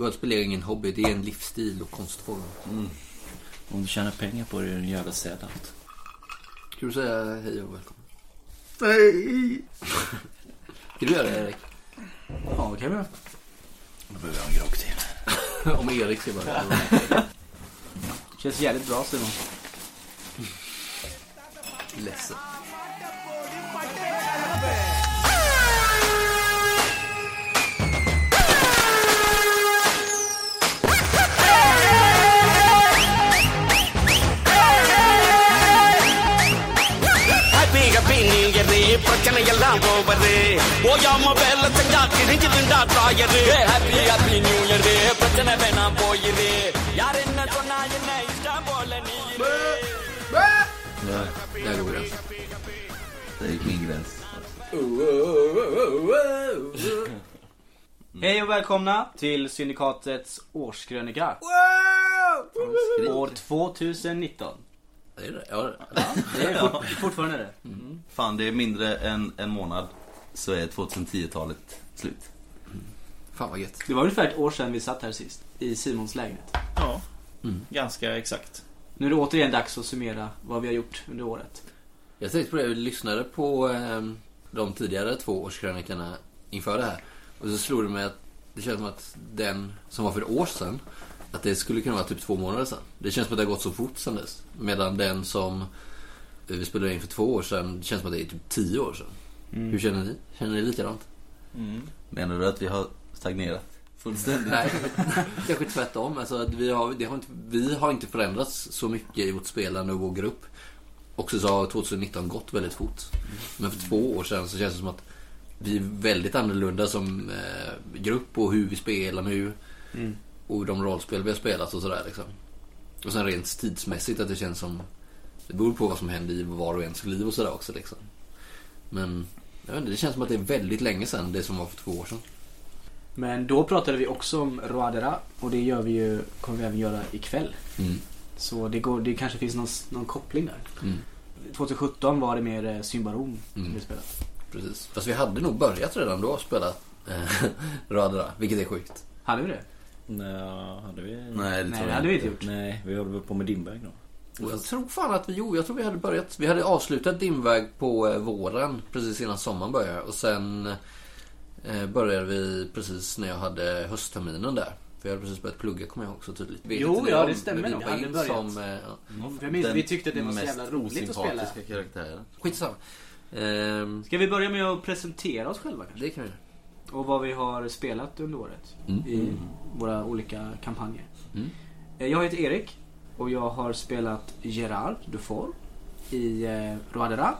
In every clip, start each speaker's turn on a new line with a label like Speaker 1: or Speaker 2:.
Speaker 1: Öl spelar ingen hobby, det är en livsstil och konstform.
Speaker 2: Om du tjänar pengar på det är det en jävla sad out.
Speaker 1: Ska du säga hej och välkommen? Hej! Ska du göra det Erik?
Speaker 3: Ja, det kan vi.
Speaker 2: Då behöver jag en grogg till.
Speaker 1: Om Erik ska börja.
Speaker 3: Känns jävligt bra Simon.
Speaker 1: Ledsen.
Speaker 4: ஹாப்பிங்க பின்னிங்கிறது பிரச்சனை எல்லாம் போவது ஓயாம வேலை செஞ்சா கிழிஞ்சுதுண்டா தாயது ஹாப்பி ஹாப்பி நியூ இயர் பிரச்சனை வேணாம் போயிரு யார் என்ன சொன்னா என்ன இஷ்டம் போல நீ இரு.
Speaker 1: Där går gränsen.
Speaker 5: Det gick min gräns.
Speaker 3: Hej och välkomna till Syndikatets årskrönika. År 2019.
Speaker 1: Det är det. Ja,
Speaker 3: Det är fort, fortfarande det.
Speaker 5: Fan, det är mindre än en månad så är 2010-talet slut.
Speaker 1: fan vad gött.
Speaker 3: Det var ungefär ett år sedan vi satt här sist. I Simons lägenhet. Mm.
Speaker 6: Ja, ganska exakt.
Speaker 3: Nu är det återigen dags att summera vad vi har gjort under året.
Speaker 1: Jag tänkte på det, jag lyssnade på ehm, de tidigare två årskrönikorna inför det här. Och så slog det mig att det känns som att den som var för ett år sedan, att det skulle kunna vara typ två månader sedan. Det känns som att det har gått så fort sedan dess. Medan den som eh, vi spelade in för två år sedan, det känns som att det är typ tio år sedan. Hur känner ni? Känner ni likadant?
Speaker 5: Menar du att vi har stagnerat? Fullständigt?
Speaker 1: Nej, kanske tvärtom. Alltså, att vi, har, det har inte, vi har inte förändrats så mycket i vårt spelande och vår grupp. Och så har 2019 gått väldigt fort. Men för två år sedan så känns det som att vi är väldigt annorlunda som eh, grupp och hur vi spelar nu. Och de rollspel vi har spelat och sådär. Liksom. Och sen rent tidsmässigt att det känns som... Det beror på vad som händer i var och ens liv och sådär också. Liksom. Men jag vet inte, det känns som att det är väldigt länge sedan det som var för två år sedan.
Speaker 3: Men då pratade vi också om Roadera och det gör vi ju, kommer vi även göra ikväll.
Speaker 1: Mm.
Speaker 3: Så det, går, det kanske finns någon, någon koppling där.
Speaker 1: Mm.
Speaker 3: 2017 var det mer eh, Symbarom
Speaker 1: Mm.
Speaker 3: som vi spelade.
Speaker 1: Precis. Fast vi hade nog börjat redan då spela eh, Radera, vilket är sjukt.
Speaker 3: Hade vi det?
Speaker 2: Nej, hade vi...
Speaker 5: Nej,
Speaker 3: Nej,
Speaker 5: det tror
Speaker 3: det
Speaker 5: jag
Speaker 3: hade vi
Speaker 5: inte.
Speaker 3: inte gjort.
Speaker 2: Nej, vi håller väl på med Dimberg då.
Speaker 1: Och jag tror fan att vi, jo, jag tror vi hade börjat. Vi hade avslutat Dimväg på eh, våren, precis innan sommaren började. Och sen eh, började vi precis när jag hade höstterminen där. För jag hade precis börjat plugga kommer jag också tydligt. Vet
Speaker 3: Jo,
Speaker 1: inte
Speaker 3: ja,
Speaker 1: om,
Speaker 3: det stämmer
Speaker 1: men vi
Speaker 3: nog.
Speaker 1: var
Speaker 3: Hade
Speaker 1: in
Speaker 3: börjat.
Speaker 1: Som, eh, ja.
Speaker 3: Jag minns,
Speaker 5: Den
Speaker 3: vi tyckte att det var så jävla
Speaker 5: mest
Speaker 3: roligt att spela.
Speaker 5: osympatiska karaktären.
Speaker 1: Skitsamma. Ehm,
Speaker 3: Ska vi börja med att presentera oss själva kanske?
Speaker 1: det kan vi göra.
Speaker 3: Och vad vi har spelat under året.
Speaker 1: Mm.
Speaker 3: I våra olika kampanjer.
Speaker 1: Mm.
Speaker 3: Eh, Jag heter Erik och jag har spelat Gerard Dufour i eh, Roadera.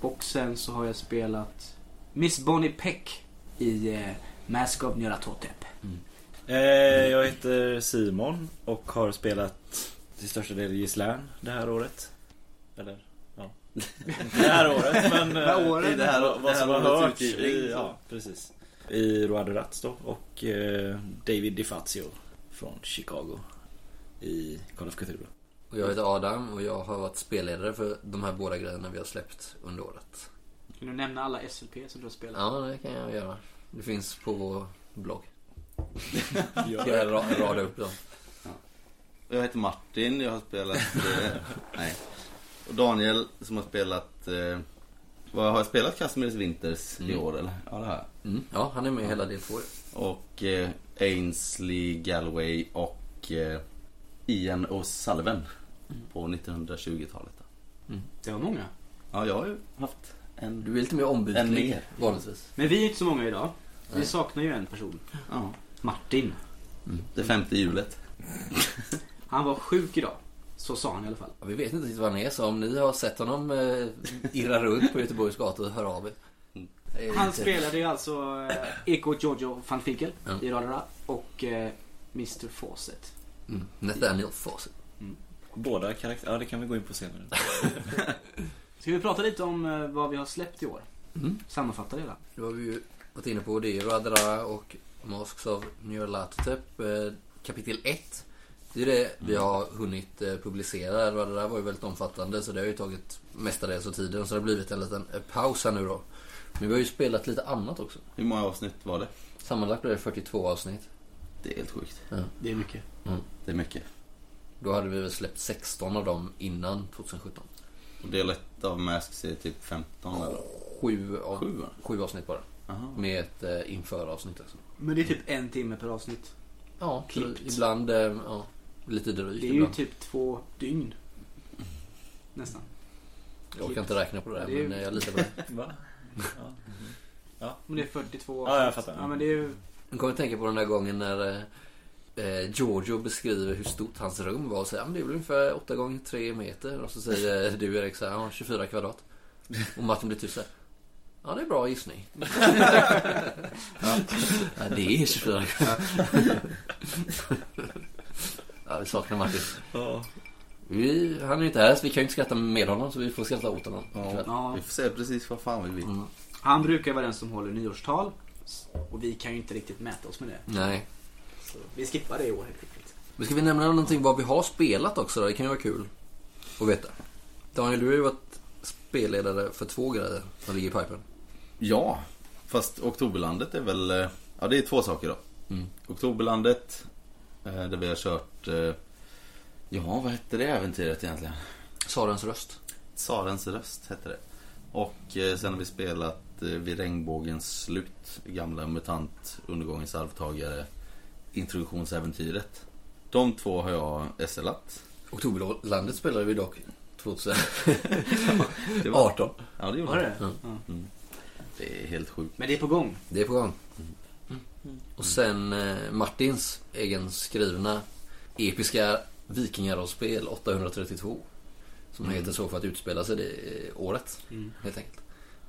Speaker 3: Och sen så har jag spelat Miss Bonnie Peck i eh, Mask of Nyarlathotep.
Speaker 2: Eh, jag heter Simon och har spelat till största del Gislän det här året. Eller ja. Det här året men... eh,
Speaker 3: Vad året?
Speaker 2: i det här, vad
Speaker 5: Det här
Speaker 2: som har
Speaker 5: årets
Speaker 2: hörts i,
Speaker 5: utgivning.
Speaker 2: ja, precis. I Roado Rats då och eh, David DiFazio från Chicago i Call of Cthulhu.
Speaker 1: Och jag heter Adam och jag har varit spelledare för de här båda grejerna vi har släppt under året.
Speaker 3: Kan du nämna alla SLP som du har spelat?
Speaker 1: Ja, det kan jag göra. Det finns på vår blogg. Ska jag ra- rada upp dem?
Speaker 5: Jag heter Martin, jag har spelat... Eh, nej. Och Daniel som har spelat... Eh, vad har jag spelat Casimir Winters i år eller? Ja det har jag.
Speaker 1: Mm. Ja, han är med i hela del två.
Speaker 5: Och eh, Ainsley Galway och eh, Ian O'Sullivan på 1920-talet. då.
Speaker 3: Det var många.
Speaker 5: Ja, jag har ju haft en...
Speaker 1: Du är lite mer
Speaker 5: En
Speaker 1: ombytlig
Speaker 5: mer.
Speaker 1: vanligtvis.
Speaker 3: Men vi är inte så många idag. Vi saknar ju en person.
Speaker 5: Ja,
Speaker 3: Martin.
Speaker 5: Mm. det femte hjulet.
Speaker 3: Han var sjuk idag. Så sa han i alla fall.
Speaker 1: Ja, vi vet inte riktigt vad han är, så om ni har sett honom eh, irra runt på Göteborgs gator, hör av er. Det är
Speaker 3: Eh, Han
Speaker 1: lite-
Speaker 3: spelade ju alltså eh, Eko Giorgio van Finkel
Speaker 1: Ja.
Speaker 3: i Radara och eh, Mr Fawcett.
Speaker 1: Mm. Nathaniel Fawcett.
Speaker 2: Båda karaktärer, ja det kan vi gå in på senare.
Speaker 3: Ska vi prata lite om eh, vad vi har släppt i år?
Speaker 1: Mm.
Speaker 3: Sammanfatta det då.
Speaker 1: Det har vi ju varit inne på. Det är Radara och Masks of Nyarlathotep eh, kapitel 1. Det är det vi
Speaker 3: Mm.
Speaker 1: har hunnit eh, publicera. Radara var ju väldigt omfattande så det har ju tagit mestadels av tiden. Så det har blivit en liten eh, paus här nu då. Men vi har ju spelat lite annat också.
Speaker 5: Hur många avsnitt var det?
Speaker 1: Sammanlagt blev det 42 avsnitt.
Speaker 5: Det är helt sjukt.
Speaker 3: Det är mycket.
Speaker 5: Det är mycket.
Speaker 1: Då hade vi väl släppt 16 av dem innan 2017.
Speaker 5: Och del 1 av Masks är typ 15 eller?
Speaker 1: Sju, av,
Speaker 5: Sju, va?
Speaker 1: sju avsnitt bara.
Speaker 5: Aha.
Speaker 1: Med ett eh, införavsnitt också.
Speaker 3: Men det är typ en timme per avsnitt.
Speaker 1: Ja, så
Speaker 3: Klippt.
Speaker 1: ibland eh, ja, lite drygt.
Speaker 3: Det är ju
Speaker 1: ibland.
Speaker 3: typ två dygn. Nästan.
Speaker 1: jag orkar inte räkna på det, här,
Speaker 3: Det är ju-
Speaker 1: men eh, jag litar på det.
Speaker 6: Va?
Speaker 3: Men det är 42
Speaker 6: Ja, jag fattar.
Speaker 3: Ja, men det är ju...
Speaker 1: Jag kommer att tänka på den där gången när eh, eh, Giorgio beskriver hur stort hans rum var och säger "Ja, men det är väl ungefär 8 gånger 3 meter. Och så säger eh, du Erik så här, "Ja, 24 kvadrat. Och Martin blir tyst så här, Ja, det är bra gissning. ja, det är 24 kvadrat. ja, vi saknar Martin.
Speaker 6: Ja.
Speaker 1: Vi, han är ju inte här så vi kan ju inte skratta med honom så vi får skratta åt honom. ikväll.
Speaker 3: Ja,
Speaker 5: Vi får säga precis vad fan vi vill.
Speaker 1: Mm.
Speaker 3: han brukar vara den som håller nyårstal. Och vi kan ju inte riktigt mäta oss med det.
Speaker 1: Nej.
Speaker 3: Så vi skippar det i år helt enkelt.
Speaker 1: Men ska vi nämna någonting vad vi har spelat också då? Det kan ju vara kul att veta. Daniel, du har ju varit spelledare för två grejer som ligger i pipen.
Speaker 5: Ja, fast Oktoberlandet är väl... eh, Ja, det är två saker då.
Speaker 1: Mm.
Speaker 5: Oktoberlandet, eh, där vi har kört... eh, Ja, vad hette det äventyret egentligen?
Speaker 1: Sarens röst.
Speaker 5: Tsarens röst hette det. Och eh, sen har vi spelat eh, vid regnbågens slut. Gamla MUTANT, Undergångens arvtagare, Introduktionsäventyret. De två har jag SLat.
Speaker 1: Oktoberlandet spelade vi dock 2018.
Speaker 5: Det var- Ja, det
Speaker 3: Var
Speaker 5: gjorde
Speaker 3: det
Speaker 5: det.
Speaker 3: det?
Speaker 1: Ja.
Speaker 3: Ja.
Speaker 5: Det är helt sjukt.
Speaker 3: Men det är på gång.
Speaker 1: Det är på gång. Mm. Och sen eh, Martins egen skrivna episka vikingarollspel 832. Som heter så för att utspela sig det eh, året helt enkelt.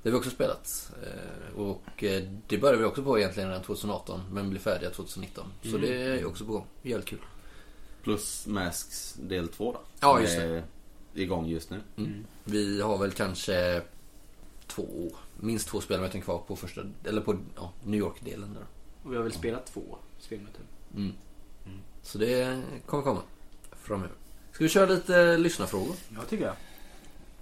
Speaker 1: Det har vi också spelat. Eh, Och eh, det började vi också på egentligen redan 2018 men blev färdiga 2019. Så det är också på gång. Jävligt kul.
Speaker 5: Plus Masks del 2 då.
Speaker 1: Ja,
Speaker 5: Som
Speaker 1: just det.
Speaker 5: är igång just nu.
Speaker 1: Mm. Vi har väl kanske två, minst två spelmöten kvar på första, eller på ja, New York-delen där.
Speaker 3: Och vi har väl spelat två spelmöten.
Speaker 1: Mm. Så det kommer komma framöver. Ska vi köra lite eh, lyssnarfrågor?
Speaker 3: Ja, tycker jag.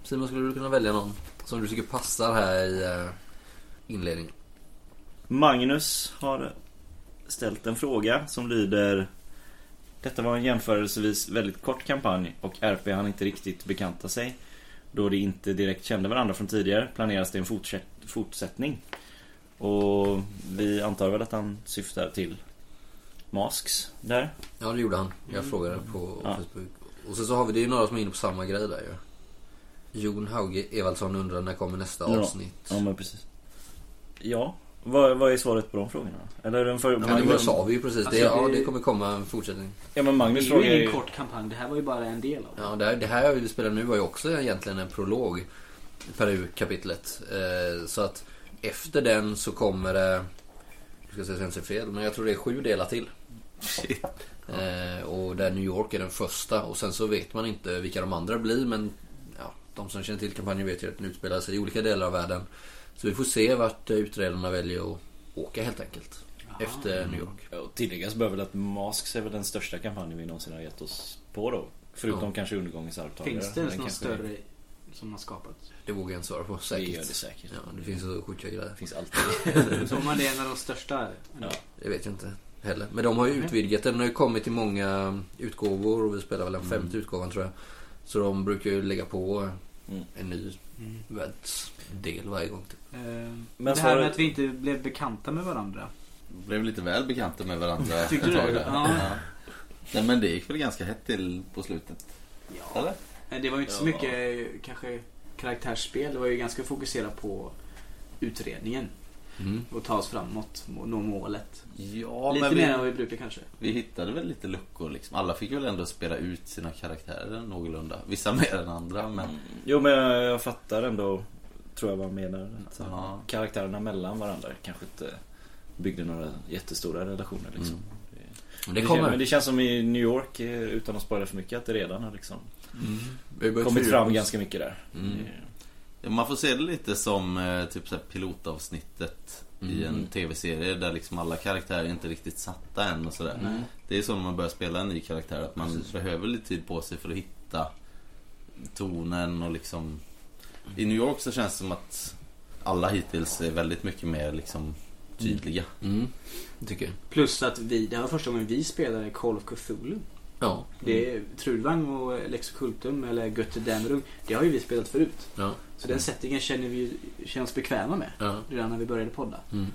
Speaker 1: Simon, skulle du kunna välja någon som du tycker passar här i eh, inledningen?
Speaker 6: Magnus har ställt en fråga som lyder Detta var en jämförelsevis väldigt kort kampanj och RP han inte riktigt bekanta sig. Då de inte direkt kände varandra från tidigare planeras det en fortsätt- fortsättning. Och vi antar väl att han syftar till Masks där.
Speaker 1: Ja, det gjorde han. Jag frågade på
Speaker 6: Ja.
Speaker 1: Facebook. Och sen så har vi, det är ju några som är inne på samma grej där ju. Jon Hauge Evaldsson undrar när kommer nästa
Speaker 6: Ja.
Speaker 1: avsnitt?
Speaker 6: Ja men precis. Ja, vad, vad är svaret på de frågorna? Eller den för...
Speaker 1: Ja, men det sa vi ju precis. Det,
Speaker 3: Alltså,
Speaker 1: ja,
Speaker 3: det-
Speaker 1: det kommer komma en fortsättning.
Speaker 6: Ja men
Speaker 3: Det
Speaker 6: Magnus
Speaker 3: är
Speaker 6: frågar
Speaker 3: ju
Speaker 6: ju...
Speaker 3: ingen kort kampanj. Det här var ju bara en del av det.
Speaker 1: Ja, det, här, det här vi spelar nu var ju också egentligen en prolog. Peru-kapitlet. Eh, så att efter den så kommer det... Jag ska säga så jag inte säger fel, men jag tror det är sju delar till. Eh, och där New York är den första och sen så vet man inte vilka de andra blir men ja, de som känner till kampanjen vet ju att den utspelar sig i olika delar av världen. Så vi får se vart eh, utredarna väljer att åka helt enkelt. Efter New York.
Speaker 6: Ja, Och tilläggas bör väl att Masks är väl den största kampanjen vi någonsin har gett oss på då. Förutom
Speaker 1: Ja.
Speaker 6: kanske undergångens arvtagare.
Speaker 3: Finns det ens
Speaker 6: Den
Speaker 3: någon
Speaker 6: kanske-
Speaker 3: större som har skapats?
Speaker 1: Det vågar jag inte svara på.
Speaker 6: Det
Speaker 1: Säkert.
Speaker 6: gör det säkert.
Speaker 1: Ja, det finns så sjuka grejer.
Speaker 6: Det finns alltid.
Speaker 3: Så om man är en av de största?
Speaker 6: Ja.
Speaker 1: Det vet jag inte heller. Men de har ju utvidgat den. Den har ju kommit i många utgåvor och vi spelar väl den femte utgåvan tror jag. Så de brukar ju lägga på
Speaker 6: Mm.
Speaker 1: en ny världsdel varje gång. Typ.
Speaker 3: Men
Speaker 6: Men
Speaker 3: Eh, det här med
Speaker 6: svaret-
Speaker 3: att vi inte blev bekanta med varandra.
Speaker 5: Blev lite väl bekanta med varandra
Speaker 3: Tyckte
Speaker 5: ett
Speaker 3: du
Speaker 5: tag
Speaker 3: det?
Speaker 5: där.
Speaker 3: Ja.
Speaker 5: Nej men det gick väl ganska hett till på slutet.
Speaker 3: Ja.
Speaker 5: Eller?
Speaker 3: Men Det var ju inte så mycket eh, kanske karaktärsspel. Det var ju ganska fokuserat på utredningen
Speaker 1: Mm.
Speaker 3: och ta oss framåt och nå målet.
Speaker 5: Ja
Speaker 3: Lite
Speaker 5: men
Speaker 3: mer än
Speaker 5: vi,
Speaker 3: vad vi brukar kanske.
Speaker 5: vi hittade väl lite luckor liksom. Alla fick väl ändå spela ut sina karaktärer någorlunda. Vissa mer än andra men...
Speaker 6: Jo men jag, jag fattar ändå. Tror jag vad han menar. Att
Speaker 5: Ja.
Speaker 6: Karaktärerna mellan varandra kanske inte byggde några jättestora relationer liksom.
Speaker 1: Men Mm. det
Speaker 6: känns, men
Speaker 1: kommer.
Speaker 6: det känns som i New York, eh, utan att spoila för mycket, att det redan har liksom
Speaker 1: Mm. Vi har börjat
Speaker 6: kommit
Speaker 1: fördjupa
Speaker 6: fram
Speaker 1: oss. Mm.
Speaker 6: ganska mycket där. Eh,
Speaker 5: Man får se det lite som eh, typ så här pilotavsnittet i en tv-serie där liksom alla karaktärer inte riktigt satta än och sådär. Det är så när man börjar spela en ny karaktär att man behöver lite tid på sig för att hitta tonen och liksom I New York så känns det som att alla hittills är väldigt mycket mer liksom tydliga.
Speaker 1: Mm, tycker jag.
Speaker 3: Plus att vi, det här var första gången vi spelade Call of Cthulhu.
Speaker 1: Ja.
Speaker 3: Det är Trudvang och Lex Kultum eller Götte Dämmerung. Det har ju vi spelat förut.
Speaker 1: ja,
Speaker 3: Så den settingen känner vi ju, känner oss bekväma med.
Speaker 1: ja.
Speaker 3: Redan när vi började podda.
Speaker 1: Mm.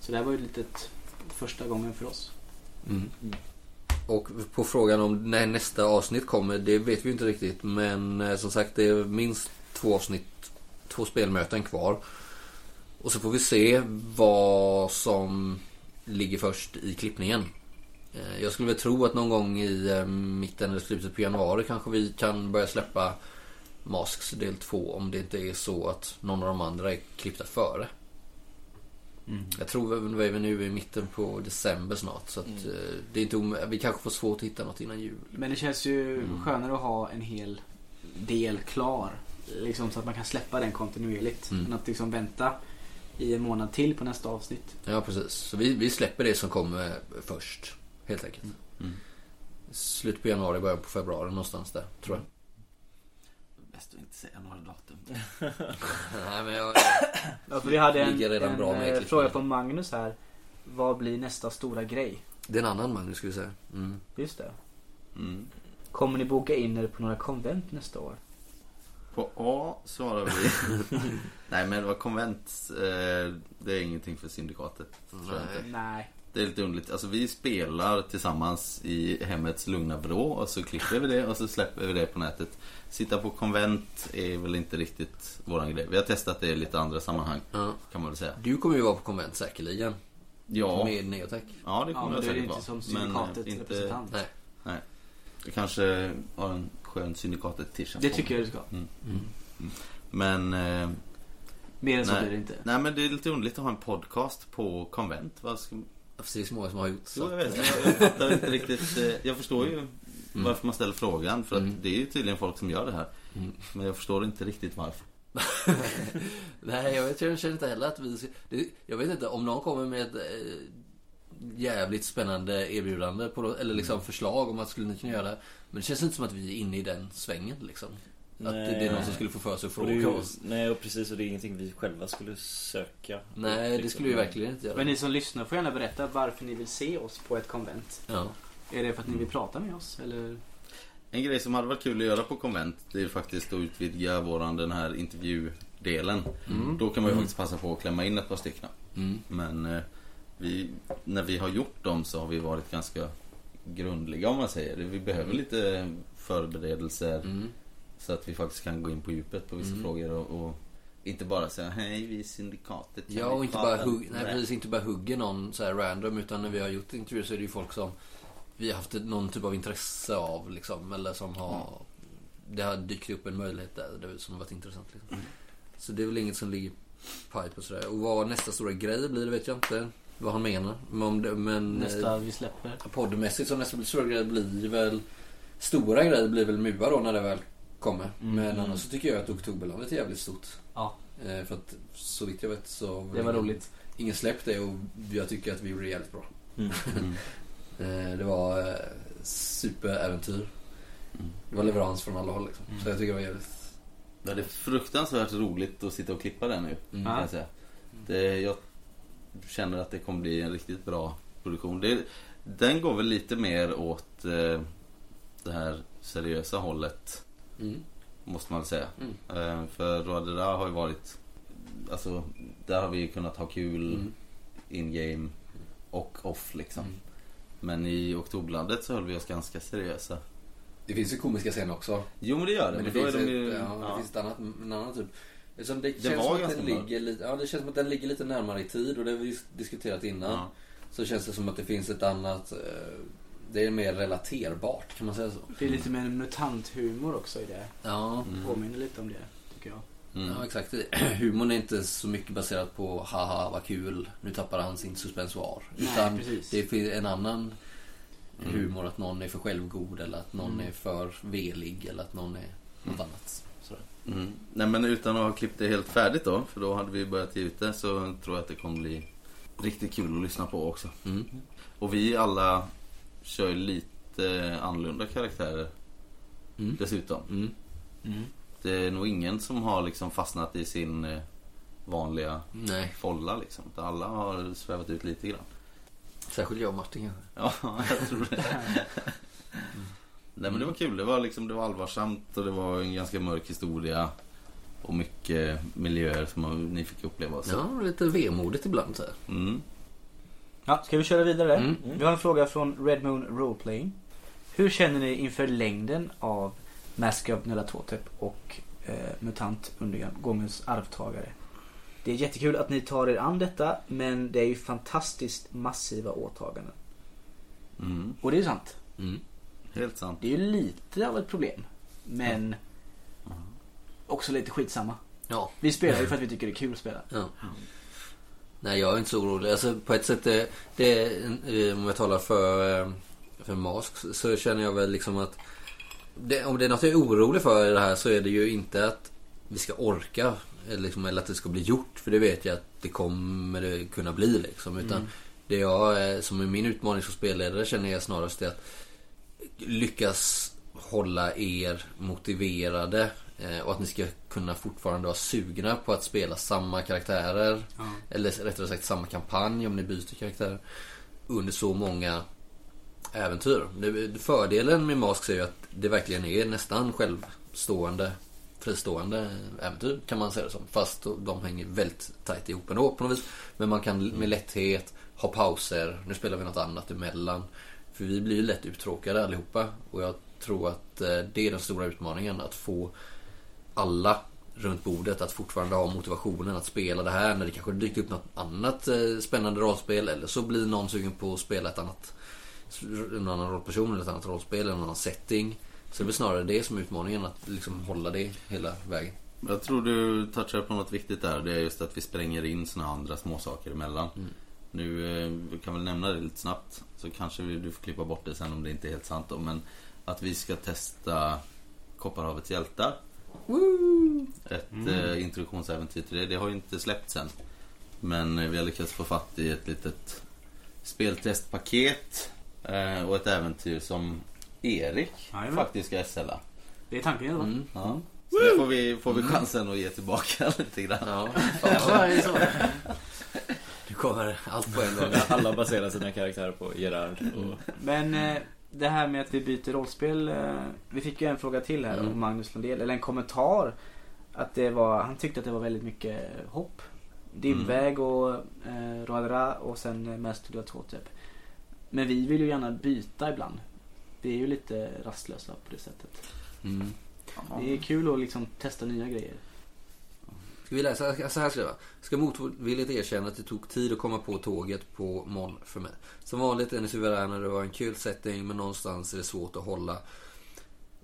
Speaker 3: Så det här var ju ett litet första gången för oss.
Speaker 1: Mm. Och på frågan om när nästa avsnitt kommer, det vet vi ju inte riktigt. Men eh, som sagt, det är minst två avsnitt, två spelmöten kvar. Och så får vi se vad som ligger först i klippningen. Eh, Jag skulle väl tro att någon gång i eh, mitten eller slutet på januari kanske vi kan börja släppa Masks del 2 om det inte är så att någon av de andra är klippta före. Jag tror väl vi är nu i mitten på december snart. Så att, eh, det är inte om- vi kanske får svårt att hitta något innan jul.
Speaker 3: Men det känns ju
Speaker 1: Mm.
Speaker 3: skönare att ha en hel del klar. Liksom så att man kan släppa den kontinuerligt.
Speaker 1: Mm.
Speaker 3: Än att liksom vänta i en månad till på nästa avsnitt.
Speaker 1: Ja, precis. Så vi, vi släpper det som kommer först. Helt enkelt.
Speaker 5: Mm.
Speaker 1: Slut på januari, början på februari någonstans där. Tror jag.
Speaker 5: Bäst att inte säga några datum.
Speaker 1: Nej, men jag...
Speaker 3: Ja, för vi hade en,
Speaker 1: Ligger redan
Speaker 3: en
Speaker 1: bra med
Speaker 3: eh,
Speaker 1: klippningen.
Speaker 3: fråga från Magnus här. Vad blir nästa stora grej?
Speaker 1: Det är en annan Magnus skulle vi säga. Mm.
Speaker 3: Just det.
Speaker 5: Mm.
Speaker 3: Kommer ni boka in er på några konvent nästa år?
Speaker 5: På A svarar vi... Nej men vad konvent, eh, det är ingenting för syndikatet. Tror jag inte.
Speaker 3: Nej.
Speaker 5: Det är lite underligt. Alltså vi spelar tillsammans i hemmets lugna vrå och så klipper vi det och så släpper vi det på nätet. Sitta på konvent är väl inte riktigt våran grej. Vi har testat det i lite andra sammanhang
Speaker 1: Ja.
Speaker 5: kan man väl säga.
Speaker 1: Du kommer ju vara på konvent säkerligen.
Speaker 5: Ja,
Speaker 1: Med Neotech.
Speaker 5: ja det
Speaker 3: Ja,
Speaker 5: kommer
Speaker 3: men
Speaker 5: jag
Speaker 3: då är det
Speaker 5: säkert
Speaker 3: inte
Speaker 5: vara.
Speaker 3: som
Speaker 5: Men,
Speaker 3: syndikatet
Speaker 5: eh, inte,
Speaker 3: representant.
Speaker 1: Nej.
Speaker 5: Du kanske har en skön syndikatet-t-shirt
Speaker 3: Det
Speaker 5: på
Speaker 3: tycker
Speaker 5: mig.
Speaker 3: jag du ska.
Speaker 1: Mm.
Speaker 5: Men eh,
Speaker 3: Mer än så
Speaker 5: Nej.
Speaker 3: blir det inte.
Speaker 5: Nej men det är lite underligt att ha en podcast på konvent. Vad ska...
Speaker 1: Precis många som har gjort
Speaker 5: Jo, jag
Speaker 1: så.
Speaker 5: vet. Jag fattar inte riktigt. eh, Jag förstår ju varför man ställer frågan. För att
Speaker 1: Mm.
Speaker 5: det är ju tydligen folk som gör det här.
Speaker 1: Mm.
Speaker 5: Men jag förstår inte riktigt varför.
Speaker 1: Nej, jag, vet, jag känner inte heller att vi ska... Det, jag vet inte, om någon kommer med ett eh, jävligt spännande erbjudande på, eller liksom
Speaker 6: Mm.
Speaker 1: förslag om att skulle ni kunna göra det. Men det känns inte som att vi är inne i den svängen liksom. Att det, det är någon som skulle få för sig att
Speaker 6: Och det är ju,
Speaker 1: fråga oss.
Speaker 6: nej och precis, och det är ingenting vi själva skulle söka.
Speaker 1: Nej, det skulle vi verkligen inte
Speaker 3: Men
Speaker 1: göra.
Speaker 3: ni som lyssnar får gärna berätta varför ni vill se oss på ett konvent.
Speaker 1: Ja.
Speaker 3: Är det för att ni vill prata med oss? Eller?
Speaker 5: En grej som hade varit kul att göra på konvent det är ju faktiskt att utvidga våran den här intervjudelen.
Speaker 6: Mm.
Speaker 5: Då kan man ju faktiskt passa på att klämma in ett par stycken.
Speaker 1: Mm.
Speaker 5: Men eh, vi, när vi har gjort dem så har vi varit ganska grundliga om man säger. Vi behöver lite förberedelser
Speaker 1: Mm.
Speaker 5: så att vi faktiskt kan gå in på djupet på vissa frågor och, och inte bara säga hej vi är syndikatet. kan
Speaker 1: Ja,
Speaker 5: vi
Speaker 1: och inte
Speaker 5: prata?"
Speaker 1: bara, hugg, nej,
Speaker 5: Nej.
Speaker 1: precis, inte bara hugger någon så här random utan när vi har gjort intervjuer så är det ju folk som vi har haft ett- någon typ av intresse av liksom, eller som har det har dykt upp en möjlighet där det- som har varit intressant. Liksom. Så det är väl inget som ligger pipe och sådär. Och vad nästa stora grej blir det vet jag inte vad han menar. Men, om det, men eh,
Speaker 3: Nästa vi släpper.
Speaker 1: poddmässigt så nästa stora grej blir väl stora grejer blir väl MUA då när det väl kommer. Men annars så tycker jag att Oktoberlandet är jävligt stort.
Speaker 3: Mm. Ja,
Speaker 1: Eh, För att så vitt jag vet så...
Speaker 3: det var roligt.
Speaker 1: Ingen släpp det och jag tycker att vi gjorde det jävligt bra.
Speaker 6: Mm.
Speaker 1: Eh, det var eh, superäventyr.
Speaker 3: Mm.
Speaker 1: Det var leverans från alla håll liksom. Så jag tycker det var jävligt...
Speaker 5: Ja, det är fruktansvärt roligt att sitta och klippa det nu.
Speaker 1: Mm.
Speaker 5: Kan jag, säga. Det, jag känner att det kommer bli en riktigt bra produktion. Det, den går väl lite mer åt eh, det här seriösa hållet,
Speaker 1: Mm.
Speaker 5: måste man väl säga.
Speaker 1: Mm.
Speaker 5: Eh, för Roadera har ju varit... Alltså, där har vi ju kunnat ha kul
Speaker 1: Mm.
Speaker 5: in-game och off liksom.
Speaker 1: Mm.
Speaker 5: Men i Oktoberlandet så höll vi oss ganska seriösa.
Speaker 1: Det finns ju komiska scener också.
Speaker 5: Jo men det gör det.
Speaker 1: Men det,
Speaker 5: då
Speaker 1: finns,
Speaker 5: är
Speaker 1: ett,
Speaker 5: de ju,
Speaker 1: ja, det finns ett annat, en annan typ. Eftersom det,
Speaker 5: Det
Speaker 1: känns
Speaker 5: var
Speaker 1: som att
Speaker 5: ganska
Speaker 1: den
Speaker 5: bra.
Speaker 1: ligger, lite, ja, det känns som att den ligger lite närmare i tid och det har vi ju diskuterat innan.
Speaker 5: Ja.
Speaker 1: Så känns det som att det finns ett annat... eh, Det är mer relaterbart, kan man säga så?
Speaker 3: Det är lite mer mutanthumor också i det.
Speaker 1: Ja.
Speaker 3: Påminner lite om det, tycker jag.
Speaker 5: Mm.
Speaker 1: Ja, exakt. Humorn är inte så mycket baserat på haha vad kul, nu tappar han sin suspensoir.
Speaker 3: Nej,
Speaker 1: Utan
Speaker 3: precis.
Speaker 1: det finns en annan
Speaker 5: Mm.
Speaker 1: humor att någon är för självgod eller att någon är för velig eller att någon är något annat. Sådär.
Speaker 5: Mm. Nej men utan att ha klippt det helt färdigt då, för då hade vi börjat ge ut det, så tror jag att det kommer bli riktigt kul att lyssna på också.
Speaker 1: Mm.
Speaker 5: Och vi alla kör ju lite annorlunda karaktärer
Speaker 1: Mm.
Speaker 5: dessutom.
Speaker 1: Mm.
Speaker 5: Det är nog ingen som har liksom fastnat i sin eh, vanliga
Speaker 1: Nej,
Speaker 5: folla liksom. Utan Alla har svävat ut lite grann.
Speaker 1: särskilt jag och Martin kanske.
Speaker 5: Ja, jag tror det. Nej men det var kul. Det var, liksom, det var allvarsamt och det var en ganska mörk historia. Och mycket miljöer som man, ni fick uppleva. Så.
Speaker 1: Ja, lite vemodigt ibland så här.
Speaker 5: Mm.
Speaker 3: Ja, ska vi köra vidare?
Speaker 1: Mm.
Speaker 3: Vi har en fråga från Red Moon Roleplaying. Hur känner ni inför längden av Mask of Nelatotep och eh, MUTANT Undergångens arvtagare? Det är jättekul att ni tar er an detta men det är ju fantastiskt massiva åtaganden.
Speaker 5: Mm.
Speaker 3: Och det är sant.
Speaker 1: Mm.
Speaker 5: Helt sant.
Speaker 3: Det är ju lite av ett problem. Men också lite skitsamma.
Speaker 1: Ja.
Speaker 3: Vi spelar ju för att vi tycker det är kul att spela.
Speaker 1: Ja. Nej, jag är inte så orolig. Alltså, på ett sätt, det, det, är- eh, om jag talar för, eh, för Mask så känner jag väl liksom att det, om det är något jag är orolig för i det här så är det ju inte att vi ska orka eller, liksom, eller att det ska bli gjort. För det vet jag att det kommer det kunna bli. Liksom, utan det jag, eh, som är min utmaning som spelledare känner jag snarast är att lyckas hålla er motiverade eh, och att ni ska kunna fortfarande vara sugna på att spela samma karaktärer eller rättare sagt samma kampanj om ni byter karaktär under så många äventyr. Det- Fördelen med Mask är ju att det verkligen är nästan självstående fristående äventyr kan man säga det som. Fast de hänger väldigt tajt ihop ändå på något vis. Men man kan med lätthet ha pauser. Nu spelar vi något annat emellan. För vi blir ju lätt uttråkade allihopa. Och jag tror att eh, det är den stora utmaningen. Att få alla runt bordet att fortfarande ha motivationen att spela det här när det kanske dyker upp något annat eh, spännande rollspel eller så blir någon sugen på att spela ett annat en annan rollperson eller ett annat rollspel eller en annan setting. Så det blir snarare det som är utmaningen att liksom hålla det hela vägen.
Speaker 5: Jag tror du touchar på något viktigt där. Det är just att vi spränger in såna här andra småsaker emellan. Nu eh, vi kan väl nämna det lite snabbt. Så kanske vi, du får klippa bort det sen om det inte är helt sant då. Men att vi ska testa Kopparhavets hjältar. Ett eh, introduktionsäventyr till det. Det har ju inte släppts än. Men eh, vi har lyckats få fatt i ett litet speltestpaket. Eh, och ett äventyr som Erik
Speaker 3: Jajamän.
Speaker 5: faktiskt ska SLa.
Speaker 3: Det är tanken i alla fall.
Speaker 5: Ja. Så det får vi, får vi chansen att ge tillbaka lite grann.
Speaker 1: Ja, fan vad så. Nu kommer allt på en gång.
Speaker 6: Alla baserar sina karaktärer på Gerard och...
Speaker 3: Men eh, det här med att vi byter rollspel. Eh, vi fick ju en fråga till här
Speaker 1: Mm.
Speaker 3: av Magnus Lundell, eller en kommentar. Att det var, han tyckte att det var väldigt mycket hopp. Dimväg och eh, Roadra och sen eh, Master of Totep. Men vi vill ju gärna byta ibland. Vi är ju lite rastlösa på det sättet.
Speaker 1: Mm.
Speaker 3: Det är kul att liksom testa nya grejer.
Speaker 1: Ska vi läsa? Så här skriver jag. Ska motvilligt erkänna att det tog tid att komma på tåget på morgon för mig. Som vanligt är ni suveräna, det var en kul setting men någonstans är det svårt att hålla.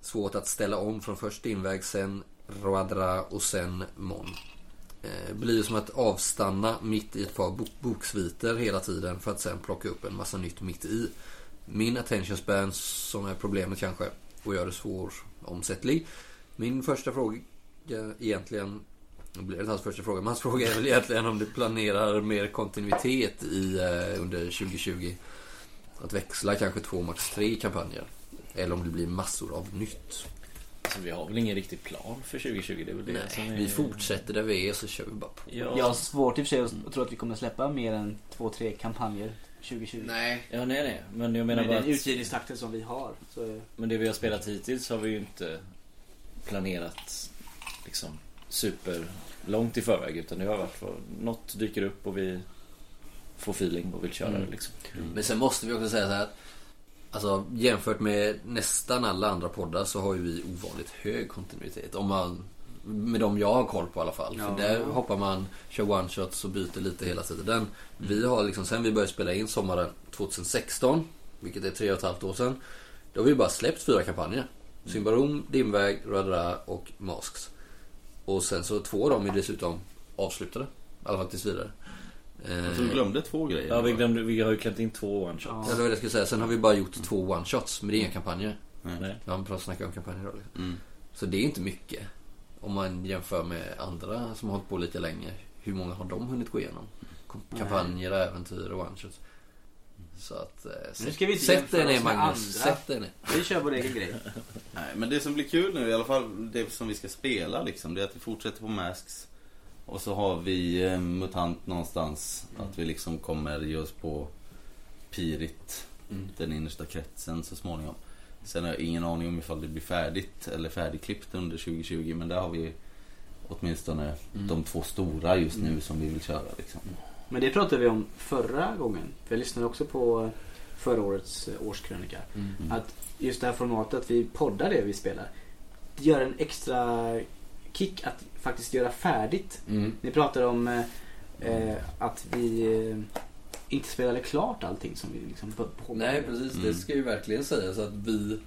Speaker 1: Svårt att ställa om från först inväg, sen Roadra och sen Mon. Eh, blir som att avstanna mitt i ett par bok- boksviter hela tiden för att sen plocka upp en massa nytt mitt i. Min attention span som är problemet kanske och gör det svåromsättlig. Min första fråga egentligen det blir inte hans första fråga, men hans fråga är väl egentligen om du planerar mer kontinuitet i, eh, under 2020. Att växla kanske två, max tre kampanjer. Eller om det blir massor av nytt.
Speaker 6: Alltså, vi har väl ingen riktig plan för 2020? Det är väl det som
Speaker 1: Nej,
Speaker 6: är...
Speaker 1: vi fortsätter där vi är så kör vi bara på.
Speaker 6: Ja,
Speaker 3: Jag har svårt i och för sig att tro att vi kommer släppa mer än två, tre kampanjer 2020.
Speaker 1: Nej.
Speaker 6: ja, nej, nej. Men jag menar
Speaker 3: Med
Speaker 6: bara
Speaker 3: den
Speaker 6: att...
Speaker 3: utgivningstakten som vi har. Så... eh,
Speaker 6: Men det vi har spelat hittills har vi ju inte planerat liksom super långt i förväg utan det har varit vad- något dyker upp och vi får feeling och vill köra det liksom.
Speaker 1: Men sen måste vi också säga så här. att, Alltså jämfört med nästan alla andra poddar så har ju vi ovanligt hög kontinuitet. Om man, med de jag har koll på i alla fall. För där hoppar man, kör one shots och byter lite hela tiden. Vi har liksom, sen vi började spela in sommaren 2016, vilket är tre och ett halvt år sedan. Då har vi bara släppt fyra kampanjer. Symbarom, Dimväg, Radara och Masks. Och sen så två av dem är dessutom avslutade. I alla fall tills vidare.
Speaker 5: Så du glömde två grejer.
Speaker 6: Ja, vi, glömde, vi har ju klämt in två one shot.
Speaker 1: Ja, det var det jag skulle säga. Sen har vi bara gjort två one-shots, men det är inga kampanjer.
Speaker 6: Nej.
Speaker 1: Vi har pratat snackat om kampanjer då. Liksom.
Speaker 5: Mm.
Speaker 1: Så det är inte mycket. Om man jämför med andra som har hållit på lite länge. Hur många har de hunnit gå igenom? Kom- Kampanjer, äventyr och one-shots. Så att... Eh, sätt-
Speaker 3: ska vi inte
Speaker 1: sätt dig
Speaker 3: jämföra
Speaker 1: ner
Speaker 3: oss med
Speaker 1: Magnus.
Speaker 3: andra.
Speaker 1: Sätt dig ner.
Speaker 3: Vi kör vår egen grej.
Speaker 5: Nej, men det som blir kul nu i alla fall, det som vi ska spela liksom, det är att vi fortsätter på Masks. Och så har vi eh, MUTANT någonstans. Att vi liksom kommer ge oss på Pirit.
Speaker 1: Mm.
Speaker 5: Den innersta kretsen så småningom. Sen har jag ingen aning om ifall det blir färdigt eller färdigklippt under 2020. Men där har vi åtminstone
Speaker 1: Mm.
Speaker 5: de två stora just nu
Speaker 1: Mm.
Speaker 5: som vi vill köra. Liksom.
Speaker 3: Men det pratade vi om förra gången. För jag lyssnade också på eh, förra årets eh, årskrönika.
Speaker 1: Mm.
Speaker 5: Mm.
Speaker 3: Att just det här formatet, att vi poddar det vi spelar. Det gör en extra kick att faktiskt göra färdigt.
Speaker 1: Mm.
Speaker 3: Ni pratade om eh, eh, att vi eh, inte spelade klart allting som vi liksom på, på
Speaker 1: Nej, precis. Det
Speaker 5: Mm.
Speaker 1: ska ju verkligen sägas att vi...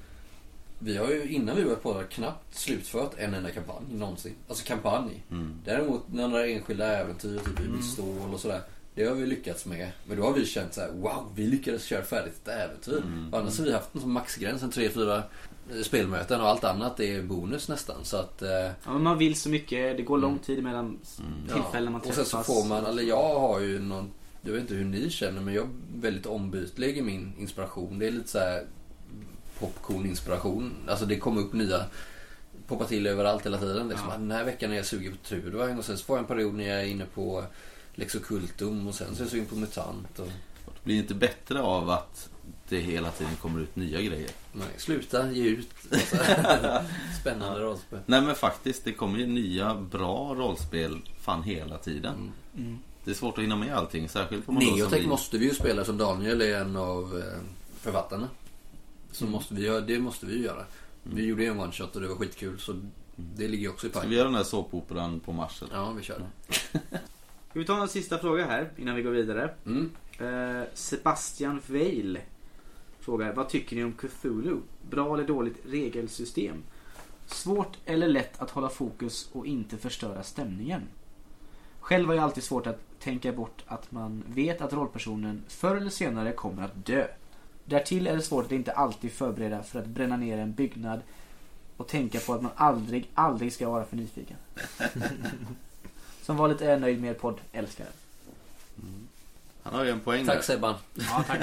Speaker 1: Vi har ju innan vi började podda knappt slutfört en enda kampanj någonsin. Alltså kampanj.
Speaker 5: Mm.
Speaker 1: Däremot några enskilda äventyr, typ i Stål och sådär. Det har vi lyckats med. Men då har vi känt så här: wow, vi lyckades köra färdigt ett äventyr.
Speaker 5: Mm.
Speaker 1: Och annars har vi haft en sån maxgräns, en 3-4 spelmöten och allt annat är bonus nästan. Så att... Eh,
Speaker 3: Ja, men man vill så mycket, det går lång tid mellan
Speaker 5: Mm.
Speaker 3: tillfällen man
Speaker 1: och
Speaker 3: träffas.
Speaker 1: sen så får man, eller jag har ju någon, jag vet inte hur ni känner men jag är väldigt ombytlig i min inspiration. Det är lite så här popcorn-inspiration. Alltså det kommer upp nya, poppar till överallt hela tiden. Liksom,
Speaker 3: Ja.
Speaker 1: Den här veckan är jag sugen på Trudvang och sen så får jag en period när jag är inne på Lexocultum och sen så är jag sugen på MUTANT. Och,
Speaker 5: Det blir inte bättre av att det hela tiden kommer ut nya grejer.
Speaker 1: nej, sluta ge ut. Alltså, Spännande rollspel.
Speaker 5: Nej men faktiskt, det kommer ju nya bra rollspel fan hela tiden.
Speaker 1: Mm.
Speaker 5: Det är svårt att hinna med allting, särskilt på man då som
Speaker 1: Neotech
Speaker 5: vi-
Speaker 1: måste vi ju spela som Daniel är en av eh, författarna. Så
Speaker 3: Mm.
Speaker 1: måste vi, göra- det måste vi ju göra. Vi gjorde ju en one shot och det var skitkul så
Speaker 3: Mm.
Speaker 1: det ligger ju också i
Speaker 5: Ska vi
Speaker 1: pipe.
Speaker 5: göra den här såpoperan på Mars? eller?
Speaker 1: Ja, vi kör det.
Speaker 3: Ska vi ta en sista fråga här innan vi går vidare?
Speaker 1: Mm.
Speaker 3: Eh, Sebastian Veil frågar, vad tycker ni om Cthulhu? Bra eller dåligt regelsystem? Svårt eller lätt att hålla fokus och inte förstöra stämningen? Själv har jag alltid svårt att tänka bort att man vet att rollpersonen förr eller senare kommer att dö. Därtill är det svårt att inte alltid förbereda för att bränna ner en byggnad och tänka på att man aldrig, aldrig ska vara för nyfiken. Som vanligt är jag nöjd med er podd, älskar den.
Speaker 5: Han har ju en poäng
Speaker 1: Tack
Speaker 5: där.
Speaker 1: Sebban.
Speaker 3: Ja, tack.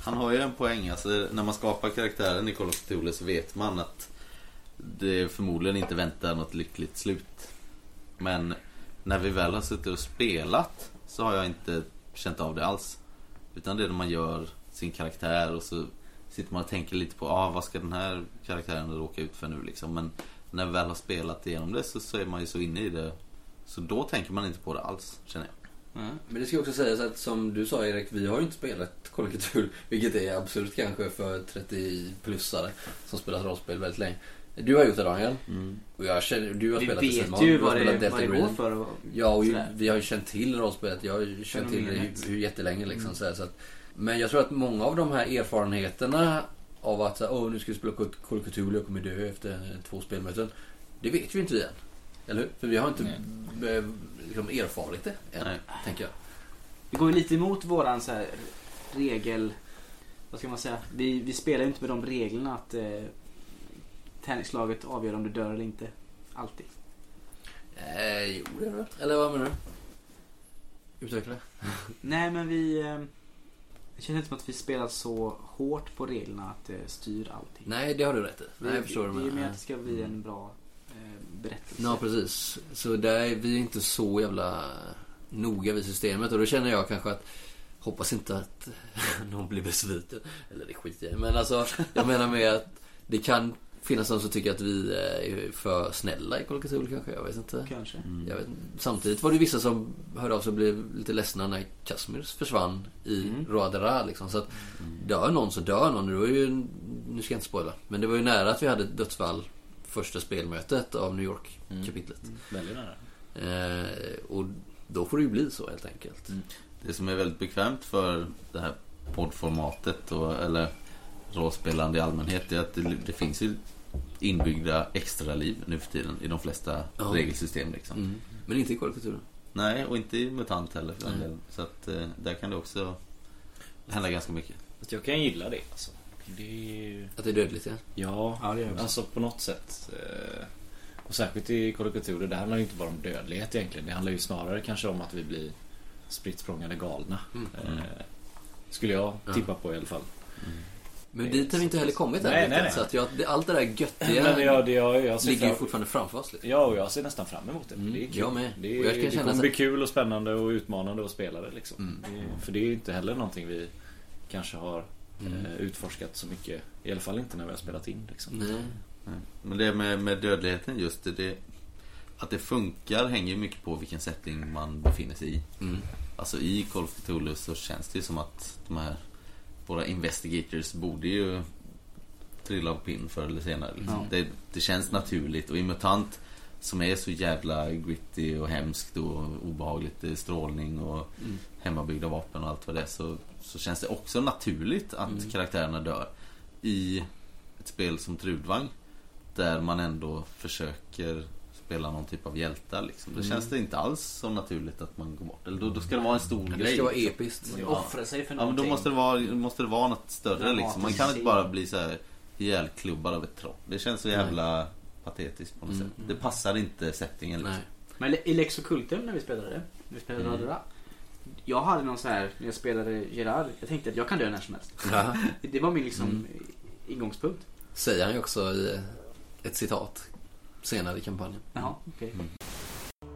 Speaker 5: Han har ju en poäng. Alltså, när man skapar karaktären i Call of Cthulhu så vet man att det förmodligen inte väntar något lyckligt slut. Men när vi väl har suttit och spelat så har jag inte känt av det alls. Utan det är när man gör sin karaktär och så sitter man och tänker lite på ah, vad ska den här karaktären råka ut för nu liksom. Men när vi väl har spelat igenom det så, så är man ju så inne i det. Så då tänker man inte på det alls, känner jag.
Speaker 1: Men det ska också sägas att som du sa Erik, vi har ju inte spelat kollektur, vilket är absurt kanske för 30-plussare som spelat rollspel väldigt länge. Du har gjort det Daniel. Och jag känner, du har
Speaker 3: Vi
Speaker 1: spelat
Speaker 3: vet
Speaker 1: Simon,
Speaker 3: ju
Speaker 1: du har
Speaker 3: vad
Speaker 1: spelat
Speaker 3: det,
Speaker 1: Delta
Speaker 3: vad det går
Speaker 1: Green.
Speaker 3: för. Och,
Speaker 1: Ja, och ju,
Speaker 3: sådär.
Speaker 1: vi har ju känt till rollspelet. Jag har ju känt till det
Speaker 3: Fenomenet.
Speaker 1: hur, hur jättelänge. Liksom,
Speaker 3: Mm.
Speaker 1: så här, så att, men jag tror att många av de här erfarenheterna av att så här, Åh, nu ska vi spela Call- Call of Cthulhu och kommer dö efter eh, två spelmöten. Det vet vi inte vi än. Eller hur? För vi har inte eh, liksom, erfarit det än,
Speaker 5: Nej.
Speaker 1: tänker jag.
Speaker 3: Det går ju lite emot våran så här, regel... Vad ska man säga? Vi, vi spelar ju inte med de reglerna att eh, tärningslaget avgör om du dör eller inte. Alltid.
Speaker 1: Eh, jo, det är det. Eller vad menar du? Utveckla.
Speaker 3: Nej, men vi... Eh, det känns inte som att vi spelar så hårt på reglerna att det styr allting.
Speaker 1: Nej, det har du rätt i. Nej,
Speaker 3: Vi-
Speaker 1: jag förstår vad
Speaker 3: det
Speaker 1: du
Speaker 3: är ju
Speaker 1: menar. Mm.
Speaker 3: mer att det ska bli en bra eh, berättelse.
Speaker 1: Ja, precis. Så där, är vi är inte så jävla noga vid systemet. Och då känner jag kanske att, hoppas inte att någon blir besviken. Eller det skiter jag i. Men alltså, jag menar med att det kan finnas de som tycker att vi är för snälla i Call of Cthulhu kanske. Jag vet inte.
Speaker 3: Kanske.
Speaker 1: Jag vet, samtidigt var det vissa som hörde av sig och blev lite ledsna när Kazimirs försvann i mm. Roadera. Liksom. Så att dör någon så dör någon. Det var ju, nu ska jag inte spoila, men det var ju nära att vi hade ett dödsfall första spelmötet av New York-kapitlet.
Speaker 6: Väldigt nära.
Speaker 1: Eh, och då får det ju bli så helt enkelt.
Speaker 5: Det som är väldigt bekvämt för det här poddformatet och, eller rollspelande i allmänhet är att det, det finns ju inbyggda extra liv nu för tiden i de flesta
Speaker 1: Ja.
Speaker 5: regelsystem. Liksom.
Speaker 1: Mm. Men inte i kollekturen.
Speaker 5: Nej, och inte i MUTANT heller för den
Speaker 1: Nej.
Speaker 5: delen. Så att eh, där kan det också hända ganska mycket.
Speaker 6: Att jag kan gilla det alltså. Det är ju...
Speaker 1: Att det är dödligt ja.
Speaker 6: Ja,
Speaker 3: Ja, det gör jag också.
Speaker 6: alltså på något sätt. eh, Och särskilt i Kolokaturer, det handlar ju inte bara om dödlighet egentligen. Det handlar ju snarare kanske om att vi blir spritt språngande galna.
Speaker 1: Mm.
Speaker 6: Eh, Skulle jag
Speaker 1: Ja.
Speaker 6: tippa på i alla fall.
Speaker 1: Men dit har vi inte heller kommit än
Speaker 6: Nej,
Speaker 1: riktigt,
Speaker 6: nej, nej.
Speaker 1: Så att jag, det- allt det där
Speaker 6: Men
Speaker 1: göttiga
Speaker 6: jag, det, jag, jag, ser
Speaker 1: ligger ju
Speaker 6: fram,
Speaker 1: fortfarande framför oss. Liksom.
Speaker 6: ja, och jag ser nästan fram emot det. det är kul.
Speaker 1: jag med.
Speaker 6: Det,
Speaker 1: Och jag
Speaker 6: är,
Speaker 1: kan
Speaker 6: det
Speaker 1: känna
Speaker 6: kommer
Speaker 1: så- Mm.
Speaker 6: bli kul och spännande och utmanande att spela det. Liksom. Det är- För det är ju inte heller någonting vi kanske har
Speaker 1: Mm.
Speaker 6: eh, utforskat så mycket. I alla fall inte när vi har spelat in. Liksom.
Speaker 1: Nej.
Speaker 5: Nej. Mm. Men det med, med dödligheten just det, det Att det funkar hänger ju mycket på vilken setting man befinner sig i.
Speaker 1: Mm.
Speaker 5: Alltså i Call of Cthulhu så känns det ju som att de här Våra investigators borde ju Trilla av pinn förr eller senare. Liksom. Det, det känns naturligt och i MUTANT Som är så jävla gritty och hemskt och obehagligt. Det är strålning och hemmabyggda vapen och allt vad det är. Så, så känns det också naturligt att
Speaker 1: Mm.
Speaker 5: karaktärerna dör. I ett spel som Trudvang där man ändå försöker spela någon typ av hjältar. Liksom. Då
Speaker 1: Mm.
Speaker 5: känns det inte alls så naturligt att man går bort. Eller då, då ska det vara en stor
Speaker 1: Det
Speaker 5: grej.
Speaker 1: ska vara episkt.
Speaker 5: Mm. Ja.
Speaker 3: Offra sig för
Speaker 5: Ja, men
Speaker 3: någonting.
Speaker 5: då måste det vara, måste det vara något större.
Speaker 3: Dramatisk
Speaker 5: Liksom. Man kan inte
Speaker 3: scen.
Speaker 5: bara bli så här ihjälklubbad av ett troll. Det känns så jävla patetiskt på något sätt. Det passar inte settingen. Liksom.
Speaker 1: Mm. Nej.
Speaker 3: Men i Lex Occultum när vi spelade det, vi spelade
Speaker 5: Mm.
Speaker 3: Radera. Jag hade någon så här, när jag spelade Gerard, jag tänkte att jag kan dö när som helst.
Speaker 1: Ja.
Speaker 3: Det var min liksom
Speaker 1: Mm.
Speaker 3: ingångspunkt.
Speaker 1: Säger han ju också i ett citat senare i kampanjen.
Speaker 3: Jaha,
Speaker 1: Mm.
Speaker 3: okej.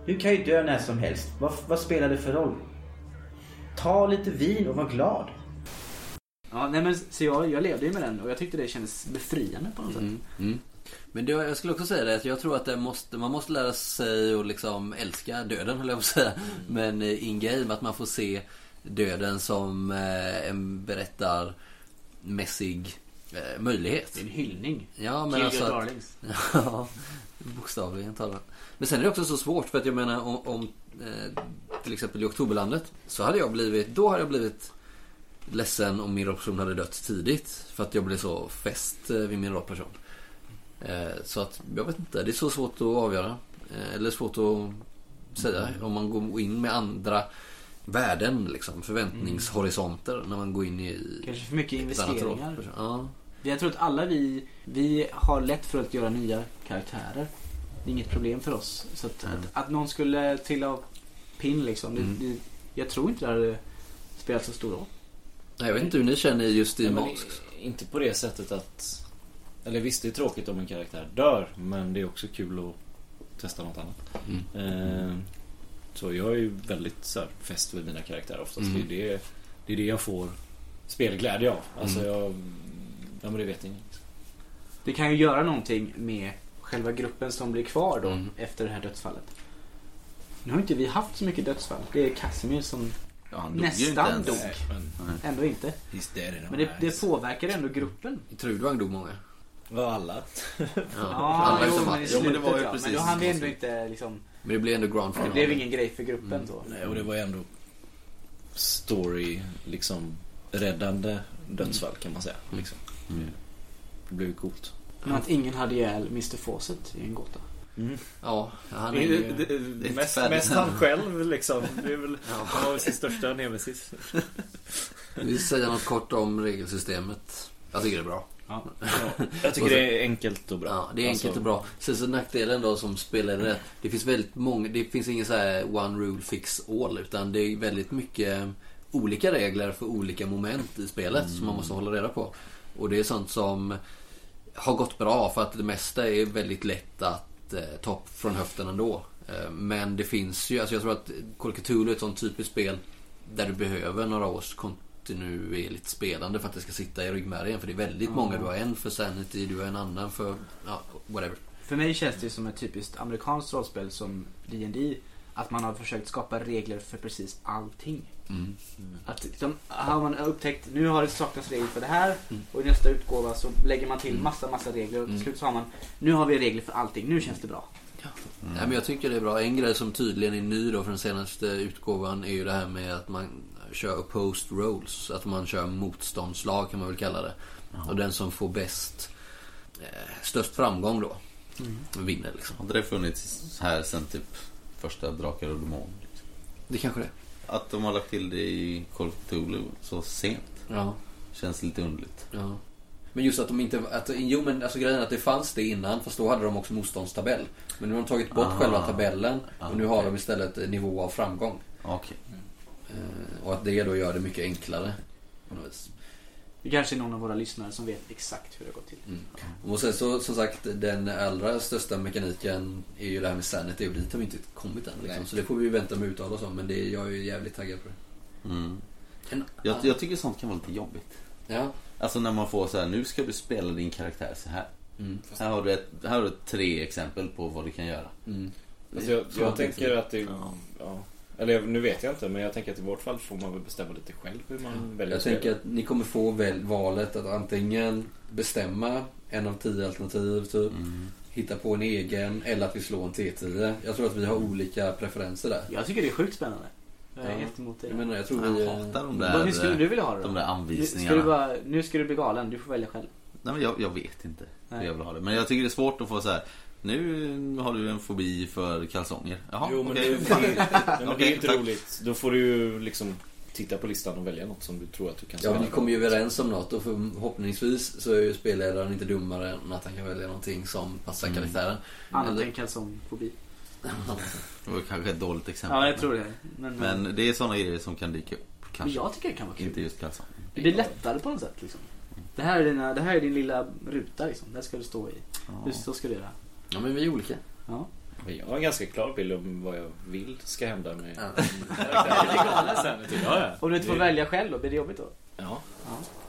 Speaker 7: Du kan ju dö när som helst. Vad, vad spelar det för roll? Ta lite vin och var glad.
Speaker 3: Ja, nej men så jag, jag levde ju med den och jag tyckte det kändes befriande på något sätt.
Speaker 1: Mm. Mm. Men det, jag skulle också säga det att jag tror att det måste, man måste lära sig att liksom älska döden höll jag på att säga. Men eh, in game att man får se döden som eh, en berättarmässig eh, möjlighet.
Speaker 3: Det är en hyllning.
Speaker 1: Ja,
Speaker 3: Kill
Speaker 1: men
Speaker 3: your
Speaker 1: alltså att,
Speaker 3: darlings.
Speaker 1: Ja, bokstavligen talat. Men sen är det också så svårt för att jag menar om, om eh, till exempel i Oktoberlandet så hade jag blivit, då hade jag blivit ledsen om min rollperson hade dött tidigt för att jag blev så fäst eh, vid min rollperson. Eh, så att jag vet inte, det är så svårt att avgöra. Eh, eller svårt att säga om man går in med andra värden liksom, förväntningshorisonter när man går in i
Speaker 3: Kanske för mycket
Speaker 1: ett annat
Speaker 3: investeringar.
Speaker 1: rollperson. Ja.
Speaker 3: Jag tror att alla vi, vi har lätt för att göra nya karaktärer. Det är inget problem för oss. Så att,
Speaker 5: Mm.
Speaker 3: att, att någon skulle trilla av pinn liksom. Det,
Speaker 1: Mm.
Speaker 3: det, jag tror inte det hade spelat så stor roll.
Speaker 1: Nej, Jag vet inte hur ni känner just i
Speaker 6: Nej, men
Speaker 1: Masks.
Speaker 6: i- liksom. Inte på det sättet att... Eller visst, det är tråkigt om en karaktär dör, men det är också kul att testa något annat. Eh, så jag är ju väldigt så här, fäst vid mina karaktärer oftast.
Speaker 1: Mm.
Speaker 6: Det, är det, det är det jag får spelglädje av. Alltså jag... Ja men det vet ingen.
Speaker 3: Det kan ju göra någonting med själva gruppen som blir kvar då
Speaker 1: Mm.
Speaker 3: efter det här dödsfallet. Nu har inte vi haft så mycket dödsfall. Det är Casimir som
Speaker 5: Ja, han dog ju inte
Speaker 3: nästan
Speaker 5: ens.
Speaker 3: dog.
Speaker 6: Men,
Speaker 3: Ändå inte.
Speaker 6: he's dead in
Speaker 3: Men det, det påverkar ändå gruppen.
Speaker 1: I Trudvang dog många.
Speaker 6: Var alla?
Speaker 1: Ja,
Speaker 3: Ja,
Speaker 1: alla
Speaker 3: jo,
Speaker 1: utom
Speaker 3: men i
Speaker 1: Mats.
Speaker 5: Jo, men det
Speaker 3: slutet
Speaker 5: var ju
Speaker 3: ja. Men
Speaker 5: precis
Speaker 3: då hann vi
Speaker 5: som
Speaker 3: ändå
Speaker 5: vi-
Speaker 3: inte liksom.
Speaker 1: Men det blir ändå grand
Speaker 3: Det
Speaker 1: final.
Speaker 3: blev ingen grej för gruppen då.
Speaker 6: Nej, och det var ju ändå story, liksom räddande dödsfall kan man säga. Liksom.
Speaker 5: Mm.
Speaker 6: Det blev ju coolt.
Speaker 3: Men att ingen hade ihjäl Mr Fawcett är en gåta.
Speaker 1: Ja, han är
Speaker 6: Det,
Speaker 1: ju...
Speaker 6: det, det,
Speaker 5: är
Speaker 6: mest,
Speaker 5: färdigt.
Speaker 6: mest han själv liksom. Det är väl han var väl sin största nemesis.
Speaker 1: Vi säger något kort om regelsystemet. Jag tycker det är bra.
Speaker 6: Jag
Speaker 1: Och
Speaker 6: tycker
Speaker 1: sen-
Speaker 6: det är enkelt och bra.
Speaker 1: Ja, det är enkelt
Speaker 6: Alltså,
Speaker 1: och bra. Sen så nackdelen då som spelare, är- det finns väldigt många, det finns ingen så här one rule fix all utan det är väldigt mycket olika regler för olika moment i spelet som man måste hålla reda på. Och det är sånt som har gått bra för att det mesta är väldigt lätt att eh, ta upp från höften ändå. Eh, men det finns ju, alltså jag tror att Call of Cthulhu är ett sånt typiskt spel där du behöver några års kontinuerligt spelande för att det ska sitta i ryggmärgen. För det är väldigt många. Du har en för Sanity, du har en annan för ja, whatever.
Speaker 3: För mig känns det ju som ett typiskt amerikanskt rollspel som D&D Att man har försökt skapa regler för precis allting.
Speaker 1: Mm.
Speaker 3: Att liksom, har man upptäckt nu har det saknats regler för det här och i nästa utgåva så lägger man till massa, massa regler och till slut så har man nu har vi regler för allting, nu känns det bra.
Speaker 1: Nej, men jag tycker det är bra. En grej som tydligen är ny då för den senaste utgåvan är ju det här med att man kör opposed rolls. Att man kör motståndslag kan man väl kalla det. Och den som får bäst, eh, störst framgång då vinner liksom.
Speaker 5: Hade det funnits här sen typ första Drakar och Demon? Liksom.
Speaker 1: Det kanske det är.
Speaker 5: Att de har lagt till det i Call of Cthulhu så sent
Speaker 1: Ja.
Speaker 5: känns lite underligt.
Speaker 1: Ja. Men just att de inte, att, jo men alltså grejen är att det fanns det innan fast då hade de också motståndstabell. Men nu har de tagit bort
Speaker 5: Ah.
Speaker 1: själva tabellen
Speaker 5: Ah,
Speaker 1: och nu har
Speaker 5: okej.
Speaker 1: de istället en nivå av framgång.
Speaker 5: Okej.
Speaker 1: Eh, och att det då gör det mycket enklare. På något vis.
Speaker 3: Det kanske är någon av våra lyssnare som vet exakt hur det har gått till.
Speaker 1: Mm. Och sen så, som sagt, den allra största mekaniken är ju det här med sanity och dit har vi inte kommit än. Liksom.
Speaker 5: Nej.
Speaker 1: Så det får vi ju vänta med att uttala oss om, men det, jag är ju jävligt taggad på det.
Speaker 5: Mm.
Speaker 1: En,
Speaker 5: Jag, jag tycker sånt kan vara lite jobbigt.
Speaker 1: ja.
Speaker 5: Alltså när man får så här, nu ska du spela din karaktär så här.
Speaker 1: Mm.
Speaker 5: Här har du, ett, här har du tre exempel på vad du kan göra.
Speaker 1: Mm.
Speaker 8: Alltså jag,
Speaker 5: Så
Speaker 8: jag
Speaker 5: man
Speaker 8: tänker
Speaker 5: inte-
Speaker 8: att det... Ja. Eller jag- nu vet jag inte, men jag tänker att i vårt fall får man väl bestämma lite själv hur man väljer
Speaker 1: Jag
Speaker 8: att spela.
Speaker 1: tänker att ni kommer få väl, valet att antingen bestämma en av tio alternativ, typ. Hitta på en egen eller att vi slår en T10. Jag tror att vi har olika preferenser där.
Speaker 3: Jag tycker det är sjukt spännande. Jag är
Speaker 1: Ja.
Speaker 3: helt emot det.
Speaker 1: Jag menar, jag tror
Speaker 5: Jag
Speaker 1: vi...
Speaker 5: hatar de
Speaker 3: Vad-
Speaker 5: där,
Speaker 3: hur skulle du vilja ha det då?
Speaker 5: de där
Speaker 3: Nu ska,
Speaker 5: anvisningarna.
Speaker 3: du bara, nu ska du bli galen, du får välja själv.
Speaker 5: Nej, men jag, jag vet inte hur
Speaker 3: Nej.
Speaker 5: jag vill ha det. Men jag tycker det är svårt att få så här. Nu har du en fobi för kalsonger. Jaha,
Speaker 8: Jo, men
Speaker 5: okej.
Speaker 8: det, det, nej, men det
Speaker 5: Okej,
Speaker 8: är inte
Speaker 5: tack.
Speaker 8: roligt. Då får du ju liksom titta på listan och välja något som du tror att du kan
Speaker 1: Ja,
Speaker 8: spela.
Speaker 1: ni kommer ju överens om något och förhoppningsvis så är ju spelledaren inte dummare än att han kan välja någonting som passar
Speaker 5: Mm.
Speaker 1: karaktären.
Speaker 3: Annat
Speaker 1: Eller-
Speaker 3: än kalsongfobi.
Speaker 5: Det var kanske ett dåligt exempel.
Speaker 3: Ja, jag tror det. Men, men,
Speaker 5: Men det är sådana grejer som kan dyka upp. Kanske.
Speaker 3: jag tycker det kan vara kul.
Speaker 5: Inte just kalsonger.
Speaker 3: Det blir lättare på något sätt liksom. Det här är, dina, det här är din lilla ruta liksom. Där ska du stå i.
Speaker 5: Ja.
Speaker 3: Du, så ska du göra.
Speaker 1: Ja, men vi är olika.
Speaker 3: Ja.
Speaker 8: Men jag har en ganska klar bild om vad jag vill ska hända med
Speaker 1: Ja.
Speaker 8: karaktären. Sen till- ja, ja.
Speaker 3: Om du inte får
Speaker 8: Det-
Speaker 3: välja själv då, blir det jobbigt då?
Speaker 8: Ja.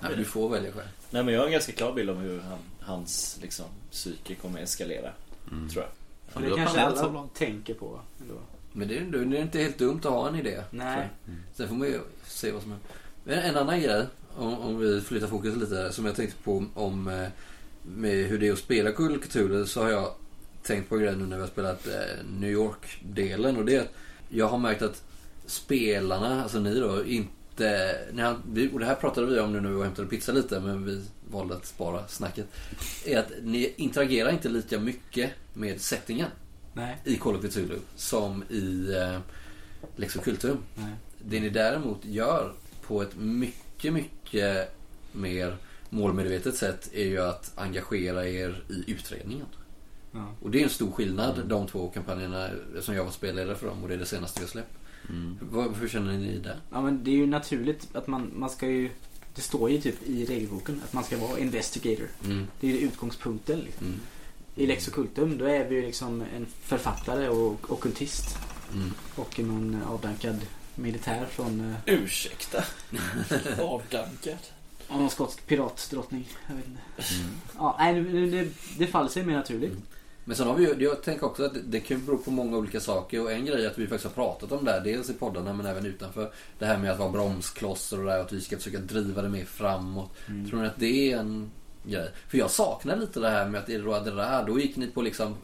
Speaker 1: Ja, du får välja själv.
Speaker 8: Nej, men jag har en ganska klar bild om hur han, hans liksom, psyke kommer eskalera.
Speaker 2: Mm.
Speaker 8: Tror jag.
Speaker 3: Och
Speaker 5: du
Speaker 3: det
Speaker 5: har
Speaker 3: kanske
Speaker 5: planerat så
Speaker 3: alla
Speaker 5: långt.
Speaker 3: tänker på. Ändå.
Speaker 1: Men det är, ju- det är inte helt dumt att ha en idé.
Speaker 3: Nej.
Speaker 1: Sen får man ju se vad som händer. Men en annan grej, om, om vi flyttar fokus lite, som jag tänkte på om eh, med hur det är att spela Call of Cthulhu så har jag tänkt på en grej nu när vi har spelat eh, New York-delen och det är att jag har märkt att spelarna, alltså ni då, inte... Ni har, vi, och det här pratade vi om nu när vi var och hämtade pizza lite men vi valde att spara snacket. Är att ni interagerar inte lika mycket med settingen
Speaker 3: Nej.
Speaker 1: i Call of Cthulhu som i eh, Lex Occultum.
Speaker 3: Nej.
Speaker 1: Det ni däremot gör på ett mycket, mycket mer målmedvetet sätt är ju att engagera er i utredningen.
Speaker 3: Ja.
Speaker 1: Och det är en stor skillnad de två kampanjerna som jag var spelledare för dem och det är det senaste vi har släppt. Vad- Hur känner ni där?
Speaker 3: Ja men det är ju naturligt att man, man ska ju Det står ju typ i regelboken att man ska vara investigator.
Speaker 1: Mm.
Speaker 3: Det är ju utgångspunkten liksom.
Speaker 1: Mm.
Speaker 3: I Lex Occultum då är vi ju liksom en författare och ockultist
Speaker 1: Mm.
Speaker 3: Och någon eh, avdankad militär från eh,
Speaker 8: Ursäkta. Avdankad.
Speaker 3: av någon skotsk piratdrottning. Jag vet inte. Ja, nej, nu- nu- det, det faller sig mer naturligt.
Speaker 1: Men sen har vi ju, jag tänker också att det, det kan ju bero på många olika saker och en grej är att vi faktiskt har pratat om det här, dels i poddarna men även utanför. Det här med att vara bromsklossar och det här, att vi ska försöka driva det mer framåt. Tror ni att det är en grej? För jag saknar lite det här med att i Roa de Ra, då gick ni på liksom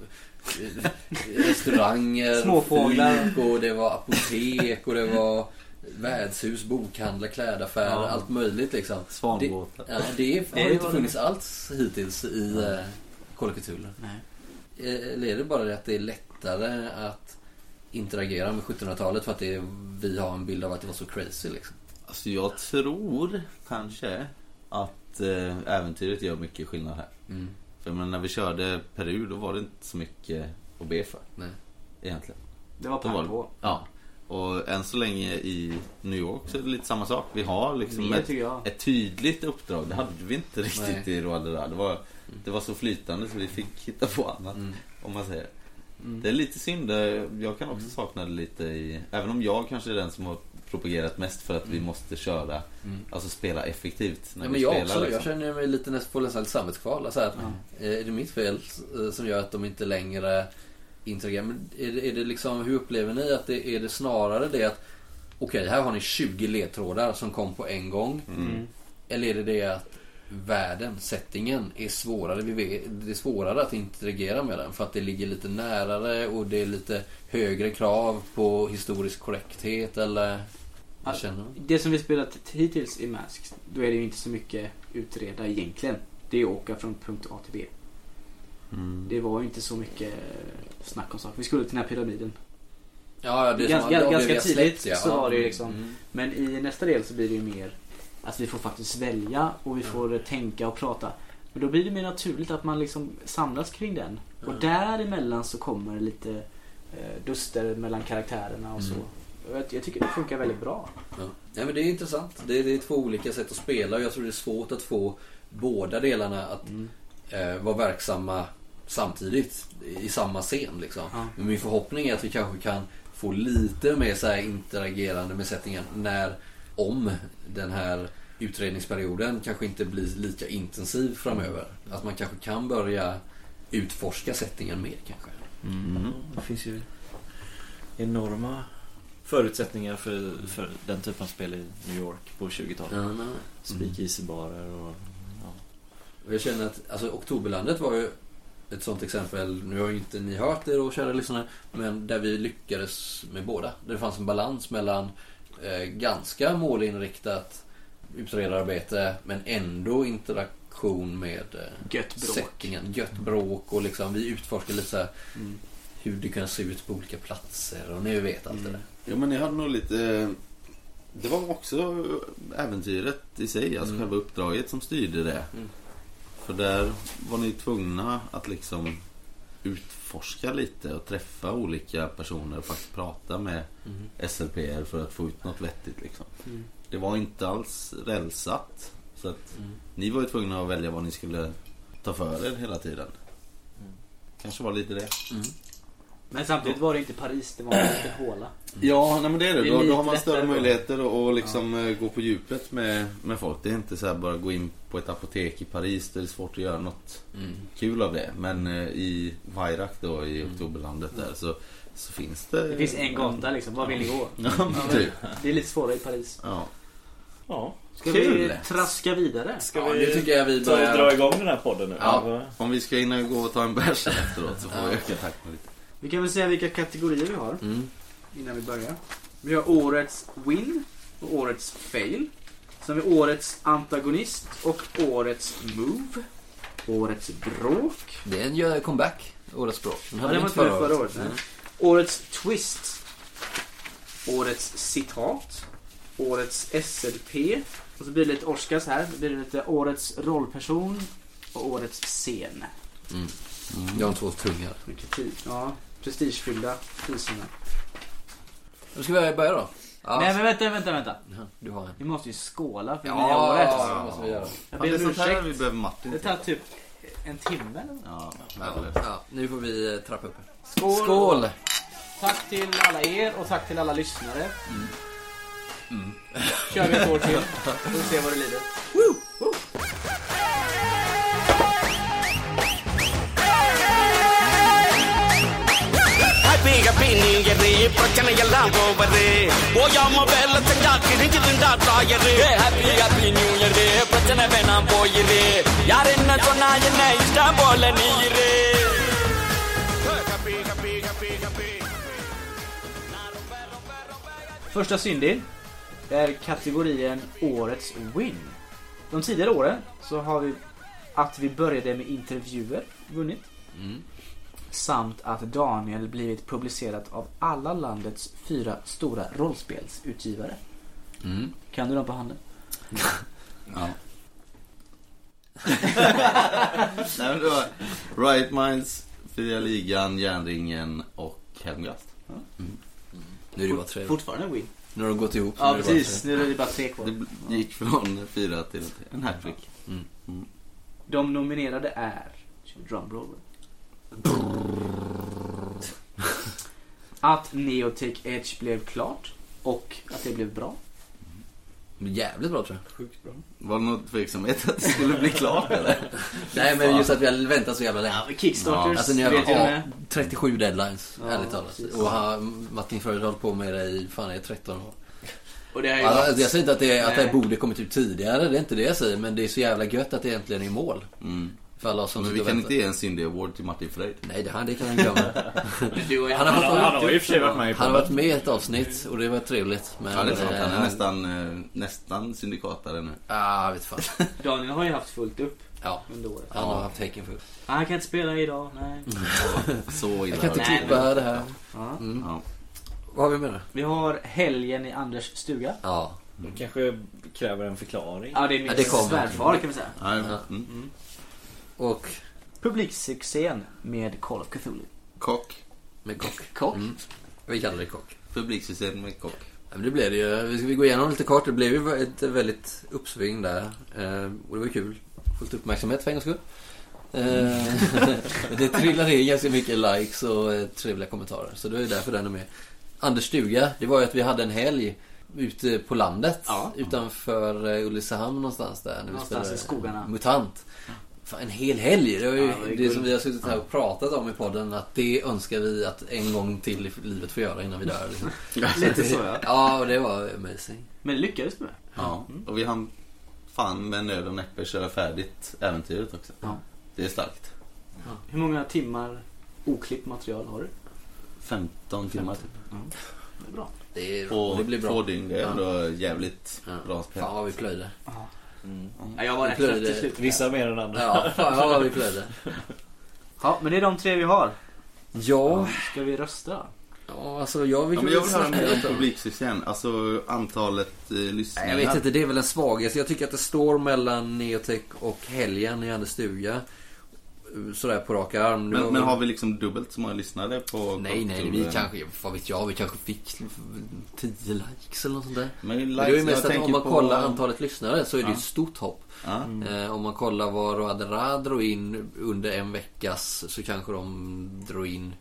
Speaker 1: eh, restauranger,
Speaker 3: Småfåglar.
Speaker 1: fik och det var apotek och det var värdshus, bokhandlar, klädaffärer,
Speaker 6: Ja.
Speaker 1: allt möjligt liksom.
Speaker 6: Svanbåtar.
Speaker 1: Det, ja, det har
Speaker 3: det
Speaker 1: inte
Speaker 3: var
Speaker 1: funnits alls hittills i eh, Kolokatulen.
Speaker 3: Nej.
Speaker 1: Eller är det bara det att det är lättare att interagera med 1700-talet för att det är, vi har en bild av att det var så crazy liksom?
Speaker 5: Alltså jag tror kanske att eh, äventyret gör mycket skillnad här.
Speaker 1: Mm.
Speaker 5: För men när vi körde Peru då var det inte så mycket att be för.
Speaker 1: Nej.
Speaker 5: Egentligen.
Speaker 3: Det var
Speaker 5: Då var
Speaker 3: pang
Speaker 5: det-
Speaker 3: på.
Speaker 5: Ja. Och än så länge i New York så är det lite samma sak. Vi har liksom
Speaker 3: Mer
Speaker 5: ett,
Speaker 3: tycker jag.
Speaker 5: ett tydligt uppdrag. Det hade vi inte riktigt i Roald Dahl. Det var, det var så flytande så vi fick hitta på annat.
Speaker 1: Mm.
Speaker 5: Om man säger.
Speaker 3: Mm.
Speaker 5: Det är lite synd. Jag kan
Speaker 1: Mm.
Speaker 5: också sakna det lite i... Även om jag kanske är den som har propagerat mest för att vi måste köra,
Speaker 1: Mm.
Speaker 5: alltså spela effektivt när
Speaker 1: Nej,
Speaker 5: vi
Speaker 1: men jag
Speaker 5: spelar.
Speaker 1: också,
Speaker 5: liksom. Mm.
Speaker 1: jag känner mig lite nästan på nästan lite samvetskval. Alltså att, eh, Är det mitt fel eh, som gör att de inte längre interagerar? Men är det, är det liksom, hur upplever ni att det är det snarare det att okej, här har ni 20 ledtrådar som kom på en gång.
Speaker 5: Mm.
Speaker 3: Mm.
Speaker 1: Eller är det det att världen, settingen är svårare. Vi vet- Det är svårare att interagera med den för att det ligger lite närare och det är lite högre krav på historisk korrekthet eller vad
Speaker 3: Alltså,
Speaker 1: känner man?
Speaker 3: Det som vi spelat hittills i Mask, då är det ju inte så mycket utreda egentligen. Det är ju åka från punkt A till B.
Speaker 5: Mm.
Speaker 3: Det var ju inte så mycket snack om saker. Vi skulle till den här pyramiden.
Speaker 1: Ja, ja, det är
Speaker 3: Gans-
Speaker 1: som-
Speaker 3: gans-
Speaker 1: ja, det
Speaker 3: ganska
Speaker 1: vi har släppt,
Speaker 3: tidigt
Speaker 1: ja.
Speaker 3: så var det ju liksom-
Speaker 1: Mm.
Speaker 3: Men i nästa del så blir det ju mer att vi får faktiskt välja och vi får eh, tänka och prata. Men då blir det mer naturligt att man liksom samlas kring den. Och däremellan så kommer lite eh, duster mellan karaktärerna och så. Och Jag, jag tycker det funkar väldigt bra.
Speaker 1: Ja. Nej, men det är intressant. Det är, det är två olika sätt att spela och jag tror det är svårt att få båda delarna att eh, vara verksamma samtidigt i samma scen. Liksom.
Speaker 3: Ja.
Speaker 1: Men min förhoppning är att vi kanske kan få lite mer så här interagerande med sättningen när, om den här utredningsperioden kanske inte blir lika intensiv framöver. Att man kanske kan börja utforska sättningen mer kanske.
Speaker 2: Mm. Det finns ju enorma förutsättningar för, för den typen av spel i New York på
Speaker 8: Mm.
Speaker 2: 20-talet.
Speaker 1: Ja, nej.
Speaker 2: Speak easy-barer och...
Speaker 1: Och Jag känner att alltså, Oktoberlandet var ju ett sånt exempel. Nu har ju inte ni hört det då, kära lyssnare. Men där vi lyckades med båda. Där det fanns en balans mellan eh, ganska målinriktat utredararbete men ändå interaktion med eh,
Speaker 3: Gött bråk.
Speaker 1: sättningen. Gött bråk och liksom vi utforskar lite så här hur det kan se ut på olika platser och ni vet allt det där.
Speaker 5: Ja, men jag hade nog lite... eh, Det var också äventyret i sig, alltså själva uppdraget som styrde det.
Speaker 1: Mm.
Speaker 5: För där var ni tvungna att liksom utforska lite och träffa olika personer och faktiskt prata med
Speaker 1: Mm.
Speaker 5: SLPR för att få ut något vettigt. Liksom.
Speaker 1: Mm.
Speaker 5: Det var inte alls rälsat. Så att
Speaker 1: Mm.
Speaker 5: ni var ju tvungna att välja vad ni skulle ta för er hela tiden.
Speaker 1: Mm.
Speaker 5: Kanske var lite det.
Speaker 3: Men samtidigt var det inte Paris, det var en liten håla.
Speaker 5: Ja, nej, men det är det.
Speaker 3: Det är
Speaker 5: Då, då
Speaker 3: lite
Speaker 5: har man större
Speaker 3: lättare då.
Speaker 5: möjligheter att att liksom eh, gå på djupet med, med folk. Det är inte så här bara gå in på ett apotek i Paris. Där det är svårt att göra något
Speaker 1: Mm.
Speaker 5: kul av det. Men eh, i Vairak då, i Oktoberlandet där, så, så finns det...
Speaker 3: Mm. Det finns en gata liksom, var vill ni gå?
Speaker 5: Ja, men typ.
Speaker 3: Det är lite svårare i Paris.
Speaker 5: Ja.
Speaker 2: Ja,
Speaker 3: Ska
Speaker 5: Kul!
Speaker 3: vi traska vidare?
Speaker 1: Ja,
Speaker 2: ska
Speaker 1: nu
Speaker 2: vi
Speaker 1: tycker jag vi
Speaker 2: ta och dra
Speaker 1: börjar...
Speaker 2: igång den här podden nu?
Speaker 1: Ja.
Speaker 2: Eller?
Speaker 5: Om vi ska hinna gå och ta en bärs efteråt så får vi öka takten lite.
Speaker 3: Vi kan väl säga vilka kategorier vi har
Speaker 1: Mm.
Speaker 3: innan vi börjar. Vi har årets win och årets fail. Sen har vi årets antagonist och årets move. Årets bråk.
Speaker 1: Det är en gör- comeback, Årets språk. Den
Speaker 3: Ja,
Speaker 1: hade
Speaker 3: den
Speaker 1: vi
Speaker 3: var
Speaker 1: inte
Speaker 3: inte med
Speaker 1: förra
Speaker 3: förra
Speaker 1: året. Mm.
Speaker 3: året. nej. Årets twist. Årets citat. Årets SLP. Och så blir det lite Oscars här. Det blir lite årets rollperson och årets scen.
Speaker 1: Jag har två tungar.
Speaker 3: Mycket tid. Ja, prestigefyllda priserna.
Speaker 1: Nu ska vi börja då. Ja,
Speaker 3: Nej men vänta, vänta, vänta.
Speaker 1: Ja, Du har en.
Speaker 3: Vi måste ju skåla för det nya
Speaker 1: Ja,
Speaker 3: året. alltså.
Speaker 1: det måste vi göra.
Speaker 3: Jag
Speaker 5: Ja, det är
Speaker 3: ber om
Speaker 5: sånt här
Speaker 3: ursäkt.
Speaker 5: vi behöver Martin
Speaker 3: Det
Speaker 5: till.
Speaker 3: tar typ en timme eller nåt.
Speaker 5: Ja,
Speaker 1: Ja,
Speaker 5: eller-
Speaker 1: ja, nu får vi eh, trappa upp.
Speaker 3: Skål!
Speaker 1: Skål!
Speaker 3: Tack till alla er och tack till alla lyssnare.
Speaker 1: Mm.
Speaker 3: Kör vi ett år till. Får vi se vad det lider.
Speaker 4: ಹ್ಯಾಪಿಗ ಬೀನಿಂಗರಿ ಪ್ರಚನೆ ಎಲ್ಲ ಹೋಗದೆ ಓ ಯಮ್ಮ ಬೆಲ್ಲ ತಂಗಾಕಿ ನಿಂಗಿದಿಂದ ತಾಯರು ஹாப்பி ஹாப்பி நியூ இயர் பிரச்சனை வேணாம் போயிரு யார் என்ன சொன்னா என்ன இஷ்டம் போல நீ இரு happy happy happy happy
Speaker 3: Första syndin är kategorien Årets win. De tidigare åren så har vi att vi började med intervjuer vunnit.
Speaker 1: Mm.
Speaker 3: Samt att Daniel blivit publicerat av alla landets fyra stora rollspelsutgivare.
Speaker 1: Mm.
Speaker 3: Kan du dem på handen?
Speaker 5: Nej, men det var Riot Minds, Fria Ligan, Järnringen och Helmgast.
Speaker 1: Nu är det bara tre.
Speaker 3: Fortfarande win.
Speaker 1: Nu har de gått ihop.
Speaker 3: Ja
Speaker 1: nu är det bara
Speaker 3: precis, nu är det bara tre kvar.
Speaker 5: Det bl- gick från fyra till en hattrick.
Speaker 3: De nominerade är... Drumroll. Att Neotech Edge blev klart och att det blev bra.
Speaker 1: tre. Jävligt bra tror jag.
Speaker 5: Var det någon tveksamhet att det skulle bli klart eller?
Speaker 1: Nej men just att vi har väntat så jävla länge.
Speaker 3: Kickstarters
Speaker 1: Alltså ni har
Speaker 3: vet jag med.
Speaker 1: ja, 37 deadlines,
Speaker 3: Ja,
Speaker 1: ärligt talat.
Speaker 3: precis.
Speaker 1: Och han, Martin Fröjd har hållit på med det i fan, det är 13 år.
Speaker 3: Och det har ju
Speaker 1: Alltså, jag säger inte att det, att det
Speaker 3: Nej.
Speaker 1: borde kommit ut tidigare, det är inte det jag säger. Men det är så jävla gött att det äntligen är i mål.
Speaker 5: Mm.
Speaker 1: För alla oss som
Speaker 5: Men
Speaker 1: sitter
Speaker 5: vi
Speaker 1: och
Speaker 5: kan
Speaker 1: väntar.
Speaker 5: inte ge en syndig award till Martin Fröjd.
Speaker 1: Nej, det, han, det kan han glömma.
Speaker 3: Du och jag.
Speaker 1: Han har, fått,
Speaker 2: Han har ju i och för sig varit med i
Speaker 1: han
Speaker 2: podden.
Speaker 1: har varit med i ett avsnitt och det var trevligt. Men,
Speaker 5: Ja, det är sant. Han
Speaker 1: eh,
Speaker 5: är nästan, eh, nästan syndikatare nu.
Speaker 1: Ah, vet fan.
Speaker 3: Daniel har ju haft fullt upp
Speaker 1: Ja,
Speaker 3: under året.
Speaker 1: han har haft häcken full.
Speaker 3: Ah, Han kan inte spela idag, nej.
Speaker 5: Så illa
Speaker 1: Jag kan
Speaker 5: har det
Speaker 1: inte
Speaker 5: blivit.
Speaker 1: tippa det här.
Speaker 3: Ja.
Speaker 5: Ja.
Speaker 1: Vad har vi med det?
Speaker 3: Vi har helgen i Anders stuga.
Speaker 1: Ja.
Speaker 2: Det kanske kräver en förklaring.
Speaker 3: Ja, det är min
Speaker 1: Ja, det kommer.
Speaker 3: svärfar kan vi säga.
Speaker 5: Ja, mm.
Speaker 1: Och
Speaker 3: Publiksuccén med Call of Cthulhu.
Speaker 5: Kock.
Speaker 1: med kock.
Speaker 3: Kock.
Speaker 1: Mm. Vi kallar det kock.
Speaker 5: publiksuccé med kock.
Speaker 1: Ja, men det blev det ju. Vi ska vi gå igenom lite kort. Det blev ju ett väldigt uppsving där. Eh, och det var kul. Fullt uppmärksamhet för en gångs skull. Eh, det trillade in ganska mycket likes och eh, trevliga kommentarer. Så det var ju därför den är med. Anders stuga, det var ju att vi hade en helg ute på landet. Utanför eh, Ulricehamn någonstans där. När vi
Speaker 3: Någonstans i skogarna.
Speaker 1: Mutant. Fan, en hel helg. Det var ju
Speaker 3: Ja, det är
Speaker 1: det,
Speaker 3: guld.
Speaker 1: som vi har suttit här och pratat om i podden. Att det önskar vi att en gång till i livet få göra innan vi dör. Liksom.
Speaker 3: Lite så ja.
Speaker 1: Ja, och det var amazing.
Speaker 3: Men det lyckades du med.
Speaker 5: Ja. Och vi hann fan med nöd och näppe köra färdigt äventyret också.
Speaker 3: Ja.
Speaker 5: Det är starkt.
Speaker 3: Hur många timmar oklippt material har du?
Speaker 5: 15 timmar typ.
Speaker 3: Det är bra.
Speaker 1: Det, är,
Speaker 5: På
Speaker 1: det blir bra.
Speaker 5: två dygn. Det är
Speaker 1: Ja.
Speaker 5: ändå jävligt
Speaker 1: Ja.
Speaker 5: bra spel.
Speaker 1: Fan vad vi plöjde. Mm.
Speaker 3: Ja, jag var rätt
Speaker 1: Plöjde.
Speaker 3: trött till slut.
Speaker 8: Vissa mer än andra.
Speaker 1: Ja, fan vad vi plöjde.
Speaker 3: Ja, men det är de tre vi har.
Speaker 1: Ja,
Speaker 3: Ska vi rösta?
Speaker 1: ja alltså jag vill
Speaker 5: Ja, men jag vill höra mer om publiksuccén. Alltså antalet eh, lyssningar.
Speaker 1: Jag vet inte, det är väl en svaghet. Jag tycker att det står mellan Neotech och helgen i Anders stuga. Sådär på rak arm. Det var
Speaker 5: Men, men
Speaker 1: väl-
Speaker 5: har vi liksom dubbelt så många lyssnare på
Speaker 1: Nej, nej, vi
Speaker 5: Kocktober?
Speaker 1: kanske, vad vet jag, vi kanske fick 10 likes eller något sånt där.
Speaker 5: Men
Speaker 1: Men
Speaker 5: likes,
Speaker 1: det är ju mest
Speaker 5: jag
Speaker 1: att om
Speaker 5: tänker
Speaker 1: man
Speaker 5: på-
Speaker 1: kollar antalet lyssnare så är det ju
Speaker 5: Ja.
Speaker 1: ett stort hopp.
Speaker 5: Ja.
Speaker 1: Eh, om man kollar vad Road Ra drog in under en veckas så kanske de drog in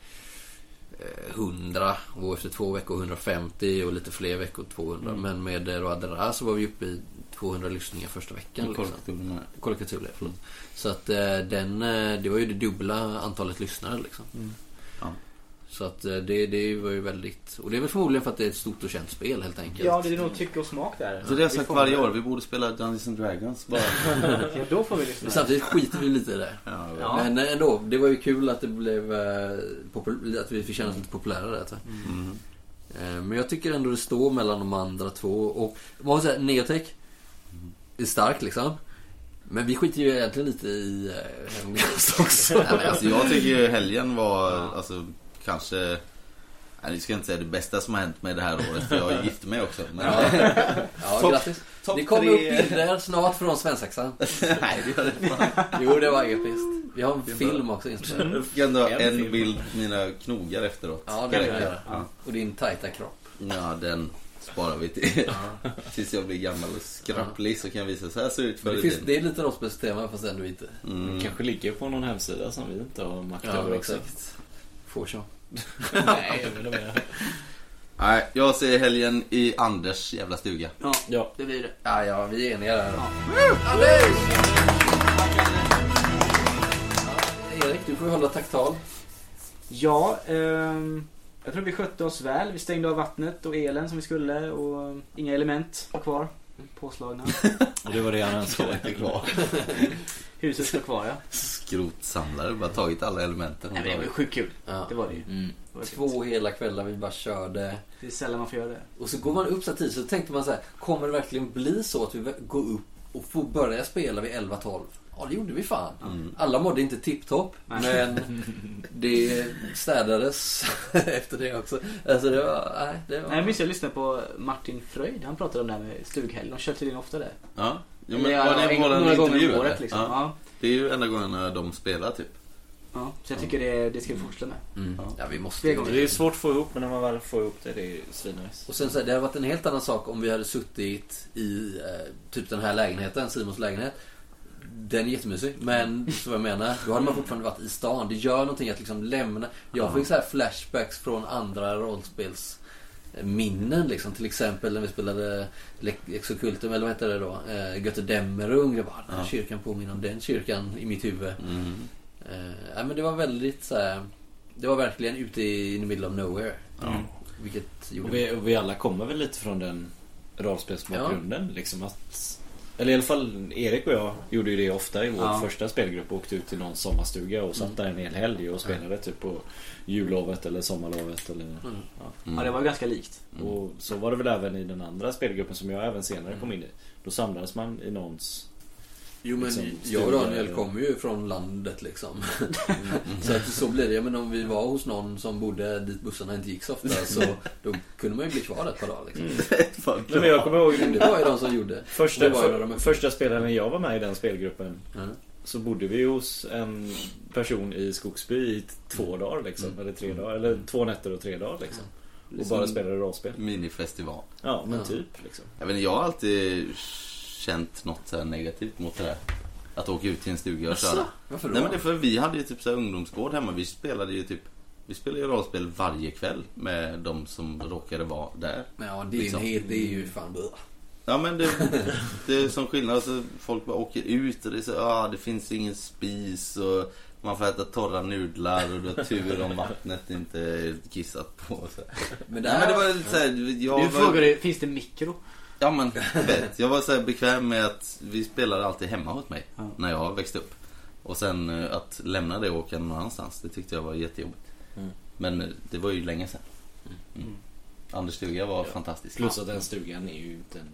Speaker 1: eh, 100 och efter två veckor 150 och lite fler veckor 200. Men med eh, Road Ra så var vi uppe i 200 lyssningar första veckan.
Speaker 5: Med
Speaker 1: Liksom.
Speaker 5: Korktober med.
Speaker 1: Kolkatur, förlåt. Så att eh, den, eh, det var ju det dubbla antalet lyssnare liksom.
Speaker 5: Ja.
Speaker 1: Så att eh, det, det var ju väldigt... Och det är väl förmodligen för att det är ett stort och känt spel helt enkelt.
Speaker 3: Ja, det är nog tycke och smak där.
Speaker 5: Så det har jag sagt varje år, vi borde spela Dungeons and Dragons bara.
Speaker 3: Ja, då får vi
Speaker 1: Men
Speaker 3: lyssna.
Speaker 1: samtidigt skiter vi lite i det.
Speaker 5: Ja,
Speaker 3: Ja.
Speaker 1: Men eh, ändå, det var ju kul att det blev eh, popul- att vi fick känna oss lite populärare. Alltså.
Speaker 5: Mm.
Speaker 1: Eh, men jag tycker ändå det står mellan de andra två. Och man måste säga, Neotech är stark liksom. Men vi skiter ju egentligen lite i eh, Hemligast också.
Speaker 5: Nej, men alltså, jag tycker ju helgen var alltså, kanske... Nej, jag ska inte säga det bästa som har hänt mig det här året för jag gifte mig också. Men,
Speaker 1: ja,
Speaker 5: Topp-
Speaker 1: grattis.
Speaker 5: topp
Speaker 1: Det kommer upp
Speaker 5: tre-
Speaker 1: bilder snart från Svensaxan.
Speaker 5: Nej, det gör det fan.
Speaker 1: Jo, det var episkt. Vi har en film också inspelad.
Speaker 5: Jag fick ändå ha
Speaker 8: En
Speaker 5: en
Speaker 8: film.
Speaker 5: bild på mina knogar efteråt.
Speaker 1: Ja, det
Speaker 5: Ska
Speaker 1: kan vi
Speaker 5: räcka.
Speaker 1: göra.
Speaker 5: Ja.
Speaker 1: Och din tajta kropp.
Speaker 5: Ja, den sparar vi till tills jag blir gammal och skraplig så kan jag visa så här ser det ut förr
Speaker 1: Det,
Speaker 5: i
Speaker 1: finns,
Speaker 5: tiden.
Speaker 1: det är lite rollspels tema fast ändå inte.
Speaker 5: Mm.
Speaker 8: Kanske ligger på någon hemsida som vi inte har makt över också.
Speaker 1: Forshaw.
Speaker 8: Nej, jag vill ha mer.
Speaker 5: Nej, jag ser helgen i Anders jävla stuga.
Speaker 3: Ja,
Speaker 8: Ja.
Speaker 3: det blir det.
Speaker 1: Ja, ja, vi är eniga där. Ja, Erik, du får ju hålla taktal.
Speaker 3: Ja, ehm, jag tror vi skötte oss väl. Vi stängde av vattnet och elen som vi skulle och ehm, inga element var kvar. Påslagna.
Speaker 8: Och det var det han önskade.
Speaker 5: Det är kvar.
Speaker 3: Huset står kvar ja.
Speaker 5: Skrotsamlare, bara tagit alla elementen.
Speaker 3: Nej men det var ju sjukt kul.
Speaker 1: Ja.
Speaker 3: Det var det ju. Mm. Det var kul.
Speaker 1: Två hela kvällar vi bara körde.
Speaker 3: Det är sällan man får göra det.
Speaker 1: Och så går man upp så här tidigt så tänkte man så här, kommer det verkligen bli så att vi vä- går upp och får börja spela vid 11-12? Ja, det gjorde vi fan. Alla mådde inte tipptopp, men det städades efter det också. Alltså det var... Nej, det var...
Speaker 3: Nej, jag minns jag lyssnade på Martin Fröjd. Han pratade om det här med stughelg. De kör tydligen ofta det.
Speaker 5: Ja. Jo,
Speaker 3: Eller,
Speaker 5: men
Speaker 3: ja,
Speaker 5: var det
Speaker 3: en-
Speaker 5: våran
Speaker 3: några gånger
Speaker 5: intervju
Speaker 3: om året
Speaker 5: eller?
Speaker 3: liksom.
Speaker 5: ja.
Speaker 3: Ja.
Speaker 5: Det är ju enda gången de spelar typ.
Speaker 3: Ja. Så jag tycker det, det ska vi fortsätta med.
Speaker 1: Mm. Ja, vi måste
Speaker 3: Flera gånger.
Speaker 8: Det är svårt att få ihop, men när man väl får ihop det, det är svinnice.
Speaker 1: Och sen så här, det hade varit en helt annan sak om vi hade suttit i eh, typ den här lägenheten, Simons lägenhet. Den är jättemysig,
Speaker 5: Mm.
Speaker 1: men så vad jag menar, då hade man fortfarande varit i stan. Det gör någonting att liksom lämna. Jag fick så här flashbacks från andra rollspels minnen liksom. Till exempel när vi spelade Le- Exocultum, eller vad hette det då? Eh, Göte Dämmerung. Jag bara, den här
Speaker 5: Ja.
Speaker 1: kyrkan påminner om den kyrkan i mitt huvud.
Speaker 5: Mm.
Speaker 1: Eh, nej, men det var väldigt så här, Det var verkligen ute i in the middle of nowhere.
Speaker 5: Ja.
Speaker 1: Vilket gjorde
Speaker 8: Och vi, och vi alla kommer väl lite från den rollspelsbakgrunden. Liksom att, eller i alla fall Erik och jag gjorde ju det ofta i vår
Speaker 3: Ja.
Speaker 8: första spelgrupp. och Åkte ut till någon sommarstuga och satt där en hel helg och spelade typ på jullovet eller sommarlovet. Eller,
Speaker 5: Mm.
Speaker 3: Ja, det var ganska likt.
Speaker 1: Mm.
Speaker 8: Och så var det väl även i den andra spelgruppen som jag även senare kom in i. Då samlades man i någons...
Speaker 1: Jo men
Speaker 8: liksom,
Speaker 1: jag och
Speaker 8: stuga
Speaker 1: Daniel
Speaker 8: eller-
Speaker 1: kommer ju från landet liksom. så att så blir det. Men om vi var hos någon som bodde dit bussarna inte gick så ofta så då kunde man ju bli kvar där ett par dagar liksom.
Speaker 8: Nej, men jag kommer ihåg
Speaker 1: Det var ju de som gjorde.
Speaker 8: Första,
Speaker 1: Det var ju när de-
Speaker 8: för, första spelaren jag var med i den spelgruppen
Speaker 1: Ja.
Speaker 8: Så bodde vi hos en Mm. person i Skogsby i t- två dagar Mm. liksom, eller tre dagar, eller två nätter och tre dagar liksom. och bara spelade rollspel.
Speaker 5: Minifestival.
Speaker 8: Ja, men typ liksom.
Speaker 5: Jag, vet, inte, jag har alltid känt något så här negativt mot det där. Att åka ut till en stuga och köra.
Speaker 1: Varför då?
Speaker 5: Nej men det är för vi hade ju typ så här ungdomsgård hemma. Vi spelade ju typ vi spelade ju rollspel varje kväll med de som råkade vara där.
Speaker 1: Men ja, din
Speaker 5: Liksom.
Speaker 1: het är ju fan bra.
Speaker 5: Ja men det, det är som skillnad. Alltså, folk bara åker ut och det är så, ah, det finns ingen spis och man får äta torra nudlar och du har tur om vattnet inte är kissat på. och Så.
Speaker 1: Men
Speaker 5: Nej men det var lite så här, jag
Speaker 3: Du
Speaker 5: var,
Speaker 3: frågade, finns det mikro?
Speaker 5: Ja men vet, jag var så här bekväm med att vi spelade alltid hemma hos mig när jag växte upp. Och sen eh, att lämna det och åka någon annanstans, det tyckte jag var jättejobbigt. Men eh, det var ju länge sedan. Mm. Anders stuga var fantastisk.
Speaker 8: Plus att den stugan är ju inte en...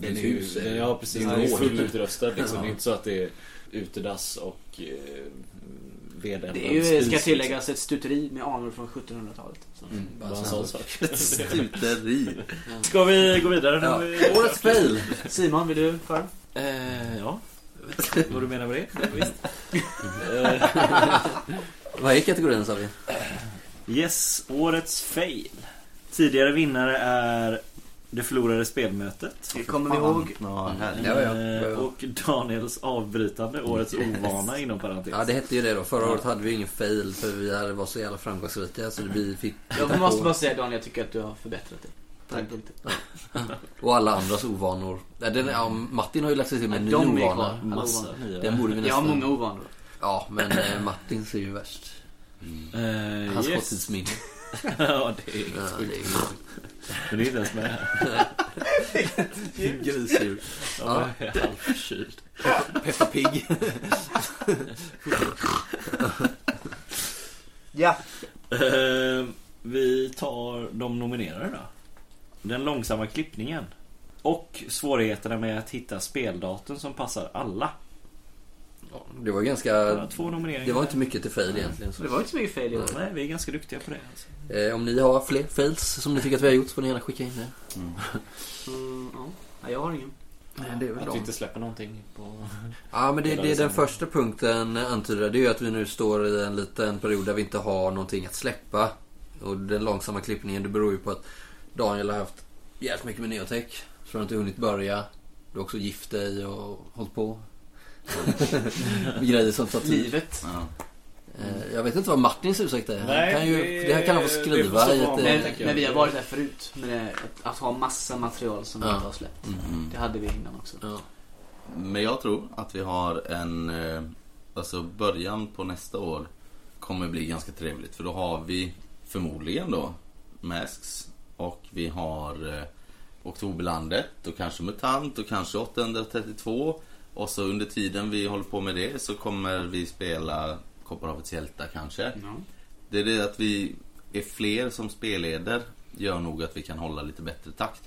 Speaker 1: Den är
Speaker 8: ju-
Speaker 1: hus,
Speaker 8: den-
Speaker 1: eller?
Speaker 8: Ja precis,
Speaker 1: Den
Speaker 8: den
Speaker 1: är
Speaker 8: är ju
Speaker 1: gård.
Speaker 8: fullt utrustad liksom.
Speaker 1: Ja.
Speaker 8: Det är inte så att det är utedass och eh, vedeldad
Speaker 3: Det är ju,
Speaker 8: spis,
Speaker 3: ska
Speaker 8: liksom.
Speaker 3: tilläggas, ett stuteri med anor från 1700-talet. Så.
Speaker 1: Mm,
Speaker 8: Bara en sån sak.
Speaker 5: Stuteri.
Speaker 6: Ska vi gå vidare?
Speaker 1: Ja.
Speaker 6: Ja. Vi...
Speaker 1: Årets fail!
Speaker 3: Simon, vill du föra?
Speaker 6: Eh, ja. Jag vet inte vad du menar med det? Visst.
Speaker 1: Vad är kategorin sa vi?
Speaker 6: Yes, årets fail. Tidigare vinnare är Det förlorade spelmötet.
Speaker 3: Det kommer vi ihåg.
Speaker 5: Ja, härligt.
Speaker 1: Ja, ja.
Speaker 6: Eh, Och Daniels avbrytande, årets ovana inom parentes.
Speaker 1: Ja, det hette ju det då. Förra året hade vi ju ingen fail för vi hade- var så jävla framgångsrika så vi fick hitta
Speaker 3: Jag måste
Speaker 1: på.
Speaker 3: bara säga Daniel, jag tycker att du har förbättrat dig. På den punkten.
Speaker 1: Och alla andras ovanor. Ja, den, ja, Martin har ju lagt sig till med en ny
Speaker 3: De är kvar.
Speaker 1: ovana.
Speaker 3: Alla
Speaker 6: Massa
Speaker 3: ovanor.
Speaker 6: nya.
Speaker 1: Den borde vi
Speaker 3: Jag har
Speaker 1: nästan...
Speaker 3: många ovanor.
Speaker 1: Ja, men eh, Martins är ju värst.
Speaker 6: Eh,
Speaker 1: Hans
Speaker 6: yes.
Speaker 1: korttidsminne.
Speaker 6: ja, det är...
Speaker 1: Ja, det är ju
Speaker 6: Men det är inte ens med här.
Speaker 1: grisdjur.
Speaker 6: Ja, jag är halvförkyld.
Speaker 1: Peppa Pig.
Speaker 7: Ja.
Speaker 6: Eh, vi tar de nominerade då. Den långsamma klippningen. Och svårigheterna med att hitta speldatum som passar alla.
Speaker 1: Ja, Det var ganska...
Speaker 6: Två nomineringar.
Speaker 1: Det var inte mycket till fail egentligen. Så.
Speaker 3: Det var inte så mycket fel i år.
Speaker 6: Nej, vi är ganska duktiga på det. Alltså.
Speaker 1: Eh, om ni har fler fails som ni tycker att vi har gjort så får ni gärna skicka in det.
Speaker 3: Mm, ja. Nej, jag har ingen.
Speaker 1: Eh, Det är väl
Speaker 8: Att vi
Speaker 1: dem.
Speaker 8: inte släpper någonting på...
Speaker 1: Ja, men det, det är den
Speaker 8: Hela
Speaker 1: första punkten antyder. Det är ju att vi nu står i en liten period där vi inte har någonting att släppa. Och den långsamma klippningen det beror ju på att Daniel har haft jävligt mycket med neotech. Så du har inte hunnit börja. Du har också gift dig och hållit på. Med Grejer som tar tid.
Speaker 3: Livet.
Speaker 5: Ja.
Speaker 1: Eh, Jag vet inte vad Martins ursäkt är.
Speaker 8: Nej,
Speaker 1: han kan ju,
Speaker 8: det-
Speaker 1: det här kan han få
Speaker 8: det
Speaker 1: skriva
Speaker 8: får
Speaker 1: i
Speaker 8: stå på
Speaker 1: ett...
Speaker 8: honom.
Speaker 1: eh,
Speaker 3: Men, men vi har varit där förut. Med det, att, att ha massa material som vi
Speaker 1: Ja.
Speaker 3: inte har släppt.
Speaker 5: Mm.
Speaker 3: Det hade vi innan också.
Speaker 1: Ja.
Speaker 5: Men jag tror att vi har en... eh, Alltså början på nästa år kommer bli ganska trevligt. För då har vi förmodligen då Masks och vi har eh, Oktoberlandet och kanske MUTANT och kanske 832. Och så under tiden vi håller på med det så kommer vi spela Kopparhavets hjältar kanske.
Speaker 3: Ja.
Speaker 5: Det är det att vi är fler som spelleder gör nog att vi kan hålla lite bättre takt.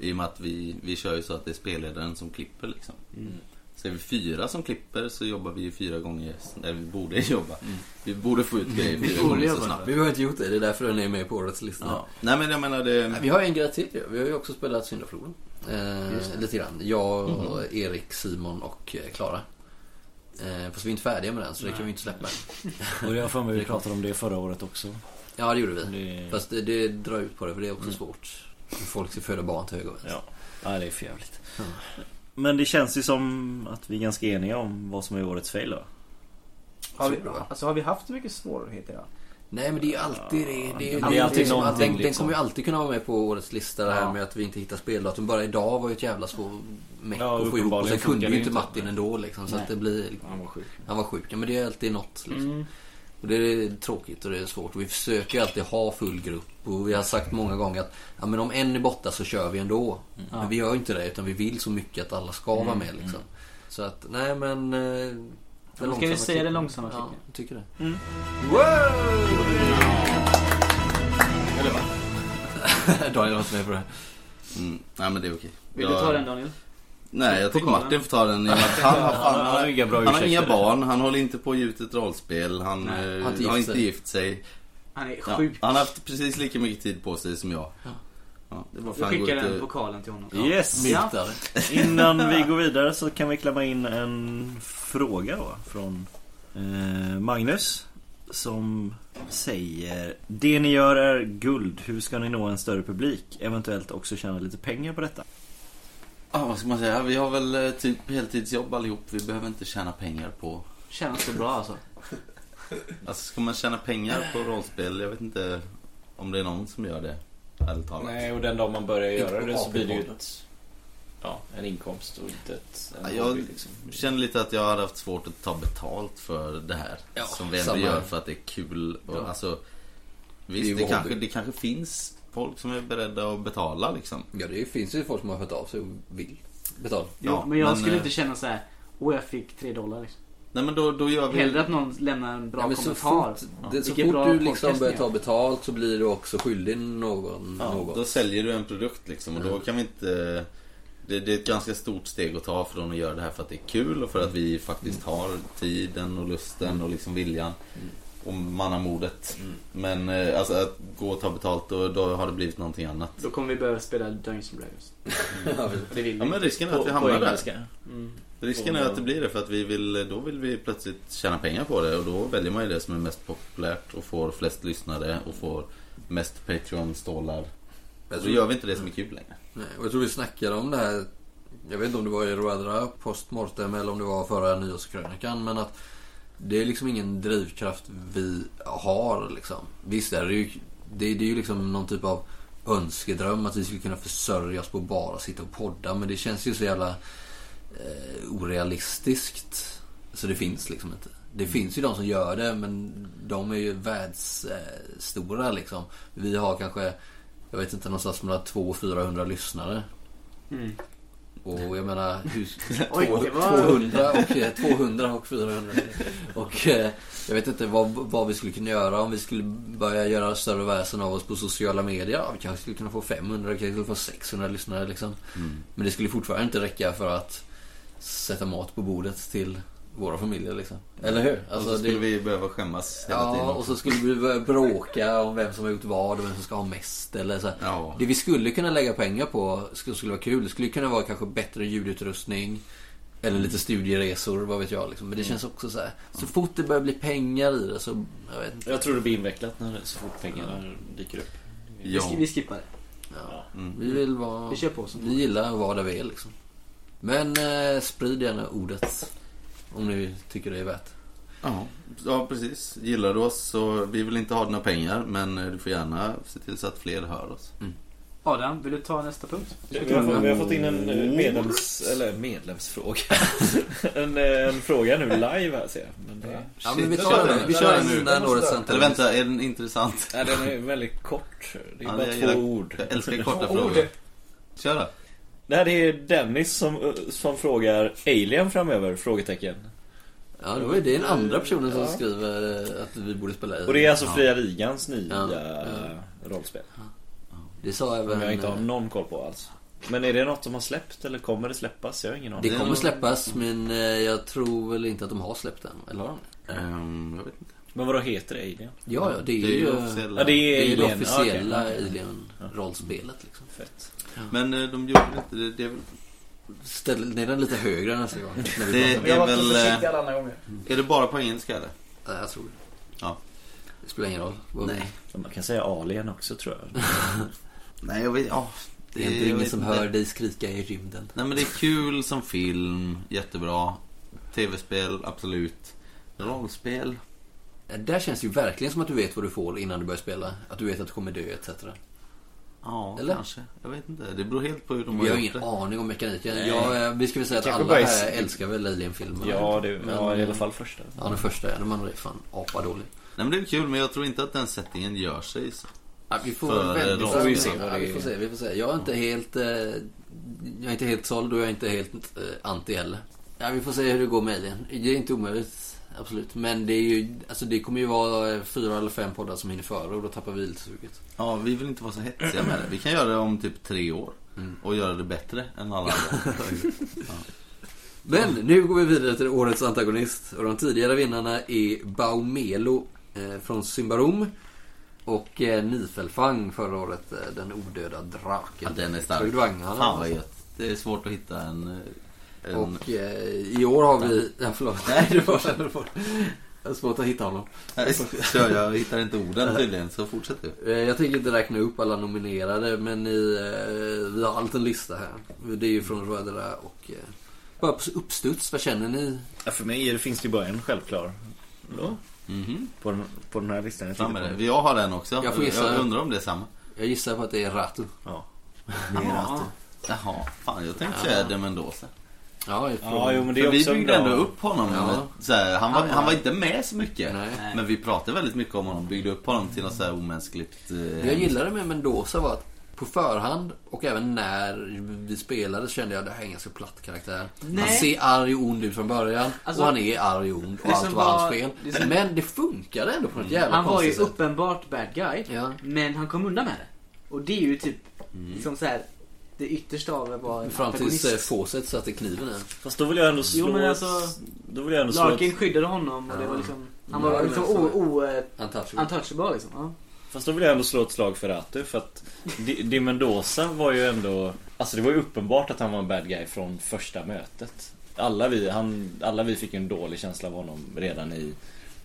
Speaker 5: I och med att vi, vi kör ju så att det är spelledaren som klipper liksom.
Speaker 3: Mm.
Speaker 5: Så är vi fyra som klipper så jobbar vi ju fyra gånger, eller vi borde jobba. Vi borde få ut grejer fyra
Speaker 3: Mm. borde
Speaker 5: gånger så
Speaker 3: jobba.
Speaker 5: snabbt.
Speaker 1: Vi har inte gjort det. Det är därför den är med på årets lista.
Speaker 5: Ja. Nej men jag menar det...
Speaker 1: Vi har en grej till ju. Vi har ju också spelat Syndafloden. Eh, lite grann. Jag, Erik, Simon och eh, Klara. Eh, fast vi är inte färdiga med den så det kan vi inte släppa än.
Speaker 6: Och jag har för mig vi pratade om det förra året också.
Speaker 1: Ja det gjorde vi.
Speaker 6: Det-
Speaker 1: Fast det, det drar ut på det för det är också svårt. Folk ska föda barn till höger och vänster.
Speaker 6: Ja, ja det är för jävligt. Men det känns ju som att vi är ganska eniga om vad som är årets fail då.
Speaker 1: Har
Speaker 3: Har
Speaker 1: vi-
Speaker 3: vi, alltså, har vi haft mycket svårigheter? Då?
Speaker 1: Nej men det är ju alltid det. Det,
Speaker 6: alltid
Speaker 1: liksom att
Speaker 6: någonting,
Speaker 1: den, den
Speaker 6: liksom.
Speaker 1: kommer ju alltid kunna vara med på årets lista det här
Speaker 6: Ja.
Speaker 1: med att vi inte hittar speldatum. Bara idag var ju ett jävla svår meck att
Speaker 6: Ja,
Speaker 1: få ihop. Och sen
Speaker 6: uppenbarligen
Speaker 1: kunde
Speaker 6: funkar
Speaker 1: ju
Speaker 6: det
Speaker 1: inte
Speaker 6: inte.
Speaker 1: Martin ändå liksom. Så att det blir...
Speaker 8: Han var sjuk.
Speaker 1: Han var sjuk. Ja, men det är alltid något liksom.
Speaker 6: Mm.
Speaker 1: Och det är tråkigt och det är svårt. Och vi försöker ju alltid ha full grupp. Och vi har sagt många gånger att ja, men om en är borta så kör vi ändå.
Speaker 3: Mm.
Speaker 1: Men vi gör ju inte det utan vi vill så mycket att alla ska vara med liksom. Så att, nej men... eh, den
Speaker 3: ska vi
Speaker 1: långsamma
Speaker 3: säga
Speaker 1: klippen.
Speaker 3: den långsamma Mm.
Speaker 1: Ja,
Speaker 3: klippen?
Speaker 1: jag tycker det. Daniel har inte med på det.
Speaker 5: Mm, nej men det är okej.
Speaker 3: Vill
Speaker 5: Jag-
Speaker 3: du ta den Daniel?
Speaker 5: Nej jag tycker
Speaker 3: Kolla.
Speaker 5: Martin får ta den i och med att han har fan
Speaker 6: Han har inga bra
Speaker 5: Han har inga barn, han håller inte på och gjuter ett rollspel, han
Speaker 1: Nej,
Speaker 5: eh,
Speaker 1: har inte gift
Speaker 5: har inte
Speaker 1: sig.
Speaker 5: gift sig.
Speaker 3: Han är
Speaker 5: Ja,
Speaker 3: sjuk.
Speaker 5: han har haft precis lika mycket tid på sig som jag. Ja, det var
Speaker 3: Jag
Speaker 5: fan
Speaker 3: skickar
Speaker 5: gå ut
Speaker 3: den
Speaker 5: och-
Speaker 3: vokalen till honom.
Speaker 6: Yes!
Speaker 3: Ja.
Speaker 1: Miltare.
Speaker 6: Innan vi går vidare så kan vi klämma in en fråga då från eh, Magnus. som säger Det ni gör är guld. Hur ska ni nå en större publik? Eventuellt också tjäna lite pengar på detta.
Speaker 5: Ja, vad ska man säga? Vi har väl eh, typ heltidsjobb allihop. Vi behöver inte tjäna pengar på...
Speaker 3: Känns det bra alltså?
Speaker 5: Alltså, ska man tjäna pengar på rollspel? Jag vet inte om det är någon som gör det. Ärligt talat.
Speaker 8: Nej, och den dag man börjar
Speaker 1: Inte
Speaker 8: göra
Speaker 1: på
Speaker 8: det så blir det ju
Speaker 1: AP-podden.
Speaker 8: ett, ja, en inkomst och inte ett...
Speaker 5: Ja,
Speaker 8: En
Speaker 5: jag-
Speaker 8: hobby, liksom.
Speaker 5: Jag känner lite att jag hade haft svårt att ta betalt för det här.
Speaker 1: Ja,
Speaker 5: som vi ändå
Speaker 1: samma
Speaker 5: gör
Speaker 1: här.
Speaker 5: för att det är kul. Och,
Speaker 1: Ja.
Speaker 5: alltså,
Speaker 1: Det är ju
Speaker 5: visst, det,
Speaker 1: vår
Speaker 5: kanske,
Speaker 1: hobby.
Speaker 5: det kanske finns folk som är beredda att betala liksom.
Speaker 1: Ja, det finns ju folk som har hört av sig och vill betala.
Speaker 5: Ja,
Speaker 3: jo, men jag
Speaker 5: men,
Speaker 3: skulle
Speaker 5: eh,
Speaker 3: inte känna så här. Åh, jag fick tre dollar. Liksom.
Speaker 5: Nej men då, då gör vi...
Speaker 3: Hellre att någon lämnar en bra
Speaker 1: ja, men så
Speaker 3: kommentar.
Speaker 1: fort, det, så
Speaker 3: Vilken
Speaker 1: fort
Speaker 3: bra
Speaker 1: du liksom
Speaker 3: podcast
Speaker 1: börjar
Speaker 3: ni
Speaker 1: ta
Speaker 3: har.
Speaker 1: betalt så blir du också skyldig någon
Speaker 5: Ja,
Speaker 1: något.
Speaker 5: Då säljer du en produkt liksom
Speaker 1: Mm.
Speaker 5: och då kan vi inte... Det, det är ett ganska stort steg att ta från att göra det här för att det är kul och för att
Speaker 1: Mm.
Speaker 5: vi faktiskt har tiden och lusten och liksom viljan.
Speaker 1: Mm.
Speaker 5: Och mannamodet. Men eh, alltså att gå och ta betalt, då, då har det blivit någonting annat.
Speaker 3: Då kommer vi behöva spela Dungeons and Dragons. Det vill
Speaker 5: Ja
Speaker 3: vi.
Speaker 5: men risken är att vi
Speaker 8: På-
Speaker 5: hamnar
Speaker 8: på
Speaker 5: där.
Speaker 8: engelska. Mm.
Speaker 5: Risken är att det blir det för att vi vill, då vill vi plötsligt tjäna pengar på det och då väljer man ju det som är mest populärt och får flest lyssnare och får mest Patreon-stålar.
Speaker 1: Jag
Speaker 5: Då
Speaker 1: tror-
Speaker 5: gör vi inte det som är kul längre.
Speaker 1: Nej, och jag tror vi snackade om det här. Jag vet inte om det var i Roadra postmortem eller om det var förra nyårskrönikan. Men att det är liksom ingen drivkraft vi har. Liksom. Visst är det ju, det, det är ju liksom någon typ av önskedröm att vi skulle kunna försörja oss på att bara sitta och podda. Men det känns ju så jävla eh, orealistiskt. Så det finns liksom inte. Det finns ju de som gör det men de är ju världsstora eh, stora, liksom. Vi har kanske, jag vet inte, någonstans mellan 200 och 400 lyssnare.
Speaker 3: Mm.
Speaker 1: Och jag menar, hur,
Speaker 3: Oj, det var-
Speaker 1: 200, och, eh, 200 och 400. Och eh, jag vet inte vad, vad vi skulle kunna göra om vi skulle börja göra större väsen av oss på sociala medier. Ja, vi kanske skulle kunna få 500, vi kanske skulle få 600 lyssnare liksom.
Speaker 8: Mm.
Speaker 1: Men det skulle fortfarande inte räcka för att sätta mat på bordet till våra familjer liksom. Eller hur?
Speaker 5: och så
Speaker 1: Alltså,
Speaker 5: skulle
Speaker 1: det,
Speaker 5: vi behöva skämmas hela tiden.
Speaker 1: ja, och så skulle vi börja bråka om vem som har gjort vad och vem som ska ha mest. Eller så här.
Speaker 5: Ja.
Speaker 1: Det vi skulle kunna lägga pengar på skulle, skulle vara kul. Det skulle kunna vara kanske bättre ljudutrustning. Eller lite studieresor, vad vet jag. Liksom. Men det känns också så här. Så fort det börjar bli pengar i det så, jag vet inte.
Speaker 8: Jag tror det blir invecklat när, så fort pengarna dyker upp.
Speaker 3: Vi,
Speaker 5: Ja.
Speaker 3: sk- vi skippar det.
Speaker 1: Ja.
Speaker 5: Mm.
Speaker 1: Vi vill vara...
Speaker 3: Vi kör på som
Speaker 1: Vi gillar att vara där vi är liksom. Men eh, sprid gärna ordet. Om ni tycker det är värt.
Speaker 5: Ja. ja, precis. Gillar du oss så vi vill inte ha dina pengar men eh, du får gärna se till så att fler hör oss.
Speaker 3: Adam, vill du ta nästa punkt?
Speaker 8: Vi har, fått- vi har fått in en eh, medlems, eller medlemsfråga. en, eh, en fråga nu live här ser jag. Men det,
Speaker 1: Ja, men vi
Speaker 5: Shit.
Speaker 1: tar den.
Speaker 5: Vi kör den
Speaker 1: den
Speaker 5: nu.
Speaker 1: innan årets samtal.
Speaker 5: Eller vänta, är den intressant?
Speaker 8: nej, den är väldigt kort. Det är
Speaker 5: Ja,
Speaker 8: bara
Speaker 5: jag
Speaker 8: två
Speaker 5: gillar-
Speaker 8: ord.
Speaker 5: Jag älskar korta frågor. Kör då.
Speaker 8: Nej, det är Dennis som, eh, som frågar Alien framöver? Frågetecken.
Speaker 1: Ja, då är det den andra personen som skriver eh, att vi borde spela i.
Speaker 8: Och det är alltså
Speaker 5: Ja.
Speaker 8: Fria Ligans nya
Speaker 1: Ja,
Speaker 8: rollspel.
Speaker 1: Det sa
Speaker 8: Som
Speaker 1: även...
Speaker 8: jag inte har
Speaker 1: eh,
Speaker 8: någon koll på alls. Men är det något som har släppt eller kommer det släppas? Jag har ingen
Speaker 1: Det
Speaker 8: aning.
Speaker 5: är
Speaker 1: kommer
Speaker 5: nog-
Speaker 1: släppas men eh, jag tror väl inte att de har släppt den. Eller har de det?
Speaker 5: Ehm, jag vet inte.
Speaker 8: Men vadå heter det Alien?
Speaker 1: Ja, ja, det är
Speaker 5: Det är ju
Speaker 1: ju...
Speaker 5: officiella.
Speaker 8: Ja, det är,
Speaker 1: Det är det
Speaker 8: Alien. Ja, okej.
Speaker 1: officiella Alien-rollspelet liksom.
Speaker 8: Fett.
Speaker 5: Men eh, de gjorde inte det. Det är väl
Speaker 1: Ställ ner den lite högre nästa gång. När vi
Speaker 5: Det
Speaker 1: pratar.
Speaker 7: Jag
Speaker 5: är
Speaker 7: har varit
Speaker 5: väl...
Speaker 7: så försiktig
Speaker 5: eh,
Speaker 7: alla andra gånger.
Speaker 5: Är det bara på engelska eller?
Speaker 1: Ja, jag tror det.
Speaker 5: Ja.
Speaker 1: Det spelar ingen roll. Vad-
Speaker 8: Man kan säga Alien också tror jag.
Speaker 5: Nej, jag vet ja,
Speaker 1: Det är inte
Speaker 5: jag
Speaker 1: ingen
Speaker 5: vet
Speaker 1: som
Speaker 5: inte.
Speaker 1: hör dig skrika i rymden.
Speaker 5: Nej men det är kul som film, jättebra. Tv-spel, absolut. Rollspel.
Speaker 1: Eh, Där känns det ju verkligen som att du vet vad du får innan du börjar spela. Att du vet att du kommer dö etc.
Speaker 5: Ja,
Speaker 1: Eller?
Speaker 5: kanske. Jag vet inte. Det beror helt på hur de har
Speaker 1: Vi har
Speaker 5: gjort
Speaker 1: ingen
Speaker 5: det.
Speaker 1: aning om mekaniken. Jag, eh, vi ska väl säga att
Speaker 8: Kanske
Speaker 1: alla
Speaker 8: bara
Speaker 1: här
Speaker 8: är-
Speaker 1: älskar väl Alien-filmerna.
Speaker 8: Ja, det, ja,
Speaker 1: Men-
Speaker 8: i alla fall första.
Speaker 1: Ja, den första ja. De andra är fan apadålig.
Speaker 5: Nej men det är kul men jag tror inte att den sättningen gör sig. Så.
Speaker 1: Ja, vi får
Speaker 5: För eh,
Speaker 1: väl
Speaker 5: de-
Speaker 1: vänta.
Speaker 5: Får
Speaker 8: vi se vad
Speaker 1: ja,
Speaker 8: det
Speaker 1: vi
Speaker 8: är.
Speaker 1: får se, vi får se. Jag är inte helt... Eh, jag är inte helt såld och jag är inte helt eh, anti heller. Ja, vi får se hur det går med Alien. Det är inte omöjligt. Absolut. Men det är ju... Alltså det kommer ju vara eh, fyra eller fem poddar som hinner före och då tappar vi lite suget.
Speaker 5: Ja, vi vill inte vara så hetsiga med det. Vi kan göra det om typ tre år. Och göra det bättre än alla andra.
Speaker 1: Men nu går vi vidare till årets antagonist. Och de tidigare vinnarna är Baumelo eh, från Symbarom. Och eh, Nifelfang förra året, eh, den odöda draken.
Speaker 5: Ja, den är stark.
Speaker 1: Höjd vanghals.
Speaker 5: Fan vad gött. Det är svårt att hitta en... eh, en...
Speaker 1: Och eh, i år har vi... Ja, förlåt. Nej, det var... Jag har svårt att hitta honom.
Speaker 5: Nej, kör, jag hittar inte orden tydligen, så fortsätt du.
Speaker 1: Eh, Jag tänker inte räkna upp alla nominerade men ni, eh, vi har allt en lista här. Det är ju från Rödera och... Eh, bara på uppstuds, vad känner ni?
Speaker 6: Ja, för mig är det, finns det ju bara en självklar. Då,
Speaker 5: Mhm.
Speaker 6: på, den, på den här listan. Jag
Speaker 5: Fram
Speaker 6: tittar
Speaker 5: med
Speaker 6: på.
Speaker 5: det. Jag har den också.
Speaker 1: Jag får gissa.
Speaker 5: undrar om det är samma.
Speaker 1: Jag gissar på att det är Ratu.
Speaker 6: Ja.
Speaker 5: Jaha, fan jag tänkte säga Edem Mendoza.
Speaker 1: Ja, jag tror-
Speaker 8: Ja, jo, men det
Speaker 5: För
Speaker 8: är
Speaker 5: vi
Speaker 8: också en
Speaker 5: byggde
Speaker 8: bra...
Speaker 5: ändå upp honom.
Speaker 1: Ja.
Speaker 5: lite Så här, han, var, han var inte med så mycket.
Speaker 1: Nej.
Speaker 5: Men vi pratade väldigt mycket om honom. Byggde upp honom till något så här omänskligt. Eh,
Speaker 1: Det jag gillade med Mendoza var att på förhand och även när vi spelade så kände jag att det här är en ganska platt karaktär. Han
Speaker 3: Nej.
Speaker 1: ser arg och ond ut från början
Speaker 3: Alltså-
Speaker 1: och han är arg och ond och
Speaker 3: Det
Speaker 1: allt
Speaker 3: som
Speaker 1: var
Speaker 3: var-
Speaker 1: hans fel.
Speaker 3: det som-
Speaker 1: Men det funkade ändå på något jävla
Speaker 3: Han var ju
Speaker 1: konstigt sätt.
Speaker 3: uppenbart bad guy.
Speaker 1: Ja. Mm.
Speaker 3: Men han kom undan med det. Och det är ju typ liksom så här, det yttersta av att vara en
Speaker 1: Fram tills eh,
Speaker 3: antagonist.
Speaker 1: Fawcett satte kniven i.
Speaker 6: Fast då vill jag ändå slå...
Speaker 3: Jo, men
Speaker 6: ett-
Speaker 3: alltså-
Speaker 6: Då vill jag ändå slå... ett-
Speaker 3: Larkin skyddade honom och det var liksom... Han var
Speaker 1: Ja,
Speaker 3: liksom
Speaker 1: det är så.
Speaker 3: o- o- eh,
Speaker 1: Untouchable.
Speaker 3: untouchable liksom. Ja.
Speaker 6: Fast då vill jag ändå slå ett slag för Ratu för att Di- Di Mendoza var ju ändå Alltså det var ju uppenbart att han var en bad guy från första mötet Alla vi, han, alla vi fick ju en dålig känsla av honom redan i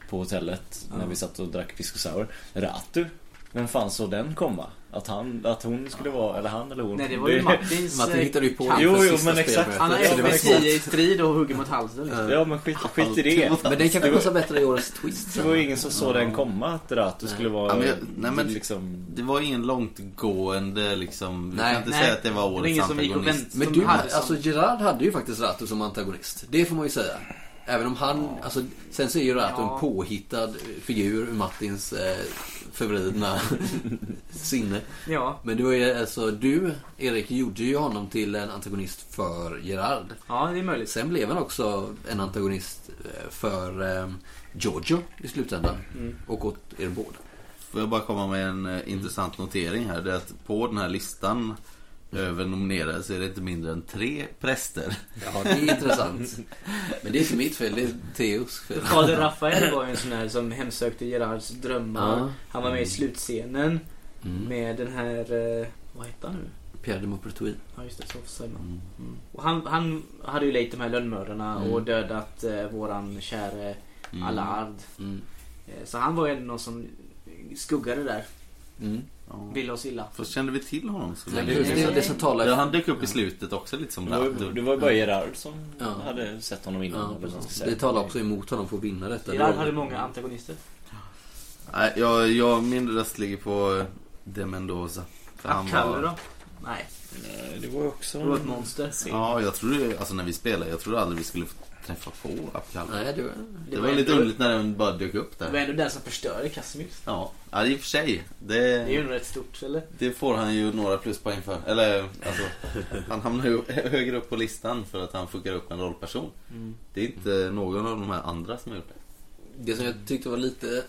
Speaker 6: På hotellet när vi satt och drack pisco sour Ratu Vem fan såg den komma? Att han, att hon skulle vara, eller han eller hon
Speaker 3: Nej, det var ju Martins...
Speaker 1: Martin
Speaker 3: eh,
Speaker 1: hittade ju på
Speaker 3: kamp.
Speaker 6: Jo,
Speaker 1: inför
Speaker 6: jo,
Speaker 1: sista
Speaker 6: men exakt.
Speaker 1: spelmötet,
Speaker 3: Han har
Speaker 1: så det var liksom-
Speaker 3: FB10
Speaker 1: svårt.
Speaker 3: i strid och hugger mot halsen. Liksom.
Speaker 6: Ja men skit, skit i det
Speaker 1: Men den kanske passar bättre i årets twist
Speaker 6: Det
Speaker 1: sen.
Speaker 6: var ju ingen som såg den komma att Ratu skulle vara
Speaker 5: Ja, men jag- nej, men-
Speaker 6: liksom
Speaker 5: Det var ingen långtgående liksom. Vi
Speaker 1: Nej,
Speaker 5: kan inte
Speaker 3: nej.
Speaker 5: säga att det
Speaker 3: Det
Speaker 5: var
Speaker 3: var ingen
Speaker 5: årets
Speaker 3: som gick och
Speaker 5: antagonist.
Speaker 3: vänt,
Speaker 1: Men
Speaker 3: som
Speaker 1: du,
Speaker 3: hade- som-
Speaker 1: alltså Gerard hade ju faktiskt Rato som antagonist. Det får man ju säga. Även om han, alltså, sen så är ju Rato
Speaker 3: Ja.
Speaker 1: en påhittad figur ur Martins eh, förvridna sinne.
Speaker 3: Ja.
Speaker 1: Men det var ju, alltså du, Erik, gjorde ju honom till en antagonist för Gerard.
Speaker 3: ja, det är möjligt.
Speaker 1: Sen blev han också en antagonist eh, för eh, Giorgio i slutändan. Och åt er båda.
Speaker 5: Får jag bara komma med en eh, intressant notering här. Det är att på den här listan över nominerade så är det inte mindre än tre präster.
Speaker 1: Ja, det är intressant. Men det är inte mitt fel, det är Theos fel.
Speaker 3: Fader Rafael var ju en sån här som hemsökte Gerards drömmar.
Speaker 1: Ja.
Speaker 3: Han var med i slutscenen
Speaker 1: Mm.
Speaker 3: med den här... eh, Vad hette han nu?
Speaker 1: Pierre de Maupertuis.
Speaker 3: Ja just det, Sofie Sörman. Mm. Och han, han hade ju lejt de här lönnmördarna och dödat eh, våran käre Allard.
Speaker 1: Mm.
Speaker 3: Eh, så han var ju någon som skuggade där.
Speaker 1: Mm.
Speaker 3: Ville oss illa.
Speaker 5: Fast kände vi till honom så
Speaker 1: Det,
Speaker 5: länge?
Speaker 1: det, det, det som talar
Speaker 5: Ja, han dök upp i slutet också lite som
Speaker 6: Det var, det var ju bara Gerard som
Speaker 1: Ja.
Speaker 6: hade sett honom innan.
Speaker 1: Ja,
Speaker 6: eller vad man ska säga.
Speaker 1: det talar också emot honom för att vinna detta.
Speaker 3: Gerard hade många antagonister.
Speaker 5: Nej, jag, jag, min röst ligger på eh, De Mendoza. För han
Speaker 3: Kalle
Speaker 5: var-
Speaker 3: då? Nej,
Speaker 6: Eh, Det var ju också...
Speaker 3: det var ett monster.
Speaker 5: Ja, jag trodde, alltså när vi spelade, jag trodde aldrig vi skulle få träffa på Apkalle.
Speaker 1: Nej, det var...
Speaker 5: det, var lite
Speaker 3: ändå-
Speaker 5: underligt när den bara dök upp
Speaker 3: Det
Speaker 5: där.
Speaker 3: var ändå den som förstörde Casimirs.
Speaker 5: Ja, ja i och för sig.
Speaker 3: Det är ju
Speaker 5: Det,
Speaker 3: nog rätt stort, eller?
Speaker 5: det får han ju några pluspoäng för. Eller, alltså, han hamnar ju högre upp på listan för att han fuckar upp en rollperson.
Speaker 3: Mm.
Speaker 5: Det är inte någon av de här andra som har gjort det.
Speaker 1: Det som jag tyckte var lite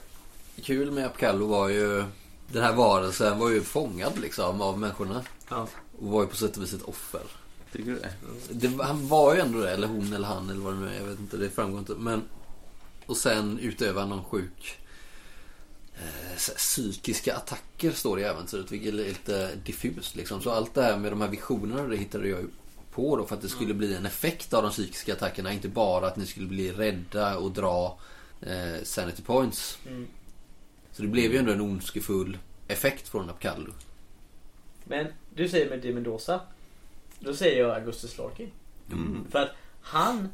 Speaker 1: kul med Apkallo var ju... Den här varelsen var ju fångad liksom av människorna.
Speaker 3: Ja.
Speaker 1: Och var ju på sätt och vis ett offer.
Speaker 5: Tycker du det?
Speaker 1: Det, han var ju ändå det, eller hon eller han eller vad det nu är. Jag vet inte, det framgår inte. Men, och sen utövar någon sjuk... Eh, så här, psykiska attacker står det i äventyret, vilket är lite diffust. Liksom. Så allt det här med de här visionerna det hittade jag ju på då för att det skulle bli en effekt av de psykiska attackerna. Inte bara att ni skulle bli rädda och dra eh, sanity points.
Speaker 3: Mm.
Speaker 1: Så det blev ju ändå en ondskefull effekt från Apkallo.
Speaker 3: Men du säger med Di Mendoza. Då säger jag Augustus Larkin.
Speaker 6: Mm.
Speaker 3: För att han,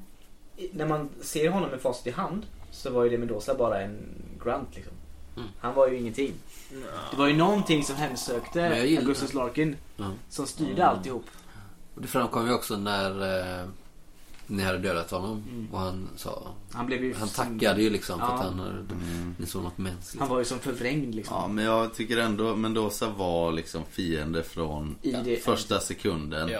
Speaker 3: när man ser honom med facit i hand så var ju Di Mendoza bara en grunt liksom. Han var ju ingenting. Det var ju någonting som
Speaker 1: Men jag
Speaker 3: hemsökte
Speaker 1: gillar-
Speaker 3: Augustus Larkin.
Speaker 1: Ja.
Speaker 3: Som styrde alltihop.
Speaker 1: Och det framkom ju också när eh, ni hade dödat honom och han sa...
Speaker 3: Han blev ju...
Speaker 1: Han tackade ju liksom för
Speaker 3: Ja.
Speaker 1: att han hade, ni såg något liksom. mänskligt.
Speaker 3: Han var ju som förvrängd liksom.
Speaker 5: Mm. Ja, men jag tycker ändå Mendoza var liksom fiende från
Speaker 3: I det-
Speaker 5: första sekunden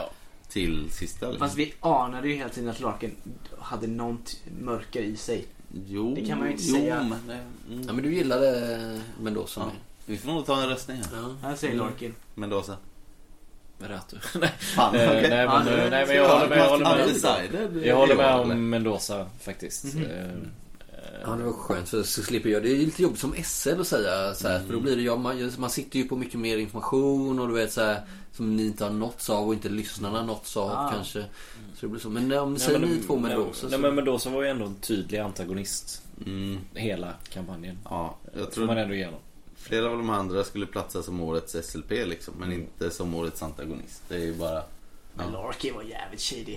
Speaker 5: till sista. Liksom.
Speaker 3: Fast vi anade ju hela tiden att Larkin hade något mörker i sig.
Speaker 5: Jo,
Speaker 3: Det kan man ju inte
Speaker 5: jo,
Speaker 3: säga.
Speaker 5: Men, eh,
Speaker 1: Ja
Speaker 5: mm.
Speaker 1: men du gillade Mendoza
Speaker 5: Ja.
Speaker 1: med.
Speaker 5: Vi får nog ta en röstning här.
Speaker 1: Ja. Mm.
Speaker 3: Han säger Larkin.
Speaker 5: Mendoza.
Speaker 6: Ratu.
Speaker 5: Fan,
Speaker 6: Eh,
Speaker 5: okej.
Speaker 6: nej, men,
Speaker 3: Ja,
Speaker 6: nej men jag håller med. Jag håller med,
Speaker 5: Undecided.
Speaker 1: Mhm. Mm.
Speaker 6: jag håller med om Mendoza faktiskt. Eh,
Speaker 1: Ja, det var skönt för så slipper jag. Det är lite jobbigt som SL att säga så här,
Speaker 3: Mm.
Speaker 1: för då blir det, ja, man, man sitter ju på mycket mer information och du vet så här, som ni inte har nåtts av och inte lyssnarna nåtts av
Speaker 3: Ah.
Speaker 1: kanske. Så det blir så. Men om säger ni två Mendoza
Speaker 6: Nej
Speaker 1: så...
Speaker 6: men Mendoza var ju ändå en tydlig antagonist
Speaker 5: Mm,
Speaker 6: hela kampanjen.
Speaker 5: ja, jag
Speaker 6: Får man
Speaker 5: tror
Speaker 6: ändå igenom.
Speaker 5: flera av de andra skulle platsa som årets SLP liksom, men inte som årets antagonist. Det är ju bara...
Speaker 3: Men Larky var jävligt shady.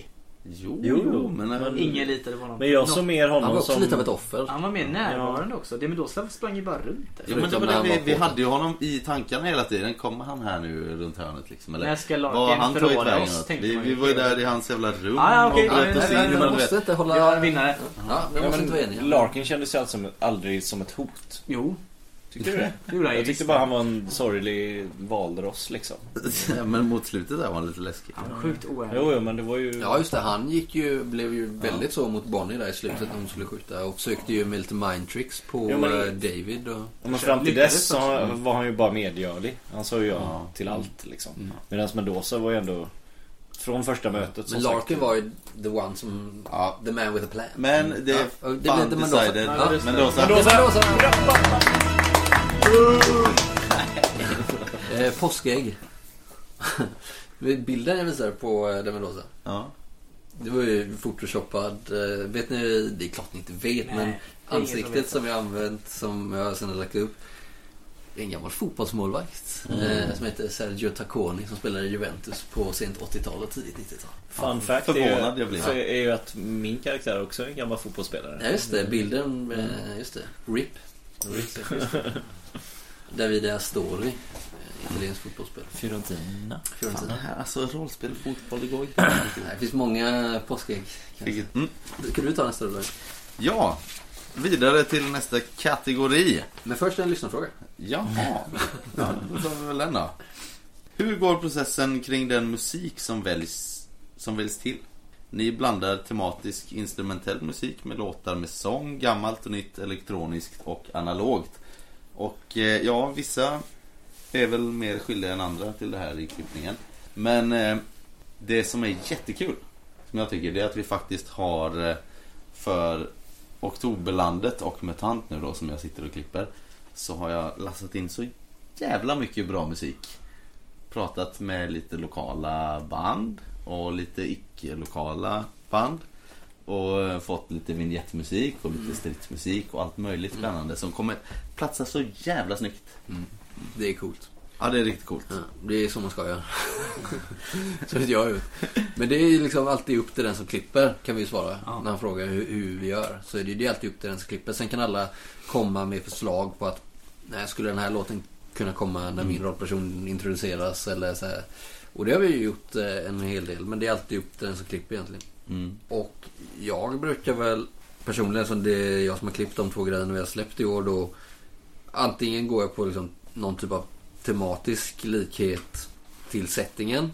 Speaker 5: Jo,
Speaker 6: Jo,
Speaker 5: jo men... men
Speaker 3: Ingen litade på honom.
Speaker 6: Men jag såg mer
Speaker 1: Han var
Speaker 6: honom
Speaker 1: också
Speaker 6: som...
Speaker 1: lite av ett offer.
Speaker 3: Han var mer närvarande också. Det Mendoza sprang ju bara runt där.
Speaker 5: Jo, men det
Speaker 1: Förutom
Speaker 5: var
Speaker 1: när
Speaker 5: det,
Speaker 1: han var
Speaker 5: vi, vi
Speaker 1: på-
Speaker 5: hade ju honom i tankarna hela tiden. Kommer han här nu runt hörnet liksom? Eller
Speaker 3: När ska
Speaker 5: vad
Speaker 3: Larkin
Speaker 5: har han tagit
Speaker 3: förråda
Speaker 5: vägen?
Speaker 3: oss,
Speaker 5: åt?
Speaker 3: tänkte
Speaker 5: Vi,
Speaker 3: man
Speaker 5: vi
Speaker 3: ju.
Speaker 5: var ju där i hans jävla rum.
Speaker 3: Ah, okej,
Speaker 5: och
Speaker 3: nej,
Speaker 5: bröt oss
Speaker 3: nej,
Speaker 5: in.
Speaker 3: nej,
Speaker 5: men
Speaker 1: Man
Speaker 5: du vet-
Speaker 1: måste inte hålla...
Speaker 3: Vi har en vinnare.
Speaker 1: Ja, vi
Speaker 6: Ja,
Speaker 1: måste
Speaker 6: men
Speaker 1: inte vara eniga.
Speaker 6: Larkin kändes ju alltså aldrig som ett hot.
Speaker 3: Jo,
Speaker 6: Tyckte du det?
Speaker 3: det gjorde han ju.
Speaker 6: Jag tyckte
Speaker 3: visst.
Speaker 6: bara han var en sorglig valross liksom.
Speaker 5: Mm. Men mot slutet där var han lite läskig.
Speaker 3: Han var sjukt oärlig.
Speaker 6: Jo, jo men det var ju...
Speaker 1: Ja just det, han gick ju, blev ju väldigt så mot Bonnie där i slutet när hon skulle skjuta och försökte ju med lite mind tricks på
Speaker 6: Jo, men-
Speaker 1: eh, David och...
Speaker 6: Men fram till
Speaker 3: Lyckades
Speaker 6: dess så
Speaker 1: Mm.
Speaker 6: han- var han ju bara medgörlig. Han sa ju ja,
Speaker 5: Ja.
Speaker 6: till allt liksom. Medan Mendoza var ju ändå... Från första mötet
Speaker 1: Men
Speaker 6: som
Speaker 1: Larkin
Speaker 6: sagt.
Speaker 1: var ju the one som...
Speaker 5: Ja.
Speaker 1: The man with a plan.
Speaker 5: Men det är
Speaker 1: Ja, det blir
Speaker 5: fan
Speaker 1: inte Mendoza.
Speaker 5: decided.
Speaker 1: Ja,
Speaker 5: Ja,
Speaker 1: just det.
Speaker 5: Mendoza.
Speaker 1: Mendoza! Mendoza! Eh, Påskägg. Bilden jag visade på eh, den Mendoza.
Speaker 5: Ja.
Speaker 1: Det var ju photoshoppad. eh, Vet ni, det är klart ni inte vet men
Speaker 3: Nej, som
Speaker 1: ansiktet
Speaker 3: vet.
Speaker 1: som jag använt som jag sen har lagt upp. Det är en gammal fotbollsmålvakt eh, som heter Sergio Tacconi som spelade i Juventus på sent 80-tal och tidigt 90-tal.
Speaker 6: Fun fact är,
Speaker 5: förvånad jag
Speaker 6: ju,
Speaker 5: blir.
Speaker 6: så är ju att min karaktär också är en gammal fotbollsspelare.
Speaker 1: Ja just det, Mm. bilden, eh, just det. RIP. Davide Astori, eh, italiensk fotbollsspelare.
Speaker 6: Fiorentina.
Speaker 5: Fan, det
Speaker 1: Fiorentina.
Speaker 5: här, alltså rollspel och fotboll, det går ju
Speaker 1: Nej, Det finns många påskägg. kanske.
Speaker 5: inte. Mm.
Speaker 1: Ska du ta nästa då?
Speaker 5: Ja, vidare till nästa kategori.
Speaker 1: Men först en lyssnarfråga.
Speaker 5: Jaha, ja, då tar vi väl den då. Hur går processen kring den musik som väljs, som väljs till? Ni blandar tematisk instrumentell musik med låtar med sång, gammalt och nytt, elektroniskt och analogt. Och eh, ja, vissa är väl mer skyldiga än andra till det här i klippningen. Men eh, det som är jättekul, som jag tycker, det är att vi faktiskt har eh, för Oktoberlandet och MUTANT nu då, som jag sitter och klipper så har jag lassat in så jävla mycket bra musik. Pratat med lite lokala band och lite icke-lokala band. Och eh, fått lite vignettmusik och lite stridsmusik och allt möjligt spännande som kommer platsa så jävla snyggt.
Speaker 1: Det är coolt.
Speaker 5: Ja, det är riktigt coolt.
Speaker 1: Ja, det är så man ska göra. så det gör jag Men det är ju liksom alltid upp till den som klipper kan vi ju svara. När han frågar hur, hur vi gör. Så är det ju alltid upp till den som klipper. Sen kan alla komma med förslag på att nej, skulle den här låten kunna komma när min rollperson introduceras eller så här. Och det har vi ju gjort eh, en hel del. Men det är alltid upp till den som klipper egentligen.
Speaker 5: Mm.
Speaker 1: Och jag brukar väl personligen, som det är jag som har klippt de två grejerna vi har släppt i år då. Antingen går jag på liksom någon typ av tematisk likhet till settingen.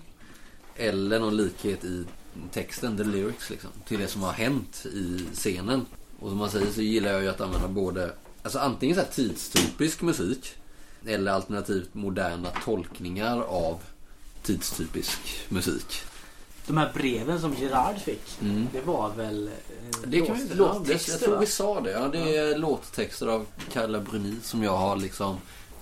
Speaker 1: Eller någon likhet i texten, the lyrics liksom. Till det som har hänt i scenen. Och som man säger så gillar jag ju att använda både, alltså antingen så här tidstypisk musik. Eller alternativt moderna tolkningar av tidstypisk musik.
Speaker 3: De här breven som Gerard fick.
Speaker 1: Mm.
Speaker 3: Det var väl eh,
Speaker 1: Det kan
Speaker 3: låt-
Speaker 1: vi, ja, det, jag
Speaker 3: låttexter
Speaker 1: tror
Speaker 3: va?
Speaker 1: vi sa det. Ja, det är låttexter av Carla Bruni som jag har liksom...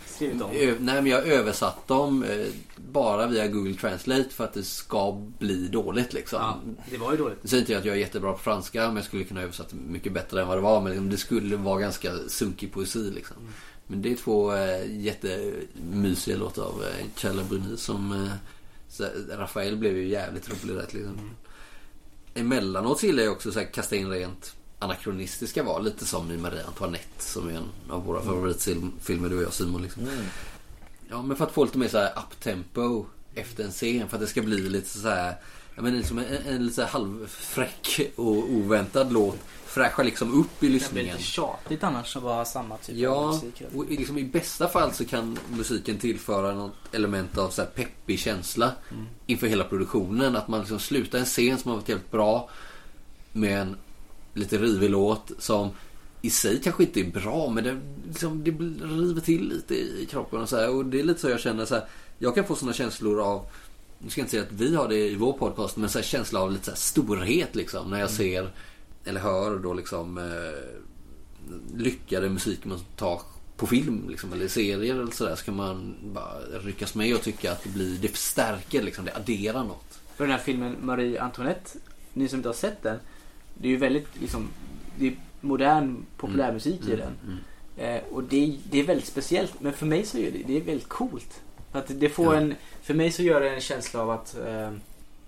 Speaker 3: skrivit om.
Speaker 6: Mm.
Speaker 1: Ö, nej, men jag har översatt dem eh, bara via Google Translate för att det ska bli dåligt liksom.
Speaker 3: Ja, det var ju dåligt.
Speaker 1: Nu säger inte jag att jag är jättebra på franska men jag skulle kunna översätta mycket bättre än vad det var. Men liksom, det skulle vara ganska sunkig poesi liksom.
Speaker 3: Mm.
Speaker 1: Men det är två eh, jättemysiga låtar av eh, Carla Bruni som... Eh, så, Rafael blev ju jävligt rolig liksom. där till
Speaker 3: Mm.
Speaker 1: exempel. Emellanåt gillar jag också så här, kasta in rent anakronistiska val. Lite som i Marie Antoinette som är en av
Speaker 3: Mm.
Speaker 1: våra favoritfilmer du och jag Simon. Liksom. Ja, men för att få lite mer så här uptempo efter en scen. För att det ska bli lite så här... Jag menar, liksom en, en lite så här halvfräck och oväntad låt. Fräscha liksom upp i
Speaker 3: Det blir
Speaker 1: lyssningen.
Speaker 3: lite tjatigt annars att bara ha samma typ av
Speaker 1: Ja,
Speaker 3: musik.
Speaker 1: och i- liksom i bästa fall så kan musiken tillföra något element av så här peppig känsla
Speaker 3: Mm.
Speaker 1: inför hela produktionen. Att man liksom slutar en scen som har varit helt bra med en lite rivig låt som i sig kanske inte är bra men det, liksom, det blir- river till lite i kroppen och så här. Och det är lite så jag känner så här. Jag kan få såna känslor av nu ska jag inte säga att vi har det i vår podcast, men så här
Speaker 3: Mm.
Speaker 1: känsla av lite så här storhet liksom. När jag ser, eller hör då liksom eh, lyckade musikmontage på film liksom, eller serier eller sådär så kan man bara ryckas med och tycka att det blir, det förstärker liksom, det adderar något.
Speaker 3: Och den här filmen Marie Antoinette, ni som inte har sett den, det är ju väldigt liksom, det är modern populärmusik
Speaker 6: Mm.
Speaker 1: Mm,
Speaker 3: i den. Eh, och det, det är väldigt speciellt, men för mig så är det, det är väldigt coolt. För Att det får
Speaker 1: Ja.
Speaker 3: en, för mig så gör det en känsla av att eh,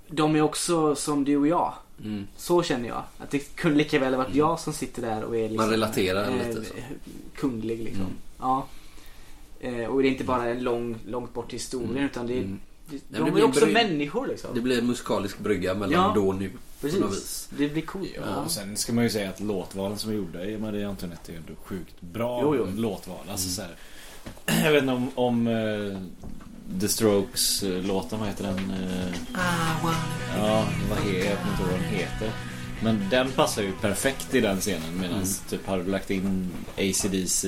Speaker 3: de är också som du och jag.
Speaker 1: Mm.
Speaker 3: Så känner jag. Att det kunde lika väl ha varit jag som sitter där och är liksom, eh,
Speaker 1: Man relaterar lite så.
Speaker 3: kunglig liksom.
Speaker 1: Mm.
Speaker 3: Ja. Eh, och det är inte bara en lång, långt bort historia
Speaker 1: Mm.
Speaker 3: utan det är,
Speaker 1: Mm.
Speaker 3: det,
Speaker 1: men
Speaker 3: de
Speaker 1: det
Speaker 3: är
Speaker 1: blir
Speaker 3: också
Speaker 1: bry-
Speaker 3: människor liksom.
Speaker 1: Det blir en musikalisk brygga mellan
Speaker 3: Ja,
Speaker 1: då och nu. På något vis.
Speaker 3: Precis. Det blir coolt.
Speaker 1: Ja.
Speaker 3: Ja.
Speaker 8: Och sen ska man ju säga att låtvalen som är gjorda i Marie Antoinette är ju ändå sjukt bra
Speaker 3: Jo, Mm. jo.
Speaker 8: låtval. Alltså, så här, jag vet inte om, om eh, The Strokes eh, låten, vad heter den? Eh, ja, vad he, jag kommer inte ihåg vad den heter. Men den passar ju perfekt i den scenen medan
Speaker 3: Mm.
Speaker 8: typ hade du lagt in ACDC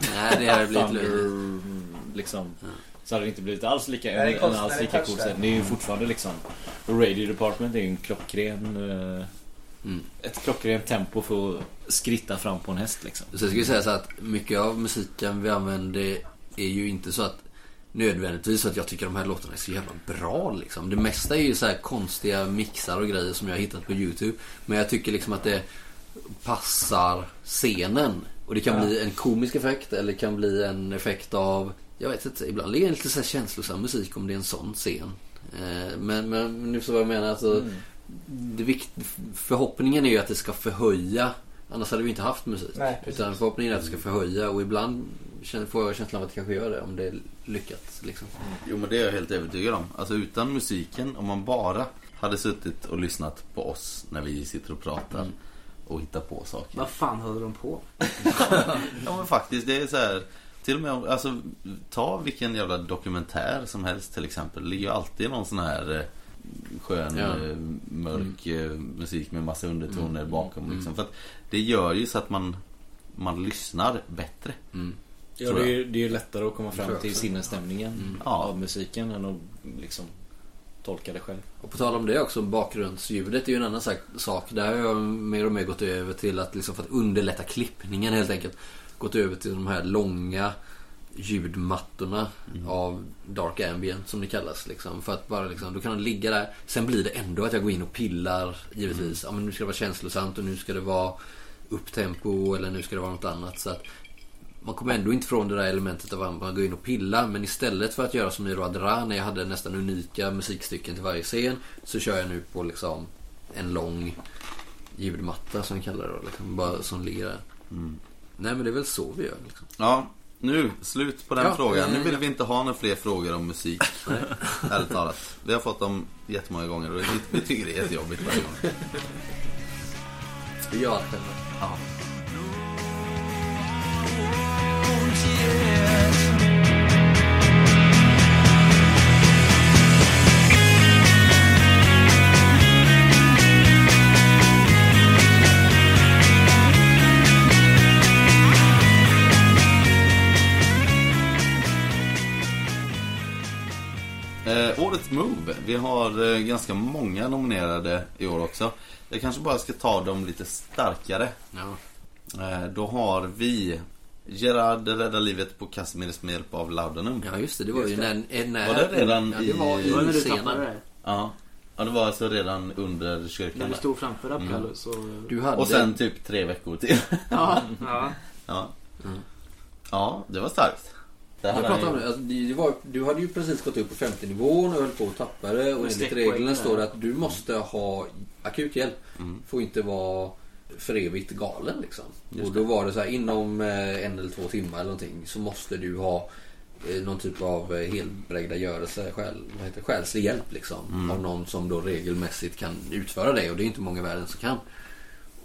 Speaker 1: Nej, det hade blivit löjligt.
Speaker 8: Thunder, liksom. Så hade det inte blivit alls lika,
Speaker 7: Nej, det är
Speaker 8: en, en
Speaker 7: konst-
Speaker 8: alls
Speaker 7: det är
Speaker 8: lika
Speaker 7: touch
Speaker 8: cool
Speaker 7: där.
Speaker 8: scen. Det är ju fortfarande liksom och Radio Department är ju en klockren eh,
Speaker 1: Mm.
Speaker 8: Ett klockrent tempo för att skritta fram på en häst liksom.
Speaker 1: Så jag skulle säga så att mycket av musiken vi använder är ju inte så att nödvändigtvis att jag tycker de här låtarna är så jävla bra liksom. Det mesta är ju så här konstiga mixar och grejer som jag har hittat på YouTube. Men jag tycker liksom att det passar scenen. Och det kan bli en komisk effekt eller det kan bli en effekt av, jag vet inte, ibland är det lite så här känslosam musik om det är en sån scen. Eh, Men, men nu så vad jag menar. Alltså, det vikt, förhoppningen är ju att det ska förhöja. Annars hade vi inte haft musik.
Speaker 7: Nej, precis.
Speaker 1: Utan förhoppningen är att det ska förhöja och ibland känner- får jag känslan av att det kanske gör det om det är lyckat. Liksom.
Speaker 5: Jo men det är jag helt övertygad om. Alltså utan musiken, om man bara hade suttit och lyssnat på oss när vi sitter och pratar och hittar på saker.
Speaker 3: Vad fan håller de på
Speaker 5: Ja men faktiskt, det är så här. Till och med om, alltså ta vilken jävla dokumentär som helst till exempel. Det ligger ju alltid någon sån här eh, skön
Speaker 1: Ja.
Speaker 5: eh, mörk eh, musik med massa undertoner bakom liksom. För att det gör ju så att man, man lyssnar bättre.
Speaker 8: Ja,
Speaker 5: Tror
Speaker 8: det är,
Speaker 5: jag.
Speaker 8: ju, det är ju lättare att komma
Speaker 1: Tror
Speaker 8: fram
Speaker 1: jag
Speaker 8: till
Speaker 1: också.
Speaker 8: sinnesstämningen
Speaker 5: Ja.
Speaker 8: av musiken än att liksom tolka det själv.
Speaker 1: Och på tal om det också, bakgrundsljudet är ju en annan sak- sak. Där har jag mer och mer gått över till att liksom för att underlätta klippningen helt enkelt. Gått över till de här långa ljudmattorna av dark ambient som det kallas. Liksom, för att bara liksom, då kan den ligga där. Sen blir det ändå att jag går in och pillar givetvis. Ja, men nu ska det vara känslosamt och nu ska det vara upptempo eller nu ska det vara något annat. Så att man kommer ändå inte från det där elementet av att man går in och pillar. Men istället för att göra som i Roadra när jag hade nästan unika musikstycken till varje scen. Så kör jag nu på liksom en lång ljudmatta som vi kallar det. då, Liksom, bara som ligger där. Nej men det är väl så vi gör. Liksom.
Speaker 5: Ja, nu slut på den
Speaker 1: Ja,
Speaker 5: frågan. Nu
Speaker 1: eh,
Speaker 5: vill
Speaker 1: ja.
Speaker 5: vi inte ha några fler frågor om musik. Ärligt talat. Vi har fått dem jättemånga gånger och vi- vi tycker det är jättejobbigt varje gång.
Speaker 1: Vi gör allt själva.
Speaker 5: Ja. Eh, årets Move. Vi har eh, ganska många nominerade i år också. Jag kanske bara ska ta dem lite starkare.
Speaker 1: Ja.
Speaker 5: Eh, då har vi Gerard räddar livet på Casimirus med hjälp av Laudanum.
Speaker 1: ja just det, det var ju när, eh, när...
Speaker 5: Var det redan
Speaker 1: ja, det var
Speaker 5: i-
Speaker 1: i,
Speaker 3: Det var när du
Speaker 1: scenen.
Speaker 3: tappade det.
Speaker 5: Ja. ja, det var alltså redan under
Speaker 3: När
Speaker 5: kyrkan.
Speaker 3: du
Speaker 5: där.
Speaker 3: stod framför Apollo
Speaker 1: Mm.
Speaker 3: så...
Speaker 1: Du hade...
Speaker 5: Och sen typ tre veckor till.
Speaker 3: Ja. ja.
Speaker 5: ja. ja, det var starkt. Det
Speaker 1: Jag
Speaker 5: hade
Speaker 1: pratar
Speaker 5: han
Speaker 1: om
Speaker 5: ju-
Speaker 1: det. Alltså, det det var, du hade ju precis gått upp på 50-nivån och höll på att tappa det. Och enligt
Speaker 3: Med streckpoäng
Speaker 1: reglerna
Speaker 3: där.
Speaker 1: står det att du måste ha akut hjälp.
Speaker 5: Mm.
Speaker 1: Får inte vara för evigt galen liksom. och då var det så här inom eh, en eller två timmar eller någonting så måste du ha eh, någon typ av eh, helbrägda görelse, själ, vad heter det, själslig hjälp liksom.
Speaker 5: Mm.
Speaker 1: Av någon som då regelmässigt kan utföra det och det är inte många i världen som kan.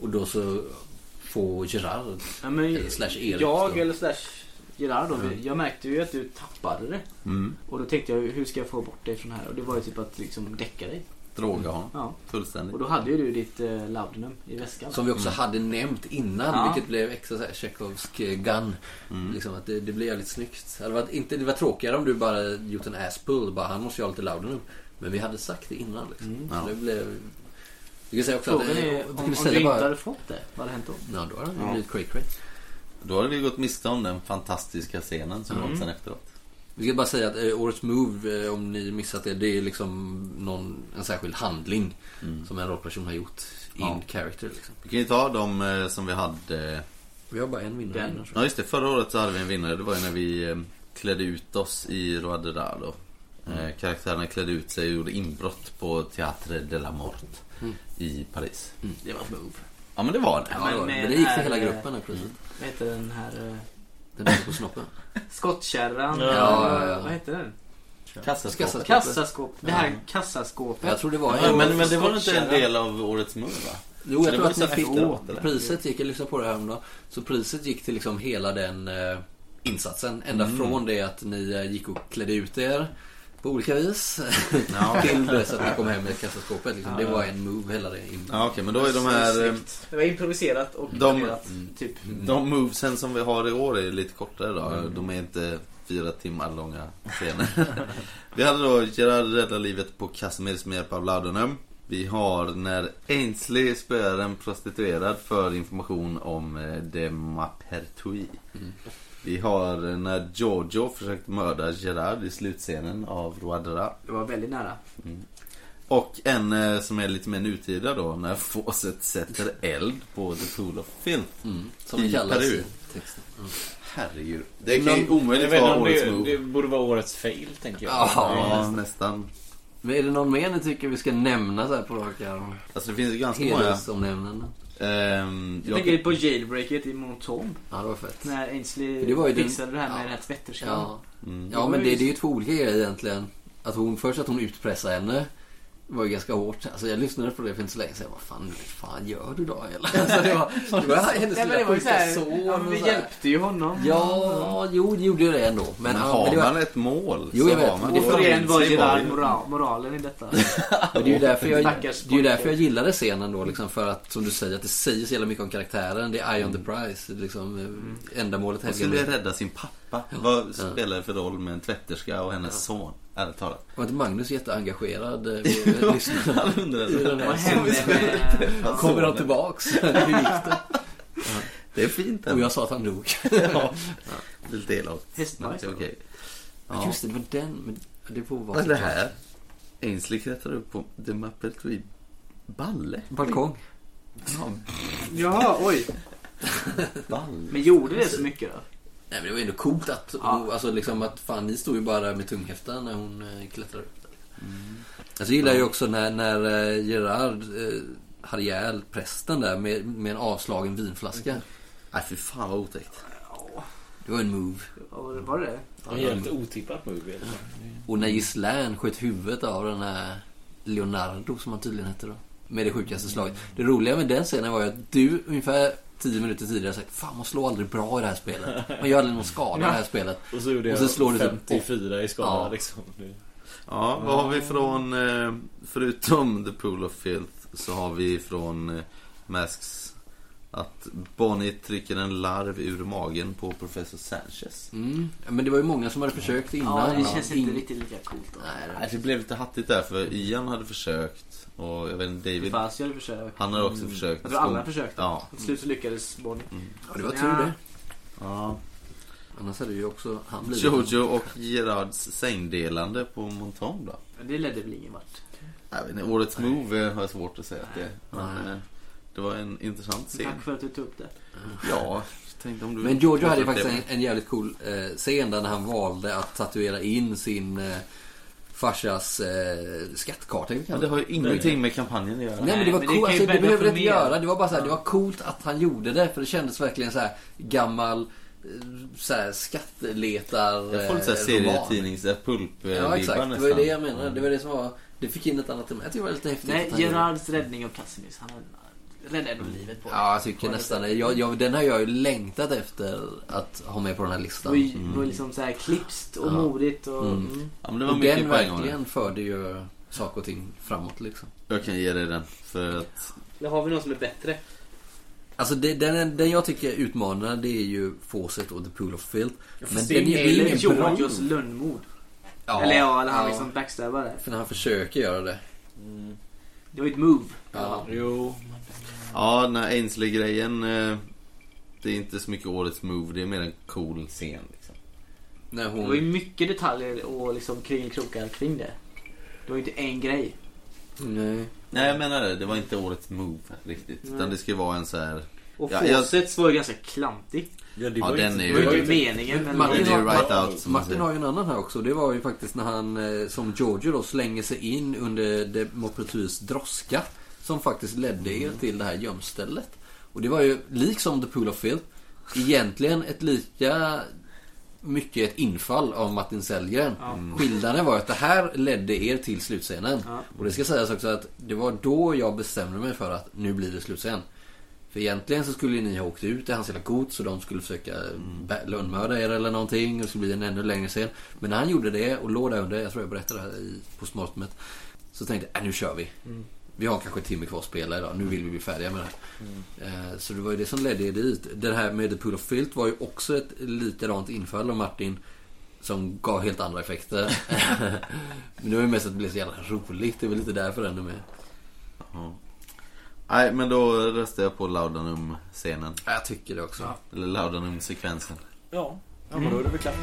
Speaker 1: Och då så får Gerard
Speaker 3: ja men,
Speaker 1: Eller slash Erik
Speaker 3: jag
Speaker 1: då.
Speaker 3: eller slash Gerard då, Jag märkte ju att du tappade det.
Speaker 5: Mm.
Speaker 3: Och då tänkte jag hur ska jag få bort dig från här? Och det var ju typ att liksom däcka dig.
Speaker 5: Droga honom.
Speaker 3: Ja.
Speaker 5: Fullständigt.
Speaker 3: Och då hade ju du ditt eh, Laudinum i väskan.
Speaker 1: Som vi också hade nämnt innan,
Speaker 3: Mm. Ja. Mm.
Speaker 1: vilket blev extra så här Chekhovsk eh, gun. Liksom att det, det blev jävligt snyggt. Det hade varit, inte, det var tråkigare om du bara gjort en ass pull, bara han måste ju ha lite louder nu. Men vi hade sagt det innan liksom. Så det blev... Du kan säga också att...
Speaker 3: Mm. Frågan är
Speaker 1: du
Speaker 3: om,
Speaker 1: kan
Speaker 3: om
Speaker 1: säga
Speaker 3: du inte
Speaker 1: bara-
Speaker 3: hade fått det, vad hade hänt då?
Speaker 1: Ja, då har han ju blivit cray cray.
Speaker 5: Då hade vi gått miste om den fantastiska scenen som kom sen efteråt.
Speaker 1: Vi ska bara säga att eh, årets move, eh, om ni missat det, det är liksom någon, en särskild handling
Speaker 3: Mm.
Speaker 1: som en rollperson har gjort in
Speaker 5: Ja.
Speaker 1: character. Liksom.
Speaker 5: Vi kan ju ta de eh, som vi hade...
Speaker 1: Vi har bara en vinnare.
Speaker 3: Den.
Speaker 1: innan, tror
Speaker 5: Ja just det, förra året så hade vi en vinnare. Det var ju när vi eh, klädde ut oss i Roadera då. Eh, Karaktärerna klädde ut sig och gjorde inbrott på Teatre de la Mort i Paris.
Speaker 1: jag. Mm, det var ett move.
Speaker 5: Mm. Ja men det var det.
Speaker 1: Ja,
Speaker 3: men
Speaker 1: det var det.
Speaker 3: med
Speaker 1: men det gick för
Speaker 3: den
Speaker 1: hela
Speaker 3: här,
Speaker 1: gruppen här plötsligt.
Speaker 3: Vad heter den här eh,
Speaker 1: Den är på snoppen.
Speaker 3: skottkärran?
Speaker 1: Ja, ja, ja.
Speaker 3: Vad heter den?
Speaker 5: Kassaskåp.
Speaker 1: Kassaskåpet.
Speaker 3: Kassaskåp. Det här
Speaker 1: Jag
Speaker 3: kassaskåpet.
Speaker 1: tror det var
Speaker 5: Ja,
Speaker 1: en...
Speaker 5: men, men det var inte en del av årets move va?
Speaker 1: Jo, jag
Speaker 5: det
Speaker 1: tror
Speaker 5: var
Speaker 1: att
Speaker 5: ju
Speaker 1: ni
Speaker 5: så
Speaker 1: fick
Speaker 5: efteråt, eller?
Speaker 1: Priset gick, jag lyssnade på det häromdagen. Så priset gick till liksom hela den eh, insatsen. Ända
Speaker 5: Mm.
Speaker 1: från det att ni eh, gick och klädde ut er på olika vis. till dess att ni kom hem med kassaskåpet. Liksom. Det var en move hela det. In.
Speaker 5: Ja okej men då är de här... eh,
Speaker 3: Det var improviserat och
Speaker 5: De-
Speaker 3: planerat.
Speaker 1: Mm.
Speaker 3: Typ.
Speaker 5: De movesen som vi har i år är lite kortare då. De är inte fyra timmar långa scener. vi hade då Gerard räddar livet på Casimirs med hjälp av Ladonum. Vi har när Ainsley spöar en prostituerad för information om eh, de Mapertui. Vi har eh, när Giorgio försökte mörda Gerard i slutscenen av Roadera.
Speaker 3: Det var väldigt nära.
Speaker 5: Och en eh, som är lite mer nutida då när Fawcett sätter eld på The Pool of Filth.
Speaker 1: Mm, som det
Speaker 5: I
Speaker 1: kallas
Speaker 5: Peru.
Speaker 1: i texten. Mm.
Speaker 5: Herregud. Det kan ju
Speaker 8: Jag
Speaker 5: omöjligt
Speaker 8: vet inte
Speaker 5: vara
Speaker 8: om
Speaker 5: årets
Speaker 8: det,
Speaker 5: move.
Speaker 8: det borde vara årets fail, tänker jag.
Speaker 1: Ja.
Speaker 5: Ja, nästan.
Speaker 1: Men är det någon mer ni tycker vi ska nämna så här på rak arm?
Speaker 5: Alltså det finns ju ganska många.
Speaker 1: Hedersomnämnanden.
Speaker 5: Ehm,
Speaker 3: Jag tänker på jailbreaket i Montomb.
Speaker 1: Ja, det var fett.
Speaker 3: När Ainsley
Speaker 1: Det var ju den-
Speaker 3: fixade det här med
Speaker 1: ja.
Speaker 3: den här tvätterskan.
Speaker 1: Ja,
Speaker 5: Mm.
Speaker 1: ja men det, det är ju två olika grejer egentligen. Att hon, först att hon utpressar henne. Det var ju ganska hårt. Alltså jag lyssnade på det för inte så länge sedan. Vad fan, fan gör du då eller? Alltså, det var, det var hennes
Speaker 3: Nej, men det
Speaker 1: lilla
Speaker 3: var
Speaker 1: sjuka
Speaker 3: ju såhär,
Speaker 1: sår.
Speaker 3: ja, men
Speaker 1: och
Speaker 3: vi
Speaker 1: så här.
Speaker 3: hjälpte ju honom.
Speaker 1: Ja, jo det gjorde ju det ändå. Men,
Speaker 5: Men
Speaker 1: ja,
Speaker 5: har
Speaker 1: men det, var,
Speaker 5: man ett mål
Speaker 1: Jo,
Speaker 5: så
Speaker 1: jag vet.
Speaker 5: har man
Speaker 1: Det
Speaker 3: Och
Speaker 1: var-
Speaker 3: återigen var
Speaker 5: Ainsley
Speaker 3: Gerard
Speaker 5: ju-
Speaker 3: moral, moralen i detta.
Speaker 1: men det är ju därför jag,
Speaker 3: Stackars
Speaker 1: det är ju därför jag gillade scenen då. Liksom, för att som du säger, att det säger så jävla mycket om karaktären. Det är eye on the prize. Liksom, Ändamålet
Speaker 5: Hon
Speaker 1: helgar
Speaker 5: skulle ju
Speaker 1: medlen.
Speaker 5: rädda sin pappa. Vad spelar det för roll med en tvätterska och hennes son? Ärligt talat.
Speaker 1: Var inte Magnus jätteengagerad? eh, vi lyssnade.
Speaker 5: Han undrade
Speaker 1: I den
Speaker 5: så
Speaker 1: här
Speaker 5: här.
Speaker 3: Vad hände med...
Speaker 5: Vad
Speaker 1: Kommer
Speaker 5: sonen?
Speaker 1: de tillbaks? Hur gick det?
Speaker 5: Det är fint
Speaker 1: Och
Speaker 5: ändå.
Speaker 1: jag sa att han dog.
Speaker 5: Lite elakt. Men
Speaker 3: Hästbajs
Speaker 5: det är okej.
Speaker 1: Ja. Just det, det var den. Men det får vara
Speaker 5: Vad är
Speaker 1: så.
Speaker 5: det här? Ainsley klättrar upp på The Mappertui Balle?
Speaker 1: Balkong.
Speaker 3: Jaha, oj.
Speaker 5: Balle?
Speaker 3: Men gjorde det så mycket då?
Speaker 1: Nej men det var ändå coolt att,
Speaker 3: Ja.
Speaker 1: alltså liksom att fan ni stod ju bara där med tunghäftan när hon eh, klättrade upp där. Alltså jag gillar ju också när, när eh, Gerard eh, hade ihjäl prästen där med, med en avslagen vinflaska.
Speaker 5: Nej fy fan vad otäckt.
Speaker 1: Det var en move.
Speaker 3: Var det- Var det det?
Speaker 8: En jävligt otippat move. i alla fall.
Speaker 1: Och när Gislaine sköt huvudet av den här Leonardo som han tydligen hette då. Med det sjukaste slaget. Det roliga med den scenen var ju att du ungefär 10 minuter tidigare sagt Fan man slår aldrig bra i det här spelet. Man gör aldrig någon skada i det här spelet.
Speaker 8: Och så gjorde
Speaker 1: Och så slår du
Speaker 8: jag
Speaker 1: typ
Speaker 8: 54 i skada
Speaker 1: Ja.
Speaker 8: liksom. Det-
Speaker 5: Ja, vad har vi från, eh, förutom The Pool of Filth, så har vi från eh, Masks att Bonnie trycker en larv ur magen på Professor Sanchez.
Speaker 1: Mm. Men det var ju många som hade försökt
Speaker 3: Ja,
Speaker 1: innan.
Speaker 3: det känns
Speaker 1: In-
Speaker 3: inte riktigt lika coolt då.
Speaker 1: Nej, det-
Speaker 5: Nej, det blev lite hattigt där för Ian hade försökt och jag vet inte, David,
Speaker 3: Fast jag hade försökt.
Speaker 5: han hade också försökt.
Speaker 3: Jag tror alla försökte.
Speaker 5: Ja.
Speaker 3: Till slut så lyckades Bonnie.
Speaker 1: ja, det var tur det.
Speaker 5: ja.
Speaker 1: Annars hade ju också han blivit...
Speaker 5: Jojo och Gerards sängdelande på Monton då?
Speaker 3: Men det ledde väl ingen vart.
Speaker 5: Jag vet inte, årets move eh, har jag svårt att säga att det är. Men, eh, det var en intressant scen.
Speaker 3: Tack för att du tog upp det.
Speaker 5: Ja, tänkte om du
Speaker 1: Men Giorgio hade ju faktiskt en, en jävligt cool eh, scen där när han valde att tatuera in sin eh, farsas eh, skattkarta. kan vi
Speaker 5: Ja,
Speaker 1: kalla
Speaker 5: det
Speaker 1: det.
Speaker 5: har ju ingenting med kampanjen att göra.
Speaker 1: Nej men det var
Speaker 3: men det
Speaker 1: coolt,
Speaker 3: kan ju
Speaker 1: alltså, det
Speaker 3: bädda
Speaker 1: behöver
Speaker 3: för
Speaker 1: det inte
Speaker 3: mer.
Speaker 1: göra. Det var bara så här, det var coolt att han gjorde det för det kändes verkligen så här gammal eh, så här, skatteletar...
Speaker 5: Jag får lite såhär
Speaker 1: eh,
Speaker 5: serietidnings pulp-vibbar
Speaker 1: Ja exakt, det var ju
Speaker 5: nästan. Mm.
Speaker 1: det jag menade. Det var det som var... Det fick in ett annat tema. Jag tycker det var lite häftigt.
Speaker 3: Nej,
Speaker 1: att han gjorde det.
Speaker 3: Gerards räddning av Casimir. Han räddade ändå livet på
Speaker 1: Ja, jag tycker nästan det. Jag, jag, den har jag ju längtat efter att ha med på den här listan.
Speaker 3: Och det var liksom så här klipskt och
Speaker 1: Mm. Ja.
Speaker 3: modigt och...
Speaker 1: Mm.
Speaker 3: Mm.
Speaker 5: Ja, men det var
Speaker 1: Och
Speaker 5: mycket
Speaker 1: den
Speaker 5: på en gång.
Speaker 1: verkligen förde ju saker och ting framåt liksom.
Speaker 5: Jag kan ge dig den. För att...
Speaker 3: Eller har vi någon som är bättre?
Speaker 1: Alltså det, den, den jag tycker utmanar det är ju Fawcett och The Pool of Filth. Men
Speaker 3: Fast det
Speaker 1: den är, det är
Speaker 3: eller
Speaker 1: ingen bra.
Speaker 3: Georgios lönnmord.
Speaker 1: Ja,
Speaker 3: liksom eller ja, eller han liksom backstabbade.
Speaker 1: För när han försöker göra det.
Speaker 3: Det var ju ett move.
Speaker 1: Ja.
Speaker 8: Jo.
Speaker 5: Ja, den här Ainsley-grejen. eh, Det är inte så mycket årets move. Det är mer en cool scen. Liksom.
Speaker 1: När
Speaker 3: Det var ju
Speaker 1: hon...
Speaker 3: mycket detaljer och liksom kringelkrokar kring det. Det var ju inte en grej.
Speaker 1: Nej.
Speaker 5: Nej, jag menar det. Det var inte årets move riktigt. Utan det ska ju vara en så här...
Speaker 3: Och
Speaker 5: Ja,
Speaker 3: ja,
Speaker 5: jag-
Speaker 3: Fawcetts var ju ganska klantig.
Speaker 8: Ja, det
Speaker 5: Ja,
Speaker 8: var ju
Speaker 5: den
Speaker 8: inte-
Speaker 5: är
Speaker 3: Det
Speaker 5: ju-
Speaker 3: var ju
Speaker 8: ju
Speaker 3: inte meningen. Men
Speaker 5: Det
Speaker 1: Martin
Speaker 5: är
Speaker 1: har,
Speaker 5: right out som man
Speaker 1: Martin har
Speaker 5: säger.
Speaker 1: ju en annan här också. Det var ju faktiskt när han eh, som Giorgio då slänger sig in under Demokratus droska. Som faktiskt ledde er till det här gömstället. Och det var ju liksom The Pool of Filth. Egentligen ett lika mycket ett infall av Martin Sellgren. Skillnaden var att det här ledde er till slutscenen.
Speaker 3: Ja.
Speaker 1: Och det ska sägas också att det var då jag bestämde mig för att nu blir det slutscen. För egentligen så skulle ju ni ha åkt ut i hans hela gods och de skulle försöka mm, bä- lönnmörda er eller någonting. Och det skulle bli en ännu längre scen. Men när han gjorde det och låg där under, jag tror jag berättade det här i postmortemet. Så tänkte jag, äh, nu kör vi. Vi har kanske en timme kvar att spela idag. Nu vill vi bli färdiga med det här. Eh, Så det var ju det som ledde er dit. Det här med The Pool of Filt var ju också ett likadant infall av Martin. Som gav helt andra effekter. Men det var ju mest att det blev så jävla roligt. Det är väl lite därför den är med.
Speaker 5: Ja. Nej, men då röstar jag på Laudanum-scenen.
Speaker 1: Ja, Jag tycker det också.
Speaker 5: Eller Laudanum-sekvensen.
Speaker 2: Ja, ja men då är det väl klart.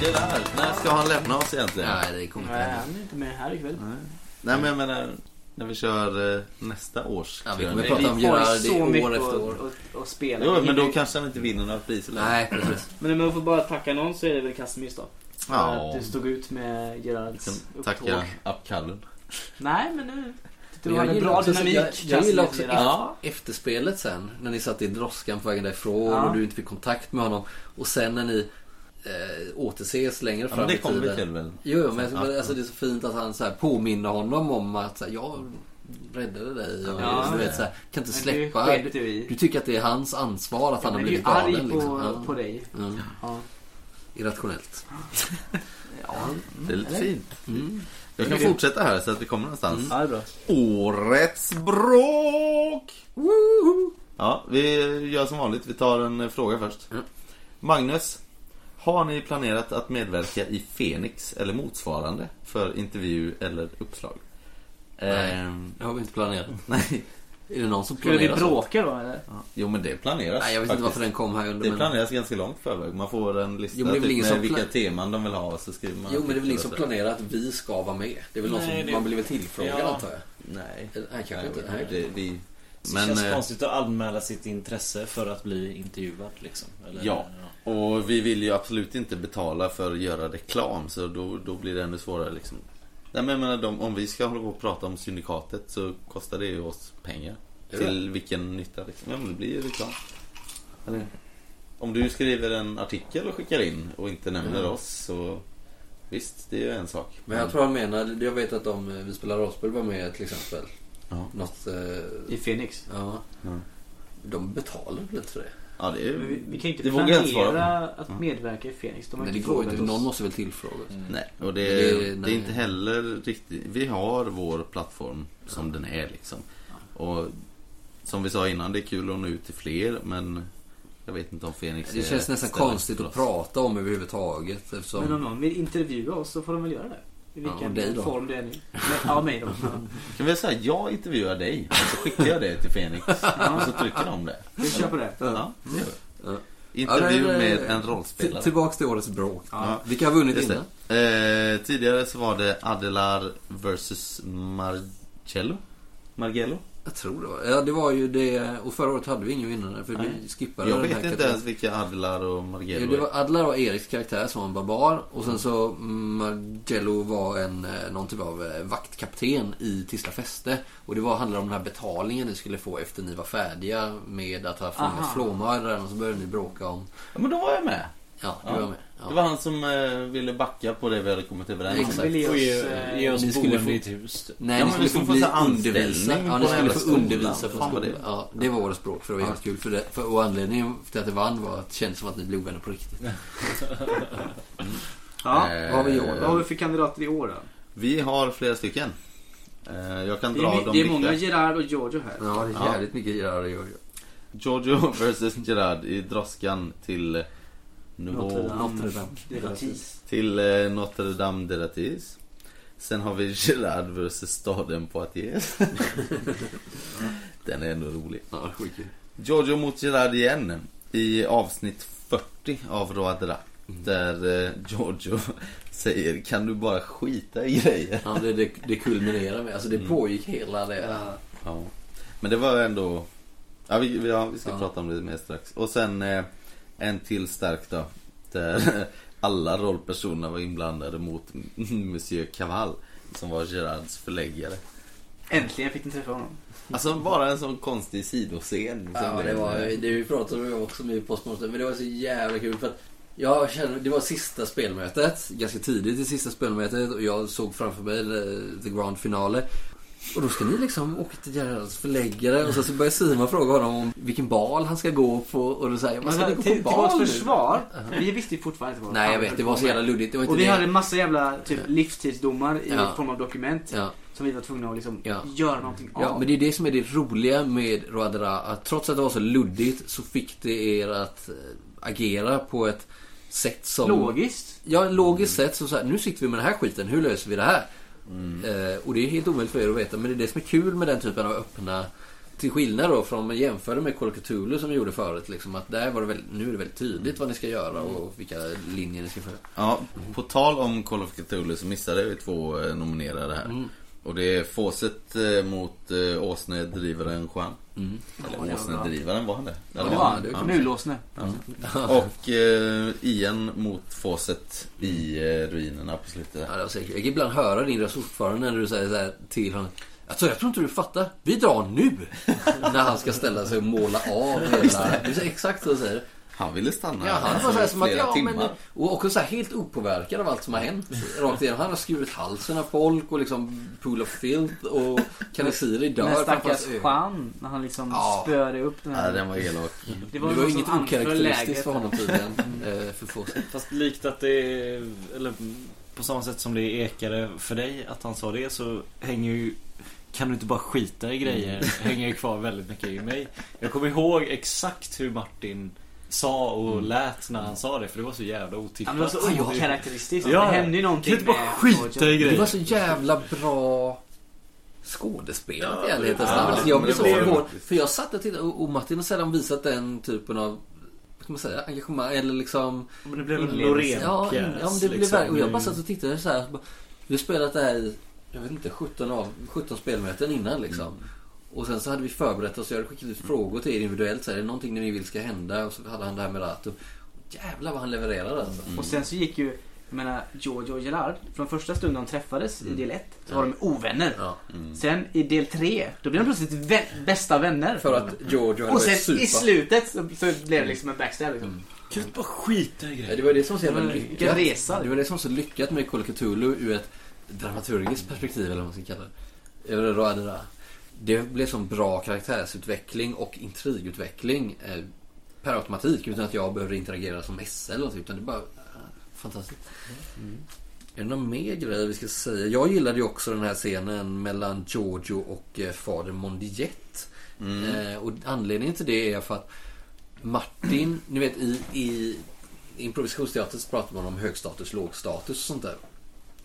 Speaker 5: Det där, när ska han lämna oss egentligen? Nej,
Speaker 1: Nej, det kommer inte
Speaker 3: Nej,
Speaker 1: hända.
Speaker 3: han är inte med här ikväll.
Speaker 1: Mm.
Speaker 5: men jag menar när vi kör eh, nästa års
Speaker 1: Ja, vi
Speaker 5: krönika.
Speaker 1: kommer prata om
Speaker 3: Har
Speaker 1: Gerard i
Speaker 3: så mycket
Speaker 1: år efter år.
Speaker 3: att- att- att spela.
Speaker 5: Jo, men då kanske han inte vinner några priser längre.
Speaker 1: Nej, precis.
Speaker 3: Men om jag får bara tacka någon så är det väl Casimirs då. För
Speaker 5: Ja.
Speaker 3: att du stod ut med
Speaker 1: Liksom,
Speaker 3: Gerards
Speaker 5: Kan
Speaker 3: upptåg.
Speaker 5: Tacka Apkallun.
Speaker 3: Nej, men nu... Du
Speaker 1: Men
Speaker 3: hade en
Speaker 1: gillar
Speaker 3: bra
Speaker 1: också-
Speaker 3: dynamik.
Speaker 1: Jag, jag gillar också
Speaker 3: Casimir Gerard.
Speaker 1: ja. efterspelet sen. När ni satt i droskan på vägen därifrån
Speaker 3: Ja.
Speaker 1: och du inte fick kontakt med honom. Och sen när ni eh, återses längre
Speaker 5: Ja,
Speaker 1: fram
Speaker 5: men det
Speaker 1: i
Speaker 5: kommer
Speaker 1: tiden.
Speaker 5: vi till väl?
Speaker 1: Jo, jo, men
Speaker 5: Ja.
Speaker 1: alltså, det är så fint att han så här, påminner honom om att så här, jag räddade dig. Och,
Speaker 3: Ja.
Speaker 1: du vet, så här, kan inte
Speaker 3: Men du
Speaker 1: släppa.
Speaker 3: skällde du i.
Speaker 1: Du tycker att det är hans ansvar att han
Speaker 3: Jag
Speaker 1: har
Speaker 3: blev ju
Speaker 1: blivit
Speaker 3: arg
Speaker 1: galen.
Speaker 3: på,
Speaker 1: Liksom. Ja.
Speaker 3: på dig.
Speaker 1: Mm.
Speaker 3: Ja.
Speaker 1: Irrationellt.
Speaker 5: Det är lite fint.
Speaker 1: Mm.
Speaker 5: Jag kan fortsätta här så att vi kommer någonstans.
Speaker 2: Ja, det är bra.
Speaker 5: Årets bråk! Ja, vi gör som vanligt. Vi tar en eh, fråga först.
Speaker 1: Mm.
Speaker 5: Magnus, har ni planerat att medverka i Fenix eller motsvarande för intervju eller uppslag?
Speaker 1: Nej.
Speaker 5: Ehm,
Speaker 1: Det har vi inte planerat.
Speaker 5: nej.
Speaker 1: Är det någon som
Speaker 3: Skulle
Speaker 1: planerar
Speaker 3: vi
Speaker 1: sånt?
Speaker 3: bråka då eller?
Speaker 5: Ja, Jo, men det planeras.
Speaker 1: Nej, jag vet inte
Speaker 5: faktiskt.
Speaker 1: varför den kom här under.
Speaker 5: Det
Speaker 1: men-
Speaker 5: planeras ganska långt i förväg. Man får en lista
Speaker 1: Jo, men det är väl
Speaker 5: typ,
Speaker 1: ingen
Speaker 5: med
Speaker 1: som
Speaker 5: vilka
Speaker 1: plan-
Speaker 5: teman de vill ha och så skriver man
Speaker 1: Jo men det är väl ingen som
Speaker 5: artiklar och
Speaker 1: planerar att vi ska vara med. Det är väl någon
Speaker 2: Nej,
Speaker 1: som
Speaker 2: det-
Speaker 1: man blir väl tillfrågad
Speaker 2: Ja.
Speaker 1: antar jag.
Speaker 5: så. Nej.
Speaker 1: Eller, Nej kanske
Speaker 5: Nej,
Speaker 1: inte.
Speaker 5: det-
Speaker 1: Nej.
Speaker 5: det- vi...
Speaker 8: Det
Speaker 5: Men,
Speaker 8: känns
Speaker 5: eh,
Speaker 8: konstigt att anmäla sitt intresse för att bli intervjuad liksom. Eller,
Speaker 5: Ja. Och vi vill ju absolut inte betala för att göra reklam så då, då blir det ännu svårare liksom. Nej men jag menar, de, om vi ska hålla på och prata om Syndikatet så kostar det ju oss pengar.
Speaker 1: Ja.
Speaker 5: Till vilken nytta liksom. Ja men det blir ju reklam. Eller? Om du skriver en artikel och skickar in och inte nämner
Speaker 1: Mm.
Speaker 5: oss så visst, det är ju en sak.
Speaker 1: Men jag tror han menar, jag vet att om vi spelar rollspel var med till exempel.
Speaker 5: Ja.
Speaker 1: Något, eh,
Speaker 3: I Phoenix.
Speaker 1: ja.
Speaker 5: Ja.
Speaker 1: De betalar väl inte för det?
Speaker 5: Ja, det är
Speaker 3: Men vi, vi kan
Speaker 5: ju...
Speaker 3: ju inte
Speaker 5: Det vågar jag inte svara
Speaker 3: planera att
Speaker 5: Ja.
Speaker 3: medverka i Phoenix. De har
Speaker 1: Nej det
Speaker 3: inte
Speaker 1: går ju
Speaker 3: frågat
Speaker 1: inte.
Speaker 3: oss.
Speaker 1: Någon måste väl tillfråga.
Speaker 5: Nej, och det,
Speaker 1: Det är-
Speaker 5: det,
Speaker 1: nej.
Speaker 5: är inte heller riktigt... Vi har vår plattform som den är liksom. Och som vi sa innan, det är kul att nå ut till fler men jag vet inte om Fenix
Speaker 1: Det
Speaker 5: är
Speaker 1: känns
Speaker 5: rätt
Speaker 1: nästan
Speaker 5: ställe
Speaker 1: konstigt
Speaker 5: för
Speaker 1: att
Speaker 5: oss.
Speaker 1: prata om överhuvudtaget
Speaker 3: Men om
Speaker 1: eftersom...
Speaker 3: någon vill intervjua oss så får de väl göra det. I
Speaker 1: Ja, och
Speaker 3: vilken
Speaker 1: dig då.
Speaker 3: form det är nu. Men, ja, mig då.
Speaker 5: Kan vi säga jag intervjuar dig och så skickar jag det till Fenix och så trycker de det.
Speaker 3: Vi kör på det.
Speaker 5: Ja, det gör vi.
Speaker 1: Ja.
Speaker 5: Intervju
Speaker 1: Ja, det är-
Speaker 5: med en
Speaker 1: Till-
Speaker 5: rollspelare.
Speaker 1: Tillbaks till årets bråk.
Speaker 5: Ja.
Speaker 1: Vilka har vunnit
Speaker 5: Just
Speaker 1: innan?
Speaker 5: det. Eh, tidigare så var det Adelar vs Marcello. Margello?
Speaker 1: Jag tror det var. Ja det var ju det. Och förra året hade vi ingen vinnare för vi
Speaker 5: Nej.
Speaker 1: skippade
Speaker 5: Jag
Speaker 1: den
Speaker 5: vet
Speaker 1: här
Speaker 5: inte ens vilka Adelar och Margello
Speaker 1: Jo, det var Adlar var Eriks karaktär som var en barbar och sen så Margello var en, eh, någon typ av eh, vaktkapten i Tisla fäste. Och det var, handlade om den här betalningen ni skulle få efter ni var färdiga med att ha
Speaker 3: Aha.
Speaker 1: fångat flåmördaren och så började ni bråka om...
Speaker 5: Ja, men då var jag med.
Speaker 1: Ja, du
Speaker 5: Ja.
Speaker 1: var med.
Speaker 5: Det
Speaker 1: Ja.
Speaker 5: var han som eh, ville backa på det vi hade kommit överens
Speaker 1: Exakt.
Speaker 5: om.
Speaker 3: Vill ge
Speaker 8: Och
Speaker 3: oss,
Speaker 8: ge,
Speaker 3: eh,
Speaker 8: ge oss
Speaker 1: ni skulle
Speaker 8: boende
Speaker 1: få-
Speaker 8: i ett hus.
Speaker 6: typ.
Speaker 1: Nej, ni
Speaker 5: Ja, men
Speaker 1: skulle få
Speaker 5: vi skulle få
Speaker 1: bli
Speaker 5: så här anställning
Speaker 1: undervisa.
Speaker 5: på
Speaker 1: Ja, ni
Speaker 5: den
Speaker 1: skulle
Speaker 5: jävla
Speaker 1: få
Speaker 5: skolan.
Speaker 1: undervisa på
Speaker 5: Fan, vad
Speaker 1: skolan.
Speaker 5: det-
Speaker 1: Ja, det var årets bråk för det var helt kul. För det, för, och anledningen till att det vann var att det kändes som att ni blev ovänner på riktigt.
Speaker 3: Ja.
Speaker 5: Eh,
Speaker 1: Vad har vi i år
Speaker 3: Vad har vi för kandidater i år då?
Speaker 5: Vi har flera stycken. Eh, Jag kan
Speaker 3: Det
Speaker 5: dra
Speaker 3: är,
Speaker 5: dem
Speaker 3: det är många
Speaker 5: vilka.
Speaker 3: Gerard och Giorgio här.
Speaker 1: Ja, det är
Speaker 5: Ja.
Speaker 1: jävligt mycket Gerard och
Speaker 5: Giorgio vs Gerard i droskan till eh, Nouveau-
Speaker 1: Notre Dame.
Speaker 3: Det är Tis.
Speaker 5: Till eh, Notre Dame de Ratis. Sen har vi Gerard vs staden Poitiers. Den är ändå rolig.
Speaker 1: Ja, skitkul.
Speaker 5: Giorgio mot Gerard igen i avsnitt 40 av Roadra.
Speaker 1: Mm.
Speaker 5: Där eh, Giorgio säger kan du bara skita i grejer?
Speaker 1: Ja, det, det, det kulminerar med. Alltså det pågick hela det.
Speaker 5: Ja. Men det var ändå... Ja, vi, vi- ja, vi ska
Speaker 1: Ja.
Speaker 5: prata om det mer strax. Och sen eh, en till stark då. Där alla rollpersoner var inblandade mot Monsieur Cavall. Som var Gerards förläggare.
Speaker 3: Äntligen fick ni träffa honom.
Speaker 5: Alltså bara en sån konstig sidoscen. som
Speaker 1: Ja, det
Speaker 5: blev,
Speaker 1: var,
Speaker 5: eh,
Speaker 1: det vi pratade om också med postmonster, men det var så jävla kul för att jag kände, det var sista spelmötet, ganska tidigt i sista spelmötet och jag såg framför mig eh, the grand finale. Och då ska ni liksom åka till Gerhards förläggare och sen så börjar Simon fråga honom om vilken bal han ska gå på och då säger jag, "Men
Speaker 3: Men
Speaker 1: ska ni
Speaker 3: till,
Speaker 1: gå
Speaker 3: till
Speaker 1: på bal
Speaker 3: vårt
Speaker 1: nu?"
Speaker 3: försvar, vi visste ju fortfarande inte vad
Speaker 1: Nej jag
Speaker 3: fan
Speaker 1: vet,
Speaker 3: vi
Speaker 1: det var
Speaker 3: höll
Speaker 1: så
Speaker 3: på
Speaker 1: jävla
Speaker 3: med.
Speaker 1: luddigt. Det var inte
Speaker 3: Och vi
Speaker 1: det.
Speaker 3: hade en massa jävla typ, livstidsdomar i
Speaker 1: Ja.
Speaker 3: form av dokument
Speaker 1: Ja.
Speaker 3: som vi var tvungna att liksom
Speaker 1: Ja.
Speaker 3: göra någonting av.
Speaker 1: Ja, men det är det som är det roliga med Roadera. Att trots att det var så luddigt så fick det er att eh, agera på ett sätt som...
Speaker 3: Logiskt.
Speaker 1: Ja, logiskt sett så, så här, nu sitter vi med den här skiten, hur löser vi det här? Eh, och det är helt omöjligt för er att veta, men det är det som är kul med den typen av öppna... Till skillnad då från om man jämför med Call of Cthulhu som vi gjorde förut, liksom, att där var det väl, nu är det väldigt tydligt vad ni ska göra och vilka linjer ni ska följa.
Speaker 5: Ja, på tal om Call of Cthulhu så missade jag ju två eh, nominerade här.
Speaker 1: Mm.
Speaker 5: Och det är Fawcett eh, mot eh, Åsnedrivaren Juan. Eller Åsnedrivaren, var han det? Eller
Speaker 1: Mm. det var han.
Speaker 5: Ja.
Speaker 3: Nu låsne.
Speaker 5: Och eh, Ian mot Fawcett i eh, ruinerna på slutet.
Speaker 1: Ja,
Speaker 5: där.
Speaker 1: det var säkert. Jag kan ibland höra din röst fortfarande när du säger så här till honom. Alltså, jag tror inte du fattar. Vi drar nu! när han ska ställa sig och måla av hela... Du säger exakt så du säger.
Speaker 5: Han ville stanna
Speaker 1: Ja, han
Speaker 5: alltså,
Speaker 1: var så här
Speaker 5: i
Speaker 1: som att,
Speaker 5: flera
Speaker 1: ja, men,
Speaker 5: timmar.
Speaker 1: och också så här helt opåverkad av allt som har hänt. Rakt igenom. Han har skurit halsen av folk och liksom pool of filth och Kanisiri dör
Speaker 3: Den här
Speaker 1: framför
Speaker 3: stackars
Speaker 1: hans ögon.
Speaker 3: Jean, när han liksom
Speaker 1: Ja.
Speaker 3: spöade upp den
Speaker 5: Ja,
Speaker 3: här.
Speaker 5: den var elak.
Speaker 3: det
Speaker 1: Det
Speaker 3: någon
Speaker 1: var
Speaker 3: som
Speaker 1: inget
Speaker 3: anföll
Speaker 1: okaraktäristiskt
Speaker 3: läget.
Speaker 1: för honom tydligen. eh, för få.
Speaker 6: Fast likt att det är, eller på samma sätt som det ekade för dig att han sa det så hänger ju kan du inte bara skita i grejer?
Speaker 5: Mm.
Speaker 6: Hänger ju kvar väldigt mycket i mig. Jag kommer ihåg exakt hur Martin sa
Speaker 5: Mm.
Speaker 6: och lät när han sa det för det var så jävla
Speaker 3: Ja,
Speaker 6: otippat.
Speaker 3: men det var
Speaker 5: alltså,
Speaker 3: så okaraktäristiskt.
Speaker 6: Ja.
Speaker 3: Det hände ju
Speaker 6: Kan
Speaker 3: någonting
Speaker 6: du inte bara
Speaker 3: med
Speaker 6: skita i
Speaker 3: Roger.
Speaker 1: Det var
Speaker 6: grejer?
Speaker 1: så jävla bra skådespelat i ärlighetens
Speaker 5: ja,
Speaker 1: namn. Alltså, Jag
Speaker 5: men
Speaker 1: blev
Speaker 5: det
Speaker 1: så
Speaker 5: var det
Speaker 1: förvånad.
Speaker 5: faktiskt.
Speaker 1: För jag satt och tittade och och Martin har sällan visat den typen av vad ska man säga, engagemang eller liksom...
Speaker 6: Men det blev en
Speaker 1: inlevelse.
Speaker 6: Loreen-pjäs.
Speaker 1: Ja, in, ja men det blev
Speaker 6: liksom.
Speaker 1: verkligen. Och jag bara satt och tittade så här. bara, Vi har spelat det här i, jag vet inte, 17, av, 17 spelmöten innan liksom.
Speaker 5: Mm.
Speaker 1: Och sen så hade vi förberett oss. Jag hade skickat ut frågor till er individuellt. Så här, är det någonting ni vill ska hända? Och så hade han det här med Rato. Jävlar vad han levererade alltså.
Speaker 5: Mm.
Speaker 3: Och sen så gick ju, jag menar, Giorgio och Gerard, från första stunden de träffades
Speaker 1: Mm.
Speaker 3: i del 1 så var de ovänner.
Speaker 1: Ja.
Speaker 3: Sen i del 3, då blev de plötsligt vä- bästa vänner.
Speaker 1: För att Giorgio hade
Speaker 3: och
Speaker 1: börjat
Speaker 3: sen i
Speaker 1: supa.
Speaker 3: slutet så, så blev det liksom en backstab. Liksom.
Speaker 1: Mm.
Speaker 6: Kan du inte bara skita i
Speaker 1: Ja,
Speaker 6: grejer?
Speaker 1: det var det som var så jävla
Speaker 3: Det var en
Speaker 1: lyckat.
Speaker 3: resa.
Speaker 1: Det var det som var så lyckat med Call of Cthulhu ur ett dramaturgiskt perspektiv eller vad man ska kalla det. Eller då är det där. Det blev sån bra karaktärsutveckling och intrigutveckling eh, per automatik utan att jag behövde interagera som SL eller något, utan det bara eh, fantastiskt.
Speaker 3: Mm.
Speaker 1: Är det någon mer grej vi ska säga? Jag gillade ju också den här scenen mellan Giorgio och eh, fader Mondiette.
Speaker 3: Mm.
Speaker 1: Eh, och anledningen till det är för att Martin, ni vet i, i improvisationsteater så pratar man om högstatus, lågstatus och sånt där.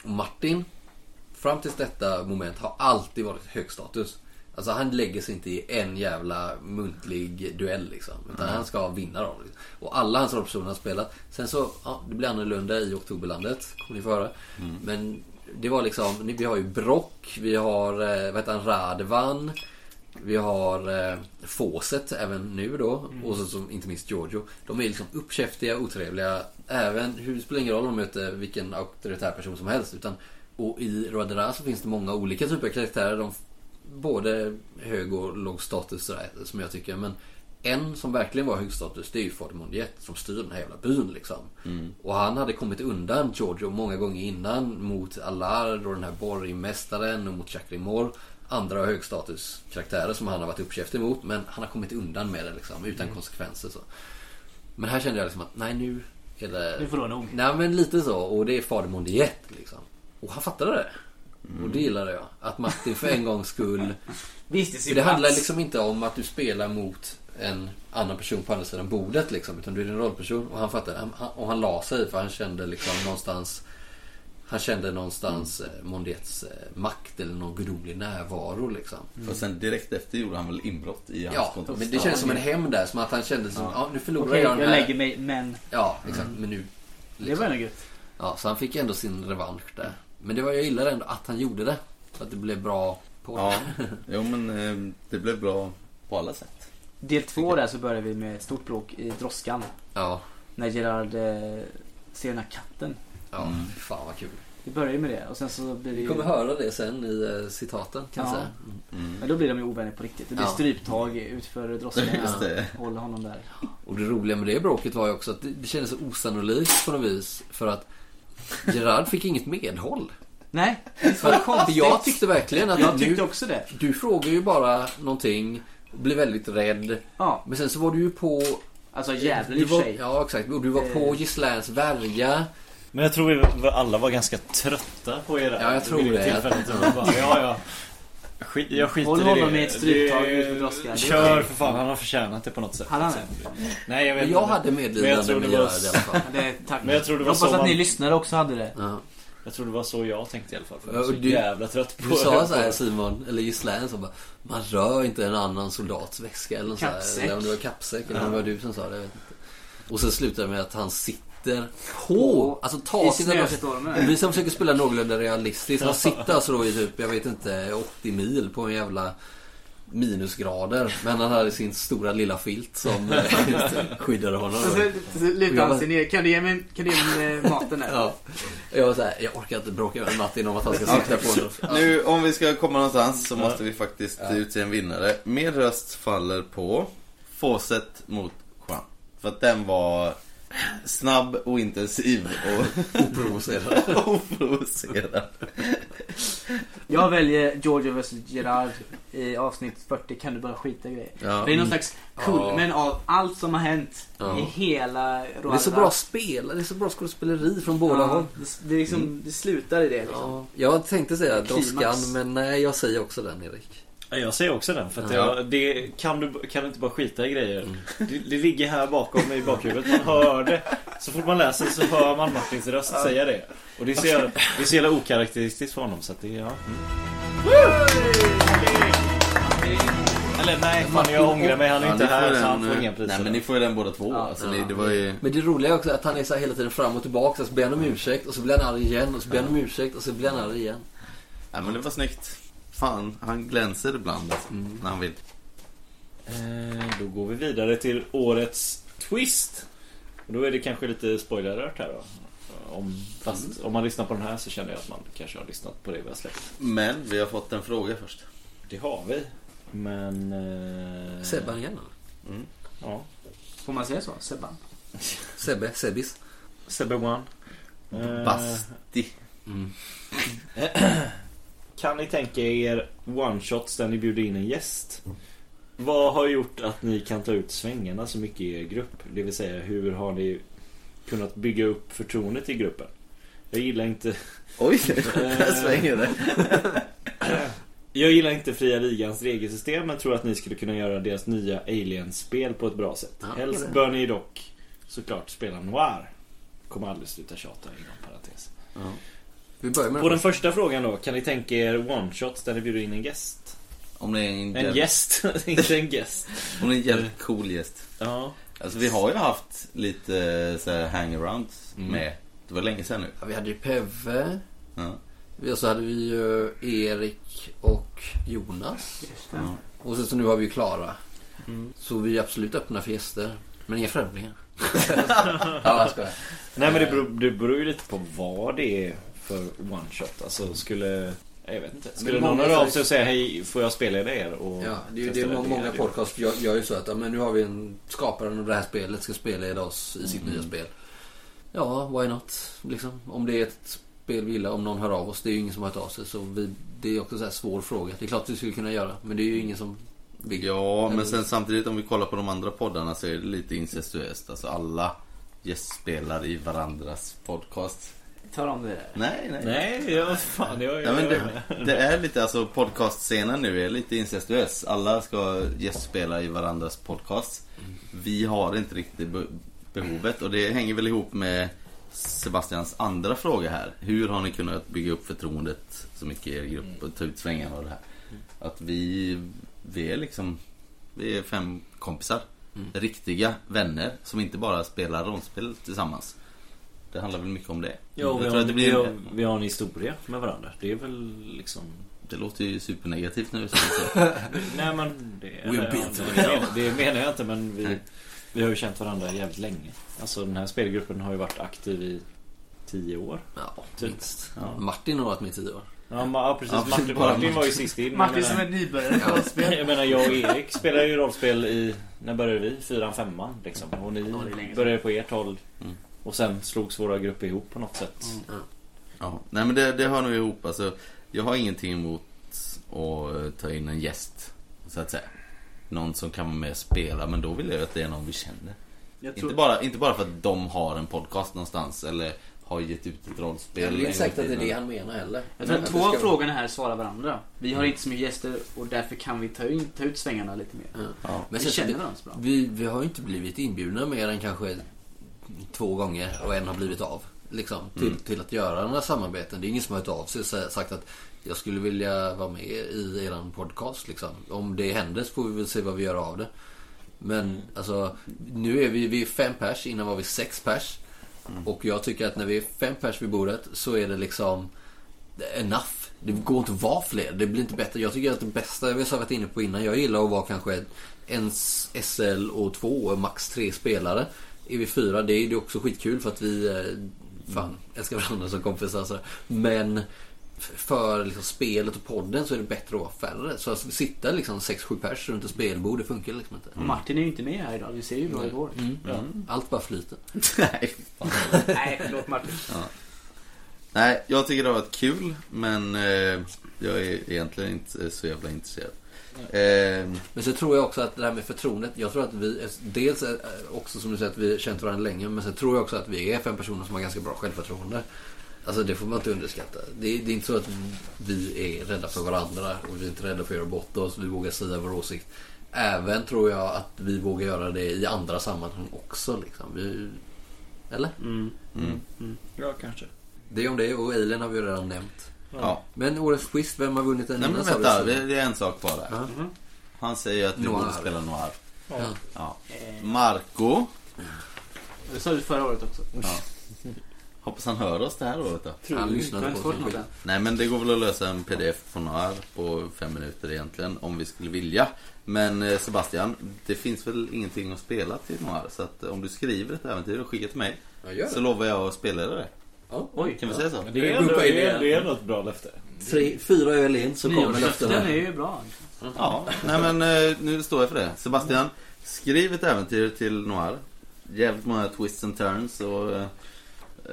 Speaker 1: Och Martin, fram tills detta moment, har alltid varit högstatus. Alltså han lägger sig inte i en jävla muntlig duell liksom. Utan han ska vinna dem. Liksom. Och alla hans rollpersoner har spelat. Sen så, ja, det blir annorlunda i Oktoberlandet. Kommer ni få höra. Men det var liksom, ni- vi har ju Brock, vi har, eh, vad heter han, Radvan. Vi har eh, Fawcett även nu då. Och så, som, inte minst Giorgio. De är liksom uppkäftiga, otrevliga. Även, hur, det spelar ingen roll om de möter vilken auktoritär person som helst. Utan, och i Rodera så finns det många olika typer av karaktärer. De, både hög och låg status sådär, som jag tycker. Men en som verkligen var hög status det är ju Ford Mondiette som styr den här jävla byn liksom.
Speaker 3: Mm.
Speaker 1: Och han hade kommit undan Giorgio många gånger innan mot Allard och den här borgmästaren och mot Jacqueline Moore andra högstatuskaraktärer som han har varit uppkäftig mot men han har kommit undan med det liksom utan
Speaker 3: Mm.
Speaker 1: konsekvenser. Så. Men här kände jag liksom att nej nu är det...
Speaker 3: Nu får det vara nog.
Speaker 1: Nej men lite så och det är fader Mondiet liksom. Och han fattade det.
Speaker 3: Mm.
Speaker 1: Och det gillade jag. Att Martin för en gångs skull.
Speaker 3: Visst, det
Speaker 1: För det handlar liksom inte om att du spelar mot en annan person på andra sidan bordet liksom. Utan du är din rollperson. Och han fattade. Han- han- Och han la sig för han kände liksom någonstans. Han kände någonstans mm. Mondettes eh, makt eller någon gudomlig närvaro liksom.
Speaker 5: Och sen direkt efter gjorde han väl inbrott i hans
Speaker 1: Ja,
Speaker 5: kontor.
Speaker 1: men det känns som en hämnd där. Som att han kände som, ja, nu förlorar
Speaker 3: Okej,
Speaker 1: jag den
Speaker 3: jag
Speaker 1: här.
Speaker 3: lägger mig, men...
Speaker 1: Ja, exakt. Men nu. liksom.
Speaker 3: Det var ändå gött.
Speaker 1: Ja, så han fick ändå sin revansch där. Men det var, jag gillade ändå att han gjorde det. Så att det blev bra på
Speaker 5: Ja, jo men eh, det blev bra på alla sätt.
Speaker 3: Del två där så börjar vi med stort bråk i droskan.
Speaker 1: ja,
Speaker 3: När Gerard eh, ser den här katten.
Speaker 1: ja fan vad kul.
Speaker 3: Det börjar ju med det och sen så blir det
Speaker 1: Vi
Speaker 3: ju...
Speaker 1: kommer höra det sen i eh, citaten kan jag
Speaker 3: Ja.
Speaker 1: säga.
Speaker 5: Mm.
Speaker 3: Men då blir de ju ovänner på riktigt. Det blir
Speaker 1: Ja.
Speaker 3: stryptag utför droskan.
Speaker 5: Just det.
Speaker 3: och Håller honom där.
Speaker 1: Och det roliga med det bråket var ju också att det, det kändes så osannolikt på något vis. För att Gerard fick inget medhåll.
Speaker 3: Nej,
Speaker 1: För att jag tyckte verkligen att
Speaker 3: jag
Speaker 1: nu,
Speaker 3: tyckte också det.
Speaker 1: du frågar ju bara någonting, blir väldigt rädd.
Speaker 3: Ja,
Speaker 1: Men sen så var du ju på...
Speaker 3: alltså jävlar i
Speaker 1: du
Speaker 3: och för
Speaker 1: var,
Speaker 3: sig.
Speaker 1: Ja exakt, och du var på
Speaker 3: Eh.
Speaker 1: Gislans värja.
Speaker 6: Men jag tror vi var- alla var ganska trötta på er.
Speaker 1: Ja, jag tror
Speaker 6: Vid
Speaker 1: det.
Speaker 6: tillfället. Det var bara, Ja, ja. Skit, jag skiter
Speaker 3: Håll
Speaker 6: i det.
Speaker 3: honom i ett stryptag
Speaker 6: Det-
Speaker 3: ut med droskan.
Speaker 6: Kör för fan, han har förtjänat det på något sätt.
Speaker 3: Hade han
Speaker 6: Nej, jag vet
Speaker 1: Men jag
Speaker 6: inte.
Speaker 1: hade
Speaker 6: Men jag
Speaker 1: medlidande
Speaker 6: tror
Speaker 1: med
Speaker 6: det var-
Speaker 1: Gerard i alla fall.
Speaker 3: det? det? Tack.
Speaker 6: Men jag tror det var
Speaker 3: hoppas
Speaker 6: så
Speaker 3: att ni
Speaker 6: man-
Speaker 3: lyssnare också hade det.
Speaker 1: Ja.
Speaker 6: Jag tror det var så jag tänkte i alla fall. För jag
Speaker 1: Ja,
Speaker 6: var så
Speaker 1: och du-
Speaker 6: jävla trött på
Speaker 1: Du sa så här Simon, eller Gislaine som bara Man rör inte en annan soldats väska eller något så här.
Speaker 3: Kappsäck.
Speaker 1: Eller om det var kappsäck eller om det var du som sa det. jag vet inte. Och sen slutar det med att han sitter på,
Speaker 3: På-
Speaker 1: alltså
Speaker 3: I
Speaker 1: tar sin
Speaker 3: snöstormen.
Speaker 1: Vi som försöker spela någorlunda realistiskt. Han sitter alltså då i typ, jag vet inte, 80 mil på en jävla minusgrader. Men han hade sin stora lilla filt som eh, skyddade honom.
Speaker 3: Så, så, så lutar han sig ner. Kan du ge mig, kan du ge mig eh, maten där?
Speaker 1: Ja. Jag var såhär, jag orkar inte bråka med Martin om att han ska sitta på en ja.
Speaker 5: Nu om vi ska komma någonstans så måste vi faktiskt utse en vinnare. Min röst faller på Fawcett mot Juan. För att den var snabb och intensiv och
Speaker 1: oprovocerad.
Speaker 5: oprovocerad.
Speaker 3: Jag väljer Giorgio vs Gerard i avsnitt 40 kan du bara skita i grejer.
Speaker 5: Ja.
Speaker 3: Det är någon slags kulmen av allt som har hänt
Speaker 1: Mm. Ja.
Speaker 3: i hela Roald
Speaker 1: Det är så bra alltså. spel, det är så bra skådespeleri från båda håll.
Speaker 3: Ja, det, det, är liksom,
Speaker 1: Mm.
Speaker 3: det slutar i det liksom.
Speaker 1: Ja, jag tänkte säga
Speaker 3: Klimax.
Speaker 1: Droskan, men nej, jag säger också den Erik.
Speaker 6: Ja, Jag säger också den. För att
Speaker 1: Ja.
Speaker 6: jag, det, kan, du, kan du inte bara skita i grejer?
Speaker 5: Mm.
Speaker 6: Det, det ligger här bakom i bakhuvudet. Man hör det. Så fort man läser så hör man Martins röst säga det. Och det är så jävla, det är så jävla okaraktäristiskt för honom. Så att det, ja. mm. Eller nej, fan jag ångrar mig. Han är
Speaker 5: Ja,
Speaker 6: inte
Speaker 5: ni får
Speaker 6: här
Speaker 5: den,
Speaker 6: så han får
Speaker 5: eh,
Speaker 6: inga priser.
Speaker 5: Nej men ni får ju den båda två. alltså, ni- det var ju...
Speaker 1: Men det roliga är också att han är så här hela tiden fram och tillbaka, så ber han om ursäkt och så blir han arg igen och så ber han om ursäkt och så blir han arg igen.
Speaker 5: Nej men det var snyggt. Fan, han glänser ibland alltså,
Speaker 6: Mm.
Speaker 5: när han vill.
Speaker 6: Eh, Då går vi vidare till årets twist. Och då är det kanske lite spoilerört här då. Om, fast
Speaker 5: Mm.
Speaker 6: om man lyssnar på den här så känner jag att man kanske har lyssnat på det vi har släppt.
Speaker 5: Men vi har fått en fråga först.
Speaker 6: Det har vi. Men... Eh,
Speaker 1: Sebban igen eller?
Speaker 6: Ja.
Speaker 3: Får man säga så? Sebban?
Speaker 1: Sebbe, Sebbis.
Speaker 6: Sebbe One. Eh,
Speaker 5: Basti.
Speaker 6: Kan ni tänka er one-shots där ni bjuder in en gäst? Vad har gjort att ni kan ta ut svängarna så mycket i er grupp? Det vill säga, hur har ni kunnat bygga upp förtroendet i gruppen? Jag gillar inte
Speaker 5: Oj, där svänger det.
Speaker 6: Jag gillar inte fria ligans regelsystem men tror att ni skulle kunna göra deras nya Alien-spel på ett bra sätt.
Speaker 1: Ja,
Speaker 6: Helst bör ni dock såklart spela noir. Kommer aldrig sluta tjata inom parentes.
Speaker 1: Vi börjar med
Speaker 6: På den första frågan då, kan ni tänka er one-shots där ni bjuder in en gäst?
Speaker 5: Om det är en,
Speaker 6: En
Speaker 5: jävligt-
Speaker 6: gäst, inte en gäst.
Speaker 5: Om det är en jävligt cool gäst.
Speaker 6: Ja.
Speaker 5: Alltså vi har ju haft lite eh, så här hangarounds med. Det var länge sedan nu.
Speaker 1: Ja, vi hade ju Peve,
Speaker 5: Ja.
Speaker 1: vi- och så hade vi ju Erik och Jonas.
Speaker 5: Ja.
Speaker 1: Och sen så nu har vi ju Klara. Så vi är absolut öppna för gäster. Men inga främlingar. ja, jag skojar.
Speaker 6: Nej men det beror, det beror ju lite på vad det är för one-shot. Alltså skulle... Jag vet inte. Skulle
Speaker 1: många
Speaker 6: någon höra av
Speaker 1: sägs-
Speaker 6: sig och säga hej, får jag spela i det er? Och
Speaker 1: Ja, det är ju det
Speaker 6: testa
Speaker 1: må-
Speaker 6: ni
Speaker 1: många
Speaker 6: hade
Speaker 1: podcast gör, gör ju så att ja, men nu har vi en skaparen av det här spelet ska spela i oss i sitt nya spel. Ja, why not? Liksom, om det är ett spel vi gillar, om någon hör av oss. Det är ju ingen som har hört av sig. Så vi, det är också en så här svår fråga. Det är klart vi skulle kunna göra, men det är ju ingen som vill.
Speaker 5: Ja, men sen samtidigt om vi kollar på de andra poddarna så är det lite incestuöst. Alltså alla gästspelar i varandras podcast.
Speaker 3: Tar om det där.
Speaker 5: Nej, nej.
Speaker 6: Nej, ja, fan det var ju...
Speaker 5: Ja, men det, det är lite, alltså podcastscenen nu är lite incestuös. Alla ska gästspela i varandras podcast. Vi har inte riktigt be- behovet och det hänger väl ihop med Sebastians andra fråga här. Hur har ni kunnat bygga upp förtroendet så mycket i er grupp och ta ut svängarna och det här? Att vi, vi är liksom, vi är fem kompisar. Riktiga vänner som inte bara spelar rollspel tillsammans. Det handlar väl mycket om det.
Speaker 6: Ja, vi
Speaker 5: Jag
Speaker 6: har,
Speaker 5: tror att det, blir,
Speaker 6: vi, har, vi har en historia med varandra. Det är väl liksom...
Speaker 5: det låter ju supernegativt nu. Så
Speaker 6: Nej men det...
Speaker 1: We've
Speaker 6: eller,
Speaker 1: been
Speaker 6: ja,
Speaker 1: through
Speaker 6: det, menar- det menar jag inte men vi,
Speaker 5: Nej.
Speaker 6: vi har ju känt varandra jävligt länge. Alltså den här spelgruppen har ju varit aktiv i tio år.
Speaker 1: Ja,
Speaker 6: Typ.
Speaker 1: minst.
Speaker 6: Ja.
Speaker 1: Martin har varit med i tio år.
Speaker 6: Ja, ma- ja precis.
Speaker 5: Ja,
Speaker 6: Martin,
Speaker 5: bara
Speaker 6: Martin
Speaker 5: Martin.
Speaker 6: var ju sist in.
Speaker 3: Martin
Speaker 6: Jag
Speaker 3: som
Speaker 6: menar-
Speaker 3: är nybörjare på rollspel.
Speaker 6: Jag menar jag och Erik spelade ju rollspel i, när började vi? Fyran, femman liksom. Och ni
Speaker 3: det är länge sedan.
Speaker 6: började på ert håll.
Speaker 5: Mm.
Speaker 6: Och sen slogs våra grupper ihop på något sätt.
Speaker 3: Mm.
Speaker 5: Ja, nej men det, det hör nog ihop. Alltså, jag har ingenting emot att eh, ta in en gäst, så att säga. Någon som kan vara med och spela, men då vill jag ju att det är någon vi känner.
Speaker 3: Jag
Speaker 5: Inte, bara, inte bara för att de har en podcast någonstans eller har gett ut ett rollspel.
Speaker 1: Jag
Speaker 5: en
Speaker 1: är
Speaker 5: gång
Speaker 1: inte säkert att det är
Speaker 5: i
Speaker 1: det
Speaker 5: tiden.
Speaker 1: han menar heller.
Speaker 3: Jag tror
Speaker 1: Men
Speaker 3: att två av
Speaker 1: det ska- Mm.
Speaker 3: frågorna här svarar varandra. Vi har inte så mycket gäster och därför kan vi ta, in, ta ut svängarna lite mer.
Speaker 1: Ja.
Speaker 5: Ja.
Speaker 1: Men
Speaker 3: vi
Speaker 1: sen,
Speaker 3: känner
Speaker 1: det,
Speaker 3: varandra så bra.
Speaker 1: vi, vi har ju inte blivit inbjudna mer än kanske två gånger och en har blivit av. Liksom, till,
Speaker 3: Mm.
Speaker 1: till att göra några samarbeten. Det är ingen som har hört av sig och sä- sagt att jag skulle vilja vara med i eran podcast. Liksom. Om det händer så får vi väl se vad vi gör av det. Men alltså, nu är vi, vi är fem pers, innan var vi sex pers. Och jag tycker att när vi är fem pers vid bordet så är det liksom enough. Det går inte att vara fler. Det blir inte bättre. Jag tycker att det bästa, jag har varit inne på innan, jag gillar att vara kanske en s- SL och två, och max tre spelare. Är vi fyra, det är det är också skitkul för att vi eh, fan, älskar varandra som kompisar. Så. Men f- för liksom spelet och podden så är det bättre att vara färre. Så att sitta liksom sex, sju pers runt ett spelbord, det funkar liksom inte.
Speaker 3: Martin är ju inte med här idag. Vi ser ju hur bra det går.
Speaker 1: Mm. Allt bara flyter.
Speaker 5: Nej,
Speaker 3: Nej, förlåt Martin.
Speaker 5: Nej, jag tycker det har varit kul, men eh, jag är egentligen inte så jävla intresserad. Eh,
Speaker 1: Men så tror jag också att det här med förtroendet. Jag tror att vi, dels är- också som du säger att vi har känt varandra länge. Men sen tror jag också att vi är fem personer som har ganska bra självförtroende. Alltså det får man inte underskatta. Det är, det är inte så att vi är rädda för varandra och vi är inte rädda för att göra bort oss. Vi vågar säga vår åsikt. Även tror jag att vi vågar göra det i andra sammanhang också. Liksom. Vi, eller?
Speaker 5: Mm.
Speaker 6: Ja, kanske.
Speaker 1: Det är om det och Alien har vi ju redan nämnt.
Speaker 5: ja.
Speaker 1: Men årets quiz, vem har vunnit den?
Speaker 5: Nej men
Speaker 1: innan, sa du,
Speaker 5: vänta,
Speaker 1: Simon?
Speaker 5: det, det är en sak kvar där.
Speaker 1: Ja. Mm-hmm.
Speaker 5: Han säger att vi
Speaker 1: Noir.
Speaker 5: borde spela noir.
Speaker 1: Ja.
Speaker 5: Ja. Marco.
Speaker 3: Det sa du förra året också.
Speaker 5: Hoppas han hör oss det här året då.
Speaker 1: Han
Speaker 3: Jag har
Speaker 1: lyssnade
Speaker 3: inte
Speaker 1: på oss.
Speaker 3: fått något än.
Speaker 5: Nej men det går väl att lösa en pdf på några på fem minuter egentligen om vi skulle vilja. Men eh, Sebastian, det finns väl ingenting att spela till noir så att eh, om du skriver ett äventyr och skickar till mig
Speaker 1: Ja, gör
Speaker 5: så
Speaker 1: det.
Speaker 5: lovar jag att spela det.
Speaker 1: Ja.
Speaker 3: Oj.
Speaker 5: Kan vi säga så?
Speaker 8: Det är, ändå, det, är, det är ändå ett bra löfte.
Speaker 1: Tre, fyra öl in så kommer
Speaker 3: Nyårslöften
Speaker 1: löftena.
Speaker 3: är ju bra.
Speaker 5: Ja, nej men eh, nu står jag för det. Sebastian, skriv ett äventyr till noir. Jävligt många twists and turns och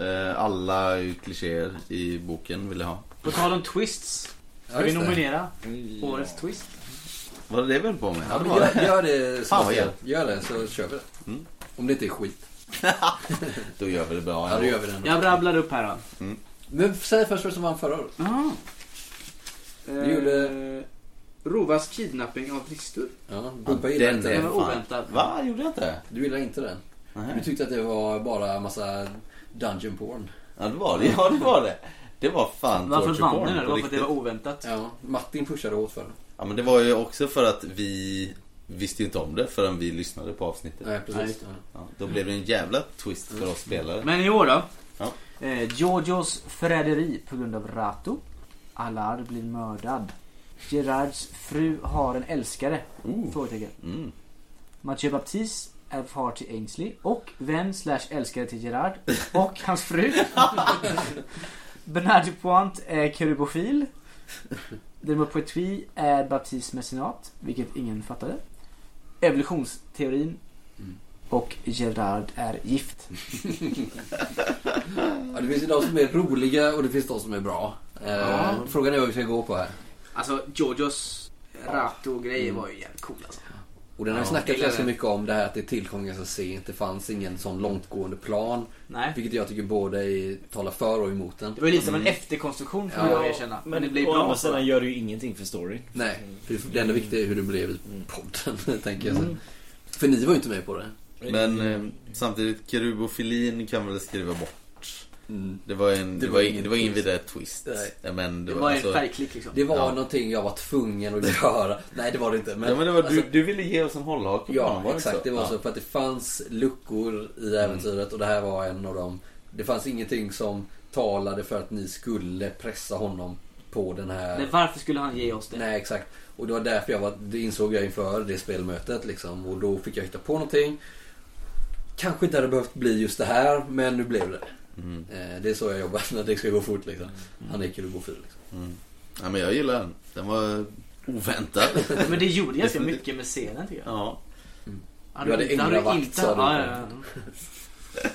Speaker 5: eh, alla klichéer i boken vill jag ha.
Speaker 3: På tal om twists. Ska
Speaker 1: Ja,
Speaker 3: vi
Speaker 1: just det.
Speaker 3: nominera årets twist?
Speaker 5: Var det det vi höll på med?
Speaker 1: Ja, men
Speaker 5: var det.
Speaker 1: gör, gör det
Speaker 5: Fan, vad
Speaker 1: Sebastian.
Speaker 5: gött.
Speaker 1: Gör det så kör vi det.
Speaker 5: Mm.
Speaker 1: Om det inte är skit.
Speaker 5: Då gör vi det bra
Speaker 1: Ja, då
Speaker 5: ändå.
Speaker 1: gör vi det.
Speaker 3: Jag rabblar upp här då.
Speaker 1: Men säg först vad som vann förra året.
Speaker 3: Jaha.
Speaker 1: Vi gjorde-
Speaker 3: Eh, Rovas kidnapping av Tristur.
Speaker 1: Ja,
Speaker 5: Ja,
Speaker 1: Bumpa
Speaker 5: den
Speaker 1: gillar inte
Speaker 5: är
Speaker 3: Den
Speaker 1: den.
Speaker 3: var
Speaker 5: fan.
Speaker 3: oväntad.
Speaker 5: Va? Gjorde jag inte det?
Speaker 1: Du gillar inte den. Du
Speaker 5: Nej.
Speaker 1: tyckte att det var bara massa dungeon porn.
Speaker 5: Ja det var det, ja det var det. Det var fan
Speaker 3: Varför
Speaker 5: torture
Speaker 3: vann
Speaker 5: porn
Speaker 3: den? då? Det
Speaker 5: på
Speaker 3: var för att det
Speaker 5: riktigt.
Speaker 3: var oväntat.
Speaker 1: Ja, Martin pushade hårt för den.
Speaker 5: Ja men det var ju också för att vi visste ju inte om det förrän vi lyssnade på avsnittet.
Speaker 1: Nej, precis.
Speaker 3: Nej.
Speaker 5: Ja, då blev det en jävla twist för oss spelare.
Speaker 3: Men i år då?
Speaker 5: Ja.
Speaker 3: Eh, Giorgios förräderi på grund av Rato. Allard blir mördad. Gerards fru har en älskare? Frågetecken.
Speaker 5: Mm.
Speaker 3: Mathieu Baptiste är far till Ainsley och vän slash älskare till Gerard och hans fru. Bernard Dupont är kerubofil. Delmot Poitry är Baptistes mecenat, vilket ingen fattade. Evolutionsteorin och Gerard är gift.
Speaker 1: Ja, det finns ju de som är roliga och det finns de som är bra. Eh,
Speaker 3: Ja.
Speaker 1: Frågan är vad vi ska gå på här.
Speaker 3: Alltså Giorgios Rato-grejer var ju jävligt cool alltså.
Speaker 1: Och den har vi
Speaker 5: Ja,
Speaker 1: snackat
Speaker 3: gillar
Speaker 1: ganska
Speaker 3: det.
Speaker 1: mycket om det här att det tillkom ganska sent. Det fanns ingen sån långtgående plan.
Speaker 3: Nej.
Speaker 1: Vilket jag tycker både i- talar för och emot den.
Speaker 3: Det var ju lite som en efterkonstruktion får
Speaker 1: Ja,
Speaker 3: jag erkänna. Men, det blev
Speaker 8: å andra
Speaker 3: bra.
Speaker 8: sidan gör det ju ingenting för storyn.
Speaker 1: Nej, för det enda viktiga är hur det blev i
Speaker 5: Mm.
Speaker 1: podden, tänker jag. Så. För ni var ju inte med på det.
Speaker 5: Men eh, samtidigt, kerubofilin kan väl skriva bort Det var, en, det var, ingen, det var ingen vidare twist.
Speaker 1: Nej.
Speaker 5: Men det
Speaker 3: Det
Speaker 5: var,
Speaker 3: var en
Speaker 5: alltså,
Speaker 3: färgklick liksom.
Speaker 1: Det var
Speaker 5: Ja.
Speaker 1: någonting jag var tvungen att göra. Nej, det var det inte. Men,
Speaker 5: ja, men det var,
Speaker 1: alltså,
Speaker 5: du, du ville ge oss en hållhake på
Speaker 1: Ja,
Speaker 5: honom, var
Speaker 1: exakt.
Speaker 5: så?
Speaker 1: Det var
Speaker 5: Ja. Mm.
Speaker 1: så. För att det fanns luckor i äventyret och det här var en av dem. Det fanns ingenting som talade för att ni skulle pressa honom på den här...
Speaker 3: Men varför skulle han ge oss det?
Speaker 1: Nej, exakt. Och det var därför jag var, det insåg jag inför det spelmötet liksom. Och då fick jag hitta på någonting. Kanske inte hade behövt bli just det här, men nu blev det.
Speaker 5: Mm.
Speaker 1: Eh, Det är så jag jobbar när det ska gå fort liksom.
Speaker 3: Mm.
Speaker 1: Han är kul och går fil. Liksom.
Speaker 5: mm. Ja, men jag gillar den. Den var oväntad.
Speaker 3: Men det gjorde ganska
Speaker 5: Definitivt.
Speaker 3: mycket med scenen tycker jag.
Speaker 5: ja.
Speaker 1: Du hade
Speaker 3: inte-
Speaker 1: änglavakt,
Speaker 3: inte-
Speaker 1: sa du.
Speaker 3: Ja, ja, ja.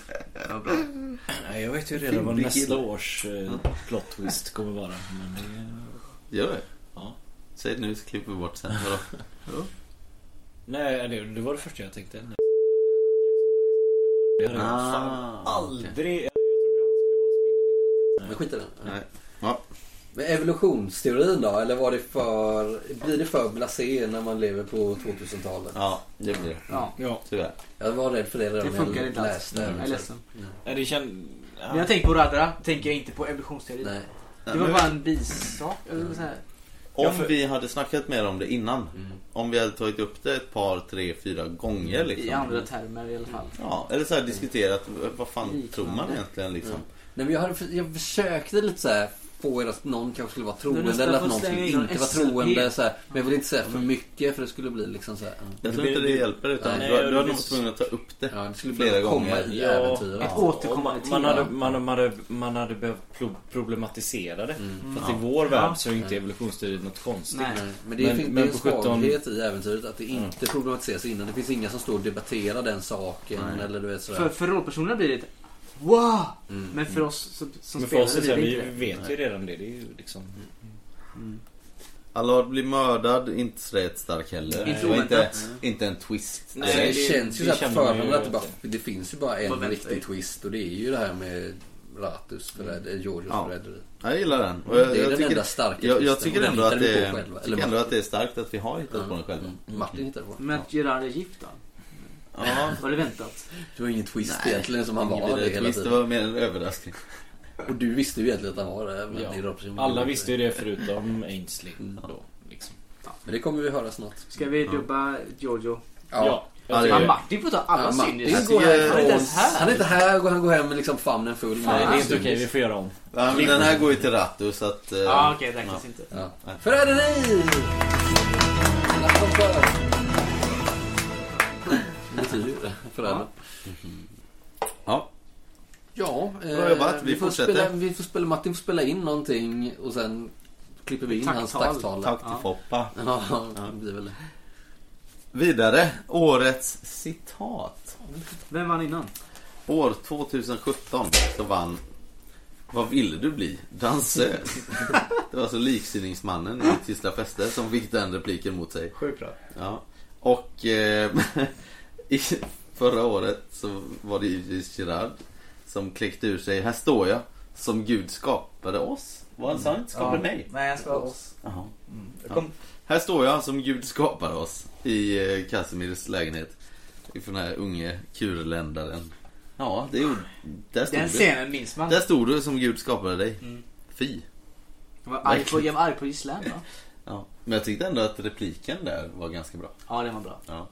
Speaker 8: Nej, jag vet ju redan vad
Speaker 5: Big
Speaker 8: nästa
Speaker 5: Hill.
Speaker 8: års eh, plot twist kommer vara. Men det är...
Speaker 5: Gör det?
Speaker 8: Ja.
Speaker 5: Säg det nu så klipper vi bort sen. Vadå?
Speaker 8: Nej, det, det var det första jag tänkte. Det hade jag fan
Speaker 5: Ah,
Speaker 8: aldrig... Jag trodde han skulle vara spindeln i nätet.
Speaker 3: Mm.
Speaker 1: Men skit i den.
Speaker 5: Nej. Ja.
Speaker 1: Men evolutionsteorin då? Eller var det för, blir det för blasé när man lever på 2000-talet?
Speaker 5: ja, det blir det.
Speaker 3: Ja.
Speaker 5: Tyvärr.
Speaker 1: Jag var rädd för det redan
Speaker 3: Det
Speaker 1: när jag
Speaker 3: funkar inte alls.
Speaker 1: läste liksom.
Speaker 3: Jag
Speaker 1: den,
Speaker 3: är
Speaker 1: så-
Speaker 3: ledsen.
Speaker 8: Nej, det känd...
Speaker 3: När jag tänker på Radra tänker jag inte på evolutionsteorin.
Speaker 1: Nej.
Speaker 3: Det var bara en bisak. eller så här.
Speaker 5: Om
Speaker 8: Ja, för-
Speaker 5: vi hade snackat mer om det innan.
Speaker 1: Mm.
Speaker 5: Om vi hade tagit upp det ett par, tre, fyra gånger
Speaker 3: Mm,
Speaker 5: liksom.
Speaker 3: I andra termer i alla fall.
Speaker 5: Ja, eller så här diskuterat. Vad fan
Speaker 3: Liknande.
Speaker 5: tror man egentligen liksom?
Speaker 1: Nej men jag, hade, jag försökte lite så här få er att någon kanske skulle vara
Speaker 3: Du
Speaker 1: troende
Speaker 3: nästan
Speaker 1: eller
Speaker 3: får
Speaker 1: att någon skulle
Speaker 3: slänga in
Speaker 1: inte vara
Speaker 3: SLP.
Speaker 1: troende. Så här. Men jag vill inte säga för mycket för det skulle bli liksom så här. mm.
Speaker 5: Jag tror inte det hjälper utan
Speaker 1: Nej,
Speaker 5: du,
Speaker 8: jag-
Speaker 5: du hade nog varit
Speaker 8: visst.
Speaker 5: tvungen att ta upp det.
Speaker 1: Ja, det skulle
Speaker 5: Flera
Speaker 1: flera komma
Speaker 5: gånger.
Speaker 1: i
Speaker 8: Ja.
Speaker 1: äventyret.
Speaker 3: Ett återkommande
Speaker 8: Man,
Speaker 3: tema.
Speaker 8: man, hade, man, man, hade, man hade behövt pro- problematisera det. Fast i vår värld så är ju inte evolutionsteorin något konstigt.
Speaker 3: Nej.
Speaker 1: Nej, Men det,
Speaker 8: Men-
Speaker 1: finns,
Speaker 8: men
Speaker 1: det är en
Speaker 8: på 17
Speaker 1: svaghet i äventyret att det inte problematiseras innan. Det finns inga som står och debatterar den saken. Eller du vet sådär.
Speaker 3: För, för rollpersonerna blir det ett Wow! Men för oss som, som
Speaker 8: Men för oss så
Speaker 3: spelare
Speaker 8: säger
Speaker 3: blir
Speaker 8: vi
Speaker 3: det inte
Speaker 8: vet ju redan det. Det är ju liksom...
Speaker 5: Allard blir mördad, inte så rätt stark heller.
Speaker 3: Inte
Speaker 5: det var inte,
Speaker 3: oväntat.
Speaker 5: inte en twist.
Speaker 1: Nej, Alltså, det,
Speaker 8: Nej, det-
Speaker 1: känns ju
Speaker 8: det
Speaker 1: så här på
Speaker 8: känner man ju
Speaker 1: förhand att det,
Speaker 8: inte.
Speaker 1: bara, det finns ju bara en
Speaker 3: Vad väntar
Speaker 1: riktig
Speaker 3: vi?
Speaker 1: twist och det är ju det här med Ratus förräderi, Georgios
Speaker 5: Ja.
Speaker 1: förräderi.
Speaker 5: Jag gillar den. Och
Speaker 1: Det är den enda starka
Speaker 5: jag, jag
Speaker 1: twisten,
Speaker 5: tycker
Speaker 1: och den
Speaker 5: ändå, att
Speaker 1: hittar vi
Speaker 5: det,
Speaker 1: på själva,
Speaker 5: tycker
Speaker 1: eller
Speaker 5: ändå att det är starkt att vi har hittat på den själva.
Speaker 1: Mm. Martin hittade på.
Speaker 3: Men
Speaker 1: Ja.
Speaker 3: att Gerard är gift då?
Speaker 5: Ja,
Speaker 3: Var det väntat?
Speaker 1: Det var ingen twist egentligen som han
Speaker 5: ingen
Speaker 1: var det
Speaker 5: vidare
Speaker 1: hela
Speaker 5: twist. Det
Speaker 1: tiden.
Speaker 5: var mer en överraskning.
Speaker 1: Och du visste ju egentligen att han var det. Men,
Speaker 8: Ja.
Speaker 1: det är rollpersonen.
Speaker 8: Alla visste ju det förutom Ainsley. Då, liksom.
Speaker 1: men det kommer vi höra snart.
Speaker 3: Ska vi dubba Giorgio?
Speaker 1: Ja.
Speaker 8: jag
Speaker 5: det
Speaker 8: tycker-
Speaker 5: är-
Speaker 3: Men Martin får ta alla
Speaker 1: Ja, Martin.
Speaker 3: synder.
Speaker 1: Jag
Speaker 3: Han går
Speaker 5: tycker-
Speaker 3: härifrån. Han är inte ens
Speaker 1: Han är
Speaker 3: här.
Speaker 1: inte här och han går hem med liksom famnen full. med-
Speaker 8: Nej, det är inte okej. Vi får göra om.
Speaker 5: Ja, men den här går ju till Rattu så att... eh,
Speaker 3: Ja, okej, det räknas inte.
Speaker 1: Ja. Förräderi! Alla som för. Det betyder ju det. Förrädare.
Speaker 5: ja.
Speaker 1: Ja, eh,
Speaker 5: Bra jobbat. Vi
Speaker 1: får
Speaker 5: fortsätter.
Speaker 1: Spela, vi får spela, Martin får spela in någonting och sen klipper vi in
Speaker 3: Tacktal.
Speaker 1: hans tacktal.
Speaker 5: Tack till Foppa.
Speaker 1: Ja, det blir väl det.
Speaker 5: Vidare. Årets citat.
Speaker 3: Vem vann innan?
Speaker 5: År 2017 så vann Vad ville du bli? Dansös. Det var alltså liksinningsmannen i Tysta Fester som fick den repliken mot sig.
Speaker 2: Sjukt bra.
Speaker 5: Ja. Och eh, i, förra året så var det givetvis Gerard som kläckte ur sig Här står jag som Gud skapade oss. Var han sant? Skapade mig?
Speaker 7: Nej, jag ska ha oss.
Speaker 5: Jaha.
Speaker 7: Jag kom
Speaker 5: Mm. Här står jag som Gud skapade oss i eh, Casimirs lägenhet. Ifrån den här unge kurländaren. Ja, det gjorde... Där stod
Speaker 3: Den
Speaker 5: du.
Speaker 3: scenen Mm. minns man.
Speaker 5: Där stod du som Gud skapade dig. Fy.
Speaker 3: Jag var arg på, jag var arg på Gislaine va?
Speaker 5: Ja. Men jag tyckte ändå att repliken där var ganska bra.
Speaker 3: Ja, den var bra.
Speaker 5: Ja.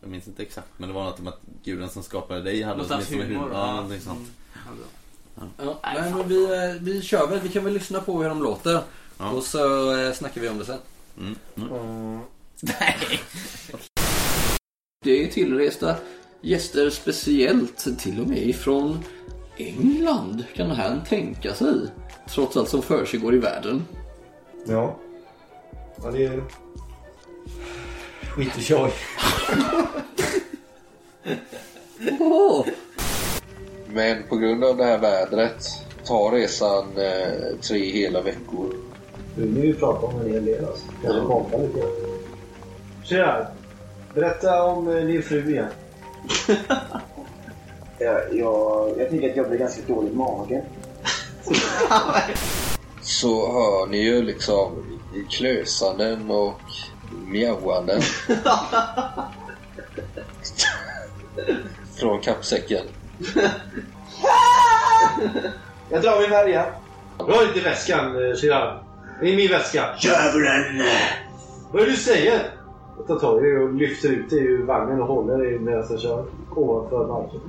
Speaker 5: Jag minns inte exakt, men det var något om att guden som skapade dig hade
Speaker 3: Någonstans humor,
Speaker 5: huvud- Ja,
Speaker 3: va?
Speaker 5: någonting sånt.
Speaker 3: Ja, bra.
Speaker 1: Ja, nej, men vi, eh, vi kör väl. Vi kan väl lyssna på hur de låter.
Speaker 5: Ja.
Speaker 1: Och så eh, snackar vi om det sen.
Speaker 5: Mm. Mm.
Speaker 1: Det är tillresta gäster speciellt, till och med ifrån England kan han tänka sig. Trots allt som försiggår i världen.
Speaker 9: Ja. Ja, det är... Skit och tjoj.
Speaker 1: Men på grund av det här vädret tar resan eh, tre hela veckor.
Speaker 9: Nu vill ju prata om en hel del alltså. Kanske bomba lite grann. Tjena! Berätta om eh, din fru igen. jag, jag, jag tycker att jag blir ganska dålig i magen.
Speaker 1: Så hör ni ju liksom klösanden och mjauanden. Från kappsäcken.
Speaker 9: Jag drar min värja. Rör inte väskan, eh, Gerard. Det är min väska. Djävulen! Vad är det du säger? Jag tar tag i det och lyfter ut det ur vagnen och håller det medan jag kör ovanför marken.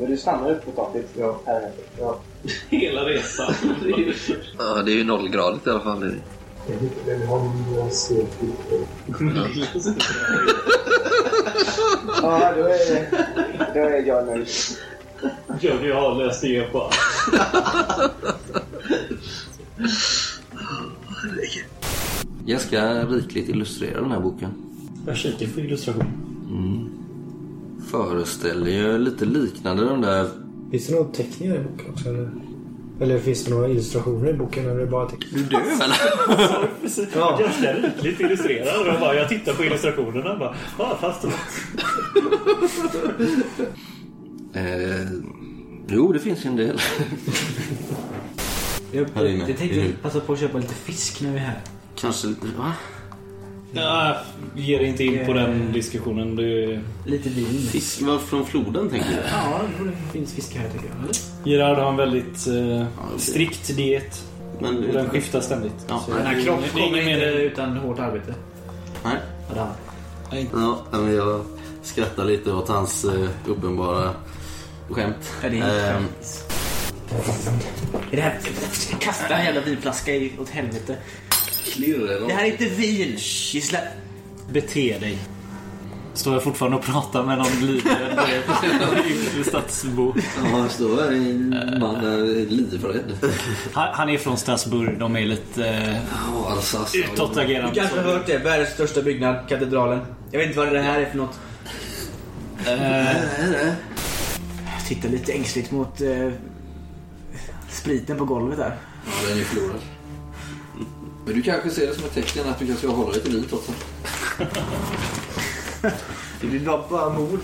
Speaker 7: Men du stannar upp på taket.
Speaker 9: Ja.
Speaker 7: Här.
Speaker 9: Ja.
Speaker 6: Hela resan.
Speaker 1: Ja, det är ju nollgradigt i alla fall.
Speaker 9: Vem har några steg
Speaker 7: Ja, då är, då är jag nöjd.
Speaker 6: Johnny har löst det på.
Speaker 1: Ganska rikligt illustrerar den här boken.
Speaker 6: Jag kikar på illustration.
Speaker 1: Föreställer ju lite liknande de där...
Speaker 10: Finns det någon teckning i den här boken också? Eller, eller finns det några illustrationer i boken? Eller är det bara teckning?
Speaker 1: Du dör väl?
Speaker 10: Ja.
Speaker 6: Jag känner lite illustrerad. Jag, bara, jag tittar på illustrationerna och bara, ah, fast
Speaker 1: eh, jo, det finns ju en del.
Speaker 3: Jag,
Speaker 5: Här inne,
Speaker 3: jag
Speaker 5: i
Speaker 3: tänkte
Speaker 5: huvudet.
Speaker 3: passa på att köpa lite fisk när vi är här.
Speaker 1: Kanske lite... Va?
Speaker 6: Ja, ger inte in på den diskussionen. Du...
Speaker 3: Lite vin.
Speaker 5: Fisk var från floden tänker jag.
Speaker 3: Ja, det borde- det finns fisk här tycker jag. Eller?
Speaker 6: Gerard har en väldigt eh, strikt diet.
Speaker 5: Men
Speaker 6: Och den skiftar ständigt.
Speaker 5: Ja.
Speaker 6: Så
Speaker 5: Den
Speaker 3: Den här
Speaker 6: det-
Speaker 3: kroppen
Speaker 6: det är
Speaker 3: kommer
Speaker 6: ingen
Speaker 3: inte
Speaker 6: mening-
Speaker 3: utan hårt arbete.
Speaker 5: Nej.
Speaker 3: Ja, det har han.
Speaker 5: Ja, men jag skrattar lite åt hans eh, uppenbara skämt.
Speaker 3: Ja, det är inte
Speaker 5: Ehm,
Speaker 3: Är det här... Kasta en jävla vinflaska i- åt helvete. Det här är inte vin! Gissla...
Speaker 6: Bete dig. Står jag fortfarande och pratar med någon liten yngre stadsbo?
Speaker 1: Ja, han står här i man är livrädd.
Speaker 6: Han, han är från Strasbourg. De är lite eh,
Speaker 1: Ja, alltså, Alsace.
Speaker 3: Du
Speaker 6: utåtagerande.
Speaker 3: kanske har hört det. Världens största byggnad, katedralen. Jag vet inte vad det här är för något. Eh. Jag tittar lite ängsligt mot eh, spriten på golvet där.
Speaker 1: Ja, den är förlorad. Men du kanske ser det som ett tecken att du kanske ska hålla dig till livet också.
Speaker 3: Det blir bara, bara mord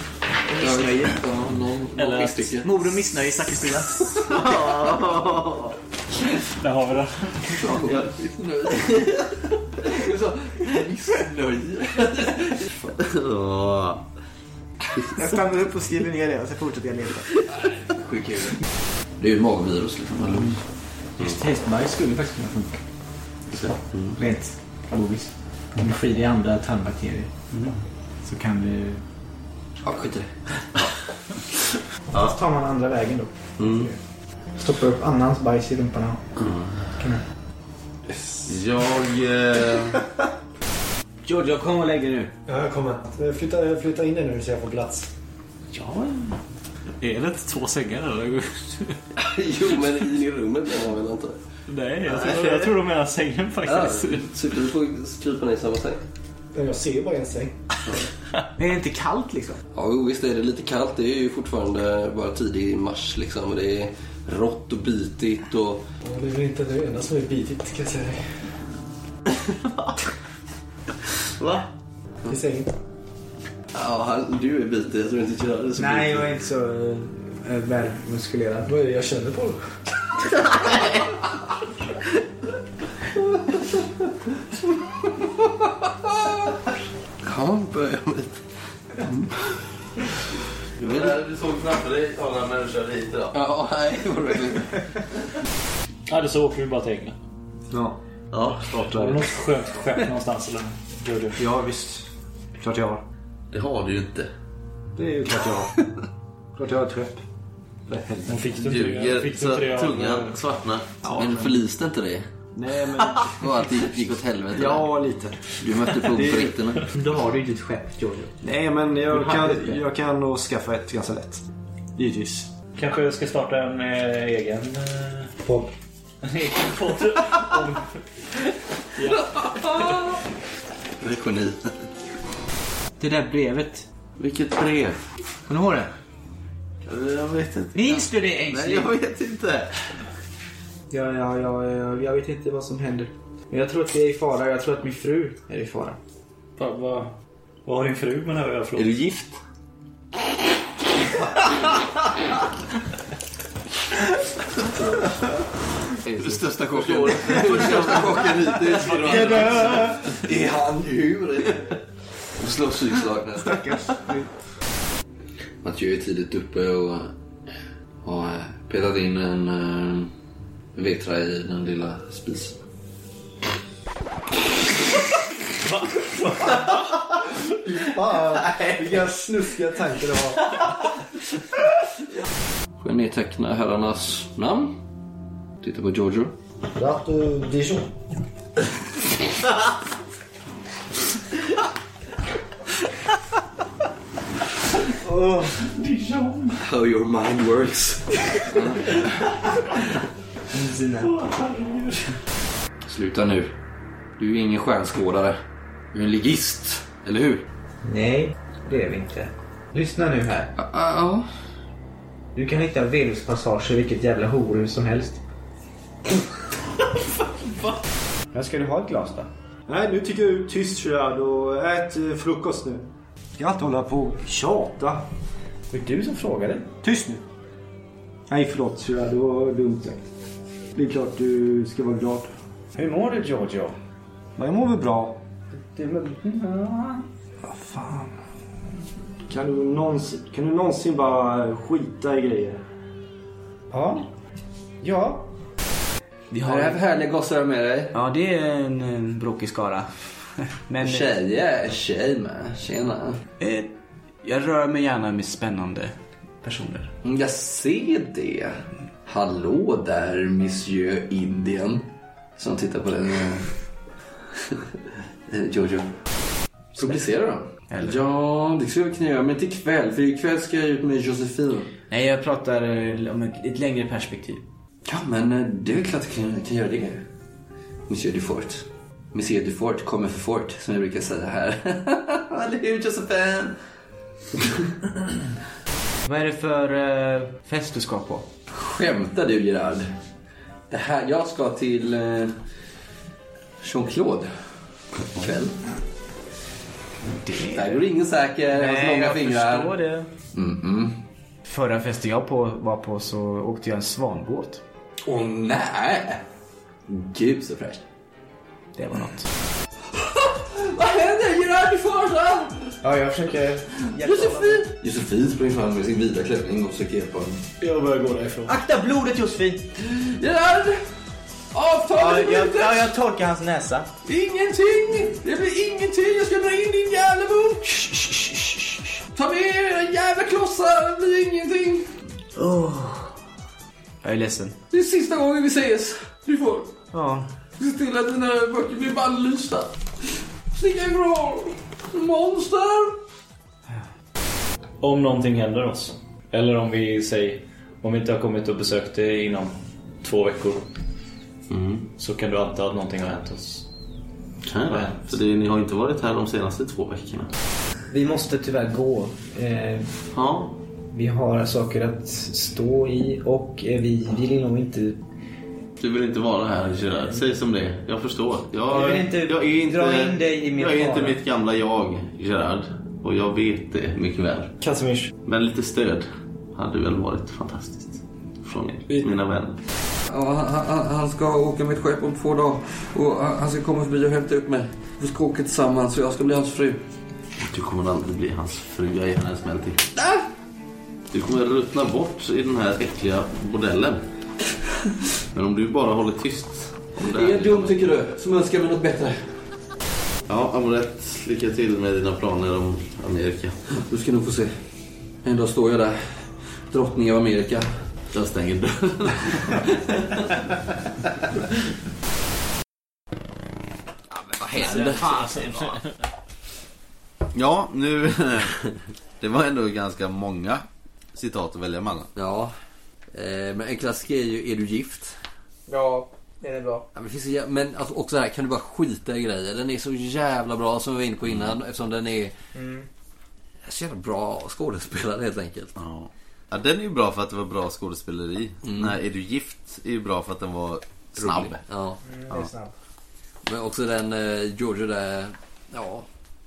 Speaker 3: och missnöje.
Speaker 1: Ja, någon,
Speaker 6: Eller
Speaker 1: någon
Speaker 6: att-
Speaker 1: stycke.
Speaker 3: Mord och missnöje i sakristian.
Speaker 6: Där har vi den.
Speaker 1: Ja, missnöje. Missnöje.
Speaker 5: ja.
Speaker 3: Jag stannar upp och skriver ner det och så fortsätter jag leta.
Speaker 1: Skicka iväg. Det är ju ett magvirus liksom. Mm.
Speaker 11: Hästberg skulle faktiskt kunna funka.
Speaker 3: Mm.
Speaker 5: Mm.
Speaker 11: Rent logiskt. Om du får i dig andra tarmbakterier så kan du...
Speaker 1: Ja, skit i det.
Speaker 10: Så tar man andra vägen då. Stoppar upp annans bajs i rumparna.
Speaker 5: Jag... Eh,
Speaker 3: Giorgio, kom och lägg dig nu.
Speaker 10: Ja, jag kommer. Flytta, flytta in dig nu så jag får plats.
Speaker 6: Är det inte två sängar eller?
Speaker 1: Jo, men in i rummet där har vi något.
Speaker 6: Nej, jag tror, jag tror de menar sängen faktiskt.
Speaker 1: Så du får krypa ner i samma säng.
Speaker 10: Men Jag ser ju bara en säng.
Speaker 3: Är det inte kallt liksom?
Speaker 1: Ja, jo, visst är det lite kallt. Det är ju fortfarande bara tidig mars liksom. Och det är rått och bitigt och...
Speaker 10: Ja, Det är väl inte det enda som är bitigt kan jag säga dig.
Speaker 5: va?
Speaker 10: I sängen.
Speaker 1: Ja, han- du är bitig. Jag tror inte jag är så
Speaker 11: Nej,
Speaker 1: bitig.
Speaker 11: jag är inte så äh, välmuskulerad.
Speaker 10: Vad är det jag känner på då?
Speaker 1: Ja, börja med lite.
Speaker 5: Du såg framför dig alla när du körde hit idag.
Speaker 1: Ja, nej, det var verkligen...
Speaker 6: Eller så åker vi bara till England.
Speaker 11: Ja.
Speaker 5: Ja,
Speaker 6: Har du
Speaker 5: startar.
Speaker 6: något skönt skepp någonstans eller? Gör du?
Speaker 11: ja, visst. Klart jag har.
Speaker 5: Det har du ju inte.
Speaker 11: Det är ju klart jag har. klart jag har ett skepp. För helvete.
Speaker 6: Men Fick du inte det?
Speaker 5: Ljuger
Speaker 6: Fick
Speaker 5: så
Speaker 6: du inte
Speaker 5: att
Speaker 6: det? av-
Speaker 5: tungan svartnar.
Speaker 1: Men förliste inte det?
Speaker 11: Nej, men...
Speaker 1: Bara att det gick åt helvete?
Speaker 11: Ja, lite.
Speaker 1: Du mötte på britterna?
Speaker 3: Då har du ju ditt skepp, Giorgio.
Speaker 11: Nej, men jag
Speaker 3: hade
Speaker 11: kan, jag kan nog skaffa ett ganska lätt. Givetvis.
Speaker 6: Kanske jag ska starta en eh, egen... Eh,
Speaker 10: Podd.
Speaker 6: en egen podd.
Speaker 1: Det är geni.
Speaker 3: Det där brevet.
Speaker 5: Vilket brev?
Speaker 3: Kommer du ihåg det?
Speaker 5: Jag vet inte.
Speaker 3: Minns du det
Speaker 5: Nej,
Speaker 3: ängsligt?
Speaker 5: jag vet inte.
Speaker 3: Ja, ja, ja, ja, jag vet inte vad som händer. Men jag tror att det är i fara. Jag tror att min fru är i fara.
Speaker 6: Vad vad- vad har din fru med den här
Speaker 5: Är
Speaker 6: ölfrågan?
Speaker 5: du gift?
Speaker 1: Det största chocken. Största chocken hittills. Är han djur? Och slår psykslag nästan. Stackars. Mattieu är tidigt uppe och eh, har petat in en eh, vetra i den lilla spisen.
Speaker 9: Fan, vilka snuskiga tankar du har.
Speaker 1: Får jag nedteckna herrarnas namn. Titta på Giorgio.
Speaker 9: Ratt och Dijon.
Speaker 1: How your mind works. Sluta nu. Du är ju ingen stjärnskådare. Du är en ligist, eller hur?
Speaker 7: Nej, det är vi inte. Lyssna nu här.
Speaker 1: Ja. ja.
Speaker 7: Du kan hitta venuspassager i vilket jävla horhus som helst. Men ska du ha ett glas då?
Speaker 9: Nej, nu tycker jag du är tyst Gerard och ät eh, frukost nu. Ska inte hålla på och tjata.
Speaker 7: Det var du som frågade.
Speaker 9: Tyst nu! Nej, förlåt Gerard. Det var dumt sagt. Det är klart du ska vara glad.
Speaker 7: Hur mår du Giorgio?
Speaker 9: Men jag mår väl bra.
Speaker 7: Du, men...
Speaker 9: Vad fan. Kan du, någonsin, kan du någonsin bara skita i grejer?
Speaker 7: Ja. Ja.
Speaker 3: Vi
Speaker 1: Har du
Speaker 3: har...
Speaker 1: haft härliga gossar med dig?
Speaker 3: Ja, det är en, en brokig skara. Men eh,
Speaker 1: Tjejer, tjej med. Tjena.
Speaker 3: eh, jag rör mig gärna med spännande personer.
Speaker 1: Mm, Jag ser det. Hallå där, Monsieur Indien. Som tittar på den. Eh, Jojo. Publicera dem.
Speaker 3: Eller?
Speaker 1: Ja, det skulle jag kunna göra. Men inte ikväll. För ikväll ska jag ut med Josefin.
Speaker 3: Nej, jag pratar eh, om ett, ett längre perspektiv.
Speaker 1: Ja, men eh, det är väl klart att jag kan, kan göra det. Monsieur Dufort. Monsieur Dufort kommer för fort, som jag brukar säga här. Eller hur, Josefin?
Speaker 3: Vad är det för eh, fest du ska på?
Speaker 1: Skämtar du, Gerard? Det här, jag ska till eh, Jean-Claude ikväll.
Speaker 3: Det...
Speaker 1: Där går ingen säker. Hans långa
Speaker 3: Eh, jag
Speaker 1: fingrar.
Speaker 3: förstår det.
Speaker 1: Mm-mm.
Speaker 3: Förra festen jag på, var på så åkte jag en svanbåt.
Speaker 1: Åh nej! Gud så fräscht.
Speaker 3: Det var något.
Speaker 1: Vad händer? Gerard, du får fram!
Speaker 7: Ja, jag försöker...
Speaker 1: Josefin! Josefin springer fram med sin vita klänning och försöker hjälpa honom.
Speaker 9: Jag börjar gå därifrån.
Speaker 7: Akta blodet Josefin!
Speaker 1: Gerard!
Speaker 7: Ja,
Speaker 1: Avtalet är
Speaker 7: jag, ja,
Speaker 1: brutet!
Speaker 7: jag torkar hans näsa.
Speaker 1: Ingenting! Det blir ingenting! Jag ska dra in din jävla bok! Shh, shh, shh, shh, shh. Ta med er era jävla klossar! Det blir ingenting!
Speaker 3: Jag är ledsen.
Speaker 1: Det är sista gången vi ses. Du får
Speaker 3: Ja.
Speaker 1: se till att dina böcker blir bannlysta. Sticka ifrån! Monster!
Speaker 8: Om någonting händer oss. Eller om vi säger, om vi inte har kommit och besökt dig inom två veckor.
Speaker 1: Mm.
Speaker 8: Så kan du anta att någonting har hänt oss.
Speaker 5: Kan jag det? För det, ni har inte varit här de senaste två veckorna.
Speaker 7: Vi måste tyvärr gå. Eh,
Speaker 5: Ja,
Speaker 7: vi har saker att stå i och eh, vi vill nog inte...
Speaker 5: du vill inte vara här Gerard. Säg som det är. Jag förstår. Jag,
Speaker 7: Jag vill inte
Speaker 5: jag är inte,
Speaker 7: dra in dig i min
Speaker 5: Jag är inte
Speaker 7: fara.
Speaker 5: mitt gamla jag Gerard. Och jag vet det mycket väl.
Speaker 7: Kazimierz.
Speaker 5: Men lite stöd hade väl varit fantastiskt. Från er, mina vänner.
Speaker 1: Ja, han, han, han ska åka med ett skepp om två dagar. Och han han ska komma förbi och hämta upp mig. Vi ska åka tillsammans och jag ska bli hans fru.
Speaker 5: Du kommer aldrig bli hans fru. Jag ger henne en smäll till. Du kommer ruttna bort i den här äckliga bordellen. Men om du bara håller tyst. Om det
Speaker 1: Är
Speaker 5: här,
Speaker 1: jag dum tycker du, som önskar mig något bättre?
Speaker 5: Ja, Amorett. Lycka till med dina planer om Amerika.
Speaker 1: Du ska nog få se. En dag står jag där. Drottning av Amerika.
Speaker 5: Jag stänger dörren.
Speaker 1: Vad händer?
Speaker 5: Ja, nu... Det var ändå ganska många citat att välja mellan.
Speaker 1: Ja. Eh, men en klassiker är ju, är du gift?
Speaker 7: Ja, det är bra.
Speaker 1: Ja, men finns det, jä- men alltså också det här, kan du bara skita i grejer? Den är så jävla bra som vi var inne på innan
Speaker 7: Mm.
Speaker 1: eftersom den är så jävla bra skådespelare helt enkelt.
Speaker 5: Ja. Mm. ja, den är ju bra för att det var bra skådespeleri. Nej, är du gift är ju bra för att den var snabb.
Speaker 1: Rolig. Ja.
Speaker 5: Ja.
Speaker 1: Men också den eh, Giorgio där, ja,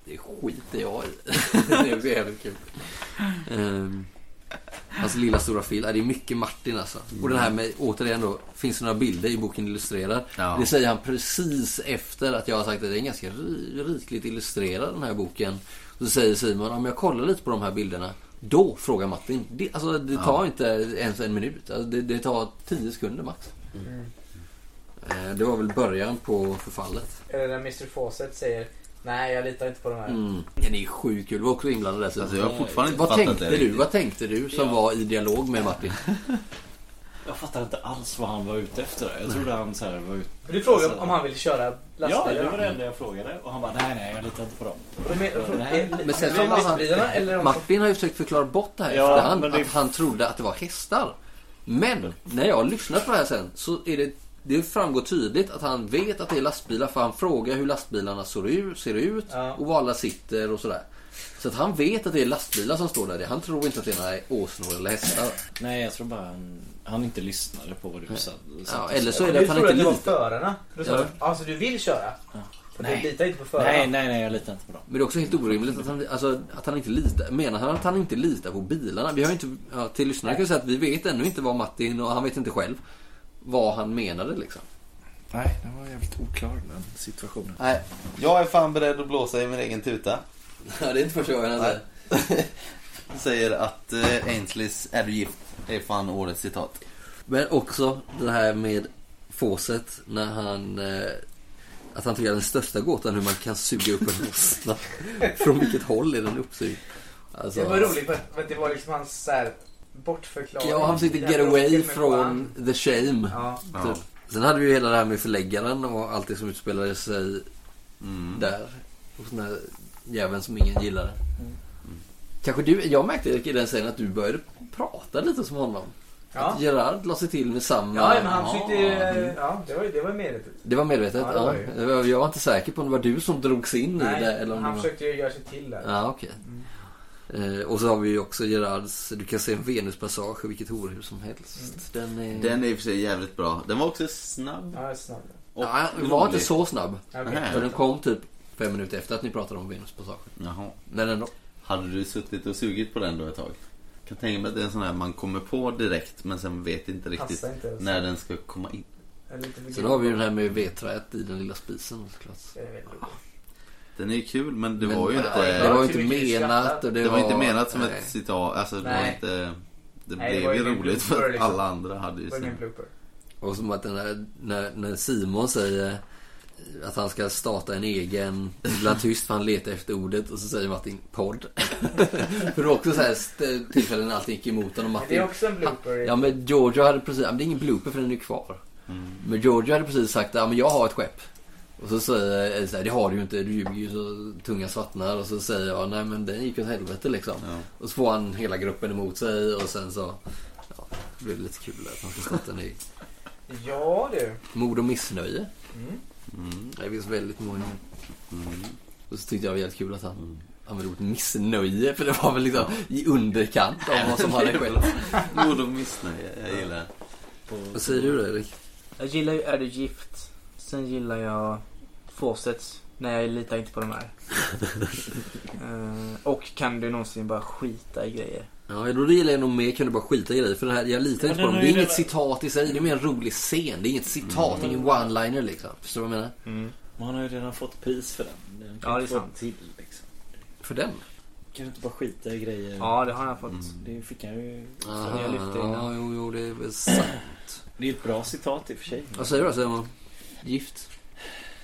Speaker 1: det skiter jag i. det är så jävligt kul. Ehm, hans lilla stora fil. Ja, det är mycket Martin alltså. Och den här med, återigen då, finns det några bilder i boken Illustrerad?
Speaker 5: Ja.
Speaker 1: Det säger han precis efter att jag har sagt att det är ganska ri- rikligt illustrerad den här boken. Och så säger Simon, om jag kollar lite på de här bilderna. Då frågar Martin. Det, alltså, det tar inte ens en minut. Alltså, det, det tar tio sekunder max. Eh, Det var väl början på förfallet.
Speaker 3: Eller när Mr Fawcett säger Nej, jag litar inte på de här.
Speaker 1: Mm. Den är sjuk kul. Du var också inblandad där. så-
Speaker 5: Alltså, jag har fortfarande inte
Speaker 1: vad
Speaker 5: fattat
Speaker 1: tänkte
Speaker 5: det
Speaker 1: du?
Speaker 5: riktigt.
Speaker 1: Vad tänkte du som var i dialog med Martin?
Speaker 6: Jag fattar inte alls vad han var ute efter. Jag trodde han så här var ute...
Speaker 3: Du frågade om han ville köra
Speaker 6: Ja, det
Speaker 3: lastbilarna.
Speaker 6: var det enda jag frågade. Och han bara, nej, nej, jag litar inte på dem.
Speaker 3: Och men- och-
Speaker 6: Nej.
Speaker 3: eh,
Speaker 1: Men sen
Speaker 3: var det
Speaker 1: så-
Speaker 3: lastbilarna eller de...
Speaker 1: Martin har ju försökt förklara bort det här i
Speaker 6: Ja,
Speaker 1: efterhand.
Speaker 6: men det-
Speaker 1: Att han trodde att det var hästar. Men när jag har lyssnat på det här sen så är det det framgår tydligt att han vet att det är lastbilar för han frågar hur lastbilarna ser ut, ser ut
Speaker 3: Ja.
Speaker 1: och var alla sitter och sådär. Så att han vet att det är lastbilar som står där. Han tror inte att det är några åsnor eller hästar.
Speaker 6: Nej, jag tror bara han, han inte lyssnade på vad du sa.
Speaker 1: Ja, eller så är det
Speaker 3: Du
Speaker 1: att han
Speaker 3: trodde
Speaker 1: inte
Speaker 3: att det var
Speaker 1: litar.
Speaker 3: förarna. För Då sa
Speaker 1: Ja.
Speaker 3: du, alltså du vill köra. För
Speaker 6: Nej.
Speaker 3: Du litar inte på förarna.
Speaker 6: Nej, nej, nej, jag litar inte på dem.
Speaker 1: Men det är också helt orimligt att han, alltså, att han inte litar. Menar han att han inte litar på bilarna? Vi har ju inte, ja, till lyssnarna kan jag säga att vi vet ännu inte vad Martin och han vet inte själv vad han menade liksom.
Speaker 12: Nej, den var jävligt oklar den situationen.
Speaker 5: Nej, jag är fan beredd att blåsa i min egen tuta.
Speaker 1: Ja, det är inte första gången han säger.
Speaker 5: Säger att eh, Ainsleys Är du gift? är fan årets citat.
Speaker 1: Men också det här med Fawcett när han... Eh, att han tycker att den största gåtan är hur man kan suga upp en åsna. Från vilket håll är den uppsugd? Alltså,
Speaker 3: Det var roligt för, för att det var liksom hans så här, bortförklaring.
Speaker 1: Ja, han försökte
Speaker 3: Den
Speaker 1: get away
Speaker 3: filmen
Speaker 1: från the shame.
Speaker 3: Ja.
Speaker 5: Ja.
Speaker 1: Typ. Sen hade vi ju hela det här med förläggaren och allt det som utspelade sig
Speaker 5: Mm.
Speaker 1: där. Hos den här jäveln som ingen gillade. Kanske du, jag märkte i den scenen att du började prata lite som honom.
Speaker 3: Ja.
Speaker 1: Gerard la sig till med samma...
Speaker 3: ja, men han
Speaker 1: Ja. Mm.
Speaker 3: försökte ju... Ja, det var ju det var ju medvetet.
Speaker 1: Det var medvetet?
Speaker 3: Ja,
Speaker 1: Ja,
Speaker 3: det var
Speaker 1: Jag- Jag var inte säker på om det var du som drogs in i
Speaker 3: Nej,
Speaker 1: det. Eller om
Speaker 3: han
Speaker 1: det var...
Speaker 3: försökte ju göra sig till där.
Speaker 1: Ja, okej. Eh, och så har vi ju också Gerards, du kan se en Venuspassage i vilket horhus som helst.
Speaker 3: Mm.
Speaker 1: Den är...
Speaker 5: Den är i och för sig jävligt bra. Den var också snabb.
Speaker 3: Ja, snabb.
Speaker 5: och
Speaker 1: Nej, den var inte
Speaker 5: rolig.
Speaker 1: så snabb.
Speaker 3: Okay.
Speaker 5: Nej.
Speaker 1: För den kom typ fem minuter efter att ni pratade om Venuspassagen.
Speaker 5: Jaha.
Speaker 1: Men ändå.
Speaker 5: Hade du suttit och sugit på den då ett tag? Kan tänka mig att det är en sån här man kommer på direkt men sen vet inte riktigt
Speaker 3: Passar inte.
Speaker 5: när den ska komma in.
Speaker 1: Så då har vi ju den här med vedträet i den lilla spisen såklart.
Speaker 5: Den är ju kul men det
Speaker 1: Men,
Speaker 5: var ju
Speaker 1: ja,
Speaker 5: inte...
Speaker 1: Det var ju
Speaker 3: Hur
Speaker 1: inte
Speaker 3: mycket
Speaker 1: menat.
Speaker 3: skrattar?
Speaker 1: Och det,
Speaker 5: Det var inte menat som
Speaker 1: nej.
Speaker 5: ett citat. Alltså, det var
Speaker 3: Nej.
Speaker 5: inte... Det
Speaker 3: Nej, det
Speaker 5: blev
Speaker 3: var ju
Speaker 5: ju
Speaker 3: ingen
Speaker 5: roligt
Speaker 3: blooper,
Speaker 5: för att
Speaker 3: liksom.
Speaker 5: alla andra hade ju sina...
Speaker 3: Ingen blooper.
Speaker 1: Och som att den här, när, när Simon säger att han ska starta en egen, ibland tyst för han letar efter ordet och så säger Martin podd. för det var också så här st- tillfällen när allting gick emot honom.
Speaker 3: Det
Speaker 1: Martin,
Speaker 3: är också en blooper.
Speaker 1: ja men Giorgio hade precis, ja, men det är ingen blooper för den är kvar. Men Giorgio hade precis sagt ja men jag har ett skepp. Och så säger jag så här, det har du ju inte, du ljuger ju så tunga svartnar. Och så säger jag nej men den gick åt helvete liksom.
Speaker 5: Ja.
Speaker 1: Och så får han hela gruppen emot sig och sen så ja, det blev lite kul att han ska starta en egen.
Speaker 3: Ja du.
Speaker 1: Mod och missnöje.
Speaker 3: Mm.
Speaker 5: Mm.
Speaker 1: Det finns väldigt många.
Speaker 5: Mm.
Speaker 1: Och så tyckte jag det var jävligt kul att han använde ordet missnöje. För det var väl liksom i underkant av vad som hade skett.
Speaker 5: Mod och missnöje, jag gillar det.
Speaker 1: Vad säger du då Erik?
Speaker 3: Jag gillar ju Är du gift? Sen gillar jag Fawcetts. Nej, jag litar inte på de här. Eh, och kan du någonsin bara skita i grejer?
Speaker 1: Ja, då gillar jag nog mer kan du bara skita i det. För det här, jag litar inte
Speaker 6: den
Speaker 1: på dem. Det
Speaker 6: har
Speaker 1: är
Speaker 6: ju
Speaker 1: inget
Speaker 6: redan-
Speaker 1: citat i sig. Det är mer en rolig scen. Det är inget citat,
Speaker 3: Mm.
Speaker 1: ingen one-liner liksom. Förstår du vad jag menar?
Speaker 6: Men han har ju redan fått pris för den. den kan
Speaker 3: Ja,
Speaker 6: inte
Speaker 3: det är
Speaker 6: få
Speaker 3: sant.
Speaker 6: Till, liksom.
Speaker 1: För den?
Speaker 6: Kan du inte bara skita i grejer?
Speaker 3: Ja, det har jag fått.
Speaker 6: Det fick han ju...
Speaker 1: Aha,
Speaker 3: jag lyfte in
Speaker 1: ja, jo, jo, det är väl sant.
Speaker 6: Det är ett bra citat i och för sig.
Speaker 1: Vad säger du då Simon? Gift?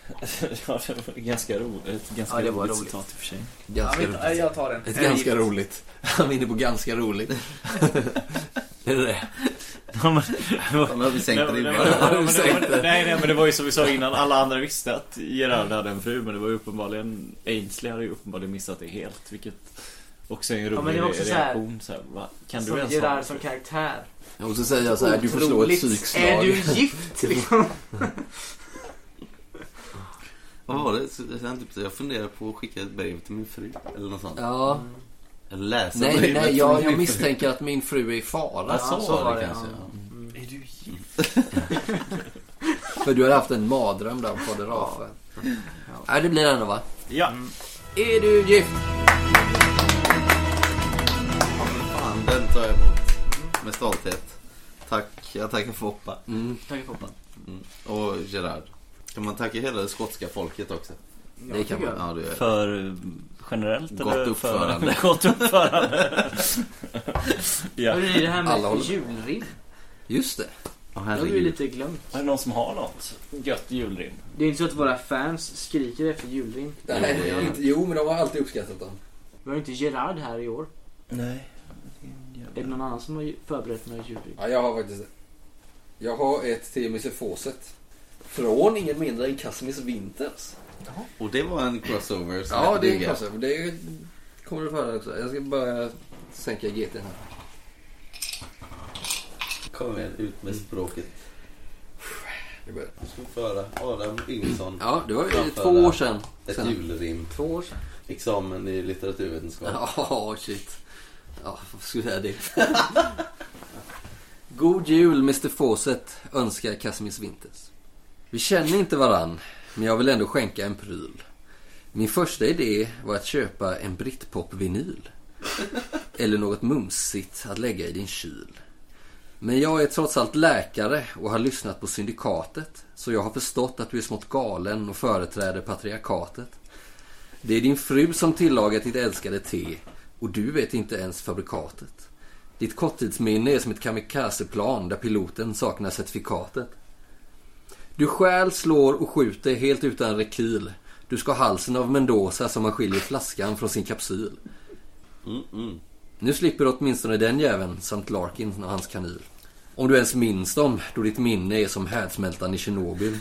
Speaker 6: ja, det var ganska roligt. Ett ganska
Speaker 3: Ja, det var
Speaker 6: roligt,
Speaker 3: roligt.
Speaker 6: citat i och för sig.
Speaker 3: Ja,
Speaker 1: Ganska
Speaker 3: men,
Speaker 1: roligt.
Speaker 3: eh, jag tar den.
Speaker 1: Ett
Speaker 3: Jag är
Speaker 1: ganska
Speaker 3: gift.
Speaker 1: roligt. Han var inne på ganska roligt. är det det?
Speaker 5: Fan, nu har vi sänkt
Speaker 6: Nej, men-
Speaker 5: ribban.
Speaker 6: nej, men- nej, men- nej, men- Nej, nej, men det var ju som vi sa innan. Alla andra visste att Gerard hade en fru, men det var ju uppenbarligen... Ainsley hade ju uppenbarligen missat det helt, vilket också är en rolig
Speaker 3: men det är också så här-
Speaker 6: reaktion. Så här, va? Kan du
Speaker 3: Som
Speaker 6: ens
Speaker 3: Gerard
Speaker 6: ha
Speaker 3: som karaktär.
Speaker 1: Och så säger jag så här, Alltså, du får slå ett
Speaker 3: Otroligt.
Speaker 1: psykslag.
Speaker 3: Är du gift liksom?
Speaker 5: Vad var det? Så- sen typ så Jag funderar på att skicka ett brev till min fru eller något sånt.
Speaker 1: Ja,
Speaker 5: Eller läsa
Speaker 1: nej,
Speaker 5: brevet
Speaker 1: nej,
Speaker 5: till
Speaker 1: jag,
Speaker 5: min
Speaker 1: jag
Speaker 5: fru.
Speaker 1: misstänker att min fru är i fara.
Speaker 5: Ja, så, var det kanske.
Speaker 3: ja.
Speaker 5: Ja.
Speaker 6: Är du gift?
Speaker 1: För du har haft en mardröm där om fader Rafa. Nej, det blir det ändå va?
Speaker 6: Ja.
Speaker 1: Är du gift?
Speaker 5: Fan, Mm. den tar jag emot med stolthet. Tack, jag tackar Foppa.
Speaker 1: Mm.
Speaker 5: Och Gerard. Kan man tacka hela det skotska folket också?
Speaker 3: Ja, Det kan tycker man. jag. Ja, det gör jag.
Speaker 6: För eh, generellt?
Speaker 3: Gott
Speaker 6: eller
Speaker 3: uppförande.
Speaker 6: För, gott uppförande. ja.
Speaker 3: Hur är det här med julrim?
Speaker 1: Just det.
Speaker 3: Det har vi ju lite glömt.
Speaker 6: Är det någon som har något gött julrim?
Speaker 3: Det är inte så att våra fans skriker efter julrim.
Speaker 1: Nej, inte, jo, men de har alltid uppskattat dem.
Speaker 3: Vi har ju inte Gerard här i år.
Speaker 6: Nej.
Speaker 3: Är det någon annan som har ju- förberett några julrim?
Speaker 1: Ja, jag har faktiskt det. Jag har ett till Mr Fawcett. Från ingen mindre än Casimir Winters.
Speaker 5: Och det var en crossover som
Speaker 1: Ja,
Speaker 5: jag
Speaker 1: det är
Speaker 5: diggar.
Speaker 1: klasse. Det är, kommer du få höra också. Jag ska bara sänka GT här.
Speaker 5: Kom igen, ut med språket. Nu ska vi föra Adam Yngvesson.
Speaker 1: Ja, det var ju
Speaker 5: framföra
Speaker 1: två år sedan.
Speaker 5: Ett
Speaker 1: Sedan.
Speaker 5: julrim.
Speaker 1: Två år sedan.
Speaker 5: Examen i litteraturvetenskap.
Speaker 1: Ja, shit. Ja, vad skulle jag säga det? God jul Mr Fawcett önskar Casimir Winters. Vi känner inte varann, men jag vill ändå skänka en pryl. Min första idé var att köpa en britpop-vinyl. Eller något mumsigt att lägga i din kyl. Men jag är trots allt läkare och har lyssnat på Syndikatet, så jag har förstått att du är smått galen och företräder patriarkatet. Det är din fru som tillagat ditt älskade te och du vet inte ens fabrikatet. Ditt korttidsminne är som ett kamikazeplan där piloten saknar certifikatet. Du stjäl, slår och skjuter helt utan rekyl. Du ska ha halsen av Mendoza som man skiljer flaskan från sin kapsyl. Nu slipper du åtminstone den jäveln samt Larkin och hans kanil. Om du ens minns dem, då ditt minne är som härdsmältan i Tjernobyl.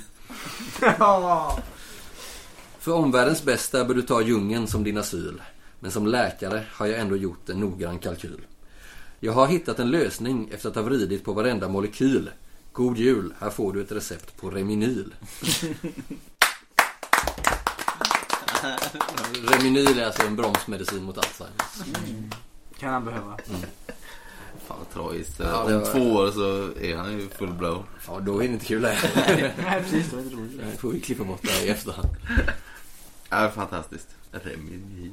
Speaker 1: För omvärldens bästa bör du ta djungeln som din asyl. Men som läkare har jag ändå gjort en noggrann kalkyl. Jag har hittat en lösning efter att ha vridit på varenda molekyl. God jul, här får du ett recept på Reminyl. Reminyl är alltså en bromsmedicin mot Alzheimers.
Speaker 3: Kan han behöva.
Speaker 5: Fan vad tragiskt.
Speaker 1: Ja,
Speaker 5: Om
Speaker 1: det var-
Speaker 5: två år så är han ju full blow.
Speaker 1: Ja, då är det inte kul här.
Speaker 3: Nej, precis. Det var inte roligt.
Speaker 1: Nej, får vi klippa bort det här i efterhand.
Speaker 5: Ja, fantastiskt. Remini.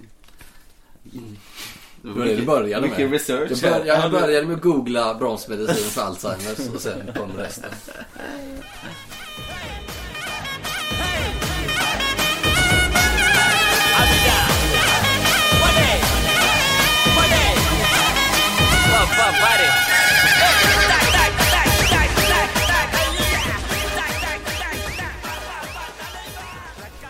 Speaker 1: Det var det du började med.
Speaker 5: Mycket research.
Speaker 1: Jag började, jag började med att googla bromsmedicin för Alzheimers och sen kom resten.
Speaker 4: er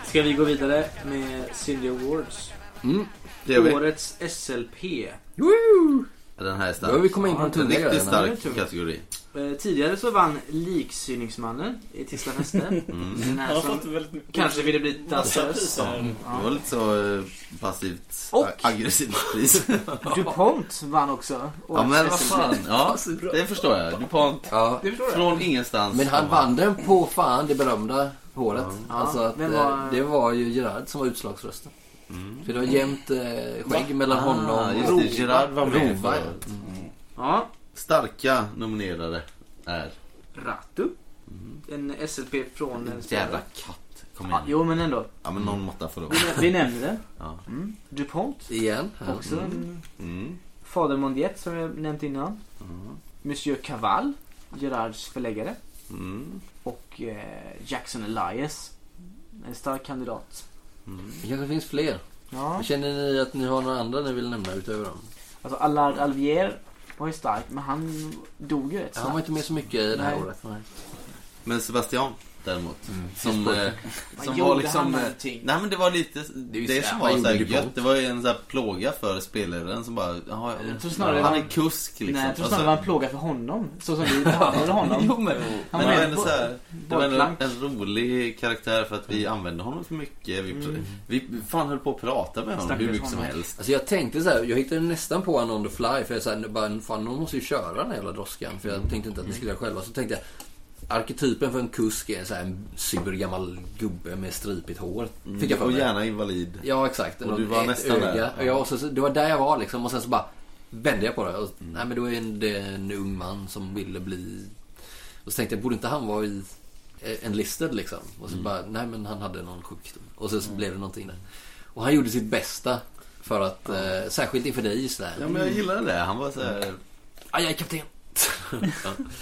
Speaker 3: Ska vi gå vidare med Cindy Awards?
Speaker 1: Mm,
Speaker 5: det gör vi.
Speaker 3: Årets SLP.
Speaker 5: Den här är stark.
Speaker 1: Då har vi kommit in på en
Speaker 5: En
Speaker 1: tunga
Speaker 5: Riktigt
Speaker 1: grej, men-
Speaker 5: stark kategori.
Speaker 3: Eh, Tidigare så vann Liksyningsmannen i Tisla Fäste. Den
Speaker 6: Jag
Speaker 3: här
Speaker 6: har
Speaker 3: som
Speaker 6: fått väldigt-
Speaker 3: kanske ville bli dansös.
Speaker 5: Ja,
Speaker 6: Mm.
Speaker 5: Det var lite så eh, passivt
Speaker 3: Och-
Speaker 5: ag- aggressivt pris.
Speaker 3: DuPont vann också.
Speaker 5: Ja men vad
Speaker 3: SLP.
Speaker 5: fan. Ja, det förstår jag. DuPont.
Speaker 1: Ja,
Speaker 3: Det förstår jag.
Speaker 5: Från ingenstans.
Speaker 1: men han vann den på fan det berömda håret. Alltså att,
Speaker 3: vem
Speaker 1: eh,
Speaker 3: var-
Speaker 1: Det var ju Gerard som var utslagsrösten. För det var jämnt eh, skägg mellan
Speaker 5: Ah,
Speaker 1: honom
Speaker 5: just
Speaker 1: och
Speaker 5: det. Gerard var med
Speaker 1: Rova.
Speaker 5: förra året.
Speaker 3: Ja,
Speaker 5: Starka nominerade är.
Speaker 3: Ratu. Mm. En SLP från en
Speaker 5: Jävla
Speaker 3: spelare.
Speaker 5: katt. Kom
Speaker 3: Ja,
Speaker 5: igen.
Speaker 3: jo men ändå.
Speaker 5: Ja men någon måtta får det vara.
Speaker 3: Vi, nä- vi nämnde den.
Speaker 5: Ja.
Speaker 3: Mm. DuPont.
Speaker 1: Igen. här.
Speaker 3: Också en
Speaker 5: Mm.
Speaker 3: Fader Mondiet som jag nämnt innan. Monsieur Cavall. Gerards förläggare.
Speaker 5: Mm.
Speaker 3: Och eh, Jackson Elias. En stark kandidat.
Speaker 1: Det kanske finns fler.
Speaker 3: Ja.
Speaker 1: Känner ni att ni har några andra ni vill nämna utöver dem?
Speaker 3: Alltså Allard Alvier var ju stark men han dog ju rätt
Speaker 1: Han var
Speaker 3: snabbt.
Speaker 1: inte med så mycket i det här
Speaker 3: Nej.
Speaker 1: året.
Speaker 5: Men Sebastian däremot.
Speaker 3: Mm.
Speaker 5: Som, eh,
Speaker 3: Vad
Speaker 5: som
Speaker 3: gjorde
Speaker 5: var liksom...
Speaker 3: han
Speaker 5: eh,
Speaker 3: någonting?
Speaker 5: Nej men det var lite det,
Speaker 1: ju så
Speaker 5: som
Speaker 1: här,
Speaker 5: var
Speaker 1: vad
Speaker 5: såhär
Speaker 1: gjorde du
Speaker 5: gött.
Speaker 1: bort?
Speaker 5: Det var ju en sån här plåga för spelaren som bara... Jaha,
Speaker 3: Jag tror snarare
Speaker 5: han
Speaker 3: det
Speaker 5: är
Speaker 3: var-
Speaker 5: kusk liksom.
Speaker 3: Nej, jag tror
Speaker 5: Alltså,
Speaker 3: snarare det var en plåga för honom. Så som vi behandlade honom.
Speaker 1: Jo, men-
Speaker 3: han var
Speaker 5: men det var
Speaker 3: en
Speaker 5: ändå
Speaker 3: bo-
Speaker 5: så här, det var ändå
Speaker 3: bollplank.
Speaker 5: en rolig karaktär för att vi använde honom för mycket. Vi, pr- vi fan höll på att prata med
Speaker 3: Mm.
Speaker 5: honom
Speaker 3: Stackars
Speaker 5: hur mycket som
Speaker 3: honom.
Speaker 5: helst.
Speaker 1: Alltså jag tänkte så här, jag hittade nästan på han on the fly för jag så här, bara, fan någon måste ju köra den här jävla droskan för jag tänkte inte att
Speaker 5: Mm.
Speaker 1: ni skulle göra själva. Så tänkte jag, arketypen för en kusk är så här en sur gammal gubbe med stripigt hår. Fick jag för
Speaker 5: Mm. och
Speaker 1: mig.
Speaker 5: gärna invalid.
Speaker 1: Ja exakt.
Speaker 5: Och
Speaker 1: Någon-
Speaker 5: du var
Speaker 1: ett
Speaker 5: nästan där.
Speaker 1: öga. Och jag, och så, så, det var där jag var liksom och sen så bara vände jag på det. Och,
Speaker 5: Mm.
Speaker 1: Nej men då är det en ung man som ville bli... Och så tänkte jag, borde inte han vara i eh, enlisted liksom? Och så
Speaker 5: Mm.
Speaker 1: bara, nej men han hade någon sjukdom. Och så, så blev det någonting där. Och han gjorde sitt bästa för att, eh, särskilt inför dig sådär.
Speaker 5: Ja men jag gillade det. Han var såhär...
Speaker 1: Aj, jag är kapten!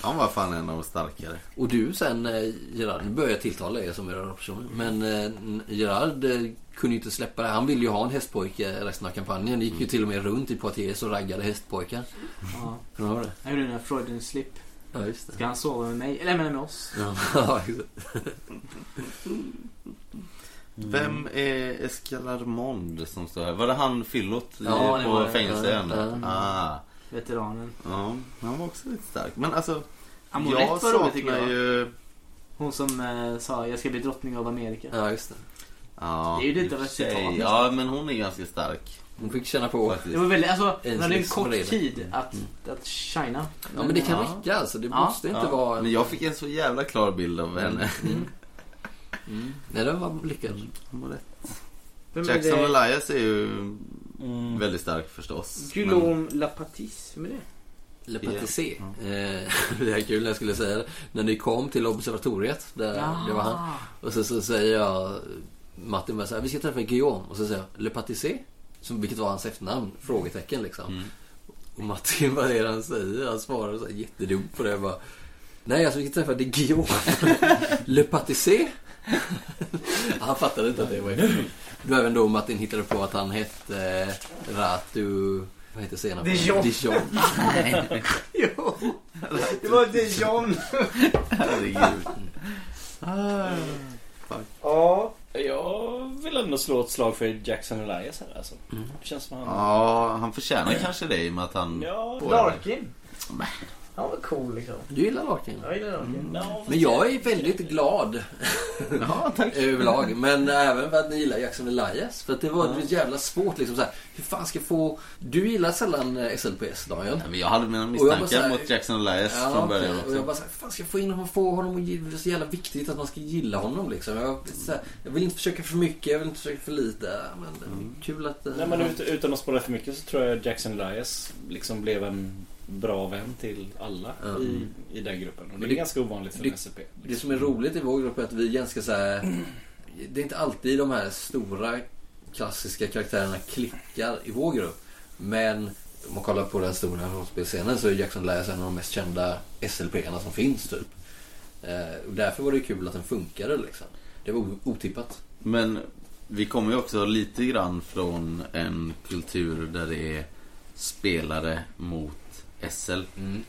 Speaker 5: Han var fan en av de starkare.
Speaker 1: Och du sen eh, Gerard, nu börjar jag tilltala er som era personer. Men eh, Gerard eh, kunde ju inte släppa det. Han ville ju ha en hästpojke resten av kampanjen. Gick
Speaker 5: Mm.
Speaker 1: ju till och med runt i Poitiers och raggade hästpojkar.
Speaker 3: Ja.
Speaker 1: Kommer du ihåg det?
Speaker 3: Jag gjorde den där Freudian slip.
Speaker 1: Ja, just det.
Speaker 3: Ska han sova med mig? Eller jag menar med oss?
Speaker 1: Ja, exakt.
Speaker 5: Vem är Escalarmond som står här? Var det han fyllot i-
Speaker 3: Ja, det
Speaker 5: på
Speaker 3: var det.
Speaker 5: fängelseön?
Speaker 3: Ja, ja.
Speaker 5: Ah.
Speaker 3: Veteranen.
Speaker 5: Ja, han var också lite stark. Men alltså,
Speaker 3: Amorette
Speaker 5: jag
Speaker 3: var rolig, tycker
Speaker 5: saknar
Speaker 3: jag.
Speaker 5: ju...
Speaker 3: Hon som eh, sa jag ska bli drottning av Amerika.
Speaker 1: Ja, just det.
Speaker 5: Ja,
Speaker 3: Det är ju lite av
Speaker 5: i och
Speaker 3: ett
Speaker 5: för sig.
Speaker 3: citat nästan.
Speaker 5: Ja, men hon är ganska stark.
Speaker 1: Hon fick känna på.
Speaker 3: Det var väldigt, alltså, hon hade en
Speaker 5: Ainsley
Speaker 3: kort
Speaker 5: som redan.
Speaker 3: tid att, att shina.
Speaker 1: Mm. Ja, men det kan räcka alltså. Det måste inte vara...
Speaker 5: Men jag fick en så jävla klar bild av henne.
Speaker 3: Mm.
Speaker 1: Nej, den var lyckad.
Speaker 13: Vem är
Speaker 5: Jackson
Speaker 13: det?
Speaker 5: Elias är ju
Speaker 3: Mm.
Speaker 5: väldigt stark förstås. Men-
Speaker 13: Guillaume Lapatis, vem är det?
Speaker 1: Le Patissé. Eh, Det är kul när jag skulle säga det. När ni kom till observatoriet, där
Speaker 13: Ja.
Speaker 1: det var han.
Speaker 3: Ah.
Speaker 1: Och så, så säger jag, Martin bara så här, vi ska träffa Guillaume. Och så säger jag, Le Patissé? Som, vilket var hans efternamn? Frågetecken liksom. Och Martin, vad är det han säger? Han svarar så här jättedumt på det. Jag bara, Nej, alltså vi ska träffa det är Guillaume. Le Patissé? Han fattade inte att det var efternamn. Det var även då Martin hittade på att han hette eh, Ratu... Vad heter senare?
Speaker 13: Dijon.
Speaker 1: Dijon. Nej.
Speaker 13: jo! Det var Dijon!
Speaker 5: Herregud.
Speaker 8: Ja. Jag vill ändå slå ett slag för Jackson Elias här alltså.
Speaker 6: Mm.
Speaker 8: Det känns som han...
Speaker 5: Ja, han förtjänar kanske det i och med att han...
Speaker 8: Ja,
Speaker 5: får-
Speaker 13: Larkin. Han var cool liksom.
Speaker 1: Du gillar Larkin?
Speaker 3: Mm.
Speaker 13: Jag gillar Larkin.
Speaker 1: Men jag är väldigt glad överlag. Men även för att ni gillar Jackson Elias. För att det var så jävla svårt liksom så här, Hur fan ska jag få... Du gillar sällan eh, SLPS Daniel.
Speaker 5: Nej, men jag hade mina
Speaker 1: Och jag bara så här-
Speaker 5: misstankar mot Jackson Elias
Speaker 1: Ja,
Speaker 5: från
Speaker 1: okej.
Speaker 5: början
Speaker 1: Och jag
Speaker 5: också.
Speaker 1: bara såhär, fan ska jag få in honom och få honom att gilla? Det är så jävla viktigt att man ska gilla honom liksom. Jag, så här, jag vill inte försöka för mycket, jag vill inte försöka för lite. Men det
Speaker 5: Mm.
Speaker 1: är kul att... eh,
Speaker 8: Nej, men ut, utan att spåra för mycket så tror jag Jackson Elias liksom blev en bra vän till alla
Speaker 1: Ja. Mm.
Speaker 8: i, i den gruppen. Och det,
Speaker 1: Men
Speaker 8: är ganska ovanligt för
Speaker 1: det-
Speaker 8: en SCP.
Speaker 6: liksom.
Speaker 1: Det som är roligt i vår grupp är att vi är ganska så här. Det är inte alltid de här stora klassiska karaktärerna klickar i vår grupp. Men om man kollar på den stora rollspelsscenen så är Jackson Elias en av de mest kända SLP-arna som finns typ. Eh, och därför var det kul att den funkade liksom. Det var o- otippat.
Speaker 5: Men vi kommer ju också lite grann från en kultur där det är spelare mot SL.
Speaker 1: Mm,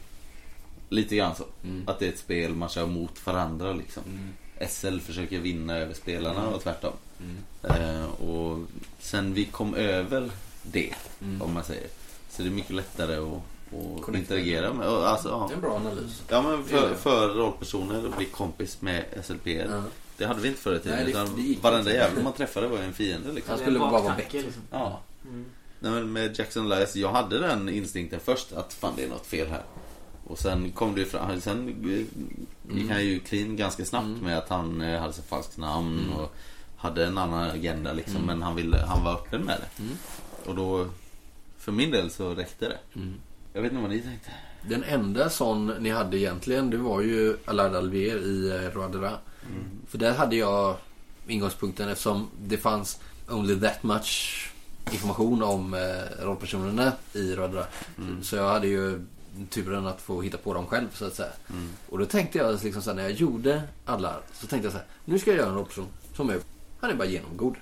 Speaker 5: Lite grann så. Att det är ett spel man kör mot varandra liksom.
Speaker 1: mm,
Speaker 5: SL försöker vinna över spelarna och tvärtom.
Speaker 1: mm,
Speaker 5: Eh, och sen vi kom över det,
Speaker 1: mm.
Speaker 5: om man säger. Så det är mycket lättare att, att
Speaker 1: Connecta.
Speaker 5: interagera med. Och, Alltså, ja.
Speaker 1: Det är en bra analys.
Speaker 5: Ja men
Speaker 1: Det gör
Speaker 5: för,
Speaker 1: jag.
Speaker 5: för rollpersoner att bli kompis med SLP.
Speaker 1: Ja.
Speaker 5: Det hade vi inte förr i tiden.
Speaker 1: Nej, det-
Speaker 5: utan
Speaker 1: det gick
Speaker 5: varenda
Speaker 1: inte. Alltså,
Speaker 5: jävel man träffade var ju en fiende liksom.
Speaker 1: Han skulle bara vara bättre.
Speaker 3: liksom.
Speaker 5: Ja.
Speaker 1: mm.
Speaker 5: Nej, men med Jackson Elias, jag hade den instinkten först att fan det är något fel här. Och sen kom det ju fram, sen eh, gick han ju clean ganska snabbt
Speaker 1: Mm.
Speaker 5: med att han eh, hade så falskt namn och hade en annan agenda liksom.
Speaker 1: Mm.
Speaker 5: Men han, ville, han var öppen med det. Och då, för min del så räckte det.
Speaker 1: Mm.
Speaker 5: Jag vet inte vad ni tänkte.
Speaker 1: Den enda sån ni hade egentligen det var ju Allard Alvier i eh, Roi de Ra. För där hade jag ingångspunkten eftersom det fanns only that much information om eh, rollpersonerna i Roi de Ra. Så jag hade ju turen att få hitta på dem själv så att säga. Och då tänkte jag liksom så här, när jag gjorde Allard så tänkte jag så här, nu ska jag göra en rollperson som är, han är bara genomgod.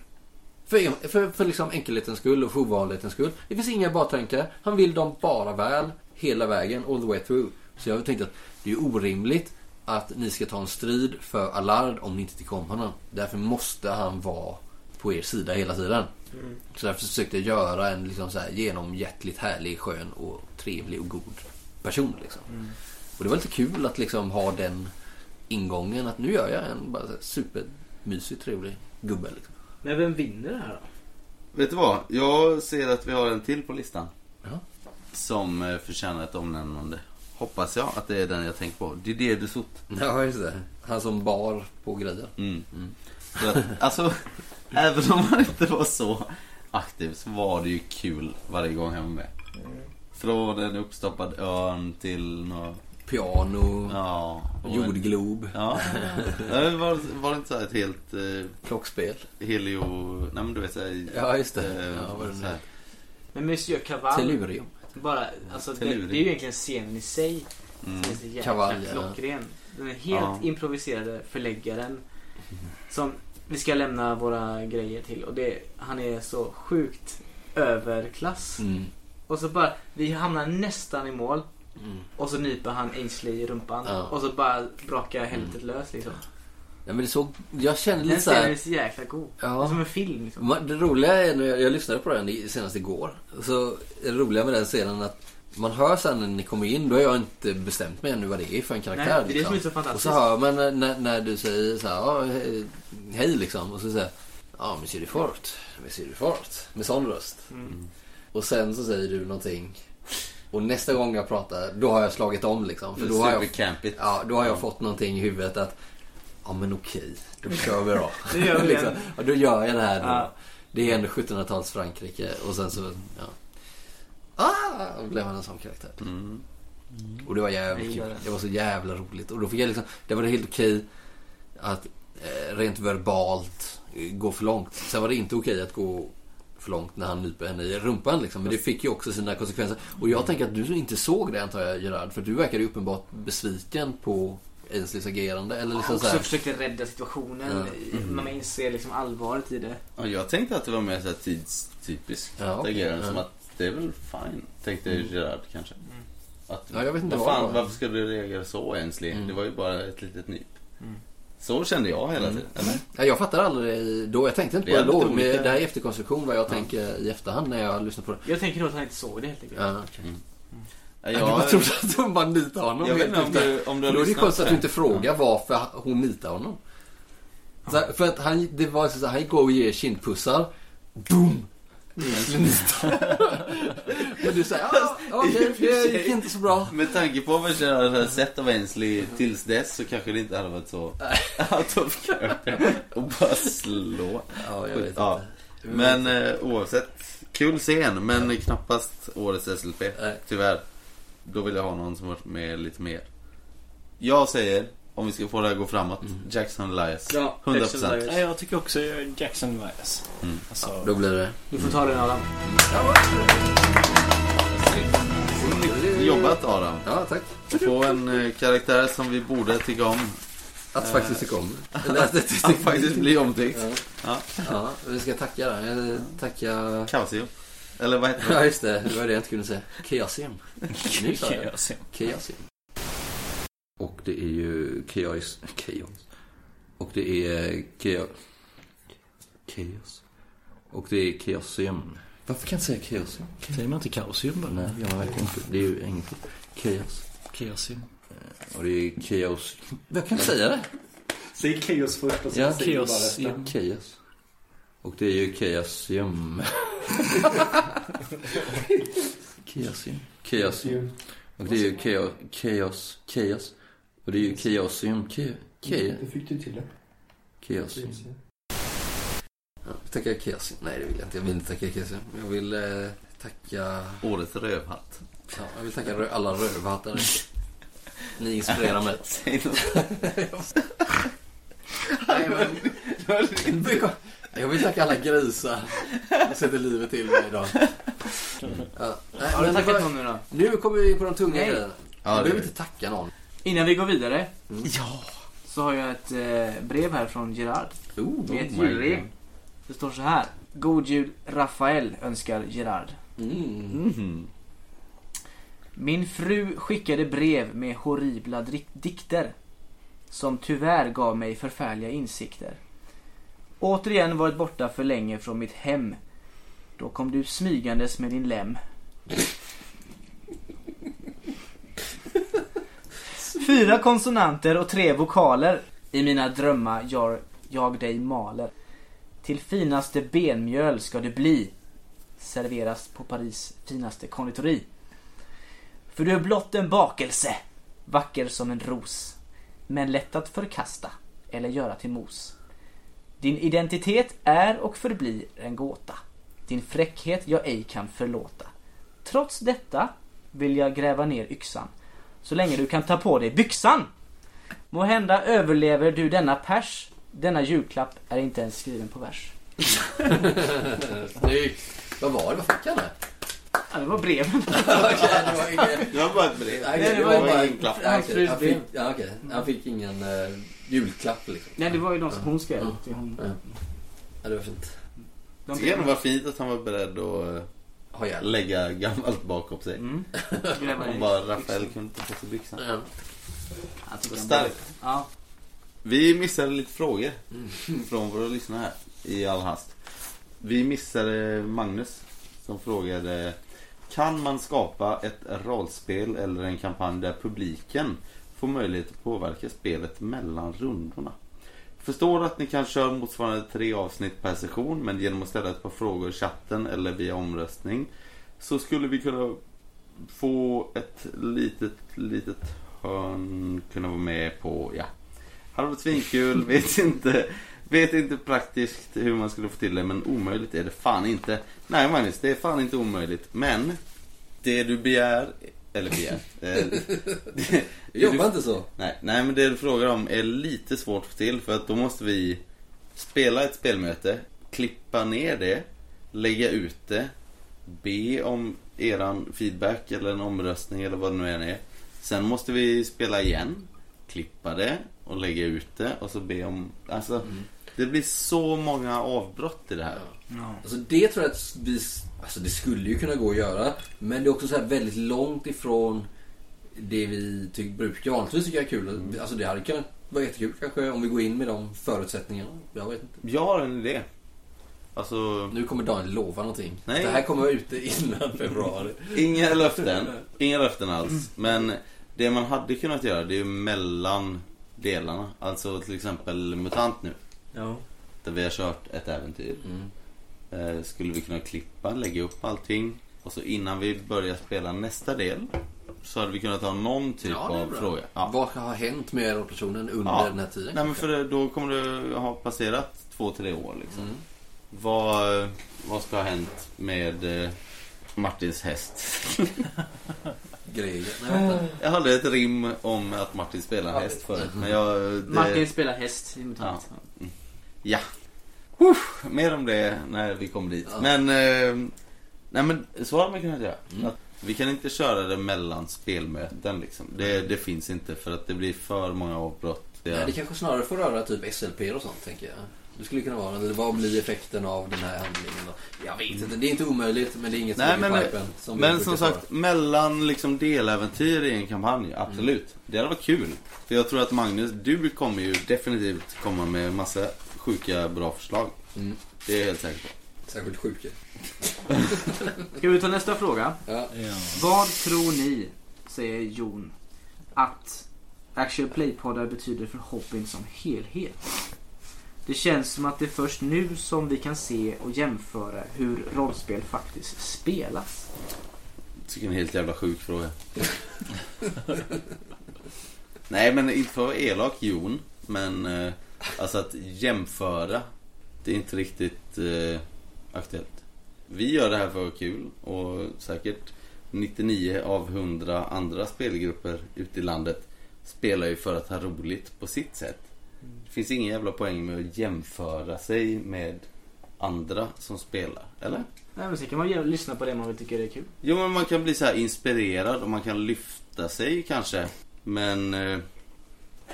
Speaker 1: För, för, för liksom enkelhetens skull och för ovanlighetens skull. Det finns inga baktankar. Han vill dem bara väl hela vägen, all the way through. Så jag tänkte att det är orimligt att ni ska ta en strid för Allard om ni inte tycker om honom. Därför måste han vara på er sida hela tiden. Så därför försökte jag göra en liksom så här genomhjärtligt härlig, skön och trevlig och god person. Liksom. Och det var lite kul att liksom ha den ingången att nu gör jag en bara så här supermysig, trevlig gubbe. Liksom.
Speaker 13: Men vem vinner det här då?
Speaker 5: Vet du vad? Jag ser att vi har en till på listan.
Speaker 1: Ja.
Speaker 5: Som eh, förtjänar ett omnämnande. Hoppas jag att det är den jag tänker på. Det är det du sott.
Speaker 1: Ja, just det. Han som bar på grejer.
Speaker 5: Mm. För att, alltså, även om han inte var så aktiv så var det ju kul varje gång han var med. Från en uppstoppad örn till något...
Speaker 1: Piano,
Speaker 5: Ja. och en-
Speaker 1: jordglob,
Speaker 5: Ja. Det var, var det inte så här ett helt eh,
Speaker 1: klockspel.
Speaker 5: helio... Nej men du vet såhär...
Speaker 1: Ja, just det.
Speaker 5: Eh,
Speaker 1: Ja, vad är det nu?
Speaker 5: så här.
Speaker 3: Men Monsieur Cavall.
Speaker 1: Tellurium.
Speaker 3: Bara, alltså, det, det
Speaker 5: Tellurium.
Speaker 3: är ju egentligen scenen i sig.
Speaker 5: Mm.
Speaker 3: Som är så jäkla
Speaker 1: Kavaj, ja.
Speaker 3: klockren. Den är helt
Speaker 1: Ja.
Speaker 3: improviserade förläggaren. Som vi ska lämna våra grejer till. Och det, han är så sjukt överklass.
Speaker 14: Mm.
Speaker 3: Och så bara, vi hamnar nästan i mål.
Speaker 1: Mm.
Speaker 3: Och så nyper han Ainsley i rumpan.
Speaker 1: Ja.
Speaker 3: Och så bara brakar helvetet lös liksom.
Speaker 1: Ja, men det såg, jag kände
Speaker 3: Den
Speaker 1: lite så här...
Speaker 3: scenen är så jäkla god.
Speaker 1: Ja.
Speaker 3: Som en film liksom.
Speaker 1: Ma- Det roliga är, när jag, jag lyssnade på den i- senast igår, så det roliga med den scenen att man hör sen när ni kommer in, då har jag inte bestämt mig ännu vad det är för en karaktär.
Speaker 3: Nej, det är det
Speaker 1: liksom.
Speaker 3: som är så fantastiskt.
Speaker 1: Och så hör man när- när, när du säger så här, ja, he- hej liksom, och så säger jag, ja, monsieur du fort, monsieur du fort, med sån röst.
Speaker 3: Mm.
Speaker 1: Och sen så säger du någonting. Och nästa gång jag pratar, då har jag slagit om liksom. För
Speaker 5: Det är
Speaker 1: då har jag,
Speaker 5: supercampigt.
Speaker 1: ja, då har jag fått någonting i huvudet att, ja men okej, då kör vi då.
Speaker 3: Det gör vi
Speaker 1: liksom.
Speaker 3: igen.
Speaker 1: ja, då gör jag det här då.
Speaker 3: Ja.
Speaker 1: Det är ändå 1700-tals Frankrike och sen så, ja. Ah, då blev han en sån karaktär.
Speaker 5: Mm.
Speaker 1: Och det var
Speaker 3: Jag
Speaker 1: jävligt
Speaker 3: gillar
Speaker 1: kul.
Speaker 3: det.
Speaker 1: Det var så jävla roligt. Och då fick jag liksom, det var det helt okej att eh, rent verbalt eh, gå för långt. Sen var det inte okej att gå för långt när han nyper henne i rumpan liksom. Men det fick ju också sina konsekvenser. Och jag tänker att du inte såg det antar jag Gerard. För du verkade ju uppenbart besviken på Aisleys agerande. Eller liksom
Speaker 3: Han
Speaker 1: så
Speaker 3: också
Speaker 1: här.
Speaker 3: försökte rädda situationen.
Speaker 1: Ja.
Speaker 5: Mm.
Speaker 3: Man inser liksom allvaret i det.
Speaker 5: Ja, jag tänkte att det var mer så här tidstypiskt
Speaker 1: Ja, okej.
Speaker 5: agerande.
Speaker 1: Ja.
Speaker 5: Som att det är väl fine, tänkte
Speaker 1: Mm.
Speaker 5: Gerard kanske. Att,
Speaker 1: Ja, jag vet inte
Speaker 5: vad
Speaker 1: vad
Speaker 5: fan,
Speaker 1: det var.
Speaker 5: varför skulle du reagera så Ainsley?
Speaker 1: Mm.
Speaker 5: Det var ju bara ett litet nyp.
Speaker 3: Mm.
Speaker 5: Så kände jag hela
Speaker 1: Mm.
Speaker 5: tiden. Eller?
Speaker 1: Ja, jag fattar aldrig då. Jag tänkte inte
Speaker 5: Det
Speaker 1: på
Speaker 5: är
Speaker 1: det då.
Speaker 5: jävligt
Speaker 1: Men
Speaker 5: olika.
Speaker 1: det här är efterkonstruktion vad jag tänker i efterhand när jag lyssnar på det.
Speaker 3: Jag tänker nog att han inte såg det helt enkelt.
Speaker 1: Ja, okej.
Speaker 5: Mm. Ja,
Speaker 1: Jag bara trodde att hon bara nitade honom.
Speaker 5: Jag vet
Speaker 1: helt
Speaker 5: inte om
Speaker 1: utan-
Speaker 5: du- om du har
Speaker 1: Då är det ju
Speaker 5: lyssnat
Speaker 1: konstigt
Speaker 5: på
Speaker 1: att du
Speaker 5: det.
Speaker 1: inte frågar varför hon nitar honom. Så här, för att han, det var så här, han går och ger kindpussar. Boom! Egentligen nitar. Men du säger, ja okej, det gick inte så bra.
Speaker 5: Med tanke på vad jag hade sett av Ainsley tills dess så kanske det inte hade varit så out of character och bara slå.
Speaker 1: Ja, jag vet
Speaker 5: Ja. Men eh, oavsett, kul scen men knappast årets SLP. Tyvärr. Då vill jag ha någon som varit med lite mer. Jag säger, om vi ska få det här att gå framåt, Jackson Elias. 100%.
Speaker 6: Nej, jag tycker också Jackson Elias.
Speaker 5: Mm.
Speaker 6: Alltså,
Speaker 1: Då blir det.
Speaker 3: Du får ta den Adam.
Speaker 5: Jobbat Adam.
Speaker 1: Ja, tack.
Speaker 5: Att få en eh, karaktär som vi borde tycka om.
Speaker 1: Att
Speaker 5: Eh,
Speaker 1: faktiskt tycka om. Eller att
Speaker 5: Att,
Speaker 1: det-
Speaker 5: att faktiskt bli omtyckt. Ja.
Speaker 1: Ja, vi ska tacka där. Jag Tacka...
Speaker 5: Kaosio. Eller vad heter det?
Speaker 1: Ja, just det. Det var det jag inte kunde säga. Keasim. Nu sa jag det.
Speaker 6: Keasim.
Speaker 1: Keasim. Och det är ju Chaos... Chaos. Och det är Chaos... Chaos. Och det är Chaosium. Varför kan jag inte säga Chaosium?
Speaker 6: Säger man inte kaosium bara?
Speaker 1: Nej, jag vet inte. Det är ju engelska. Chaos.
Speaker 6: Keasim.
Speaker 1: Och det är Chaos... Jag kan inte säga det.
Speaker 9: Säg Chaos först och sen
Speaker 1: Ja,
Speaker 9: säg bara
Speaker 6: Chaos.
Speaker 9: resten.
Speaker 1: Chaos. Och det är ju Chaosium. Chaosium. Chaosium. Och det är ju chaos, chaos, chaos. Och det är ju chaosium, chaos.
Speaker 9: Du fick du till det.
Speaker 1: Chaosium. Ja, tacka chaosium. Nej, det vill jag inte. Jag vill inte tacka chaosium. Jag vill eh, tacka...
Speaker 5: Årets rövhatt.
Speaker 1: Ja, jag vill tacka rö- alla rövhattar. Ni inspirerar mig.
Speaker 5: Säg något.
Speaker 1: Nej, men- Jag vill tacka alla grisar som sätter livet till mig idag. Ja. Nej,
Speaker 3: Har du
Speaker 1: men det var-
Speaker 3: tackat någon nu då?
Speaker 1: Nu kommer vi på de tunga
Speaker 3: Nej.
Speaker 1: grejerna.
Speaker 5: Ja,
Speaker 1: Ja,
Speaker 5: det
Speaker 1: du
Speaker 5: är
Speaker 1: behöver inte tacka någon.
Speaker 3: Innan vi går vidare
Speaker 5: Ja.
Speaker 3: så har jag ett eh, brev här från Gerard.
Speaker 1: Oh,
Speaker 3: Med ett
Speaker 5: my
Speaker 3: julrim.
Speaker 5: God.
Speaker 3: Det står så här. God jul Rafael önskar Gerard.
Speaker 1: Mm.
Speaker 5: Mhm.
Speaker 3: Min fru skickade brev med horribla drik- dikter. Som tyvärr gav mig förfärliga insikter. Återigen varit borta för länge från mitt hem. Då kom du smygandes med din lem. Fyra konsonanter och tre vokaler. I mina drömmar jag, jag dig maler. Till finaste benmjöl ska du bli. Serveras på Paris finaste konditori. För du är blott en bakelse, vacker som en ros, men lätt att förkasta eller göra till mos. Din identitet är och förblir en gåta, din fräckhet jag ej kan förlåta. Trots detta vill jag gräva ner yxan, så länge du kan ta på dig byxan. Må hända överlever du denna pers, denna julklapp är inte ens skriven på vers.
Speaker 1: Snyggt. Vad var det? Vad fick han där?
Speaker 13: Ja, det var breven.
Speaker 1: Det var bara ett brev.
Speaker 13: Nej, det var bara en klapp.
Speaker 1: Han
Speaker 13: Hans frus
Speaker 1: fick, han
Speaker 13: brev.
Speaker 1: fick, ja, okej. han fick ingen eh, julklapp liksom.
Speaker 13: Nej, det var ju de som hon skrev
Speaker 1: Ja.
Speaker 13: till hon.
Speaker 1: Ja. Ja, det var fint.
Speaker 13: De-
Speaker 5: Tycker ändå var fint att han var beredd att eh,
Speaker 1: ha hjälp.
Speaker 5: lägga gammalt bakom sig.
Speaker 13: Mm.
Speaker 5: Och bara Rafael kunde inte få sig byxan. Starkt.
Speaker 13: Ja.
Speaker 5: Vi missade lite frågor från våra lyssnare här i all hast. Vi missade Magnus som frågade Kan man skapa ett rollspel eller en kampanj där publiken får möjlighet att påverka spelet mellan rundorna? Förstår att ni kanske kör motsvarande tre avsnitt per session men genom att ställa ett par frågor i chatten eller via omröstning så skulle vi kunna få ett litet, litet hörn kunna vara med på, ja. Hade varit svinkul, vet inte. Vet inte praktiskt hur man skulle få till det, men omöjligt är det fan inte. Nej Magnus, det är fan inte omöjligt. Men, det du begär, eller begär. eh, det-
Speaker 1: Du jobbar inte så.
Speaker 5: Nej, nej, men det du frågar om är lite svårt att få till för att då måste vi spela ett spelmöte, klippa ner det, lägga ut det, be om eran feedback eller en omröstning eller vad det nu än är. Sen måste vi spela igen, klippa det och lägga ut det och så be om... Alltså, det blir så många avbrott i det här.
Speaker 1: Alltså det tror jag att vi, alltså det skulle ju kunna gå att göra. Men det är också så här väldigt långt ifrån det vi ty- brukar vanligtvis tycka är kul.
Speaker 13: Mm.
Speaker 1: Alltså det hade kunnat vara jättekul kanske om vi går in med de förutsättningarna. Jag vet inte.
Speaker 5: Jag har en idé. Alltså...
Speaker 1: Nu kommer Daniel lova någonting.
Speaker 5: Nej.
Speaker 1: Det här kommer vara ute innan februari.
Speaker 5: Inga löften. Inga löften alls. Men det man hade kunnat göra det är ju mellan delarna. Alltså till exempel MUTANT nu.
Speaker 1: Ja. Mm.
Speaker 5: Där vi har kört ett äventyr. Eh, skulle vi kunna klippa, lägga upp allting. Och så innan vi börjar spela nästa del. Så hade vi kunnat ha någon typ
Speaker 1: Ja, det är
Speaker 5: av
Speaker 1: bra.
Speaker 5: fråga. Ja.
Speaker 1: Vad har hänt med er och personen under den här tiden?
Speaker 5: Nej, men för då kommer du ha passerat två, tre år. Liksom.
Speaker 1: Mm.
Speaker 5: Vad, vad ska ha hänt med eh, Martins häst?
Speaker 1: Grejer. Nej, vänta.
Speaker 5: jag hade ett rim om att Martin spelar
Speaker 1: Ja.
Speaker 5: häst förut. Men jag, det...
Speaker 13: Martin spelar häst i
Speaker 5: Ja.
Speaker 13: MUTANT.
Speaker 5: Mm. ja. Uff, mer om det när vi kommer dit.
Speaker 1: Ja.
Speaker 5: Men, eh, nej, men så hade man kunnat göra.
Speaker 1: Mm.
Speaker 5: Att vi kan inte köra det mellan spelmöten. Liksom. Det, det finns inte för att det blir för många avbrott.
Speaker 1: Nej, det kanske snarare får röra typ SLP och sånt tänker jag. Det skulle kunna vara eller vad blir effekten av den här handlingen? då? Jag vet inte, det är inte omöjligt men det är inget som
Speaker 5: Nej,
Speaker 1: ligger i
Speaker 5: men,
Speaker 1: pipen. Som vi
Speaker 5: men
Speaker 1: brukar
Speaker 5: som
Speaker 1: svara.
Speaker 5: sagt, mellan liksom deläventyr i en kampanj, absolut.
Speaker 1: Mm.
Speaker 5: Det hade varit kul. För jag tror att Magnus, du kommer ju definitivt komma med massa sjuka bra förslag.
Speaker 1: Mm.
Speaker 5: Det är jag helt säker på.
Speaker 1: Särskilt sjuka.
Speaker 13: Ska vi ta nästa fråga?
Speaker 1: Ja.
Speaker 13: Vad tror ni, säger Jon, att Actual Play-poddar betyder för hobbyn som helhet? Det känns som att det är först nu som vi kan se och jämföra hur rollspel faktiskt spelas.
Speaker 5: Tycker en helt jävla sjuk fråga. Nej men inte för att vara elak Jon. Men eh, alltså att jämföra. Det är inte riktigt eh, aktuellt. Vi gör det här för att ha kul och säkert 99 av 100 andra spelgrupper ute i landet spelar ju för att ha roligt på sitt sätt. Det finns ingen jävla poäng med att jämföra sig med andra som spelar. Eller?
Speaker 13: Nej, men sen kan man ju lyssna på det man vill tycka är kul.
Speaker 5: Jo men man kan bli så här inspirerad och man kan lyfta sig kanske. Men eh,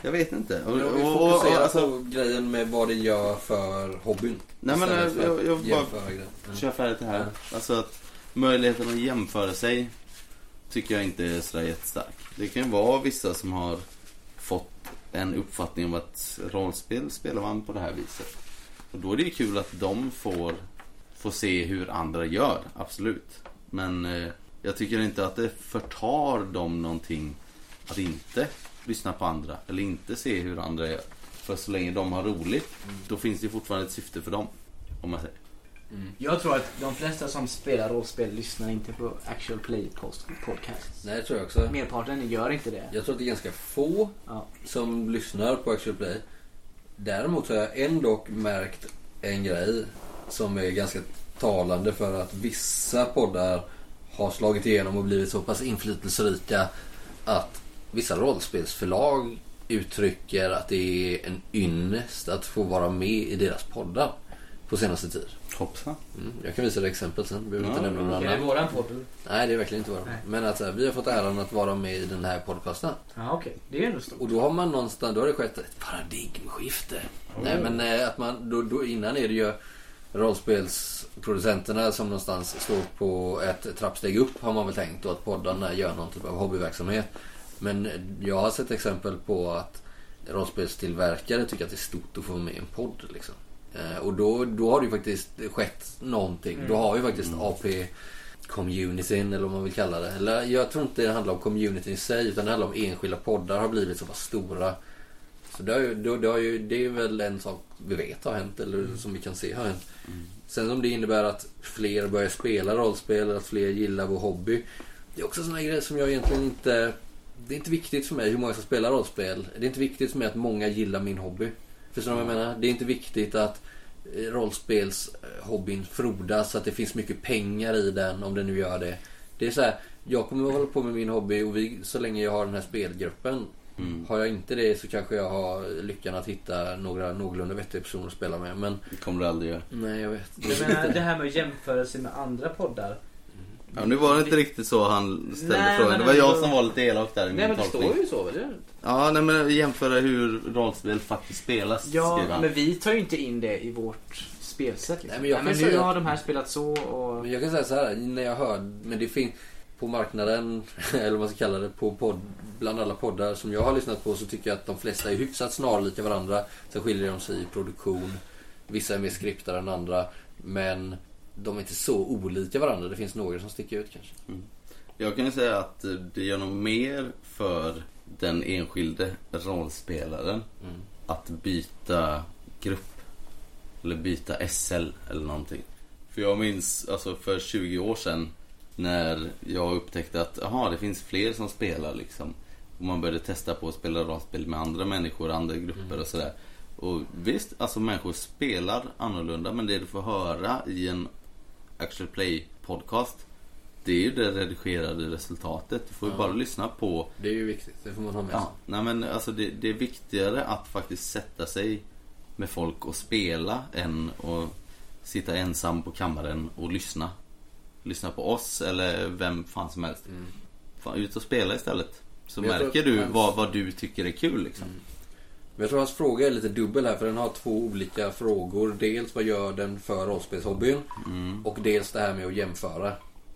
Speaker 5: jag vet inte. Och,
Speaker 1: Men om vi
Speaker 5: och, och, och,
Speaker 1: fokuserar
Speaker 5: alltså,
Speaker 1: på grejen med vad det gör för hobbyn.
Speaker 5: nej men
Speaker 1: istället för
Speaker 5: eh, jag,
Speaker 1: att
Speaker 5: jag vill
Speaker 1: jämföra
Speaker 5: bara
Speaker 1: grejer. Mm.
Speaker 5: kör färdigt det här. Alltså att möjligheten att jämföra sig tycker jag inte är sådär jättestark. Det kan ju vara vissa som har fått en uppfattning om att rollspel spelar man på det här viset. Och då är det ju kul att de får, får se hur andra gör, absolut. Men eh, jag tycker inte att det förtar dem någonting att inte lyssna på andra eller inte se hur andra gör. För så länge de har roligt, då finns det ju fortfarande ett syfte för dem. Om man säger.
Speaker 13: Jag tror att de flesta som spelar rollspel lyssnar inte på Actual Play-podcasts.
Speaker 1: Nej, det tror jag också.
Speaker 13: Merparten gör inte det.
Speaker 1: Jag tror att det är ganska få
Speaker 13: Ja.
Speaker 1: som lyssnar på Actual Play. Däremot så har jag ändå märkt en grej som är ganska talande för att vissa poddar har slagit igenom och blivit så pass inflytelserika att vissa rollspelsförlag uttrycker att det är en ynnest att få vara med i deras poddar. på senaste tid.
Speaker 5: Hoppsan.
Speaker 1: Mm, jag kan visa dig exempel sen. Vi behöver
Speaker 5: Ja,
Speaker 1: inte nämna några
Speaker 5: okej.
Speaker 1: namn.
Speaker 5: Är det våran podd,
Speaker 1: Nej, det är verkligen inte våran. Men att, så här, vi har fått äran att vara med i den här podcasten.
Speaker 3: Ja, okej. Det är ändå stort.
Speaker 1: Och då har man någonstans, då har det skett ett paradigmskifte.
Speaker 3: Oj.
Speaker 1: Nej men eh, att man, då, då, innan är det ju rollspelsproducenterna som någonstans står på ett trappsteg upp har man väl tänkt och att poddarna gör någon typ av hobbyverksamhet. Men eh, jag har sett exempel på att rollspelstillverkare tycker att det är stort att få vara med i en podd liksom. Eh, Och då, då har det ju faktiskt skett någonting.
Speaker 5: Mm.
Speaker 1: Då har ju faktiskt AP communityn eller vad man vill kalla det. Eller, jag tror inte det handlar om communityn i sig utan det handlar om enskilda poddar har blivit så pass stora. Så det, har ju, det, det, har ju, det är väl en sak vi vet har hänt eller som vi kan se har hänt. Sen om det innebär att fler börjar spela rollspel eller att fler gillar vår hobby. Det är också sådana grejer som jag egentligen inte... Det är inte viktigt för mig hur många som spelar rollspel. Det är inte viktigt för mig att många gillar min hobby. Förstår du vad jag menar? Det är inte viktigt att eh, rollspelshobbyn frodas, att det finns mycket pengar i den om det nu gör det. Det är så här, jag kommer att hålla på med min hobby och vi, så länge jag har den här spelgruppen.
Speaker 5: Mm.
Speaker 1: Har jag inte det så kanske jag har lyckan att hitta några någorlunda vettiga personer att spela med. Men...
Speaker 5: Det kommer du aldrig göra.
Speaker 1: Nej, jag vet.
Speaker 3: Jag menar det här med att jämföra sig med andra poddar.
Speaker 5: Ja, nu var det inte riktigt så han ställde
Speaker 3: Nej,
Speaker 5: frågan.
Speaker 3: men
Speaker 5: Det var jag
Speaker 3: ändå-
Speaker 5: som var lite elak där i min
Speaker 3: Nej men det
Speaker 5: tolkning.
Speaker 3: står ju så väl? gör det inte?
Speaker 5: Ja, nej, men jämföra hur rollspel faktiskt spelas.
Speaker 3: Ja,
Speaker 5: skriver han.
Speaker 3: men vi tar ju inte in det i vårt spelsätt. Liksom.
Speaker 1: Nej, men jag kan
Speaker 3: nu
Speaker 1: säga-
Speaker 3: har de här spelat så och...
Speaker 1: Men jag kan säga så här, när jag hör, men det finns på marknaden, eller vad man ska kalla det, på podd, bland alla poddar som jag har lyssnat på så tycker jag att de flesta är hyfsat snarlika varandra. Sen skiljer de sig i produktion, vissa är mer skriptade än andra, men de är inte så olika varandra. Det finns några som sticker ut kanske.
Speaker 5: Jag kan ju säga att eh, det gör nog mer för den enskilde rollspelaren
Speaker 1: Mm.
Speaker 5: att byta grupp. Eller byta SL eller någonting. För jag minns alltså för 20 år sedan när jag upptäckte att aha, det finns fler som spelar liksom. Och man började testa på att spela rollspel med andra människor, andra grupper och sådär. Och visst, alltså människor spelar annorlunda men det du får höra i en Actual Play podcast det är ju det redigerade resultatet. Du får ju
Speaker 1: Ja.
Speaker 5: bara lyssna på...
Speaker 1: Det är ju viktigt, det får man ha med sig.
Speaker 5: Ja, nej men alltså det, det är viktigare att faktiskt sätta sig med folk och spela än att sitta ensam på kammaren och lyssna. Lyssna på oss eller vem fan som helst. Fan, ut och spela istället. Så
Speaker 1: Men jag tror
Speaker 5: märker
Speaker 1: att
Speaker 5: du
Speaker 1: hans-
Speaker 5: vad, vad du tycker är kul liksom.
Speaker 1: Men jag tror hans fråga är lite dubbel här för den har två olika frågor. Dels vad gör den för rollspelshobbyn?
Speaker 5: Mm.
Speaker 1: Och dels det här med att jämföra.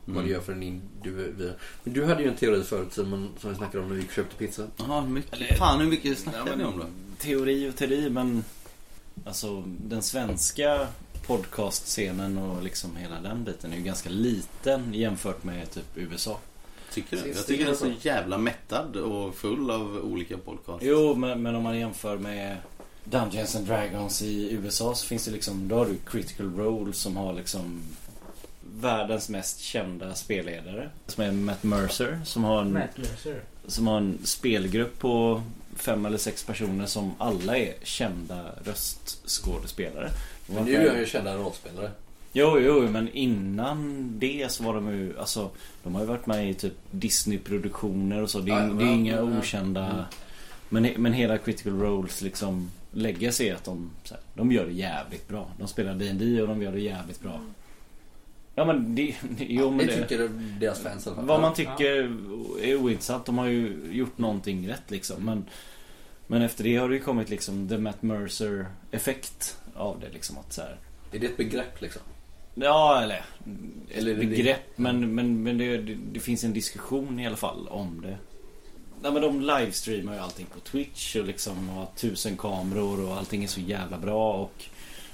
Speaker 1: Vad det
Speaker 5: Mm.
Speaker 1: gör för en individ. Men du hade ju en teori förut Simon, som vi snackade om när vi köpte pizza.
Speaker 5: Jaha, hur mycket? Fan, hur mycket snackar ni om då?
Speaker 6: Teori och teori men Alltså den svenska podcastscenen och liksom hela den biten är ju ganska liten jämfört med typ USA.
Speaker 5: Tycker du? Jag tycker den är så jävla mättad och full av olika podcast.
Speaker 6: Jo, men, men om man jämför med Dungeons and Dragons i USA så finns det liksom, då har du Critical Role som har liksom världens mest kända spelledare. Som är Matt Mercer som har en,
Speaker 3: Matt Mercer.
Speaker 6: Som har en spelgrupp på fem eller sex personer som alla är kända röstskådespelare.
Speaker 1: Men nu är jag ju kända rollspelare.
Speaker 6: Jo, jo, men innan det så var de ju, alltså De har ju varit med i typ Disney-produktioner och så. Det är,
Speaker 1: Ja, ja,
Speaker 6: det är
Speaker 1: ja,
Speaker 6: inga
Speaker 1: ja.
Speaker 6: okända
Speaker 1: Mm.
Speaker 6: men, men hela Critical Roles liksom lägger sig att de, så här, de gör det jävligt bra. De spelar D&D och de gör det jävligt bra. Ja men det... Jo, men
Speaker 1: det tycker deras fans i alla fall.
Speaker 6: Vad man tycker är ointressant. De har ju gjort någonting rätt liksom. Men, men efter det har det ju kommit liksom the Matt Mercer effekt av det liksom. Att så här,
Speaker 1: Är det ett begrepp liksom?
Speaker 6: Ja, eller...
Speaker 1: Eller är
Speaker 6: Ett
Speaker 1: det det?
Speaker 6: begrepp, men, men, men det, det, det finns en diskussion i alla fall om det. Nej, men de livestreamar ju allting på Twitch och liksom har tusen kameror och allting är så jävla bra och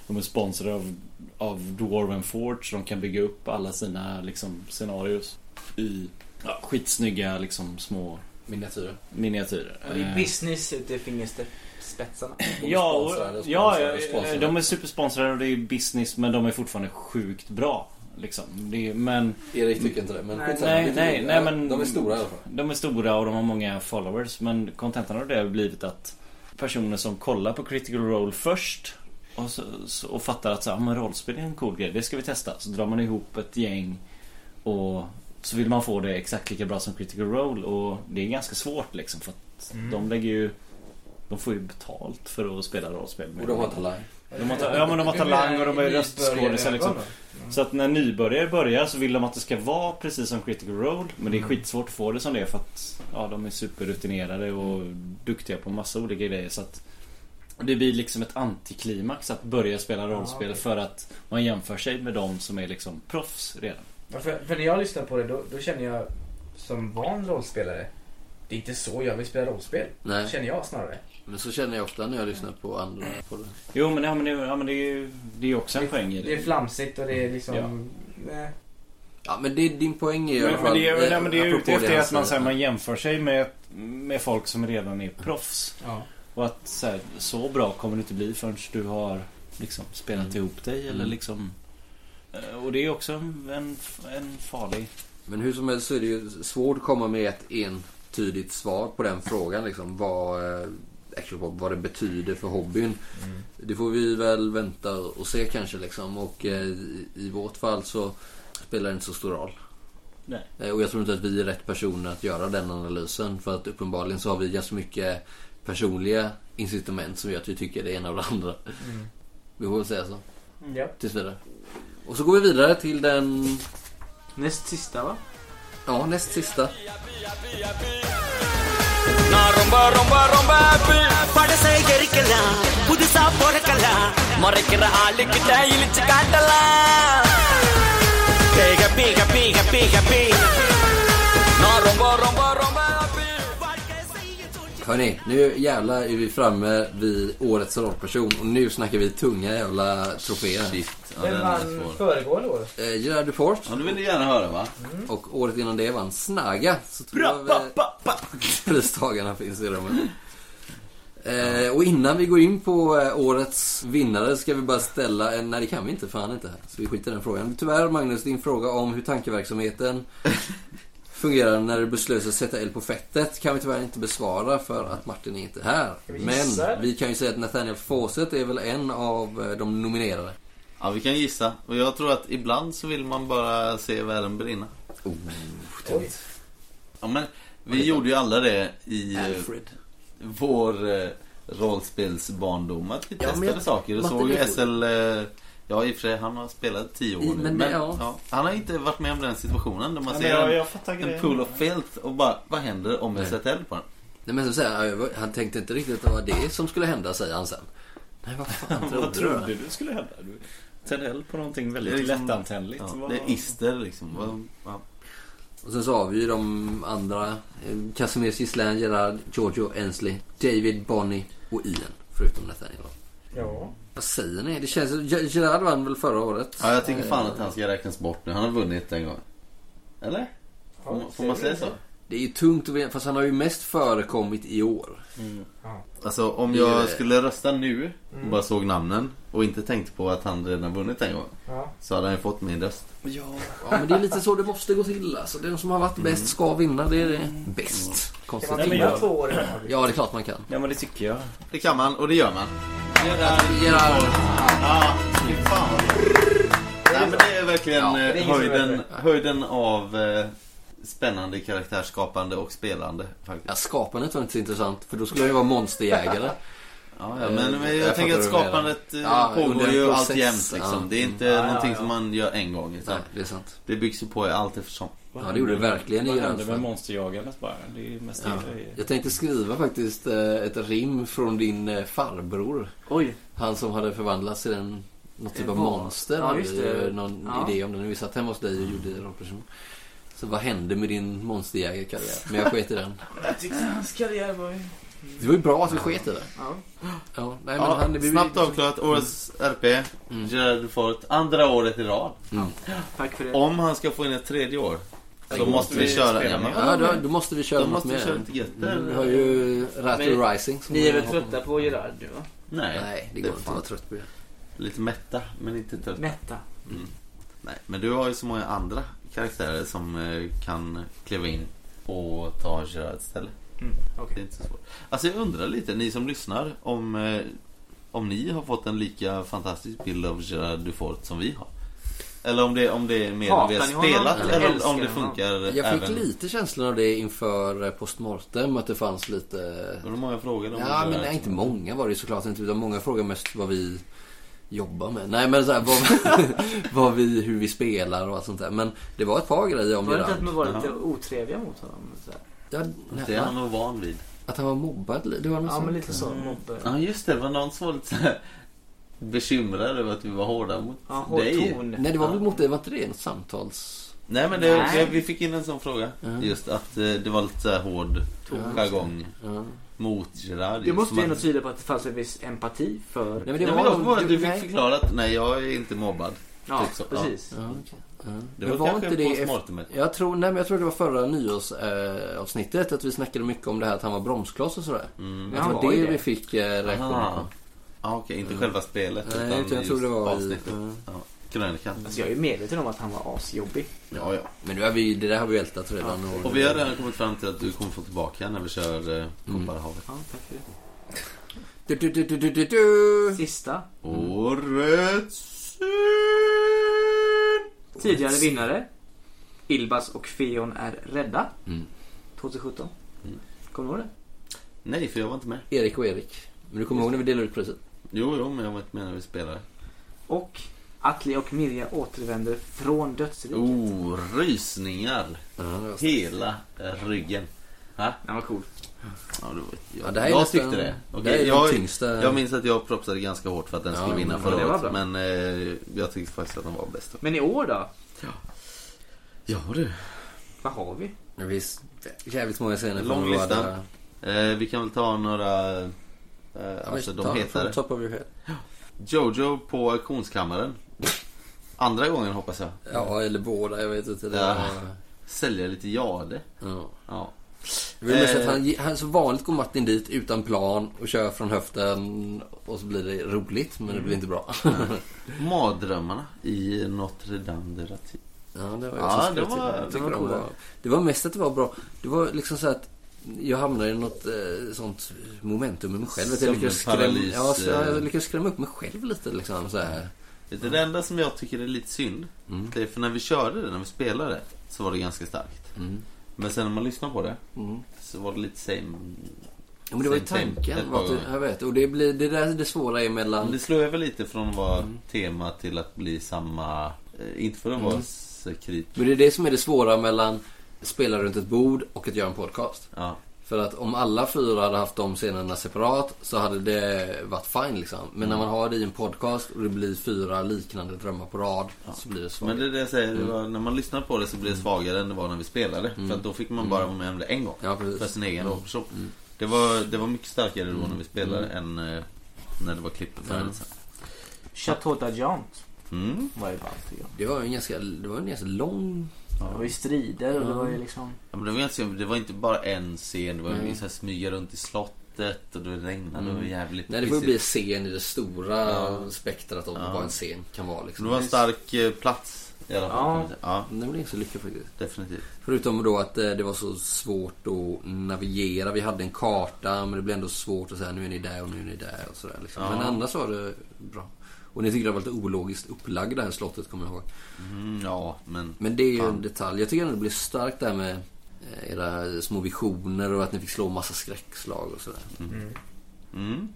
Speaker 6: de är sponsrade av, av Dwarven Forge så de kan bygga upp alla sina liksom, scenarios i ja, skitsnygga liksom, små
Speaker 1: Miniatyrer.
Speaker 6: miniatyrer.
Speaker 3: Och Det är
Speaker 6: Eh,
Speaker 3: business ut i fingerspetsarna.
Speaker 6: Ja, och, ja, ja, de är supersponsrade och det är business men de är fortfarande sjukt bra. Liksom. Det, är- men,
Speaker 1: Erik tycker inte det, men
Speaker 6: nej,
Speaker 1: skitsamma,
Speaker 6: nej,
Speaker 1: det
Speaker 6: nej,
Speaker 1: är-
Speaker 6: nej, men
Speaker 1: de är stora i alla fall.
Speaker 6: De är stora och de har många followers men kontentan av det har blivit att personer som kollar på critical role först och, så, så, och fattar att så, här, "Ah, men rollspel är en cool grej, det ska vi testa. Så drar man ihop ett gäng och så vill man få det exakt lika bra som critical role och det är ganska svårt liksom för att
Speaker 8: Mm.
Speaker 6: de lägger ju De får ju betalt för att spela rollspel.
Speaker 1: Och de har talang.
Speaker 6: De har, ta- ja men de har talang och de är röstskådisar liksom. Så att när nybörjare börjar så vill de att det ska vara precis som Critical Role. Men det är skitsvårt att få det som det är för att ja, de är superrutinerade och duktiga på massa olika grejer. Så att det blir liksom ett antiklimax att börja spela rollspel
Speaker 13: okej.
Speaker 6: för att man jämför sig med de som är liksom proffs redan.
Speaker 15: Ja, För, för när jag lyssnar på det då, då känner jag som van rollspelare. Det är inte så jag vill spela rollspel.
Speaker 1: Nej.
Speaker 15: Känner jag snarare.
Speaker 1: Men så känner jag ofta när jag lyssnar på andra på det.
Speaker 6: Jo men, ja, men, det, ja, men det är ju det är ju också en poäng i det.
Speaker 15: Det är flamsigt och det är liksom...
Speaker 6: Ja.
Speaker 15: Nej.
Speaker 1: Ja men det, din poäng är i alla
Speaker 6: Men, men
Speaker 1: fall... eh,
Speaker 6: det är, nej, men eh, det är ju
Speaker 1: apropå
Speaker 6: ute efter
Speaker 1: han
Speaker 6: att man, så
Speaker 1: säger.
Speaker 6: här, man jämför sig med, med folk som redan är proffs.
Speaker 15: Ja.
Speaker 6: Och att så, här, så bra kommer det inte bli förrän du har liksom, spelat ihop dig. Eller
Speaker 1: Mm.
Speaker 6: liksom, eh, och det är också en, en farlig...
Speaker 1: Men hur som helst så är det ju svårt att komma med ett entydigt svar på den frågan. Liksom, vad, eh, Action Pop, vad det betyder för hobbyn.
Speaker 15: Mm.
Speaker 1: Det får vi väl vänta och se kanske. Liksom. Och, eh, i, I vårt fall så spelar det inte så stor roll.
Speaker 6: Nej.
Speaker 1: Eh, Och jag tror inte att vi är rätt personer att göra den analysen. För att uppenbarligen så har vi ganska mycket personliga incitament som gör att vi tycker det ena och det andra.
Speaker 15: Mm.
Speaker 1: Vi får väl säga så.
Speaker 15: Ja.
Speaker 1: Tills vidare. Och så går vi vidare till den...
Speaker 13: Näst sista va?
Speaker 1: Ja, näst sista.
Speaker 4: நான் ரொம்ப ரொம்ப ரொம்ப happy. படசை எரிக்கலாம் புதுசா பிறக்கலாம் மறைக்கிற ஆளுக்கிட்ட இழிச்சு காட்டலாம் Hey, happy, happy, happy, happy. நான் ரொம்ப ரொம்ப ரொம்ப happy.
Speaker 1: Hörni, nu jävlar är vi framme vid årets rollperson och nu snackar vi tunga jävla troféer. Shit,
Speaker 15: Vem vann föregående år?
Speaker 1: Eh, Gerard Duport. Ja, du ville gärna höra va? Och året innan det vann Snaga. Så tror jag vi- Pristagarna finns i rummet. Eh, och innan vi går in på eh, årets vinnare ska vi bara ställa en... Nej, det kan vi inte. Fan inte. Så vi skiter i den frågan. Tyvärr, Magnus, din fråga om hur tankeverksamheten fungerar när du beslöt att sätta eld på fettet kan vi tyvärr inte besvara för att Martin är inte här.
Speaker 5: Ska vi gissa,
Speaker 1: Men
Speaker 5: eller?
Speaker 1: vi kan ju säga att Nathaniel Fawcett är väl en av eh, de nominerade.
Speaker 5: Ja, vi kan gissa. Och jag tror att ibland så vill man bara se världen brinna.
Speaker 1: Oh,
Speaker 5: ja, men vi gjorde ju alla det i eh,
Speaker 1: Alfred.
Speaker 5: vår eh, rollspelsbarndom. Att vi
Speaker 1: Ja, men
Speaker 5: testade
Speaker 1: jag-
Speaker 5: saker och
Speaker 1: Martin,
Speaker 5: såg ju
Speaker 1: jag-
Speaker 5: SL... eh, Ja, i och för sig, han har spelat tio år
Speaker 1: I-
Speaker 5: nu.
Speaker 1: men det- ja.
Speaker 5: han har inte varit med om den situationen där man
Speaker 1: Nej,
Speaker 5: ser
Speaker 1: men jag-
Speaker 5: en,
Speaker 1: jag fattar
Speaker 5: en
Speaker 1: grejen.
Speaker 5: pool of filth och bara, vad händer om jag
Speaker 1: Nej.
Speaker 5: sätter eld på den?
Speaker 1: Nej, men så säger han, han tänkte inte riktigt att det var det som skulle hända, säger han sen. Nej, vad fan trodde
Speaker 6: Vad
Speaker 1: du?
Speaker 6: trodde du skulle hända? Du tände eld på någonting väldigt
Speaker 1: Det är liksom-
Speaker 6: lättantändligt.
Speaker 1: ja,
Speaker 6: Vad-
Speaker 1: det är
Speaker 5: ister liksom. Vad-
Speaker 1: Och sen så har vi ju de andra. eh, Casimir Gislain, Gerard, Giorgio Ensley, David, Bonnie och Ian. Förutom Nathaniel.
Speaker 15: Ja.
Speaker 1: Vad säger ni? Det känns... Ger- Gerard vann väl förra året?
Speaker 5: Ja, jag tycker fan
Speaker 1: Eh,
Speaker 5: att han ska räknas bort nu. Han har vunnit en gång. Eller? Får, man- får man säga så?
Speaker 1: Det är ju tungt att veta, fast han har ju mest förekommit i år.
Speaker 5: Alltså om
Speaker 1: Det är
Speaker 5: jag
Speaker 1: det.
Speaker 5: skulle rösta nu och
Speaker 1: Mm.
Speaker 5: bara såg namnen och inte tänkte på att han redan vunnit en gång.
Speaker 1: Ja.
Speaker 5: Så hade han ju fått min röst.
Speaker 1: Ja. men det är lite så det måste gå till alltså. Den som har varit bäst ska vinna, det är det. Bäst. Konstigt.
Speaker 5: Kan Mm. man vinna
Speaker 1: Ja.
Speaker 5: två år i
Speaker 1: Ja, det är klart man kan.
Speaker 6: Ja, men det tycker jag.
Speaker 5: Det kan man och det gör man.
Speaker 1: Gerard.
Speaker 5: Ja, fy fan. Nej, men det är verkligen
Speaker 1: Ja, det är
Speaker 5: eh,
Speaker 1: ingen som
Speaker 5: höjden,
Speaker 1: vet
Speaker 5: höjden av eh, spännande karaktärsskapande och spelande. Faktiskt.
Speaker 1: Ja, skapandet var inte så intressant, för då skulle jag ju vara monsterjägare.
Speaker 5: Ja, ja, men,
Speaker 1: Eh,
Speaker 5: men jag,
Speaker 1: fattar
Speaker 5: tänker
Speaker 1: vad
Speaker 5: att
Speaker 1: du menar.
Speaker 5: skapandet eh,
Speaker 1: Ja,
Speaker 5: pågår
Speaker 1: under en
Speaker 5: ju
Speaker 1: process,
Speaker 5: allt jämt liksom.
Speaker 1: ja.
Speaker 5: Det är inte
Speaker 1: Ja, ja,
Speaker 5: någonting
Speaker 1: ja.
Speaker 5: som man gör en gång. Utan
Speaker 1: Nej, det är sant.
Speaker 5: Det byggs ju på allt eftersom.
Speaker 1: Ja, det gjorde det verkligen i
Speaker 6: Vad hände med
Speaker 1: Jönsson.
Speaker 6: monsterjagandet bara? Det är ju mest
Speaker 1: Ja. Jag tänkte skriva faktiskt eh, ett rim från din eh, farbror.
Speaker 13: Oj.
Speaker 1: Han som hade förvandlats till en, något typ
Speaker 13: Eh,
Speaker 1: av
Speaker 13: vad?
Speaker 1: monster.
Speaker 13: Ja,
Speaker 1: hade
Speaker 13: just
Speaker 1: ju
Speaker 13: det.
Speaker 1: någon
Speaker 13: Ja.
Speaker 1: idé om det. När vi satt hemma hos dig och gjorde rollperson. Så vad hände med din monsterjägarkarriär? Men jag sket i den.
Speaker 15: Jag tyckte hans karriär var ju...
Speaker 1: Det var ju bra att vi sket i det.
Speaker 15: Ja.
Speaker 1: Ja, nej, men
Speaker 5: Ja,
Speaker 1: han, vi-
Speaker 5: snabbt avklarat, årets RP. Gerard Fort, andra året i rad.
Speaker 13: Tack för det.
Speaker 5: Om han ska få in ett tredje år så
Speaker 1: Då
Speaker 5: måste vi köra en.
Speaker 1: Ja, då, då måste vi köra
Speaker 5: Då
Speaker 1: något
Speaker 5: måste vi
Speaker 1: mer.
Speaker 5: köra lite gött där.
Speaker 1: Mm, Vi har ju Rattle Rising. som
Speaker 13: Ni är väl
Speaker 1: jag hoppar på.
Speaker 13: trötta på Gerard nu va?
Speaker 5: Nej,
Speaker 1: Nej, det går inte att vara trött på det.
Speaker 5: Lite mätta, men inte trötta.
Speaker 13: Mätta.
Speaker 5: Mm. Nej, men du har ju så många andra karaktärer som eh, kan kliva in och ta Gerards ställe.
Speaker 15: Mm, okej.
Speaker 5: Det är inte så svårt. Alltså jag undrar lite, ni som lyssnar, om, eh, om ni har fått en lika fantastisk bild av Gerard Dufort som vi har. Eller om det, om det är mer
Speaker 1: Hatar
Speaker 5: vi har
Speaker 1: ni honom?
Speaker 5: spelat
Speaker 1: Eller
Speaker 5: eller,
Speaker 1: älskar
Speaker 5: om
Speaker 1: ni
Speaker 5: det
Speaker 1: honom?
Speaker 5: funkar
Speaker 1: Jag fick
Speaker 5: även...
Speaker 1: lite känslan av det inför eh, postmortem att det fanns lite...
Speaker 5: Var det många frågor? om
Speaker 1: Ja,
Speaker 5: det
Speaker 1: men
Speaker 5: där?
Speaker 1: nej, inte många var det ju såklart inte. Utan många frågade mest vad vi jobbar med. Nej, men så här, vad, vad vi, hur vi spelar och allt sånt där. Men det var ett par grejer om
Speaker 13: Var det
Speaker 1: Gerard.
Speaker 13: inte att man var lite
Speaker 1: Ja.
Speaker 13: otrevliga mot honom? Så här?
Speaker 1: Ja, nej,
Speaker 5: Det är han nog van vid.
Speaker 1: Att han var mobbad? li- Det var något
Speaker 13: Ja,
Speaker 1: sånt.
Speaker 13: men lite så. Mobbe.
Speaker 5: Ja just det, det var någon som var lite så här bekymrad över att vi var hårda mot
Speaker 13: Ja, hård
Speaker 5: dig.
Speaker 13: ton.
Speaker 1: Nej, det var väl mot det. Var inte det något samtals...
Speaker 5: Nej men det,
Speaker 1: Nej.
Speaker 5: vi fick in en sån fråga.
Speaker 1: Ja.
Speaker 5: Just att eh, det var lite så här hård
Speaker 1: Ton.
Speaker 5: jargong.
Speaker 1: Ja.
Speaker 5: Mot Gerard.
Speaker 13: Det måste ju
Speaker 5: Som
Speaker 13: ändå
Speaker 5: att-
Speaker 13: tyda på att det fanns en viss empati för...
Speaker 5: Nej, men det var, bara att du fick förklara att nej jag är inte mobbad.
Speaker 13: Ja,
Speaker 5: så.
Speaker 13: precis.
Speaker 1: Ja, okej. Ja.
Speaker 5: Det
Speaker 1: Men
Speaker 5: var, kanske inte det postmortemet.
Speaker 1: Jag tror, nej, men jag tror det var förra nyårsavsnittet eh, avsnittet, att vi snackade mycket om det här att han var bromskloss och sådär.
Speaker 5: Mm.
Speaker 1: Jag
Speaker 5: Ja,
Speaker 1: tror
Speaker 5: var
Speaker 1: det,
Speaker 5: ju det.
Speaker 1: vi fick eh, reaktioner
Speaker 5: Aha.
Speaker 1: på.
Speaker 5: Ja, Ah, okej, inte själva spelet,
Speaker 1: Nej,
Speaker 5: utan
Speaker 1: utan jag tror
Speaker 5: just
Speaker 1: det var i-
Speaker 5: avsnittet. Ja. Krönikan.
Speaker 13: Alltså jag är ju medveten om att han var asjobbig.
Speaker 5: Ja, ja.
Speaker 1: Men nu har vi, det där har vi ältat redan.
Speaker 13: Ja.
Speaker 5: Och vi har redan kommit fram till att du kommer få tillbaka när vi kör eh, Kopparhavet.
Speaker 13: Ja, tack för det.
Speaker 1: Du, du, du, du, du, du, du.
Speaker 13: Sista.
Speaker 5: Årets
Speaker 13: Tidigare vinnare. Ilbas och Feon är rädda. 2017. Kommer du ihåg det?
Speaker 5: Nej, för jag var inte med.
Speaker 1: Erik och Erik. Men du kommer ihåg när vi delade ut priset?
Speaker 5: Jo, jo, men jag var inte med när vi spelade.
Speaker 13: Och Atli och Mirja återvänder från dödsriket.
Speaker 5: Oh, rysningar. Hela ryggen. Ha?
Speaker 13: Den var cool.
Speaker 5: Ja, det var, jag
Speaker 1: Ja, det här är
Speaker 5: jag
Speaker 1: nästan-
Speaker 5: tyckte det.
Speaker 1: det
Speaker 5: Okej,
Speaker 1: här är de tyngsta-
Speaker 5: jag, jag minns att jag propsade ganska hårt för att den
Speaker 1: Ja,
Speaker 5: skulle vinna
Speaker 1: men
Speaker 5: förra
Speaker 1: det var
Speaker 5: året.
Speaker 1: bra.
Speaker 5: Men eh, jag tyckte faktiskt att den var bäst.
Speaker 13: Men i år då?
Speaker 5: Ja, du.
Speaker 13: Vad har vi?
Speaker 1: Det finns jävligt många scener.
Speaker 5: Lång
Speaker 1: från
Speaker 5: lista.
Speaker 1: våra-
Speaker 5: Eh, vi kan väl ta några... Eh, alltså,
Speaker 1: ta
Speaker 5: de
Speaker 1: från
Speaker 5: heter...
Speaker 1: Top of your head.
Speaker 5: Jojo på auktionskammaren. Andra gången hoppas jag.
Speaker 1: Ja, eller båda. Jag vet inte. Det
Speaker 5: Ja.
Speaker 1: var-
Speaker 5: Sälja lite jade.
Speaker 1: Ja.
Speaker 5: ja.
Speaker 1: Jag vill mest
Speaker 5: Eh,
Speaker 1: att han, han, som vanligt går Martin dit utan plan och kör från höften och så blir det roligt men det blir inte bra.
Speaker 5: Mardrömmarna i Notre Dame de Rati.
Speaker 1: Ja, det var jag som
Speaker 5: ja, det
Speaker 1: skrev till
Speaker 5: var,
Speaker 1: dem. Jag
Speaker 5: det
Speaker 1: tycker
Speaker 5: var
Speaker 1: de
Speaker 5: coola.
Speaker 1: var, det var mest att det var bra. Det var liksom så att jag hamnade i något eh, sånt momentum med mig själv. Att jag lyckades skrämma,
Speaker 5: Sömnparalys,
Speaker 1: ja, så
Speaker 5: eh.
Speaker 1: jag lyckades skrämma upp mig själv lite liksom så här.
Speaker 5: Vet du, Det enda som jag tycker är lite synd, det är för när vi körde det, när vi spelade det, så var det ganska starkt.
Speaker 1: Mm.
Speaker 5: Men sen när man lyssnar på det,
Speaker 1: Mm.
Speaker 5: så var det lite same...
Speaker 1: Ja, men det var ju
Speaker 5: same, same ett
Speaker 1: tanken.
Speaker 5: par
Speaker 1: Var att,
Speaker 5: gånger.
Speaker 1: jag vet. Och det, blir, det där det svåra är
Speaker 5: Men
Speaker 1: mellan...
Speaker 5: det slår över lite från att vara
Speaker 1: Mm.
Speaker 5: tema till att bli samma... eh, Inte för att vara
Speaker 1: Mm.
Speaker 5: mm. kritisk.
Speaker 1: Men det är det som är det svåra mellan spela runt ett bord och att göra en podcast.
Speaker 5: Ja.
Speaker 1: För att om alla fyra hade haft de scenerna separat så hade det varit fine liksom. Men när
Speaker 5: Mm.
Speaker 1: man har det i en podcast och det blir fyra liknande drömmar på rad så blir det svårt.
Speaker 5: Men det är det jag säger, det
Speaker 1: Mm.
Speaker 5: var, när man lyssnar på det så blir det svagare än det var när vi spelade. För att då fick man bara vara med om det en gång.
Speaker 1: Ja, precis.
Speaker 5: för sin egen
Speaker 1: Mm.
Speaker 5: rollperson.
Speaker 1: Mm.
Speaker 5: Det, var, det var mycket starkare då när vi spelade än eh, när det var klippet
Speaker 1: Ja.
Speaker 5: färdigt sen.
Speaker 13: Chateau d'Argent.
Speaker 5: Mm.
Speaker 13: Var ju ballt tycker jag.
Speaker 1: Det var ju en ganska, det var en ganska lång...
Speaker 13: Det var ju strider och det var ju liksom...
Speaker 5: Ja, men det, var ganska, det var inte bara en scen, det var
Speaker 1: Nej. Mm.
Speaker 5: ju så här smyga runt i slottet och det regnade och det var jävligt
Speaker 1: Nej, det får ju bli
Speaker 5: pissigt.
Speaker 1: scen i det stora
Speaker 5: Ja.
Speaker 1: spektrat av
Speaker 5: Ja.
Speaker 1: vad en scen kan vara. Liksom.
Speaker 5: Det var en stark eh, plats i alla fall. kan man säga. ja.
Speaker 1: Det blev inte så lyckat faktiskt.
Speaker 5: Definitivt.
Speaker 1: Förutom då att eh, det var så svårt att navigera. Vi hade en karta men det blev ändå svårt att säga nu är ni där och nu är ni där och sådär. Liksom.
Speaker 5: Ja.
Speaker 1: Men annars var det bra. Och ni tyckte det var lite ologiskt upplagd det här slottet kommer jag ihåg.
Speaker 5: Mm, ja, men...
Speaker 1: Men det är ju
Speaker 5: Fan.
Speaker 1: en detalj. Jag tycker ändå det blev starkt det här med eh, era små visioner och att ni fick slå massa skräckslag och sådär.
Speaker 5: Mm. Mm.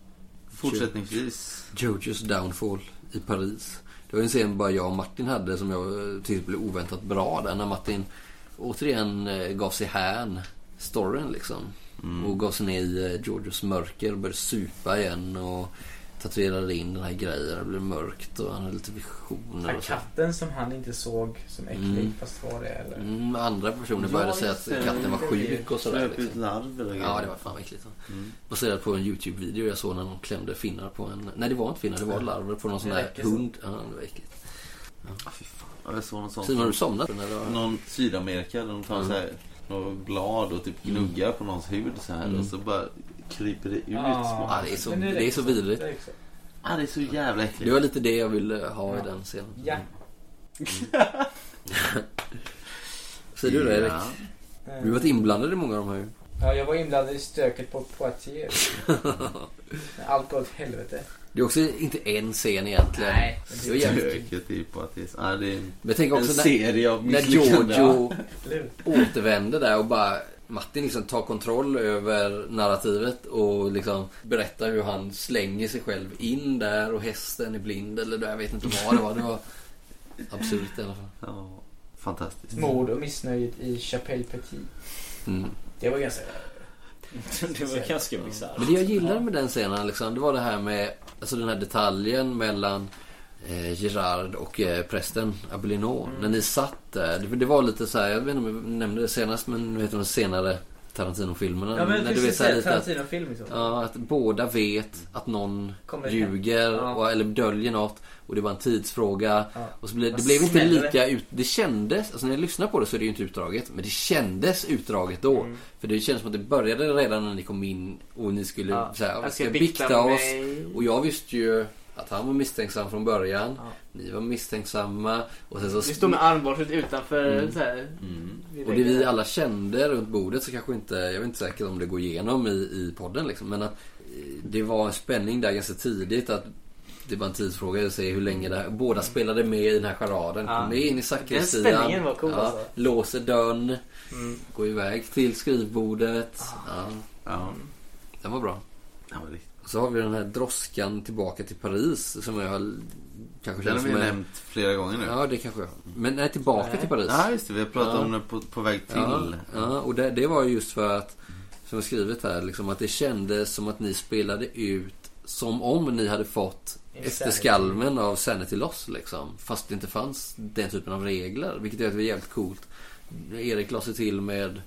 Speaker 5: Fortsättningsvis.
Speaker 1: Jojos Downfall i Paris. Det var en scen bara jag och Martin hade som jag eh, tyckte blev oväntat bra där när Martin återigen eh, gav sig hän storyn liksom.
Speaker 5: Mm.
Speaker 1: Och gav sig ner i eh, Georgios mörker och började supa igen och tatuerade in den här grejen. Det blev mörkt och han hade lite visioner
Speaker 15: Är
Speaker 1: och så.
Speaker 15: katten som han inte såg som äcklig
Speaker 1: Mm.
Speaker 15: fast var det eller?
Speaker 1: Mm, andra personer började
Speaker 15: Ja,
Speaker 1: säga att
Speaker 15: just det.
Speaker 1: katten var
Speaker 15: Det är
Speaker 1: sjuk och sådär.
Speaker 5: Flöp ut larv eller
Speaker 1: liksom. Ja, det var fan äckligt.
Speaker 5: Mm.
Speaker 1: Baserat på en YouTube-video jag såg när någon klämde finnar på en... Nej, det var inte finnar, det var larver på någon sån
Speaker 5: Det
Speaker 1: här
Speaker 5: räcker så.
Speaker 1: hund. Ja, det var äckligt.
Speaker 5: Ja, Jag såg något sånt.
Speaker 1: Simon, har du somnat? Eller vad?
Speaker 5: Någon Sydamerika där de tar
Speaker 1: Mm.
Speaker 5: så här, några blad och typ gnuggar på någons hud så här
Speaker 1: Mm.
Speaker 5: och så bara kryper det ut små...
Speaker 1: Ja, det är så, det är så vidrigt.
Speaker 5: Ja, det är så jävla äckligt.
Speaker 1: Det var lite det jag ville ha i den scenen.
Speaker 15: Ja.
Speaker 1: Säger du det Erik?
Speaker 5: Ja.
Speaker 15: Mm.
Speaker 1: Du har varit inblandad i många av de här ju.
Speaker 15: Eh, Ja, jag var inblandad i stöket på Poitiers. Allt går åt helvete.
Speaker 1: Det är också inte en scen egentligen.
Speaker 15: Nej,
Speaker 1: det är jävligt
Speaker 5: Stöket i Poitiers. Ja, typ det är en,
Speaker 1: Men tänk också
Speaker 5: en
Speaker 1: när,
Speaker 5: serie av
Speaker 1: när
Speaker 5: misslyckanden.
Speaker 1: Jojo
Speaker 15: Eller hur?
Speaker 1: återvänder där och bara Martin liksom tar kontroll över narrativet och liksom berättar hur han slänger sig själv in där och hästen är blind eller det- jag vet inte vad det var. Det var absurt i alla fall.
Speaker 5: Ja, fantastiskt.
Speaker 15: Mord och missnöjet i Chapelle Petit.
Speaker 1: Mm.
Speaker 15: Det var ganska...
Speaker 6: Det var ganska bisarrt.
Speaker 1: Men det jag gillade med den scenen liksom, det var det här med alltså den här detaljen mellan eh, Gerard och eh, prästen Abelino.
Speaker 15: Mm.
Speaker 1: När ni satt där. Det, det var lite så här, jag vet inte om jag nämnde det senast men vet du de senare Tarantino-filmerna?
Speaker 15: Ja, men
Speaker 1: när
Speaker 15: precis,
Speaker 1: så här lite att-
Speaker 15: Tarantino-film i så fall.
Speaker 1: Ja, att båda vet att någon
Speaker 15: Kommer hem.
Speaker 1: ljuger
Speaker 15: Ja.
Speaker 1: och, eller döljer något och det var en tidsfråga.
Speaker 15: Ja.
Speaker 1: Och så blev, det
Speaker 15: Vad
Speaker 1: blev inte
Speaker 15: smäller
Speaker 1: lika ut... Det kändes, alltså när jag lyssnar på det så är det ju inte utdraget, men det kändes utdraget då.
Speaker 13: Mm.
Speaker 3: Mm.
Speaker 1: För det känns som att det började redan när ni kom in och ni skulle
Speaker 13: Ja.
Speaker 1: så här,
Speaker 13: Jag
Speaker 1: vi
Speaker 13: ska
Speaker 1: ska
Speaker 13: bikta
Speaker 1: bikta oss.
Speaker 13: mig.
Speaker 1: Och jag visste ju att han var misstänksam från början.
Speaker 13: Ja.
Speaker 1: Ni var misstänksamma. Och sen så...
Speaker 13: Vi står med armborset utanför
Speaker 1: Mm.
Speaker 13: så här,
Speaker 5: Mm.
Speaker 13: vid
Speaker 1: Och det vi
Speaker 13: väggen.
Speaker 1: alla kände runt bordet så kanske inte, jag är inte säker om det går igenom i, i podden liksom. Men att eh, det var en spänning där ganska tidigt att det var en tidsfråga att se hur länge det här, båda spelade med i den här charaden.
Speaker 13: Ja.
Speaker 1: Kom med in i sakristian.
Speaker 13: Den spänningen var cool,
Speaker 1: ja,
Speaker 13: alltså.
Speaker 1: Låser dörren.
Speaker 13: Mm.
Speaker 1: Går iväg till skrivbordet.
Speaker 13: Ah.
Speaker 1: Ja.
Speaker 5: Ja.
Speaker 1: Den var bra.
Speaker 5: Den var riktigt.
Speaker 1: Och så har vi den här droskan tillbaka till Paris som jag har- kanske
Speaker 5: Den har vi
Speaker 1: som en-
Speaker 5: nämnt flera gånger nu. Ah,
Speaker 1: Ja, det kanske jag har. Men nej, tillbaka
Speaker 5: Nej.
Speaker 1: till Paris.
Speaker 5: Ja, just det. Vi har pratat
Speaker 1: Ja.
Speaker 5: om den på, på väg till.
Speaker 1: Ja, ja och det, det var ju just för att, som jag skrivit här, liksom, att det kändes som att ni spelade ut som om ni hade fått
Speaker 13: Insanity.
Speaker 1: efter skalmen av Sanity Loss. Liksom. Fast det inte fanns den typen av regler. Vilket gör att det är jävligt coolt. Erik la sig till med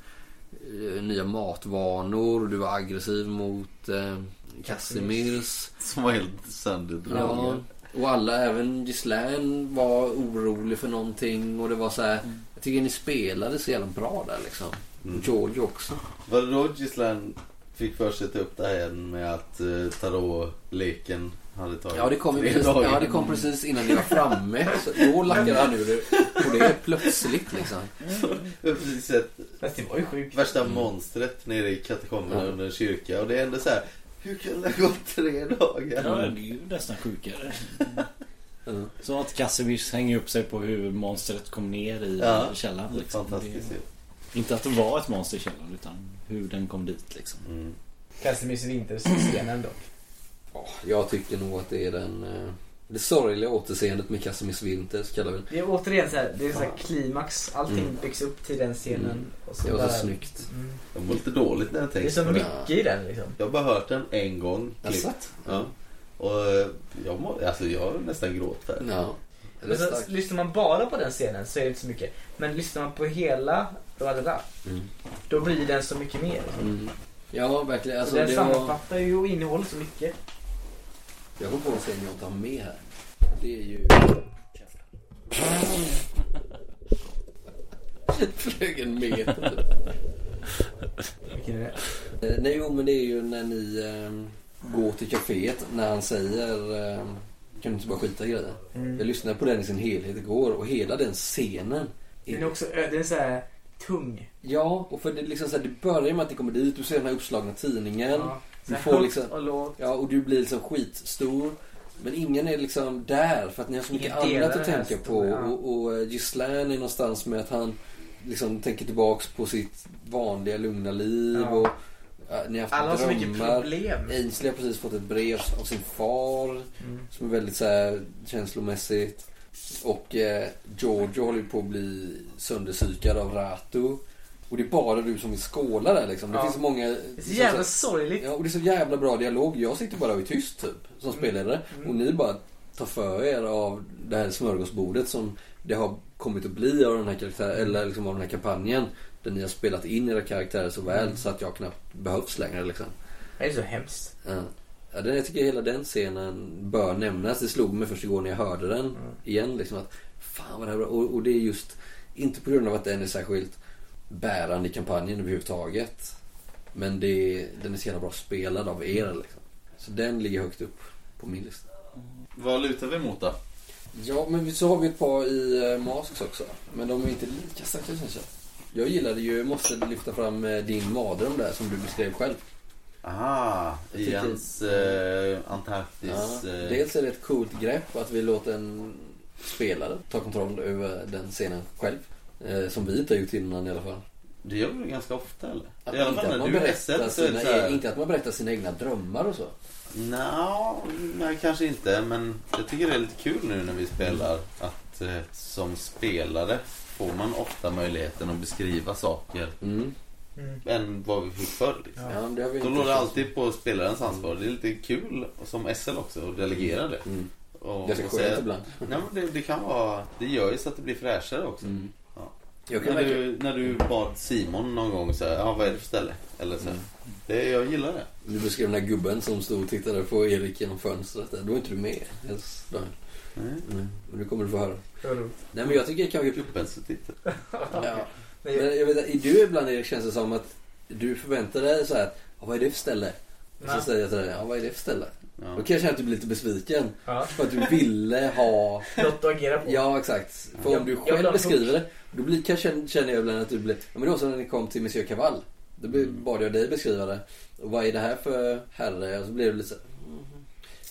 Speaker 1: eh, nya matvanor. Du var aggressiv mot eh, Casimirs.
Speaker 5: Som var helt sönderdragen.
Speaker 1: Ja, och alla, även Gislaine var orolig för någonting och det var så här. Jag tycker ni spelade så jävla bra där liksom. Och George också.
Speaker 5: Var det då Gislaine fick för sig att ta upp det här igen med att eh, tarotleken hade tagit
Speaker 1: Ja, det kom, ju
Speaker 5: tre
Speaker 1: precis,
Speaker 5: dagar?
Speaker 1: ja, det kom precis innan ni var framme. Så då lackade han ur på det plötsligt liksom.
Speaker 5: Jag har precis sett
Speaker 15: Fast det var ju sjukt.
Speaker 5: värsta monstret nere i katakomberna
Speaker 1: Ja.
Speaker 5: under en kyrka. Och det är ändå så här, hur kan det ha gått tre dagar?
Speaker 6: Ja, det är ju nästan sjukare.
Speaker 1: Mm.
Speaker 6: Så att Kassevich hänger upp sig på hur monstret kom ner i
Speaker 5: Ja,
Speaker 6: källaren.
Speaker 5: det är
Speaker 6: Liksom.
Speaker 5: fantastiskt ju.
Speaker 6: Det, inte att det var ett monster i källaren utan hur den kom dit liksom.
Speaker 5: Mm.
Speaker 15: Casimirs vinterstenen dock.
Speaker 1: Jag tycker nog att det är den... eh, Det sorgliga återseendet med Casimirs Winters kallar vi det.
Speaker 15: Det är återigen så här, det är så här
Speaker 1: Fan.
Speaker 15: klimax. Allting
Speaker 1: Mm.
Speaker 15: byggs upp till den scenen.
Speaker 1: Mm.
Speaker 15: Och så
Speaker 1: Det var
Speaker 15: bara,
Speaker 1: så snyggt.
Speaker 15: Mm.
Speaker 5: Jag mår lite dåligt när jag
Speaker 15: Det är
Speaker 5: tänker
Speaker 15: så
Speaker 5: på det.
Speaker 15: mycket i den liksom.
Speaker 5: Jag har bara hört den en gång. klippt.
Speaker 1: Jaså?
Speaker 5: Ja. Och eh, jag, må, alltså, jag nästan gråter.
Speaker 1: Ja. Det är
Speaker 15: Men så,
Speaker 1: starkt.
Speaker 15: lyssnar man bara på den scenen så är det inte så mycket. Men lyssnar man på hela Roadera,
Speaker 1: Mm.
Speaker 15: då blir den så mycket mer. Liksom.
Speaker 1: Mm. Ja, verkligen. Alltså,
Speaker 15: så den
Speaker 1: det var...
Speaker 15: sammanfattar ju och innehåller så mycket.
Speaker 1: Jag kom på en scen jag inte har med här. Det är ju... Flög en meter. typ.
Speaker 15: Vilken är det?
Speaker 1: Eh, Nej, jo, men det är ju när ni ehm, går till kaféet när han säger ehm, kan du inte bara skita i grejer?
Speaker 15: Mm.
Speaker 1: Jag lyssnade på den i sin helhet igår och hela den scenen.
Speaker 15: Den är också ö- den är så här tung.
Speaker 1: Ja, och för det, är liksom så här, det börjar med att det kommer dit, du ser den här uppslagna tidningen.
Speaker 15: Ja. Så
Speaker 1: Du
Speaker 15: här
Speaker 1: får
Speaker 15: högt
Speaker 1: liksom,
Speaker 15: och lågt.
Speaker 1: ja, och du blir liksom skitstor. Men ingen är liksom där för att ni har så mycket
Speaker 15: Ingen delar
Speaker 1: annat att
Speaker 15: den här
Speaker 1: tänka på.
Speaker 15: historien, ja.
Speaker 1: Och, och eh, Ghislaine är någonstans med att han liksom tänker tillbaks på sitt vanliga lugna liv.
Speaker 15: Ja.
Speaker 1: Och, ja, ni har haft
Speaker 15: Alla har så
Speaker 1: drömmar.
Speaker 15: mycket problem.
Speaker 1: Ainsley har precis fått ett brev av sin far
Speaker 15: Mm.
Speaker 1: som är väldigt så här, känslomässigt. Och eh, Giorgio håller ju på att bli sönderpsykad av Rato. Och det är bara du som vill skåla där liksom. Det
Speaker 15: Ja.
Speaker 1: finns så många...
Speaker 15: Det är så jävla
Speaker 1: så-
Speaker 15: sorgligt.
Speaker 1: Ja, och det är så jävla bra dialog. Jag sitter bara och är tyst typ, som spelare. Och ni bara tar för er av det här smörgåsbordet som det har kommit att bli av den här karaktären, eller liksom av den här kampanjen. Där ni har spelat in era karaktärer så väl så att jag knappt behövs längre liksom.
Speaker 15: Det är så hemskt.
Speaker 1: Ja. Ja, den, jag tycker hela den scenen bör nämnas. Det slog mig först igår när jag hörde den igen. Liksom att, fan vad det här är bra. Och, och det är just inte på grund av att den är särskilt bärande i kampanjen överhuvudtaget. Men det, är- den är så jävla bra spelad av er. Liksom. Så den ligger högt upp på min lista.
Speaker 5: Vad lutar vi mot då?
Speaker 1: Ja, men så har vi ett par i eh, Masks också. Men de är inte lika starka känns det Jag gillade ju, måste lyfta fram eh, din mardröm där som du beskrev själv.
Speaker 5: Ah,
Speaker 1: Jag
Speaker 5: i
Speaker 1: tycker-
Speaker 5: hans eh, Antarktis...
Speaker 1: Ja,
Speaker 5: eh,
Speaker 1: dels är det ett coolt grepp att vi låter en spelare ta kontroll över den scenen själv. Eh, som vi inte har gjort innan i alla fall.
Speaker 5: Det gör vi ganska ofta eller?
Speaker 1: Att
Speaker 5: I alla
Speaker 1: inte
Speaker 5: fall
Speaker 1: att
Speaker 5: när
Speaker 1: man
Speaker 5: du är
Speaker 1: berättar
Speaker 5: set så är det
Speaker 1: sina
Speaker 5: så här-
Speaker 1: e- Inte att man berättar sina egna drömmar och så.
Speaker 5: Nja, nej kanske inte. Men jag tycker det är lite kul nu när vi spelar att eh, som spelare får man ofta möjligheten att beskriva saker
Speaker 1: Mm.
Speaker 5: än vad vi fick förr. Liksom.
Speaker 1: Ja, det har vi
Speaker 5: Då
Speaker 1: inte
Speaker 5: låg det
Speaker 1: förstått.
Speaker 5: alltid på spelarens ansvar. Det är lite kul som SL också att delegera det. Och,
Speaker 1: Det är så
Speaker 5: och
Speaker 1: Mm. skönt
Speaker 5: säga-
Speaker 1: ibland.
Speaker 5: Nej, men det, det kan vara... Det gör ju så att det blir fräschare också. Ja.
Speaker 1: Mm. Jag kan
Speaker 5: när,
Speaker 1: verkligen-
Speaker 5: du, när du bad Simon någon gång så här, ja vad är det för ställe? Eller så här,
Speaker 1: Mm.
Speaker 5: det, jag gillar det.
Speaker 1: Du beskrev den där gubben som stod och tittade på Erik genom fönstret. där. Då är inte du med ens Daniel. Nej. Men det kommer du få höra.
Speaker 15: Det var roligt.
Speaker 1: Nej men jag tycker kanske...
Speaker 5: Gubben som tittade.
Speaker 1: Ja. Men jag vet att i du ibland Erik känns det som att du förväntar dig så här, "Ja, vad är det för ställe? Och så
Speaker 15: Nej.
Speaker 1: säger jag till dig, "Ja, vad är det för ställe?
Speaker 5: Ja.
Speaker 1: Då kan jag känna att du blir lite besviken.
Speaker 15: Ja.
Speaker 1: För att du ville ha...
Speaker 15: Något att agera på.
Speaker 1: Ja, exakt. För om
Speaker 15: Jag-
Speaker 1: du
Speaker 15: jag
Speaker 1: själv
Speaker 15: blandar
Speaker 1: beskriver
Speaker 15: ihop.
Speaker 1: det, då blir, kan, känner- känner jag ibland att du blir... Ja, men det var som när ni kom till Monsieur Cavall. Då blev, bad jag dig beskriva det. Och vad är det här för herre? Och så blev det lite så, Mm.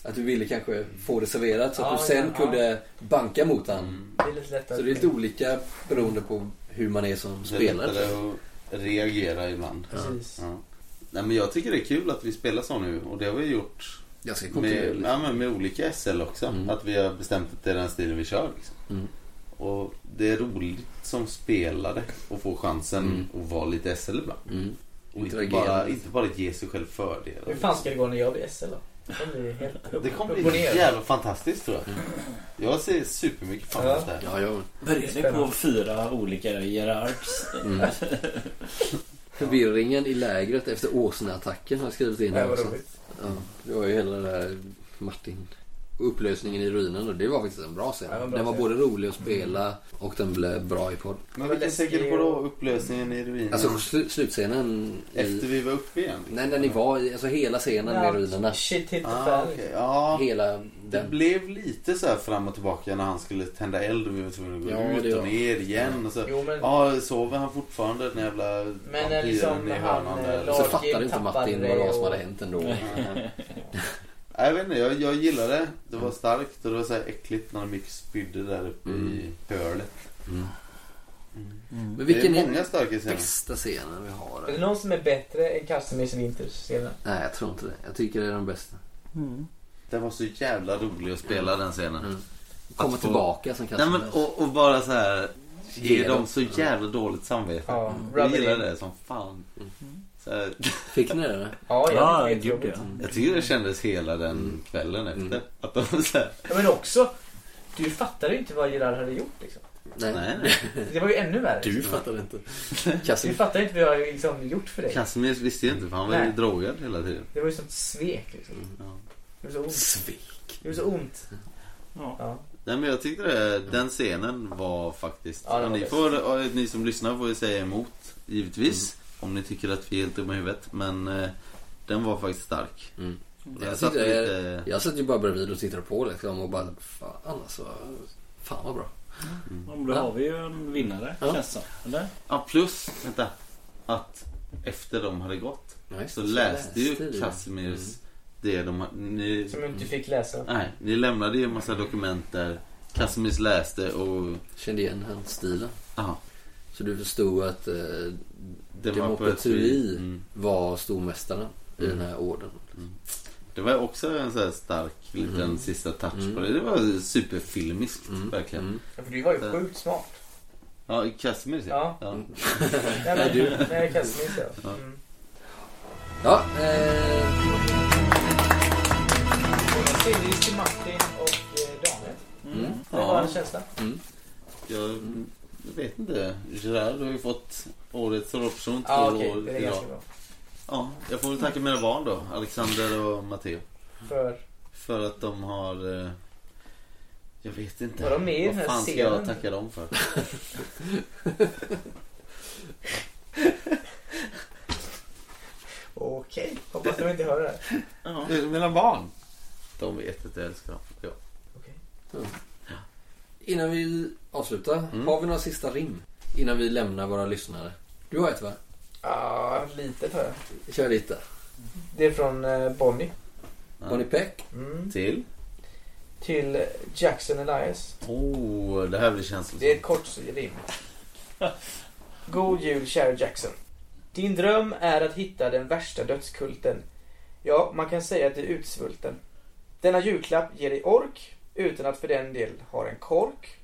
Speaker 1: Att du ville kanske få det serverat så att
Speaker 15: Ja,
Speaker 1: du sen
Speaker 15: ja, ja.
Speaker 1: kunde banka mot han.
Speaker 15: Det är lite lättare.
Speaker 1: Så det är lite olika beroende på hur man är som
Speaker 5: Det är
Speaker 1: spelare.
Speaker 5: lättare att reagera ibland.
Speaker 15: Precis.
Speaker 5: Ja. Nej, men jag tycker det är kul att vi spelar så nu och det har vi gjort
Speaker 1: Ganska
Speaker 5: med,
Speaker 1: kontinuerligt.
Speaker 15: liksom.
Speaker 5: ja, men med olika SL också.
Speaker 15: Mm.
Speaker 5: Att vi har bestämt att det är den stilen vi kör. Liksom.
Speaker 1: Mm.
Speaker 5: Och det är roligt som spelare att få chansen att vara lite SL ibland.
Speaker 1: Mm.
Speaker 5: Och inte
Speaker 15: Interagera
Speaker 5: bara,
Speaker 15: Mm. lite.
Speaker 5: inte bara ge sig själv fördelar.
Speaker 15: Hur fan ska det gå när jag blir SL då? Det blir helt upp,
Speaker 5: Det kommer
Speaker 15: upp och
Speaker 5: bli
Speaker 15: ner.
Speaker 5: jävla fantastiskt tror
Speaker 15: Mm.
Speaker 5: jag. Jag ser supermycket fram emot det här.
Speaker 1: Ja, jag...
Speaker 8: Började på fyra olika Gerards.
Speaker 1: Mm. Förvirringen i lägret efter Åsneattacken har jag skrivit in
Speaker 8: Ja,
Speaker 1: här
Speaker 8: vad
Speaker 1: också.
Speaker 8: roligt.
Speaker 1: Ja, det var ju hela det där Martin. Upplösningen i ruinen och det var faktiskt en bra scen.
Speaker 5: Ja, det var en bra
Speaker 1: den var
Speaker 5: scen.
Speaker 1: både rolig att spela och den blev bra i podd.
Speaker 5: Men vilken tänker på då? Upplösningen i ruinen?
Speaker 1: Alltså sl- slutscenen. I...
Speaker 5: Efter vi var uppe igen? liksom?
Speaker 1: Nej, när ni var i, alltså hela scenen
Speaker 5: Ja,
Speaker 1: med ruinerna.
Speaker 15: Shit hit the
Speaker 5: Ah,
Speaker 15: fan.
Speaker 5: okej. ja.
Speaker 1: Hela
Speaker 5: Det blev lite så här fram och tillbaka när han skulle tända eld och vi var tvungna att gå
Speaker 15: Ja, det
Speaker 5: ut
Speaker 15: var-
Speaker 5: och ner igen. Och så,
Speaker 15: Jo, men-
Speaker 5: ja, sover han fortfarande den jävla
Speaker 15: Men när
Speaker 5: vampyren
Speaker 15: liksom
Speaker 5: i hörnan
Speaker 15: han,
Speaker 5: där?
Speaker 15: eh, Så Larkin fattade inte tappade Martin vad det var som och- hade hänt ändå.
Speaker 5: Nej. Nej, jag vet inte, jag, jag gillade det. Det var starkt och det var så här äckligt när Mick spydde där uppe i hörlet.
Speaker 1: Men vilken
Speaker 5: det är många starka scener.
Speaker 1: bästa scenen vi har?
Speaker 15: Är det någon som är bättre än Casimirs Winters
Speaker 5: Mm,
Speaker 15: senare?
Speaker 1: Nej, jag tror inte det. Jag tycker det är den bästa.
Speaker 5: Den var så jävla Mm. rolig att spela den scenen.
Speaker 1: Komma
Speaker 5: Att få-
Speaker 1: tillbaka som
Speaker 5: Nej, men,
Speaker 1: Casimir.
Speaker 5: och, och bara så här
Speaker 1: Ge
Speaker 5: ge dem
Speaker 1: dem.
Speaker 5: så jävla dåligt samvete.
Speaker 15: Ja,
Speaker 5: jag
Speaker 15: rub it
Speaker 5: gillar
Speaker 15: in.
Speaker 5: det som fan. Så här...
Speaker 1: Fick ni det?
Speaker 15: Ja, jag fick det. Ja, Ah, gud, ja.
Speaker 5: Jag tycker det kändes hela den kvällen efter. Att de så här...
Speaker 15: Ja, men också, du fattade ju inte vad Gerard hade gjort liksom.
Speaker 1: Nej.
Speaker 15: Det var ju ännu värre.
Speaker 1: Du fattar inte.
Speaker 15: Du
Speaker 1: Casimir.
Speaker 15: fattar inte vad jag har liksom gjort för dig.
Speaker 5: Casimir visste ju inte för han var ju
Speaker 15: Nej.
Speaker 5: drogad hela tiden.
Speaker 15: Det var ju sånt svek liksom. Det var så ont.
Speaker 1: Svek.
Speaker 15: Det var så ont. Ja.
Speaker 5: Nej men jag tyckte det, den scenen var faktiskt...
Speaker 15: Ja, den var
Speaker 5: ni,
Speaker 15: bäst.
Speaker 5: får, ja, ni som lyssnar får ju säga emot givetvis.
Speaker 15: Mm.
Speaker 5: Om ni tycker att vi är helt dumma i huvudet. Men eh, den var faktiskt stark.
Speaker 15: Mm.
Speaker 5: Och den
Speaker 1: Jag,
Speaker 5: satte
Speaker 1: sitter,
Speaker 5: lite-
Speaker 1: jag satt ju bara bredvid och tittade på liksom och bara fan alltså. Fan vad bra.
Speaker 8: Om Då har vi ju en vinnare känns det som. Eller?
Speaker 5: Ja, plus vänta, att efter de hade gått
Speaker 1: Nej,
Speaker 5: så
Speaker 1: så
Speaker 5: läste
Speaker 1: läste
Speaker 5: ju
Speaker 1: vi.
Speaker 5: Casimirs
Speaker 15: Mm.
Speaker 5: det de ha- ni,
Speaker 15: Som inte fick läsa.
Speaker 5: Nej, ni lämnade ju en massa dokument där Casimirs läste och...
Speaker 1: Kände igen hans stilen.
Speaker 5: Ja.
Speaker 1: Så du förstod att eh,
Speaker 5: Demokrati,
Speaker 1: Demokrati
Speaker 5: mm.
Speaker 1: var stormästaren i
Speaker 5: Mm.
Speaker 1: den här orden.
Speaker 5: Det var också en så här stark liten sista touch på det. Det var superfilmiskt
Speaker 1: Mm.
Speaker 5: verkligen.
Speaker 15: Ja, för du var ju sjukt smart.
Speaker 5: Ja, Casimir
Speaker 15: Ja.
Speaker 1: Mm.
Speaker 15: Nej, men, nej, Casimir ja.
Speaker 5: Ja.
Speaker 15: Mm.
Speaker 1: Ja, eh...
Speaker 15: Jag syns till Martin och eh, Daniel.
Speaker 5: Mm.
Speaker 15: Det var
Speaker 5: Ja.
Speaker 15: en känsla.
Speaker 1: Mm.
Speaker 5: Jag, jag vet inte. Gerard har ju fått årets rollperson två
Speaker 15: Ja, okej.
Speaker 5: år
Speaker 15: Det är
Speaker 5: i rad.
Speaker 15: ganska bra.
Speaker 5: Ja, jag får väl tacka mina barn då. Alexander och Matteo.
Speaker 15: För?
Speaker 5: För att de har... eh, Jag vet inte.
Speaker 15: Var de med i den
Speaker 5: Vad
Speaker 15: här
Speaker 5: fan ska
Speaker 15: scenen?
Speaker 5: jag tacka dem för?
Speaker 15: Okej. Hoppas de inte hör det här.
Speaker 5: Det är Mina barn. De vet att jag älskar dem. Ja. Mm.
Speaker 1: Innan vi avslutar, har vi några sista rim? innan vi lämnar våra lyssnare? Du har ett va?
Speaker 15: Ja, lite tror jag.
Speaker 1: Kör lite.
Speaker 15: Det är från eh, Bonnie.
Speaker 1: Bonnie Peck?
Speaker 15: Mm.
Speaker 5: Till?
Speaker 15: Till eh, Jackson Elias.
Speaker 5: Oh, det här blir känsligt.
Speaker 15: Det är ett kort rim. God jul kära Jackson. Din dröm är att hitta den värsta dödskulten. Ja, man kan säga att du är utsvulten. Denna julklapp ger dig ork utan att för den del ha en kork.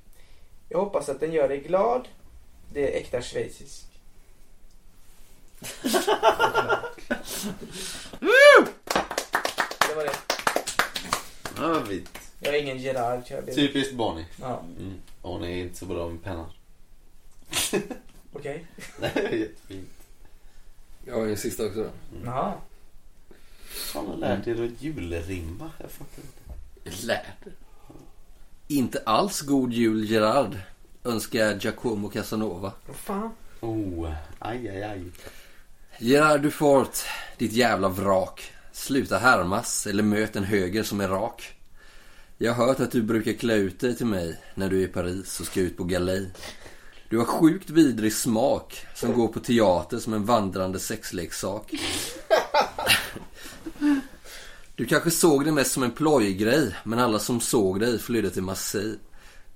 Speaker 15: Jag hoppas att den gör dig glad. Det är äkta schweizisk. det var det.
Speaker 5: Övrigt.
Speaker 15: Jag är ingen Gerard. Jag ber-
Speaker 5: Typiskt Bonnie.
Speaker 15: Ja,
Speaker 5: Mm. Hon är inte så bra med pennan.
Speaker 15: okej.
Speaker 5: Nej, det är jättefint.
Speaker 1: Jag har en sista också.
Speaker 15: Jaha.
Speaker 5: Fan, har lärt er att julrimma. Jag fattar inte.
Speaker 1: Lärd. Inte alls god jul Gerard. Önskar Giacomo Casanova.
Speaker 15: Vad fan?
Speaker 5: Oh, aj aj aj.
Speaker 1: Gerard Dufort, ditt jävla vrak. Sluta härmas eller möt en höger som är rak. Jag har hört att du brukar klä ut dig till mig när du är i Paris och ska ut på galej. Du har sjukt vidrig smak som går på teater som en vandrande sexleksak. Du kanske såg det mest som en plojgrej, men alla som såg dig flydde till Marseille.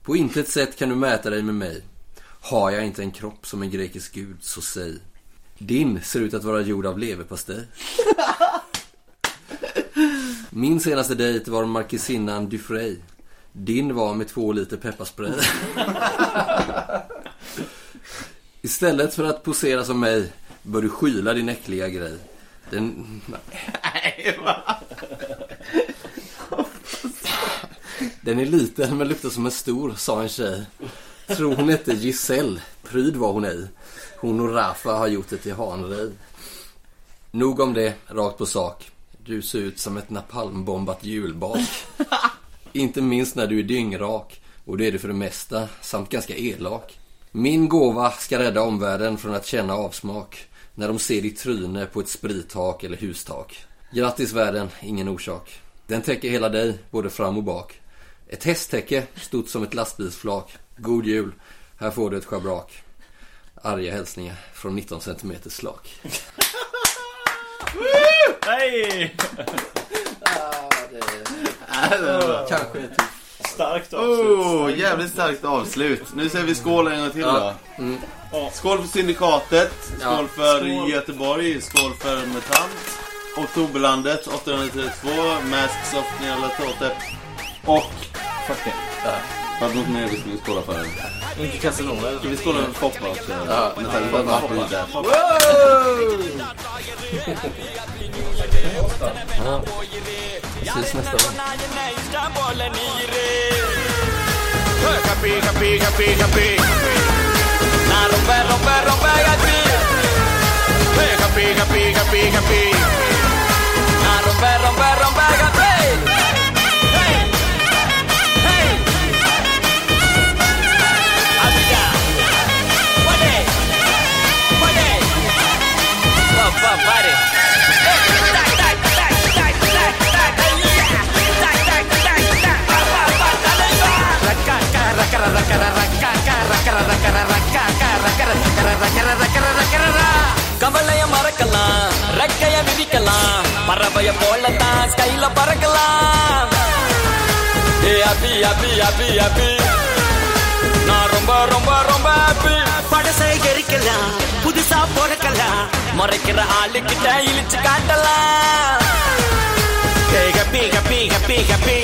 Speaker 1: På intet sätt kan du mäta dig med mig. Har jag inte en kropp som en grekisk gud, så säg. Din ser ut att vara gjord av leverpastej. Min senaste dejt var markisinnan Dufrey. Din var med två liter pepparspray. Istället för att posera som mig bör du skyla din äckliga grej. Den...
Speaker 5: Nej, va?
Speaker 1: Den är liten men luktar som en stor, sa en tjej. Tror hon hette Giselle. Pryd var hon ej. Hon och Rafa har gjort det till hanrej. Nog om det, rakt på sak. Du ser ut som ett napalmbombat julbak. Inte minst när du är dyngrak. Och det är du för det mesta, samt ganska elak. Min gåva ska rädda omvärlden från att känna avsmak. När de ser ditt tryne på ett sprittak eller hustak. Grattis världen, ingen orsak. Den täcker hela dig, både fram och bak. Ett hästtäcke, stort som ett lastbilsflak. God jul, här får du ett schabrak. Arga hälsningar från 19 cm slak.
Speaker 2: Nej!
Speaker 1: Kanske ett
Speaker 2: Starkt avslut.
Speaker 5: Oh, jävligt starkt avslut. Nu säger vi skål en gång till då.
Speaker 1: Ja. Mm.
Speaker 5: Skål för Syndikatet,
Speaker 1: Ja.
Speaker 5: skål för
Speaker 1: Skål.
Speaker 5: Göteborg, skål för Mutant, Oktoberlandet 832, Masks of Niala Totep och... Fuck det. Fanns något mer vi skulle skåla för?
Speaker 2: Inte Casanova.
Speaker 5: Ska vi skåla för Foppa också?
Speaker 1: Ja,
Speaker 5: Vänta, vi
Speaker 1: Foppa.
Speaker 5: bara hoppar där.
Speaker 1: Foppa. Ja. Ses nästa gång.
Speaker 4: Happy, happy, happy, happy. Na rompe, rompe, rompe gachi. Hey, happy, happy, happy, happy. Na rompe, rompe, rompe gachi. Hey, hey. Abida. Pode, pode. Pa, pa, pare. கவலைய மறக்கலாம் ரெக்கைய விரிக்கலாம் பறவைய போலத்தான் ஸ்கைல பறக்கலாம் ஏ அபி அபி அபி அபி நான் ரொம்ப ரொம்ப ரொம்ப happy. படசை எரிக்கலாம் புதுசா பிறக்கலாம் மறைக்கிற ஆளுக்கிட்ட இழிச்சு காட்டலாம் ஏ ஹப்பி ஹப்பி ஹப்பி ஹப்பி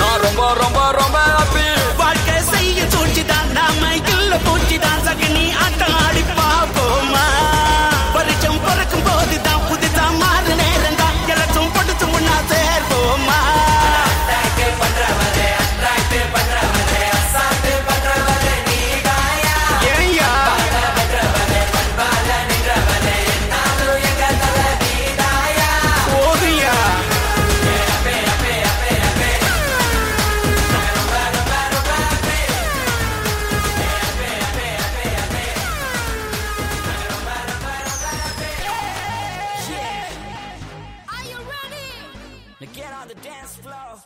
Speaker 4: நான் ரொம்ப ரொம்ப ரொம்ப ஹாப்பி வாழ்க்கை செய்ய சூழ்ச்சிதான் நாம இல்ல பூச்சிதான் சகனி ஆட்டம் ஆடி பாப்போமா பரிச்சம் பறக்கும் போதுதான் புதுசா மாறு நேரம் தான் எல்லாச்சும் படுத்தும் ஒன்னா சேர்வோமா ஏய்யா. போதுயா. Now get on the dance floor.